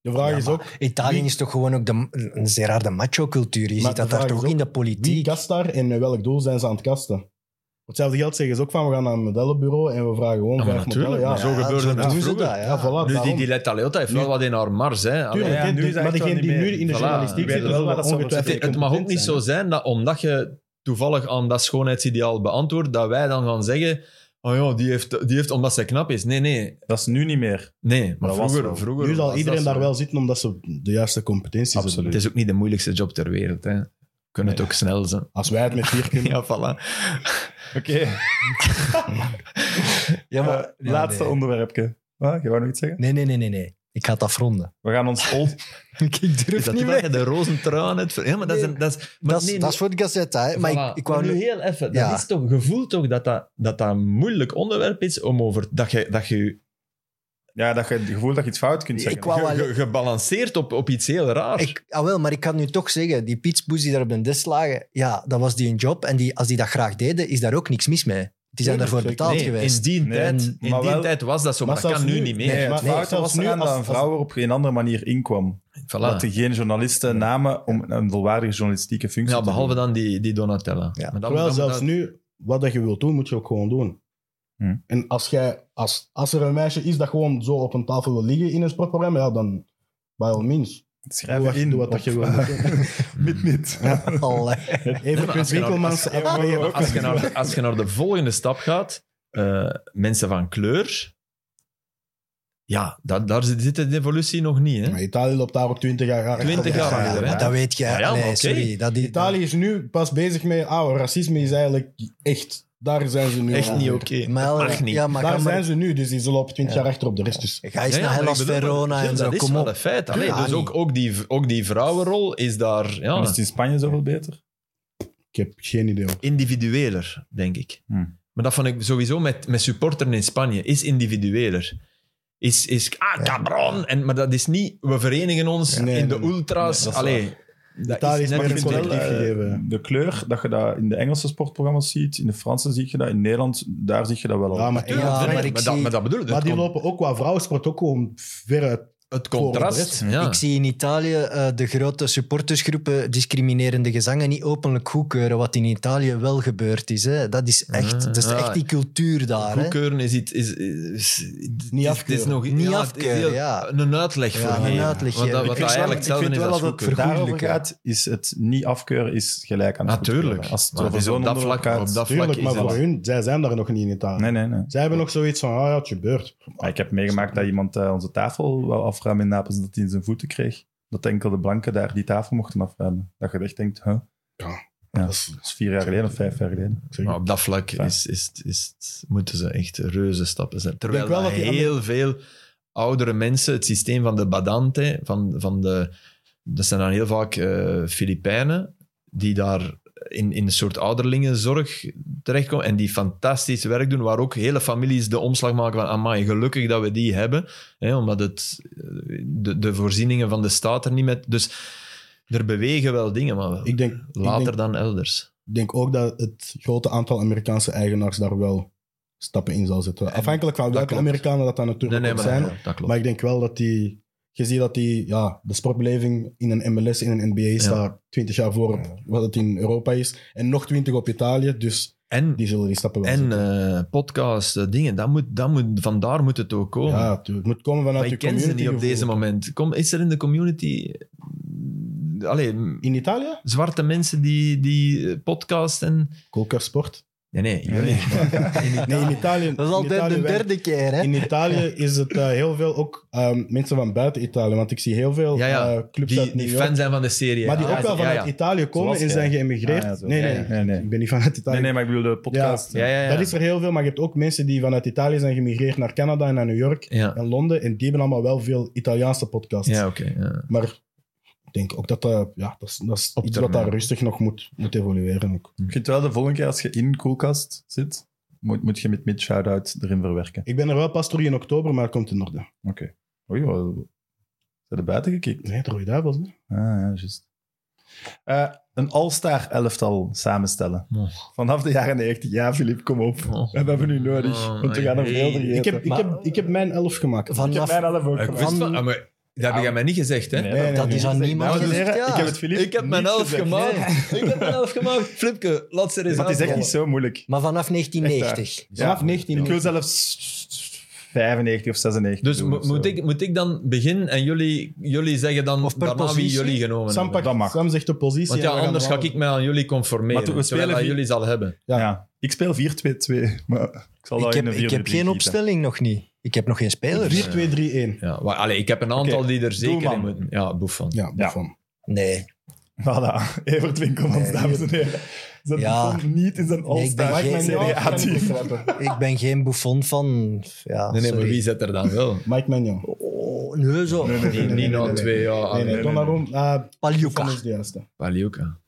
D: De vraag
E: Ja,
D: is
E: maar
D: ook,
E: Italië
D: Wie-
E: is toch gewoon ook de, een zeer harde macho-cultuur.
D: Maar
E: Je ziet
D: de
E: dat daar
D: vraag
E: toch
D: is
E: ook in de
D: wie
E: politiek.
D: kast daar en met welk doel zijn ze aan het kasten? Op hetzelfde geld zeggen ze ook van, we gaan naar een modellenbureau en we vragen gewoon
C: Ja, maar
D: vijf
C: natuurlijk,
D: modellen. Ja,
C: maar zo
E: Ja,
C: gebeurde het
E: doen ze
C: vroeger.
E: dat, ja.
D: ja, voilà,
C: Nu, die,
D: daarom.
C: die Letta Leotta heeft wel wat in haar mars. Hè. Allee,
D: Tuurlijk,
B: Ja,
D: hè,
B: nu
D: de-
B: is dat
D: maar
B: echt
D: degene
B: wel
D: die
B: niet
D: nu
B: meer.
D: in de
C: Voilà.
D: journalistiek
B: Weten
D: zit,
B: wel
D: zullen
B: wat dat ze
D: ongetwijfeld
B: moeten
C: Het, het mag ook niet zo zijn dat omdat je toevallig aan dat schoonheidsideaal beantwoordt, dat wij dan gaan zeggen: Oh ja, die heeft, die heeft omdat zij knap is. Nee, nee,
B: Dat is nu niet meer.
C: nee. Maar
B: Dat was
C: vroeger,
B: wel.
C: vroeger.
D: Nu zal
C: was
D: iedereen
C: dat
D: daar
C: zo.
D: wel zitten omdat ze de juiste competenties
B: Absoluut.
D: hebben.
C: Het is ook niet de moeilijkste job ter wereld. Hè. Kunnen het ook snel
E: <laughs>
C: zijn.
D: Als wij het met vier kunnen.
C: Ja, <laughs> voilà.
B: Oké, <laughs>
E: Ja, maar-
B: eh,
E: ja,
B: laatste
E: nee.
B: onderwerpje. Wat? Je wou nog iets zeggen?
E: Nee, nee, nee, nee, nee. Ik ga het
C: <laughs>
E: afronden.
B: We gaan ons old...
E: Ik durf
C: Is dat
E: niet
C: toen dat
E: meer.
C: je de rozentraan hebt? ver- Ja, maar dat is...
E: Nee.
C: Een, dat is, maar
E: Dat is,
C: nee,
E: dat is voor de Gazette, hè. Maar ik, ik wou
C: nu
E: nu...
C: heel even.
E: Ja.
C: Dat is toch, gevoel toch dat dat, dat dat een moeilijk onderwerp is om over... Dat je, dat je
B: Ja, dat je het gevoel dat je iets fout kunt zeggen.
E: Ik wou
C: ge-
E: alleen-
C: ge- gebalanceerd op, op iets heel raars.
E: Ik, ah wel, maar ik kan nu toch zeggen, die pitsboes die daar op de desk lagen, ja, dat was die een job. En die, als die dat graag deden, is daar ook niks mis mee. Die
D: Tuurlijk,
E: zijn daarvoor
D: zeker.
E: betaald
C: Nee,
E: geweest.
C: In die,
B: Nee,
C: tijd, in
B: maar
C: die
B: wel-
C: tijd was dat zo, maar,
D: maar
C: dat kan
D: zelfs
C: nu
D: nu-
C: niet meer.
B: Nee, het
D: maar-
B: fout
D: nee,
B: was
D: zelfs nu
B: eraan dat
D: als-
B: een vrouw er op geen andere manier inkwam.
C: Voilà.
B: Dat er geen journalisten namen om een volwaardige journalistieke functie
C: Ja,
B: te
C: behalve
B: doen.
C: dan die, die Donatella.
E: Ja.
C: Maar dan-
D: Terwijl
C: dan-
D: zelfs
C: dan-
D: nu, wat dat je wilt doen, moet je ook gewoon doen.
B: Hm.
D: En als, jij, als, als er een meisje is dat gewoon zo op een tafel wil liggen in een sportprogramma, ja, dan by all means.
B: Schrijf
D: Doe wat-
B: in
D: doe wat dat
B: op-
D: je wil.
B: <laughs> Mit, mit.
E: <laughs>
C: <laughs>
E: Allee.
D: Even
C: maar als je
D: Winkelmans.
C: nou- als-
D: afleveren.
C: Maar Als je, naar, als je naar de volgende stap gaat, eh, mensen van kleur, ja, dat, daar zit zit de evolutie nog niet. Hè?
D: Maar Italië loopt daar op 20 jaar achter.
C: 20 jaar
E: Ja,
C: achter, hè.
E: maar dat weet jij.
C: Ja, ja, maar
E: Allee,
C: oké.
E: sorry. Dat die,
D: Italië is nu pas bezig met, ah, racisme is eigenlijk echt Daar zijn ze nu.
C: Echt
D: aan.
C: niet oké.
E: Maar ja,
C: Dat mag niet.
E: Ja, maar
D: Daar
E: ga, maar-
D: zijn ze nu, dus die zullen op 20 jaar achterop de rest. Dus
E: ga eens
C: Ja, ja,
E: naar
C: maar
E: Hellas
C: ik bedoel,
E: Verona
C: ja,
E: en zo,
C: Dat is
E: kom
C: wel
E: op.
C: een feit. Allee,
E: Ja,
C: dus
E: niet.
C: ook, ook, die, ook die vrouwenrol is daar
B: En
C: ja,
B: is het in Spanje zoveel beter?
D: ik heb geen idee. hoor.
C: individueler, denk ik.
B: Hmm.
C: Maar dat vond ik sowieso met, met supporters in Spanje, is individueler. Is, is ah, cabron! En, maar dat is niet, we verenigen ons
D: Nee,
C: in de
D: nee, nee.
C: ultras.
B: Nee, dat is
C: Allee, dat
D: Italië is
C: net
D: maar
C: een
D: een
C: collectief.
D: collectief.
B: eh,
D: gegeven.
B: de kleur, dat je dat in de Engelse sportprogramma's ziet, in de Franse zie je dat, in Nederland, daar zie je dat wel al.
D: Ja, maar,
C: Ja,
E: Ja,
C: nee,
E: maar ik
C: dat,
E: zie-
C: maar dat bedoel ik.
D: maar
C: Het,
D: die
C: con-
D: lopen ook qua vrouwensport ook gewoon ver uit.
C: het contrast. Ja.
E: Ik zie in Italië eh, de grote supportersgroepen discriminerende gezangen niet openlijk goedkeuren, wat in Italië wel gebeurd is. Hè. Dat, is echt, dat is
C: Ah,
E: echt die cultuur daar. hè.
C: Goedkeuren is iets... Is, is,
D: Niet
C: Het is
D: afkeuren.
C: nog,
E: Niet
C: het is
E: afkeuren,
C: heel-
E: ja.
C: Een uitleg
E: Ja,
C: voor
E: een
C: geven.
E: uitleg
C: Want dat,
E: geven.
B: ik vind
C: wat dat
B: wel-
C: eigenlijk
B: ik vind
C: hetzelfde is
B: wel
C: als
B: dat het
C: goedkeuren.
B: daarover gaat, is het niet afkeuren is gelijk aan het
C: Natuurlijk.
B: goedkeuren. Als het
C: Maar
B: over
C: het is op
B: zo'n
C: dat vlak,
B: onderwerp
C: op
B: gaat-
C: dat vlak
D: Tuurlijk,
C: is
D: maar
C: dat-
D: voor hun, zij zijn daar nog niet in Italië.
B: Nee, nee, nee.
D: Zij hebben nog zoiets van, ah ja, het gebeurt.
B: Maar ik heb meegemaakt dat iemand eh, onze tafel wou afruimen in Napels en dat hij in zijn voeten kreeg. Dat enkel de blanken daar die tafel mochten afruimen. Dat je echt denkt, huh? Ja.
D: Dat is-
B: dat is vier jaar geleden of vijf jaar geleden.
D: ik zeg,
C: Maar op dat vlak
B: Ja.
C: is, is, is, het- moeten ze echt reuze stappen zetten. Terwijl
D: denk wel
C: dat
D: dat die
C: heel veel oudere mensen het systeem van de badante, van, van de, dat zijn dan heel vaak eh, Filipijnen, die daar in, in een soort ouderlingenzorg terechtkomen en die fantastisch werk doen, waar ook hele families de omslag maken van, amai, gelukkig dat we die hebben, hè, omdat het, eh, de, de voorzieningen van de staat er niet met... Dus er bewegen wel dingen, maar
D: ik, denk, ik,
C: later
D: denk,
C: dan elders.
D: ik denk ook dat het grote aantal Amerikaanse eigenaars daar wel stappen in zal zetten. Afhankelijk van welke
C: klopt.
D: Amerikanen dat dan natuurlijk ook zijn.
C: dat, dat klopt.
D: Maar ik denk wel dat die... Je ziet dat die, ja, de sportbeleving in een MLS, in een NBA staat 20 jaar voor wat het in Europa is. En nog 20 op Italië, dus
C: en
D: die zullen die stappen wel
C: en
D: zetten.
C: eh, podcast, eh, dingen, dat moet, dat moet, vandaar moet het ook komen.
D: Ja, tuurlijk. Het moet komen vanuit
C: maar
D: de
C: ik ken
D: community.
C: ze niet op deze
D: gevoel.
C: moment. Kom, is er in de community... mm, Allee, m-
D: In Italië?
C: zwarte mensen die, die eh, podcast en...
D: Koker
C: <laughs>
D: Sport.
C: Nee, nee.
B: Nee,
C: nee.
D: Nee, in Italië.
E: Dat is
D: in
E: al de,
D: Italië
E: de
D: werkt-
E: derde keer. Hè.
D: In Italië is het eh, heel veel ook ehm, mensen van buiten Italië. Want ik zie heel veel
C: Ja, ja.
D: eh, clubs uit
C: Die,
D: New
C: die
D: York.
C: fan zijn van de serie.
D: maar die
C: Ja,
D: ook wel
C: ja,
D: vanuit
C: ja.
D: Italië komen
B: Zoals
D: en
B: jij.
D: zijn geëmigreerd.
B: Ah, ja, zo.
D: nee, nee,
C: Ja, ja.
B: Nee, nee.
D: Ik ben niet vanuit Italië.
B: Nee, nee, maar ik bedoel de podcast.
C: Ja, ja, ja.
D: Dat is er heel veel, maar je hebt ook mensen die vanuit Italië zijn geëmigreerd naar Canada en naar New York
C: Ja,
D: en Londen. En die hebben allemaal wel veel Italiaanse podcasts.
C: ja oké. ja.
D: Maar ik denk ook dat dat, ja, dat, is, dat is
C: Op
D: iets wat
C: termijn.
D: daar rustig nog moet, moet evolueren. Ook.
B: Ik vind wel de volgende keer als je in Coolcast zit, moet, moet je met mid shout-out erin verwerken.
D: Ik ben er wel pas terug in oktober, maar het komt in orde.
B: Oké. Oei, wat- zijn er buiten gekeken?
D: Nee, de Rode Duivels. hè?
B: Ah, ja, juist. Eh, een all-star elftal samenstellen.
C: Oh.
B: Vanaf de jaren 90. Ja, Filip, kom op.
C: Oh.
B: We hebben het nu nodig,
C: Oh,
B: want we gaan er
C: hey.
B: veel vergeten.
D: Ik heb, ik,
E: Maar-
D: heb, ik heb mijn elf gemaakt.
B: Ik heb
E: Vanaf,
B: mijn elf ook
C: Ik
B: gemaakt.
C: wist van... ah, maar dat heb jij mij niet gezegd, hè?
B: Nee,
D: Nee, nee,
E: dat
D: nee.
E: is aan niemand
B: Dames en
E: gezegd.
B: heren,
E: Ja.
B: ik heb het Filip
C: Ik heb mijn
B: niet
C: elf
B: gezegd.
C: gemaakt. Ik heb mijn elf gemaakt. Flipke, laat ze er eens
B: Want het is echt
C: aanvallen.
B: niet zo moeilijk.
E: Maar vanaf 1990.
D: Vanaf
B: Ja.
D: 19.
B: Ik wil zelfs 95 of 96
C: Dus
B: doen
C: mo-
B: of zo.
C: moet, ik, moet ik dan beginnen en jullie, jullie zeggen dan
E: Of per
C: daarna wie
E: positie?
C: jullie genomen
D: Sam,
C: hebben?
D: pakt-
B: dat mag.
D: Sam zegt de positie.
C: Want
D: en
C: ja,
D: we gaan
C: anders ga
D: allemaal-
C: ik mij aan jullie
B: Maar
C: conformeren,
B: toen we
C: terwijl
B: spelen
C: dat
B: vi-
C: jullie zal hebben.
B: ja. Ik speel 4-2-2, maar ik zal
E: Ik
B: dat in
E: heb,
B: een 4
E: ik heb geen opstelling nog niet. Ik heb nog geen spelers.
D: 4, 2, 3, 1.
C: Ja, maar, allee, ik heb een aantal
B: Oké,
C: die er zeker
B: doelman.
C: in moeten. Ja, Buffon.
D: Ja, Buffon.
E: Nee.
B: Voilà, <laughs> Evert Winkelmans,
E: Nee.
B: dames en heren. Zet
E: Ja.
B: Buffon niet in zijn
E: Nee, ik ben
B: all-star
E: geen-
B: Serie A-team.
E: Ik ben geen Buffon van. Ja,
C: Nee, nee, maar
E: sorry.
C: wie zet er dan wel?
D: Mike Magnon.
E: Oh, nee, zo.
C: Die
D: nee,
C: Nino,
D: nee, nee.
C: twee, ja.
D: Ah, Nee,
C: allee.
D: nee, Donnarumma. ah,
E: Paljuka.
D: Buffon is de juiste.
C: Palioka.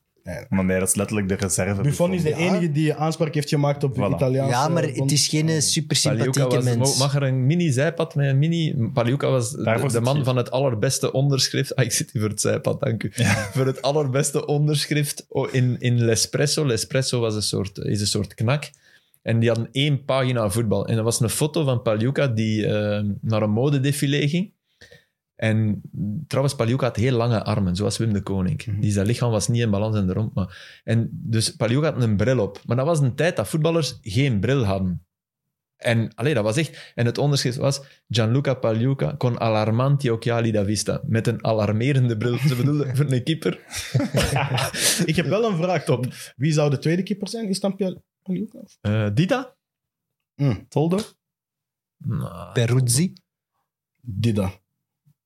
B: Maar nee, dat is letterlijk de reserve.
D: Buffon is de
E: Ja.
D: enige die aanspraak heeft gemaakt op
B: Voilà.
D: Italiaanse...
E: Ja, maar het is geen super
C: Palioka
E: sympathieke
C: was,
E: mens.
C: mag er een mini zijpad met een mini... Palioka was de,
B: Daarvoor
C: de
B: zit
C: man
B: je.
C: van het allerbeste onderschrift... Ah, ik zit hier voor het zijpad, dank u. Voor het allerbeste onderschrift oh, in, in L'Espresso. L'Espresso was een soort, is een soort knak. En die hadden één pagina voetbal. En dat was een foto van Palioka die eh, naar een modedefilé ging. En trouwens, Palioka had heel lange armen, zoals Wim de Koning.
B: Mhm.
C: Die zijn lichaam was niet in balans en rond. Maar... En dus Palioka had een bril op. Maar dat was een tijd dat voetballers geen bril hadden. En allee, dat was echt... En het onderscheid was Gianluca Palioka con alarmanti occhiali da vista. Met een alarmerende bril. Ze bedoelden voor een keeper.
D: Ik heb wel een vraag, Tom. Wie zou de tweede keeper zijn? Is dan Pial- Paljuka?
C: Eh, Dita?
B: Toldo?
C: Nou,
E: Peruzzi.
D: Dida.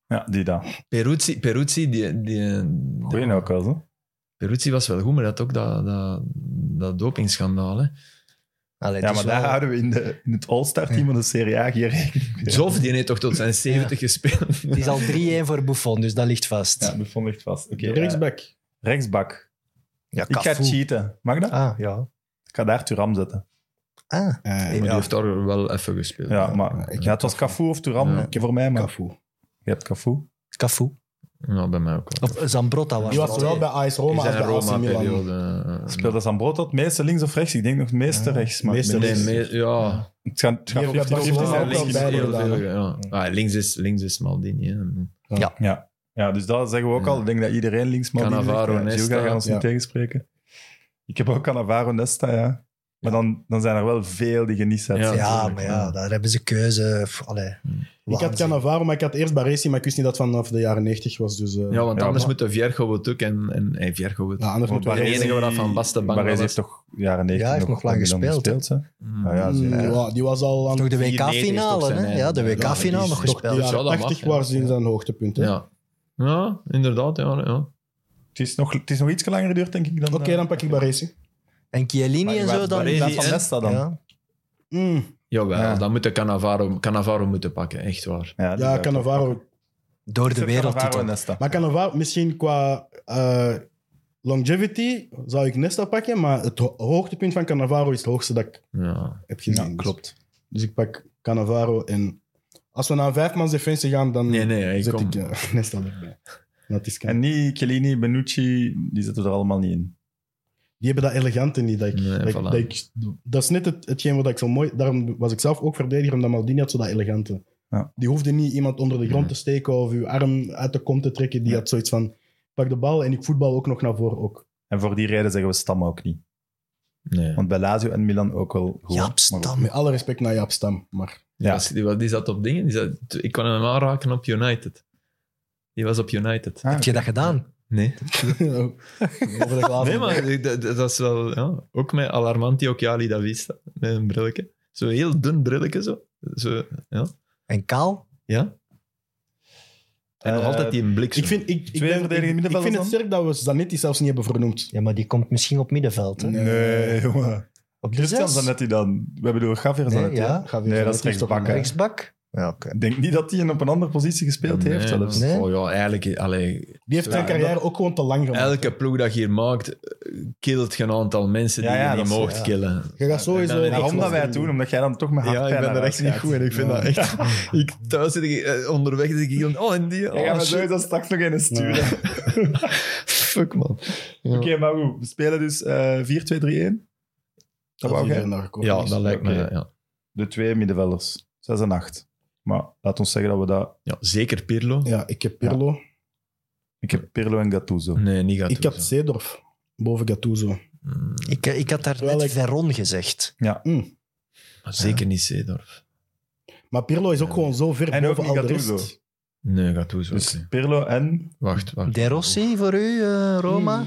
B: Ja, die daar.
C: Peruzzi, Peruzzi, die, die,
B: Goeie nou, Koos, hè?
C: Peruzzi was wel goed, maar dat had ook dat, dat, dat dopingschandaal. Hè.
E: Allee,
B: Ja, maar
E: het is
B: daar
E: wel-
B: houden we in, de, in het All-Star-team van de Serie A geen rekening mee.
C: Zof, die heeft toch tot zijn 70 gespeeld.
E: Het is al 3-1 voor Buffon, dus dat ligt vast.
B: Ja, Buffon ligt vast. Oké, eh,
D: Rechtsback.
B: rechtsbak.
E: Ja,
B: Ik ga
E: Cafu.
B: cheaten. Mag dat?
E: Ah, ja.
B: Ik ga daar Turam zetten.
E: Ah,
D: Eh,
C: Maar
E: Ja.
C: die heeft daar wel even gespeeld.
B: Ja, maar
D: ik
B: ja, het was Cafu of Turam
C: Ja.
B: voor mij, maar
D: Cafu.
B: je hebt Cafu.
E: Cafu.
C: Ja, bij mij ook wel.
E: Of Zambrotta was
D: Die was
E: dat.
D: zowel bij AS Roma als bij AC Milan.
C: Roma-periode. eh,
B: Speelde Zambrotta het meeste links of rechts? Ik denk nog het meeste rechts. Maar
D: meeste
B: ik ben-
C: Nee,
D: links.
C: mee- ja.
B: Het gaat, het gaat
D: Die hebben bij
B: 50-50
D: Barcelona
B: zijn.
D: ook wel
B: Links.
D: bij.
C: heel
D: gedaan,
C: veel,
D: hè?
C: ja. Ah, links, is, links is Maldini. Hè.
B: Ja. ja, dus dat zeggen we ook
C: Ja.
B: al. Ik denk dat iedereen links maar
C: Cannavaro, Nesta.
B: gaat ons
D: Ja.
B: niet tegenspreken. Ik heb ook Cannavaro, Nesta, ja. Maar dan, dan zijn er wel veel die geniet uit.
C: Ja,
E: Ja,
C: natuurlijk,
E: maar ja, daar hebben ze keuze. Pff, Allee,
D: Ik had
E: waanzin.
D: Cannavaro, maar ik had eerst Baresi, maar ik wist niet dat het vanaf de jaren 90 was. Dus, eh,
C: Ja, want
B: Ja, maar-
C: anders moet de Viergo het ook. En, en hey, Viergo het.
D: ja, anders
B: Maar
D: moeten we...
C: Baresi-
B: Baresi-
C: enige waar dat Van Basten bang
B: Baresi
C: was.
B: heeft toch jaren 90
E: Ja, hij heeft nog lang
B: bij Milan
E: gespeeld,
B: hè?
C: Hmm.
B: Ah, ja,
D: Mm,
B: zeker.
D: ja, die was al aan...
E: Toch de
C: 94 is toch
E: WK-finale,
C: zijn
E: hè?
C: einde.
E: Ja, de
C: Ja,
E: WK-finale
C: die
E: nog
C: is
D: toch
E: gespeeld.
D: die
C: Ja,
D: jaren
C: dat mag,
D: 80
C: ja.
D: was in zijn hoogtepunt. hè.
C: Ja. ja, inderdaad. Ja, ja.
B: Het, is nog, het is nog iets langer geduurd, denk ik. dan. eh,
D: Oké, dan pak ik Baresi.
E: En
B: Maar
E: Chiellini en
B: waar-
E: zo dan.
B: waar is
C: dan-
B: die van
C: en-
B: Nesta dan?
E: Ja.
D: Mm,
C: Jawel,
B: Ja.
C: dan moet de Cannavaro, Cannavaro moeten pakken. Echt waar.
B: die
D: Ja,
B: zou-
D: Cannavaro.
E: Door de
B: Cannavaro en
E: wereldtitel.
B: Nesta.
D: Maar Cannavaro, misschien qua eh, longevity zou ik Nesta pakken, maar het ho- hoogtepunt van Cannavaro is het hoogste dat ik
C: Ja.
D: heb gezien.
B: Ja,
D: Dus-
B: klopt.
D: Dus ik pak Cannavaro en... Als we naar een vijfmans defensie gaan, dan
C: Nee, nee, ik
D: zet
C: kom.
D: ik eh, <laughs> Nesta erbij. Dat is kan.
B: En niet Chiellini, Benucci, die zitten er allemaal niet in.
D: Die hebben dat elegante niet. Dat, ik,
C: Nee,
D: dat, ik-
C: voilà.
D: dat, ik- dat is net het, hetgeen wat ik zo mooi... Daarom was ik zelf ook verdediger, omdat Maldini had zo dat elegante.
B: Ja.
D: Die hoefde niet iemand onder de grond
C: Nee.
D: te steken of uw arm uit de kom te trekken. Die
B: Ja.
D: had zoiets van, ik pak de bal en ik voetbal ook nog naar voren. Ook.
B: En voor die reden zeggen we Stam ook niet.
C: Nee.
B: Want bij Lazio en Milan ook wel goed.
E: Jaap
B: Maar goed.
E: Stam.
D: Met alle respect naar Jaap Stam, maar...
C: Die,
B: Ja.
C: was, die, was- die zat op dingen. Die zat, ik kon hem aanraken op United. Die was op United.
B: Ah,
E: Heb je dat gedaan?
C: Nee.
D: Over de glazen.
C: Nee, maar ik- dat, dat- dat is wel... Ja, ook met Alarmanti Occhiali da Vista. Met een brilletje. Zo'n heel dun brilletje zo. zo ja.
E: En Kaal?
C: ja. En nog
B: Eh,
C: altijd die blik zo.
D: Ik vind, ik, ik,
B: Twee
D: ben-
B: verdedigende
D: ik, ik vind het
B: middenvelders
D: sterk dat we Zanetti zelfs niet hebben vernoemd.
E: Ja, maar die komt misschien op middenveld. Hè?
D: Nee.
B: Nee, jongen.
E: Op de
B: Christian
E: zes?
B: Zanetti dan. We hebben door Javier
E: Nee,
B: Zanetti.
E: ja.
B: hè?
D: Ga weer
B: Nee, dat is
D: Zanetti toch
B: rechtsback,
D: een-
B: hè.
E: Rechtsbak? Ja, oké.
B: Ik denk niet dat hij op een andere positie gespeeld
C: Nee,
B: heeft zelfs.
E: Nee.
C: Oh ja, eigenlijk... Allee,
D: Die heeft
C: Ja,
D: zijn
C: en
D: carrière ook gewoon te lang gemaakt.
C: elke ploeg dat je hier maakt, eh, kilt je een aantal mensen die
B: Ja, ja,
C: je niet
B: dat is-
C: mocht
E: ja.
C: killen.
D: Je gaat sowieso...
C: En
B: Daarom
C: Ik
B: dat
C: was
B: wij het doen, omdat jij dan toch met
C: Ja,
B: hardpijn
C: ik ben er echt niet
B: eruit
C: goed in. Ik vind dat echt... <laughs> Ik, thuis zit ik eh, onderweg, zit ik hier... Oh, en die...
B: gaat. Jij gaat
C: Oh,
B: me
C: shit.
B: sowieso straks nog een sturen.
D: Ja.
C: Fuck, man.
B: Oké, maar goed. We spelen dus eh 4-2-3-1. Dat wou jij?
C: Ja, dat lijkt me...
B: Oké.
C: Ja.
B: De twee middenvelders. 6 en 8. Maar laat ons zeggen dat we dat...
C: Ja, zeker Pirlo.
D: Ja, ik heb Pirlo.
B: Ik heb Pirlo en Gattuso.
C: Nee, niet Mm, gaat
D: Ik had Seedorf boven Gattuso.
E: Ik, eh, ik had daar
D: Terwijl
E: net
D: ik-
E: Veron gezegd.
D: Hm.
C: Zeker niet Seedorf.
D: Maar Pirlo is ook
C: Ja.
D: gewoon zo ver
B: En ook
D: boven
B: niet
D: al de
B: Gattuso.
D: rest.
C: Nee, Gattuso. ook
B: Dus
C: niet.
B: Pirlo en...
C: Wacht, wacht.
E: De Rossi voor u, eh, Roma?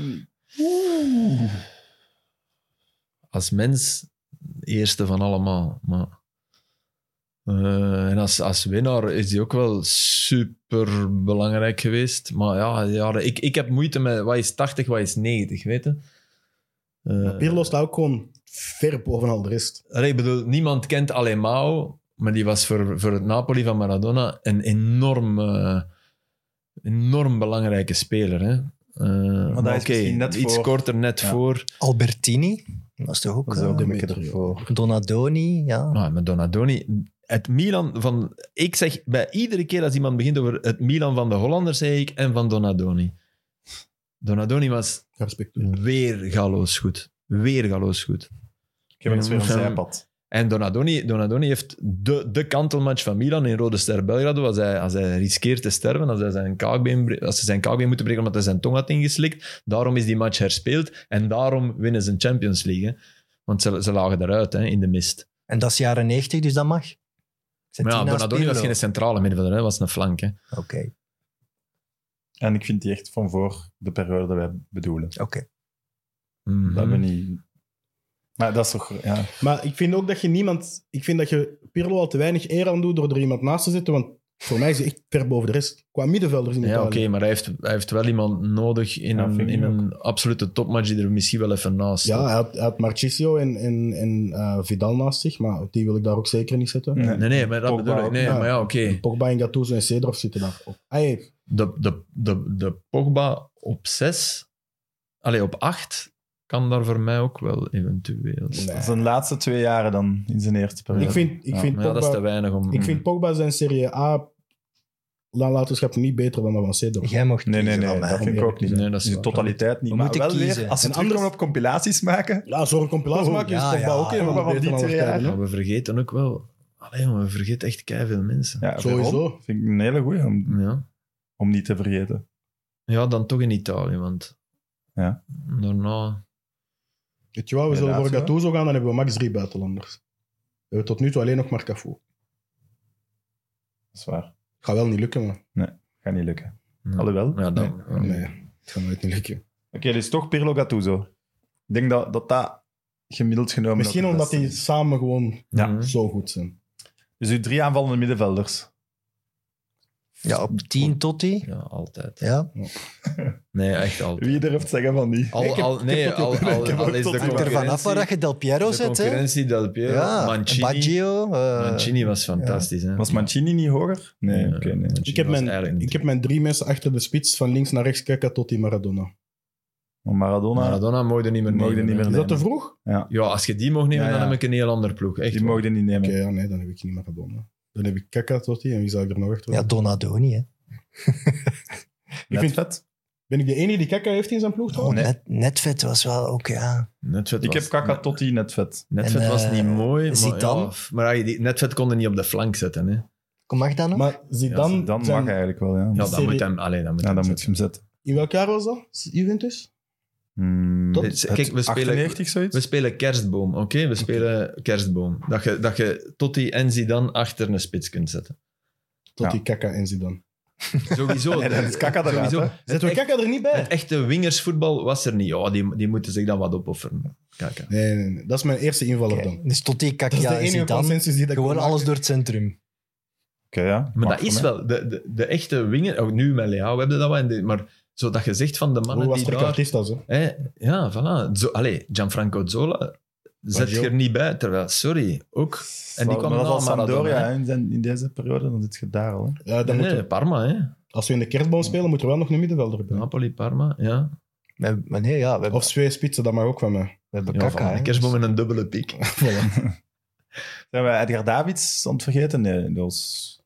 C: Als mens, eerste van allemaal. Maar... Eh, en als, als winnaar is hij ook wel super belangrijk geweest. Maar ja, ja ik, ik heb moeite met wat is 80, wat is 90, weet je? Eh,
D: Pirlo staat ook gewoon ver boven al de rest.
C: Allee, ik bedoel, niemand kent Alemão, maar die was voor, voor het Napoli van Maradona een enorm, eh, enorm belangrijke speler. Hè? Eh, maar
B: is
C: oké,
B: misschien net
C: iets
B: voor.
C: korter net
B: Ja.
C: voor.
E: Albertini? Dat is toch ook...
B: Dat is ook
E: eh,
B: een beetje
D: Demetrio.
B: ervoor.
E: Donadoni, ja.
C: Maar Ah, met Donadoni, het Milan van... Ik zeg, bij iedere keer als iemand begint over het Milan van de Hollanders, zeg ik, en van Donadoni. Donadoni was
D: Respect.
C: weer galoos goed. Weer galoos goed.
B: Ik heb eens weer een
C: Ja.
B: zijpad.
C: En Donadoni, Donadoni heeft de, de kantelmatch van Milan in Rode Ster Belgrado. Als hij, als hij riskeert te sterven, als, hij zijn kaakbeen, bre- als ze zijn kaakbeen moeten breken omdat hij zijn tong had ingeslikt. Daarom is die match herspeeld en daarom winnen ze een Champions League. hè. Want ze, ze lagen eruit hè, in de mist.
E: En dat is jaren 90, dus dat mag. Zet
C: Maar ja,
E: die naast
C: Donadoni was
E: Pirlo.
C: geen centrale middenvelder, hij was een flank. Hè.
E: Oké,
B: En ik vind die echt van voor de periode dat wij bedoelen.
E: oké.
C: Mhm.
B: Dat we niet... Maar dat is toch... Ja.
D: Maar ik vind ook dat je niemand... Ik vind dat je Pirlo al te weinig eer aan doet door er iemand naast te zetten, want Voor mij is hij echt ver boven de rest. Qua middenvelders in
C: Ja,
D: Italië.
C: oké, maar hij heeft, hij heeft wel iemand nodig in,
B: Ja,
C: een,
B: vind ik
C: in een absolute topmatch die er misschien wel even naast
D: Ja,
C: staat.
D: hij had, hij had Marchisio en, en, en eh, Vidal naast zich, maar die wil ik daar ook zeker niet zetten.
B: Nee.
C: Nee, nee, maar dat
B: Pogba
C: bedoel ik.
B: ook.
C: Nee,
D: Ja.
C: maar ja, oké.
D: Pogba en Gattuso en Cedrof zitten daar ook. Ah, hey,
C: De, de, de, de Pogba op zes, allee, op acht, kan daar voor mij ook wel eventueel.
D: nee.
B: Zijn laatste twee jaren dan, in zijn eerste periode.
D: Ik vind, ik
B: Ja,
D: vind
C: Maar ja, dat is te
D: Pogba,
C: weinig om...
D: ik vind Pogba zijn Serie A latenschap niet beter dan dat van Cedrof.
E: Jij mag
B: Nee, nee,
E: kiezen
B: nee,
E: van mij.
B: dat vind ik ook niet.
C: Nee, dat is
B: in
C: waar.
B: totaliteit niet.
E: We
B: maar
E: moeten
B: wel
E: kiezen.
B: weer, als ze
D: En
B: terug
D: anders-
B: gaan op compilaties maken...
D: Ja, zorg ik een plaats
B: Oh,
D: maken, is
E: ja,
D: Pogba
E: ja.
D: ook een
B: Pogba
D: van
B: van
D: beter
B: die
D: dan
B: twee
D: wat
B: jaar.
D: tijden, hè.
C: Maar we vergeten ook wel... Allee, jongen, we vergeten echt keiveel mensen. Ja.
B: Ja,
D: Sowieso.
B: waarom? Vind ik een hele goeie om,
C: Ja.
B: om niet te vergeten.
C: dan toch in Italië, want...
B: Ja.
C: Daarna...
D: Weet je wat, we
B: De
D: zullen voor
B: laatste,
D: Gattuso gaan, dan hebben we max drie buitenlanders. We hebben tot nu toe alleen nog maar Cafu.
B: Dat is waar.
D: Gaat wel niet lukken, maar
B: Gaat niet lukken.
C: Ja.
B: Alhoewel.
C: Ja,
B: Nee.
C: dan...
D: nee, het gaat nooit niet lukken.
B: Oké, dus toch Pirlo Gattuso. Ik denk dat dat, dat gemiddeld genomen...
D: Misschien
B: ook het
D: omdat
B: beste
D: die
B: is.
D: samen gewoon
C: Ja.
D: zo goed zijn.
B: Dus uw drie aanvallende middenvelders.
E: Ja, op 10 Totti.
C: Ja, altijd.
E: Ja,
C: Nee, echt altijd.
B: Wie durft zeggen van die?
C: Al, al, nee, al,
B: <laughs>
C: al,
B: ik heb
C: al
B: ook
C: is
B: tot-
C: de
B: ik heb
E: hangt er vanaf waar
C: concurrentie...
E: dat je Del Piero
C: De
E: zet. Hè?
C: concurrentie Del Piero,
E: Ja,
C: Mancini.
E: Baggio. eh,
C: Mancini was fantastisch, hè.
B: Was Mancini niet hoger? Nee, oké, nee.
C: Mancini
D: Ik heb,
C: was
D: mijn,
C: eigenlijk
D: ik
C: niet.
D: heb mijn drie mensen achter de spits van links naar rechts kijken tot die Maradona.
B: Maar Maradona,
C: Maradona mocht er niet meer
B: Mocht er
C: nemen.
B: niet meer
C: hè.
D: Is
B: Nee,
D: dat
B: nee.
D: te vroeg?
C: Ja, als je die mocht nemen,
B: Ja, ja.
C: dan heb ik een heel ander ploeg. Echt
B: die
C: waar.
B: mogen die niet nemen.
D: Oké, ja, nee, dan heb ik niet Maradona. Dan heb ik Kaka tot die en wie zou ik er nog achter
E: Ja,
D: hebben?
E: Donadoni. Hè.
B: Ik vind het vet.
D: Ben ik de enige die Kaka heeft in zijn ploeg? toch?
B: Oh, nee.
E: Net, Netvet was wel ook, ja.
C: Netvet
B: Ik
C: was-
B: heb Kaka tot die net vet.
C: Netvet
E: En,
C: was
E: eh,
C: niet mooi, maar,
E: Zidane?
C: ja, maar ja, die, Netvet kon er niet op de flank zetten. Hè.
E: Kom, mag dat nog?
D: Maar Zidane,
B: Dus dan mag
D: zijn-
B: hij eigenlijk wel, ja.
C: Ja,
B: Ja,
C: dan
D: Serie-
C: moet hem, allee, dan moet
B: dan
C: hem
B: moet je hem zetten.
D: in welk jaar was dat? Juventus?
B: Hmm,
C: Tot-
B: het-
C: kijk, we spelen-
B: 98 zoiets?
C: We spelen kerstboom, oké? We spelen kerstboom. Dat je, dat je Totti en Zidane achter een spits kunt zetten.
D: Tot
B: Ja.
D: die Kaka en Zidane.
B: <laughs>
C: Sowieso.
B: Nee, dan is Kaka eruit, hè.
D: Zetten we
C: Het, echt-
D: Kaka er niet bij?
C: het echte wingersvoetbal was er niet. Oh, die, die moeten zich dan wat opofferen. Kaka.
D: Nee, nee, nee. Dat is mijn eerste invaller
E: Oké,
D: dan.
E: Dus Totti,
D: Dat is
E: Kakia
D: de
E: en
D: enige
E: Zidane.
D: consensus die dat ik
E: Gewoon
D: kan
E: alles
D: maken.
E: door het centrum.
B: Oké, ja.
C: Maar
B: Mag
C: dat is
B: voor mij.
C: wel... De, de, de echte winger... Ook nu met Leao hebben we dat wel. en de- Maar zo dat je zegt van de mannen
D: Hoe was
C: die
D: Rick
C: daar...
D: Artistas, hè?
C: Hè, ja, voilà. Zo, allee, Gianfranco Zola zet
D: Baggio.
C: je er niet bij. Terwijl, sorry, ook... En die
B: Maar
C: kwam
B: dat
C: na
B: was al
C: Maradona,
B: Sampdoria
C: hè.
B: hè, in, zijn- in deze periode, dan zit je daar al. Hè.
D: Ja, dan
C: Nee,
D: moeten we-
C: nee, Parma, hè.
D: als we in de kerstboom spelen, moet er wel nog een middenvelder bij.
C: Napoli, Parma, ja.
E: Maar maar nee, ja, we hebben,
D: Of twee spitsen, dat mag ook van mij.
E: we hebben
C: ja
E: Kaka.
C: voilà,
E: hè. dus-
C: een kerstboom en een dubbele
B: <laughs>
C: piek.
B: Zijn we Edgar Davids aan het vergeten? Nee, dat was...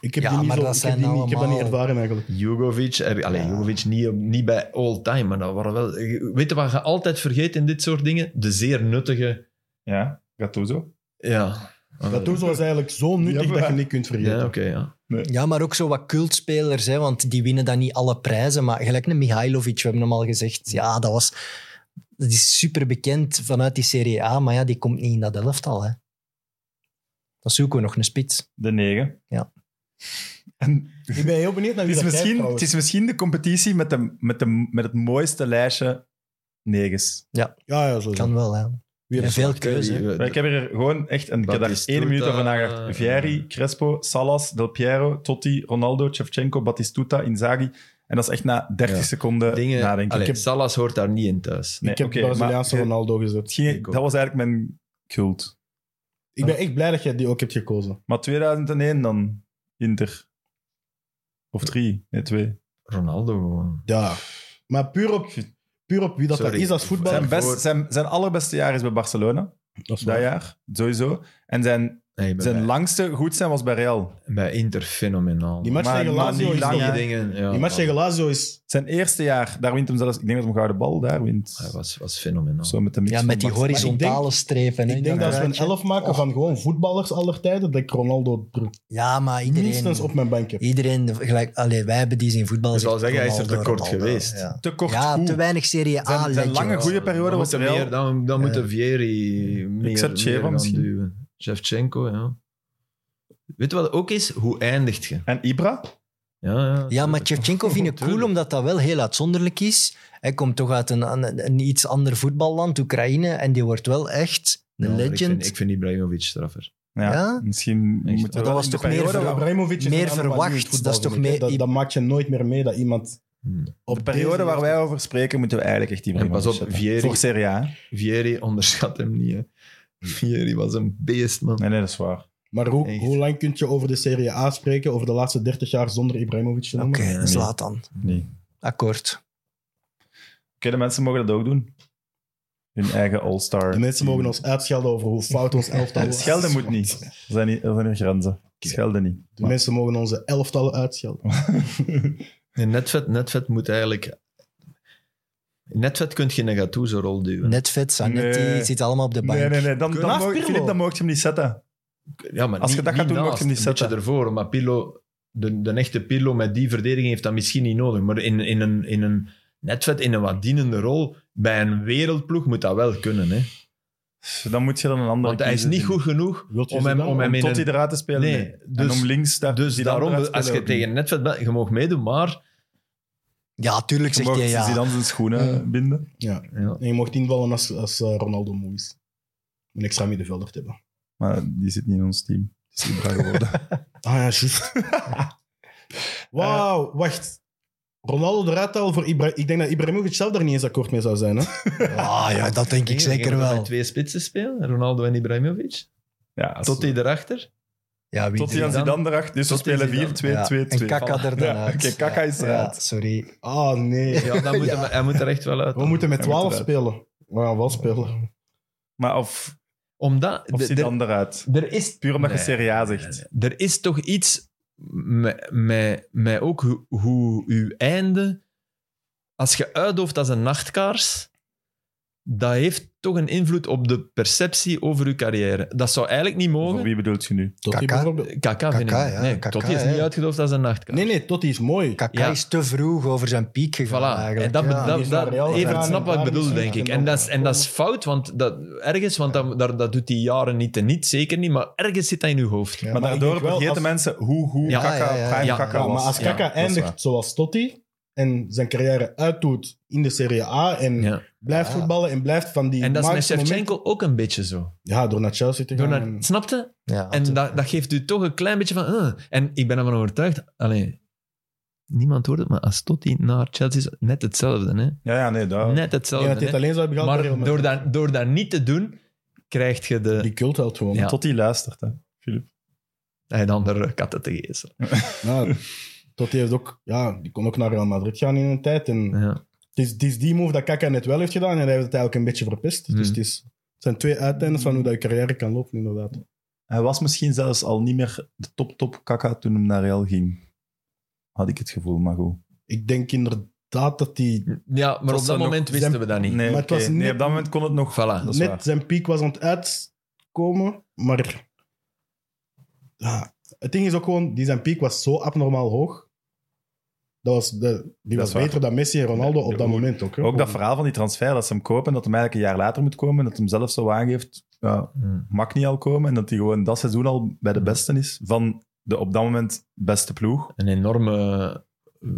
D: Ik heb
E: Ja,
D: die niet
E: maar
D: zo...
E: dat
D: Ik
E: zijn
D: heb, die niet, ik heb dat niet
E: allemaal-
D: ervaren, eigenlijk.
C: Jugovic, er, allee, Jugovic niet, op- niet bij all-time, maar dat waren wel... Weet je wat je altijd vergeet in dit soort dingen? De zeer nuttige...
B: Ja, Gattuso.
C: Ja. Ah,
D: Gattuso is eigenlijk zo nuttig
B: Ja,
D: dat
B: maar-
D: je niet kunt vergeten.
C: Ja, oké, ja.
E: Ja, maar ook zo wat cultspelers, hè, want die winnen dan niet alle prijzen. Maar gelijk een Mihailovic, we hebben hem al gezegd. Ja, dat was... Dat is super bekend vanuit die Serie A, maar ja, die komt niet in dat elftal. Hè. Dan zoeken we nog een spits.
B: De negen.
E: Ja.
B: En
D: Ik ben heel benieuwd naar
B: het,
D: wie
B: is
D: dat kijkt,
B: misschien, het
D: trouwens.
B: is misschien de competitie met, de, met, de, met het mooiste lijstje negens.
D: Ja, ja, zo.
E: Kan wel, hè.
D: Wie
E: En
D: heeft-
E: veel keuze. hè.
B: Maar Ik heb er gewoon echt... En ik heb daar
C: Batistuta,
B: één minuut over nagedacht. Vieri, Crespo, Salas, Del Piero, Totti, Ronaldo, Shevchenko, Batistuta, Inzaghi. En dat is echt na 30
C: Ja.
B: seconden
C: Dingen...
B: nadenken.
C: allee,
B: Ik heb-
C: Salas hoort daar niet in thuis.
B: Nee,
D: ik heb
B: oké,
D: de Braziliaanse
B: maar-
D: Ronaldo gezet.
B: het ging- dat was eigenlijk mijn cult.
D: Ik ben echt blij dat jij die ook hebt gekozen.
B: Maar 2001 dan, Inter. Of drie, nee, twee.
C: Ronaldo gewoon.
D: Ja. Maar puur op, puur op wie dat, dat
C: Sorry.
D: is als voetballer...
B: Zijn, best,
C: voor-
B: zijn, zijn allerbeste jaar is bij Barcelona,
D: Dat is
B: dat
D: waar.
B: jaar, sowieso. En zijn,
C: Hey, bij,
B: zijn langste goed zijn was bij Real.
C: bij Inter fenomenaal.
D: Die match
B: Maar-
D: tegen
B: maar
D: Lazio
B: die
D: is
B: lange-
D: toch-
C: Die dingen, ja.
D: Die match tegen Lazio is...
B: Zijn eerste jaar, daar wint hem zelfs, ik denk dat hij hem gouden bal daar
C: Hij
B: wint.
C: was, was fenomenaal.
B: Zo met de mix
E: Ja,
B: van
E: met die
B: Barcelona.
E: horizontale strepen. hè,
D: Ik denk dat als we een
E: inderdaad,
D: elf maken van gewoon voetballers aller tijden, dat ik Ronaldo er
E: hè. Ja, maar
D: minstens op
E: iedereen...
D: mijn bank heb.
E: Iedereen, gelijk, allee, wij hebben die zien voetbal.
C: Ik zou
E: zegt
C: zeggen, hij is er
E: Ronaldo,
C: te kort
E: Ronaldo,
C: geweest.
E: Ja,
B: Te kort
E: Ja,
B: goed.
E: te weinig Serie A.
B: Zijn- zijn
E: legends.
B: lange goeie periode
C: Dan
B: was
C: moeten
B: Real.
C: meer- Dan, dan moet de Vieri meer,
B: zet
C: meer
B: Sheva
C: gaan
B: misschien.
C: duwen. Shevchenko, ja. Weet je wat ook is? Hoe eindigt je?
B: En Ibra?
C: Ja, ja.
E: Ja, maar Shevchenko
B: <laughs>
E: vind ik cool
C: Tuurlijk.
E: omdat dat wel heel uitzonderlijk is. Hij komt toch uit een, een, een iets ander voetballand, Oekraïne, en die wordt wel echt
C: Ja,
E: een
C: maar Ik
E: legend.
C: vind, ik vind Ibrahimovic straffer.
B: Ja,
E: Ja?
B: Misschien
C: Echt.
B: moeten
E: Maar
B: we
E: dat
B: wel
E: was
B: in
E: toch
B: de periode
E: meer
B: waar-
E: verwacht?
D: Ibrahimovic is
E: meer
D: een andere manier in
E: verwacht,
D: het voetbal,
E: dat is toch
D: vind ik, hè.
E: mee-
D: Dat, dat maakt je nooit meer mee dat iemand...
C: Hmm.
B: Op de periode waar wij over spreken, moeten we eigenlijk echt die
C: En pas op,
B: zetten.
C: Vieri-
B: Voor Serie A. hè?
C: Vieri onderschat hem niet. Hè.
B: Hm.
C: Vieri was een beest, man.
B: Nee, nee, dat is waar.
D: Maar hoe,
C: Echt.
D: hoe lang kun je over de Serie A spreken, over de laatste 30 jaar, zonder Ibrahimovic te noemen?
E: Oké, slaat dan.
B: Nee. Oké,
E: Akkoord.
B: de mensen mogen dat ook doen. Hun eigen All-Star.
D: De mensen mogen ons uitschelden over hoe fout ons elftal was.
B: Schelden moet niet. Er zijn, niet, er zijn er grenzen. Schelden niet.
D: De mensen mogen onze elftallen uitschelden.
C: Nee, netvet, netvet moet eigenlijk... Netvet kun je in Gattuso rol duwen.
E: Net vet, Zanetti
B: Nee.
E: zit allemaal op de bank.
B: Nee, nee, nee. Dan,
D: Kun- Naast
B: dan, mocht,
D: Pirlo.
B: Filip, dan mocht je hem niet zetten.
C: Ja, maar
B: Als je
C: niet-
B: dat gaat
C: niet
B: doen, mag je hem niet
C: naast. Een beetje
B: zetten.
C: ervoor, maar Pirlo, de, de echte Pirlo met die verdediging heeft dat misschien niet nodig. Maar in, in, een, in een netvet, in een wat dienende rol, bij een wereldploeg moet dat wel kunnen. Hè?
B: Dus Dan moet je dan een andere
C: Want hij is
B: kiezen.
C: niet goed genoeg
D: Wilt je
C: om
D: ze
C: hem,
D: dan?
C: om hem
B: Om
C: in
B: tot
C: een-
B: hij eruit te spelen.
C: Nee,
B: Nee.
C: dus-
B: en om links daar,
C: Dus
B: Zidane
C: daarom,
B: eruit te
C: als je
B: spelen
C: tegen
B: ook
C: netvet bent, je mag meedoen, maar...
E: Ja, tuurlijk
B: niet. Je
E: zegt
B: mocht
E: hij
B: ja.
E: ja.
B: Zidane zijn schoenen binden.
D: Ja.
C: Ja.
D: En je mocht invallen als, als eh, Ronaldo moe is. Een extra middenvelder te hebben.
B: Maar die zit niet in ons team. Het is Ibra
C: <laughs>
B: geworden.
D: Ah ja, <laughs> juist. Wauw, wacht. Ronaldo eruit al voor Ibra Ik denk dat Ibrahimovic zelf daar niet eens akkoord mee zou zijn. Hè?
E: <laughs> Ah, ja, dat denk ik zeker wel.
C: twee spitsen spelen, Ronaldo en Ibrahimovic.
B: ja, als-
C: Tot die erachter.
E: Ja, wie
B: tot hij
E: drie?
B: aan
C: Zidane-
B: Zidane erachter. Dus we
C: tot die
B: spelen 4-2-2-2.
C: Zidane.
E: Ja, En Kaka er
B: <laughs>
E: dan
B: Ja,
E: uit.
B: oké, Kaka is
E: Ja,
B: eruit.
E: sorry.
D: <laughs> Ah nee.
C: Ja,
B: <laughs>
C: dan moet Hij, hij moet er echt wel uit.
D: We moeten met
B: Hij moet
D: 12
B: eruit.
D: spelen. We gaan wel spelen.
B: Maar of,
C: Omdat...
B: of
C: de-
B: Zidane eruit.
C: er, er is...
B: Puur omdat je
C: Nee.
B: Serie A zegt.
C: Er is toch iets met, met, met ook hoe, hoe uw einde... Als je uitdooft als een nachtkaars, dat heeft toch een invloed op de perceptie over uw carrière. Dat zou eigenlijk niet
B: Voor
C: mogen.
B: wie bedoelt je nu?
D: Totti
E: Kaka?
D: bijvoorbeeld.
C: Kaka, vind ik.
E: Kaka, ja,
C: nee,
E: Kaka,
C: Totti is
E: ja.
C: niet uitgedoofd als een nachtkaars.
D: Nee, nee, Totti is mooi.
E: Kaka
C: Ja.
E: is te vroeg over zijn piek gegaan
C: Voilà.
E: eigenlijk.
C: En dat,
E: ja.
C: dat,
D: die is
C: dat,
D: naar Real
C: Evert
D: gegaan
C: snapt
D: en
C: wat ik
D: daar
C: bedoel,
D: is hij
C: denk ik.
D: gegaan.
C: En dat is, en dat is fout, want dat, ergens, want dat, daar- dat doet die jaren niet teniet, zeker niet, maar ergens zit dat in uw hoofd.
D: Ja,
B: maar,
D: maar ik
B: daardoor
D: denk wel
B: vergeten
D: als-
B: mensen hoe, hoe
C: Ja,
B: Kaka,
E: ja, ja, ja.
B: prime
C: Ja,
B: Kaka
D: Ja,
B: was.
D: maar als
B: Ja,
D: Kaka
B: dat is waar.
D: eindigt zoals Totti en zijn carrière uitdoet in de Serie A en
C: Ja.
D: blijft
E: Ja.
D: voetballen en blijft van die
C: En dat is met
D: magische momenten-
C: Shevchenko ook een beetje zo.
D: Ja, door naar Chelsea te
C: Door
D: gaan.
C: naar,
D: en-
C: snapte?
E: Ja,
C: En
E: dat-
C: dat, dat geeft u toch een klein beetje van... eh. En ik ben ervan overtuigd... Allee, niemand hoort het, maar als Totti naar Chelsea is, net hetzelfde. Hè?
B: Ja, Oh. ja, nee, daar.
C: Net
D: Ik denk dat
C: hetzelfde.
D: hij het
C: hè.
D: alleen zou hebben gehad bij Real
C: Maar
D: Madrid.
C: door dat, door dat niet te doen, krijg je de...
D: Die cult houdt gewoon.
C: Ja.
B: Tot hij luistert, hè. Filip.
C: Hij dan de katten te geestelen.
D: Ja, Totti heeft ook, ja, die kon ook naar Real Madrid gaan in een tijd. En
C: Ja.
D: het, is, het is die move dat Kaka net wel heeft gedaan en hij heeft het eigenlijk een beetje verpest.
C: Hmm.
B: Mhm.
D: Dus het, is, het zijn twee uiteindes van hoe dat je carrière kan lopen, inderdaad.
B: Hij was misschien zelfs al niet meer de top-top Kaka toen hem naar Real ging. Had ik het gevoel, maar goed.
D: Ik denk inderdaad dat hij
C: ja,
B: was
C: maar op
B: dan
C: dat
B: nog-
C: moment wisten
D: zijn-
C: we dat niet.
B: Nee,
D: Maar het
B: oké.
D: was
B: nee,
D: net-
B: op dat moment kon het nog...
C: Voilà.
B: Dat is
D: net
B: waar.
D: zijn piek was aan het uitkomen, maar ja, het ding is ook gewoon, die zijn piek was zo abnormaal hoog. Dat was de, die
B: Dat
D: was
B: is waar.
D: beter dan Messi en Ronaldo
B: Ja,
D: op dat
B: ook-
D: moment ook. hè.
B: Ook dat verhaal van die transfer, dat ze hem kopen, dat hem eigenlijk een jaar later moet komen, en dat hem zelf zo aangeeft, ja,
C: Hmm.
B: mag niet al komen, en dat hij gewoon dat seizoen al bij de beste is van de op dat moment beste ploeg.
C: een enorme. eh,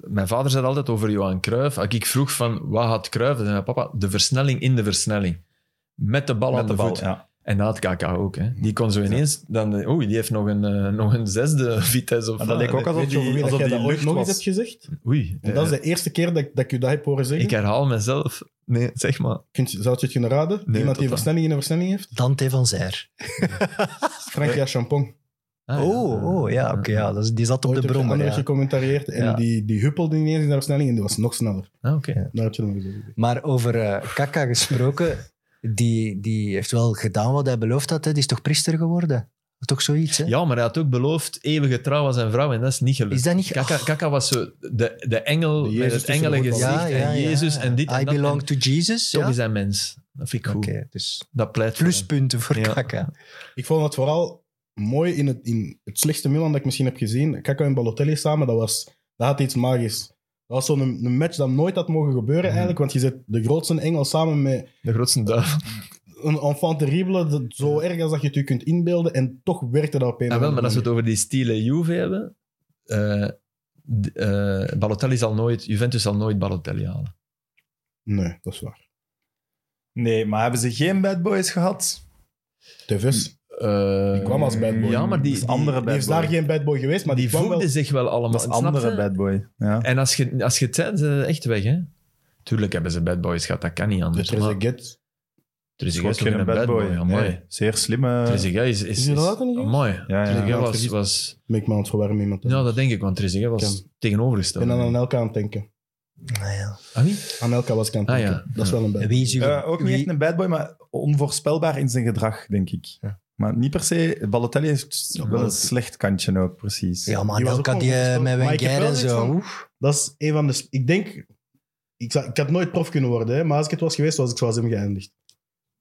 C: Mijn vader zei altijd over Johan Cruijff. Als ik vroeg van wat had Cruijff, dan zei mijn papa de versnelling in de versnelling. Met de bal
B: Met
C: aan de, voet.
B: ja.
C: En dat had KK ook. Hè. Die kon zo ineens. Dan, eh, oei, die heeft nog een, eh, nog een zesde <laughs> vitesse. Of
B: Maar dat
C: wat.
B: leek ook alsof
D: Weet je over
B: die,
D: wie dat
B: alsof
D: jij
B: die
D: dat ooit
B: lucht
D: nog eens hebt
B: was.
D: gezegd?
C: Oei.
D: Want dat is de eerste keer dat, dat ik je dat heb horen
C: eh,
D: zeggen.
C: ik herhaal mezelf. Nee, zeg maar.
D: Kun je- zou je het kunnen raden? Iemand die
C: totaal.
D: versnelling in een versnelling heeft?
E: Dante van Zijr.
D: Frankia Champong.
C: Ah, ja.
E: oh, oh, ja, oké. ja, dat is- die zat op
D: Ooit
E: de
D: heb je
E: brommer.
D: andere
E: ja.
D: gecommentarieerd en
E: Ja.
D: die, die huppelde ineens in de versnelling en die was nog sneller.
C: Ah, oké.
D: Daar heb je nog gezegd.
E: Maar over eh, Kaka gesproken, <laughs> die, die heeft wel gedaan wat hij beloofd had. Hè. Die is toch priester geworden? Toch zoiets, hè?
C: Ja, maar hij had ook beloofd eeuwige trouw aan zijn vrouw en dat is niet gelukt.
E: Is dat niet...
C: Kaka,
E: Oh,
C: Kaka was zo de, de engel
D: De Jezus
C: met het
D: tussen de
C: engelen
D: voetballen.
C: gezicht
E: ja, ja,
C: en
E: ja.
C: Jezus en dit
E: I
C: en dat.
E: belong
C: En
E: to Jesus,
C: Toch
E: ja?
C: is hij mens. Dat vind ik
E: Oké,
C: goed.
E: dus
C: Dat pleit voor hem.
E: pluspunten voor
C: Ja.
E: Kaka.
D: Ik vond het vooral mooi in het, in het slechtste Milan dat ik misschien heb gezien. Kaka en Balotelli samen, dat, was, dat had iets magisch. Dat was zo'n een match dat nooit had mogen gebeuren eigenlijk, want je zet de grootste engel samen met
C: De grootste duivel.
D: een enfant terrible, dat zo erg als dat je het je kunt inbeelden, en toch werkte dat op een
C: Ah, wel, maar als we het
D: manier.
C: over die stile Juve hebben... eh, d- eh, Balotelli zal nooit... Juventus zal nooit Balotelli halen.
D: Nee, dat is waar.
B: Nee, maar hebben ze geen bad boys gehad?
D: TV's.
C: eh,
D: Die kwam als bad boy.
C: Ja, maar die,
B: Dat is Dus
C: die,
B: andere
D: Die
B: bad
D: is
B: boy.
D: daar geen bad boy geweest, maar die,
C: die
D: kwam
C: voegde
D: wel...
C: zich wel allemaal.
B: Dat is
C: snap
B: andere
C: je?
B: bad boy. Ja.
C: En als je, als je het zei, zijn ze echt weg, hè? Tuurlijk hebben ze bad boys gehad, dat kan niet anders.
D: Dus er is
C: maar-
D: een git.
C: Er is
B: Is ook
C: een gast ook
B: geen bad boy.
C: Amai.
B: Nee, zeer slimme.
C: Trezeguet is... is,
D: Is hij dat ook een gast?
C: Amai.
B: Ja, ja.
C: Trezeguet
D: Ja,
C: was,
D: vergis-
C: was...
D: Ik ben aan het verwarmen iemand.
C: Ja, dat denk ik, want Trezeguet was
D: Kan. Ik
C: tegenovergesteld.
D: ben aan Elka aan het denken.
E: Nou ja.
C: Ah, wie?
D: Aan Elka was ik aan het
C: Ah,
D: denken.
C: ja.
D: Dat is
C: Ja.
D: wel een bad boy.
E: Wie is uw...
B: Eh, ook niet
E: wie-
B: echt een bad boy, maar onvoorspelbaar in zijn gedrag, denk ik.
E: Ja.
B: Maar niet per se. Balotelli heeft wel een
D: Balotelli.
B: slecht kantje ook, precies.
E: Ja, maar
D: Die was
E: dan
D: ook
E: kan die eh,
D: onvoorspelbaar.
E: met
D: Maar ik heb
E: Wenger
D: wel
E: en
D: zoiets
E: zo.
D: van-
E: Oef.
D: Dat is een van de... sp- Ik denk... Ik, zou- ik had nooit prof kunnen worden, hè, maar als ik het was geweest, was ik zoals hem geëindigd.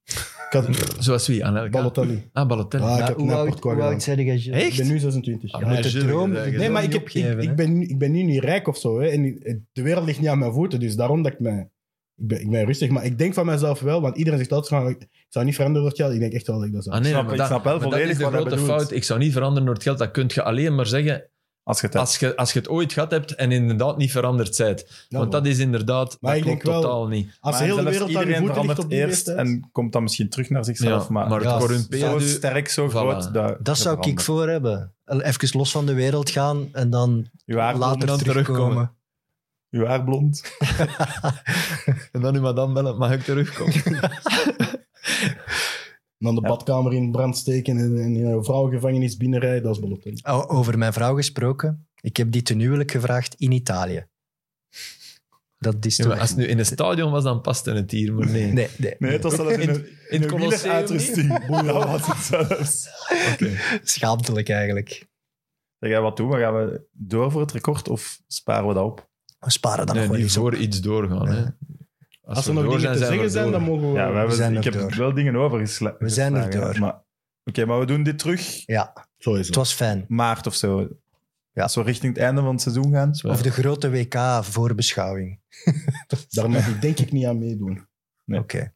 D: Ik had...
C: Zoals wie? Aan elkaar?
D: Balotelli.
C: Ah, Ballotelli.
D: Ah, ik
E: Maar
D: heb
E: hoe
D: net
E: oud,
D: Porto
E: hoe
D: gedaan.
E: oud zei jij, Gilles?
C: Echt?
D: Ik ben nu 26.
C: Ah,
E: Je moet de
C: Gilles,
E: droom,
C: dat-
E: de
D: Nee,
E: droom
D: maar ik,
E: niet
D: heb, ik,
E: opgeven.
D: ik,
E: hè.
D: ben, nu- ik ben nu niet rijk of zo. Hè. En de wereld ligt niet aan mijn voeten. Dus daarom dat ik mij... Ik ben, ik ben rustig, maar ik denk van mezelf wel. Want iedereen zegt altijd van... Ik zou niet veranderen voor het geld. Ik denk echt wel dat ik dat zou.
C: Ah, nee,
B: Ik snap-
C: maar
B: ik
C: dat-
B: snap wel
C: maar dat
B: volledig
C: is de
B: wat hij
C: grote
B: bedoelt.
C: fout. Ik zou niet veranderen door het geld. Dat kun je alleen maar zeggen
B: Als je het hebt.
C: als je, als je het ooit gehad hebt en inderdaad niet veranderd zijt.
D: Ja,
C: Want dat is inderdaad...
D: Maar
C: dat
D: ik
C: klopt
D: denk wel-
C: totaal niet.
D: Als de
B: Maar
D: hele
B: zelfs
D: wereld aan je
B: iedereen
D: voeten ligt
B: verandert
D: op die
B: eerst
D: leeftijd-
B: en komt dan misschien terug naar zichzelf.
C: Ja,
B: maar
C: maar het
E: Ja,
B: zo
C: corrumperen...
B: sterk, zo
C: Voilà.
B: groot. Dat,
E: Dat zou ik voor hebben. Even los van de wereld gaan en dan
B: Uw haar,
E: later
C: dan
E: terugkomen.
B: uw haar blond.
C: En dan uw madame bellen, mag ik terugkomen?
D: En dan de
B: Ja.
D: badkamer in brand steken en, en in een vrouwengevangenis binnenrijden. Dat is Balotelli.
E: O- Over mijn vrouw gesproken. Ik heb die ten huwelijk gevraagd in Italië. Dat is
C: Ja,
E: toch...
C: maar als het nu in een stadion was, dan paste het hier, maar nee.
E: Nee, nee.
B: Nee,
E: <laughs>
B: het was zelfs in, een- in
C: het
B: een
C: Colosseum
B: wieleruitrusting. Boeien, dat was het zelfs.
E: Schaamtelijk eigenlijk.
B: Zeg jij wat doen? we? Gaan we door voor het record of sparen we dat op?
E: We sparen dan
C: Nee,
E: nog wel
C: niet
E: eens op.
C: voor iets doorgaan. Hè.
D: Als, er nog dingen te zeggen zijn, dan mogen we...
B: Ja, we hebben,
E: zijn
B: ik
E: er
B: heb
E: door.
B: wel dingen overgeslagen.
E: We zijn er door.
B: Maar, Oké, maar we doen dit terug
E: Ja,
D: Zo is
E: het
D: het.
E: was fijn.
B: maart of zo.
E: Ja.
B: Als we richting het einde van het seizoen gaan.
E: Of de grote WK voorbeschouwing.
D: Daar mag ik denk ik niet aan meedoen.
B: Nee.
E: Oké.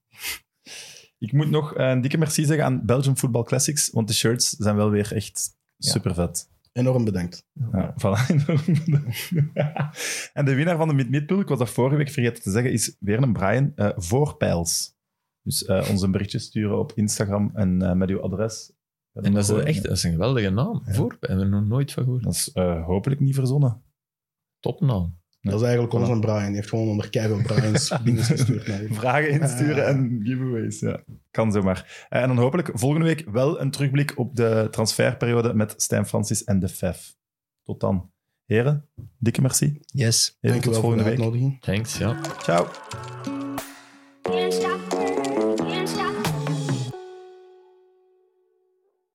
B: Ik moet nog eh, een dikke merci zeggen aan Belgium Football Classics, want de shirts zijn wel weer echt
E: Ja.
B: super vet.
D: Enorm bedankt.
B: Ja, voilà. <laughs> en de winnaar van de Mid-Midpool, ik was dat vorige week vergeten te zeggen, is weer een Brian eh voor Pijls. Dus eh, ons een berichtje sturen op Instagram en eh, met uw adres.
C: En dat is een- echt dat is een geweldige naam. Voor, we hebben er nog nooit van gehoord.
B: Dat is eh, hopelijk niet verzonnen.
C: Topnaam.
B: Nee.
D: Dat is eigenlijk ons aan Brian. Hij heeft gewoon onder keihard Brian's dingen gestuurd. naar je.
B: Vragen insturen en giveaways. Ja. Kan zomaar. Eh, En dan hopelijk volgende week wel een terugblik op de transferperiode met Stijn Francis en de FEF. Tot dan. Heren, dikke merci.
E: Yes.
B: Heren,
D: Dank u
B: tot
D: wel
B: volgende
D: voor de
B: week.
D: uitnodiging.
C: Thanks, ja.
B: Ciao.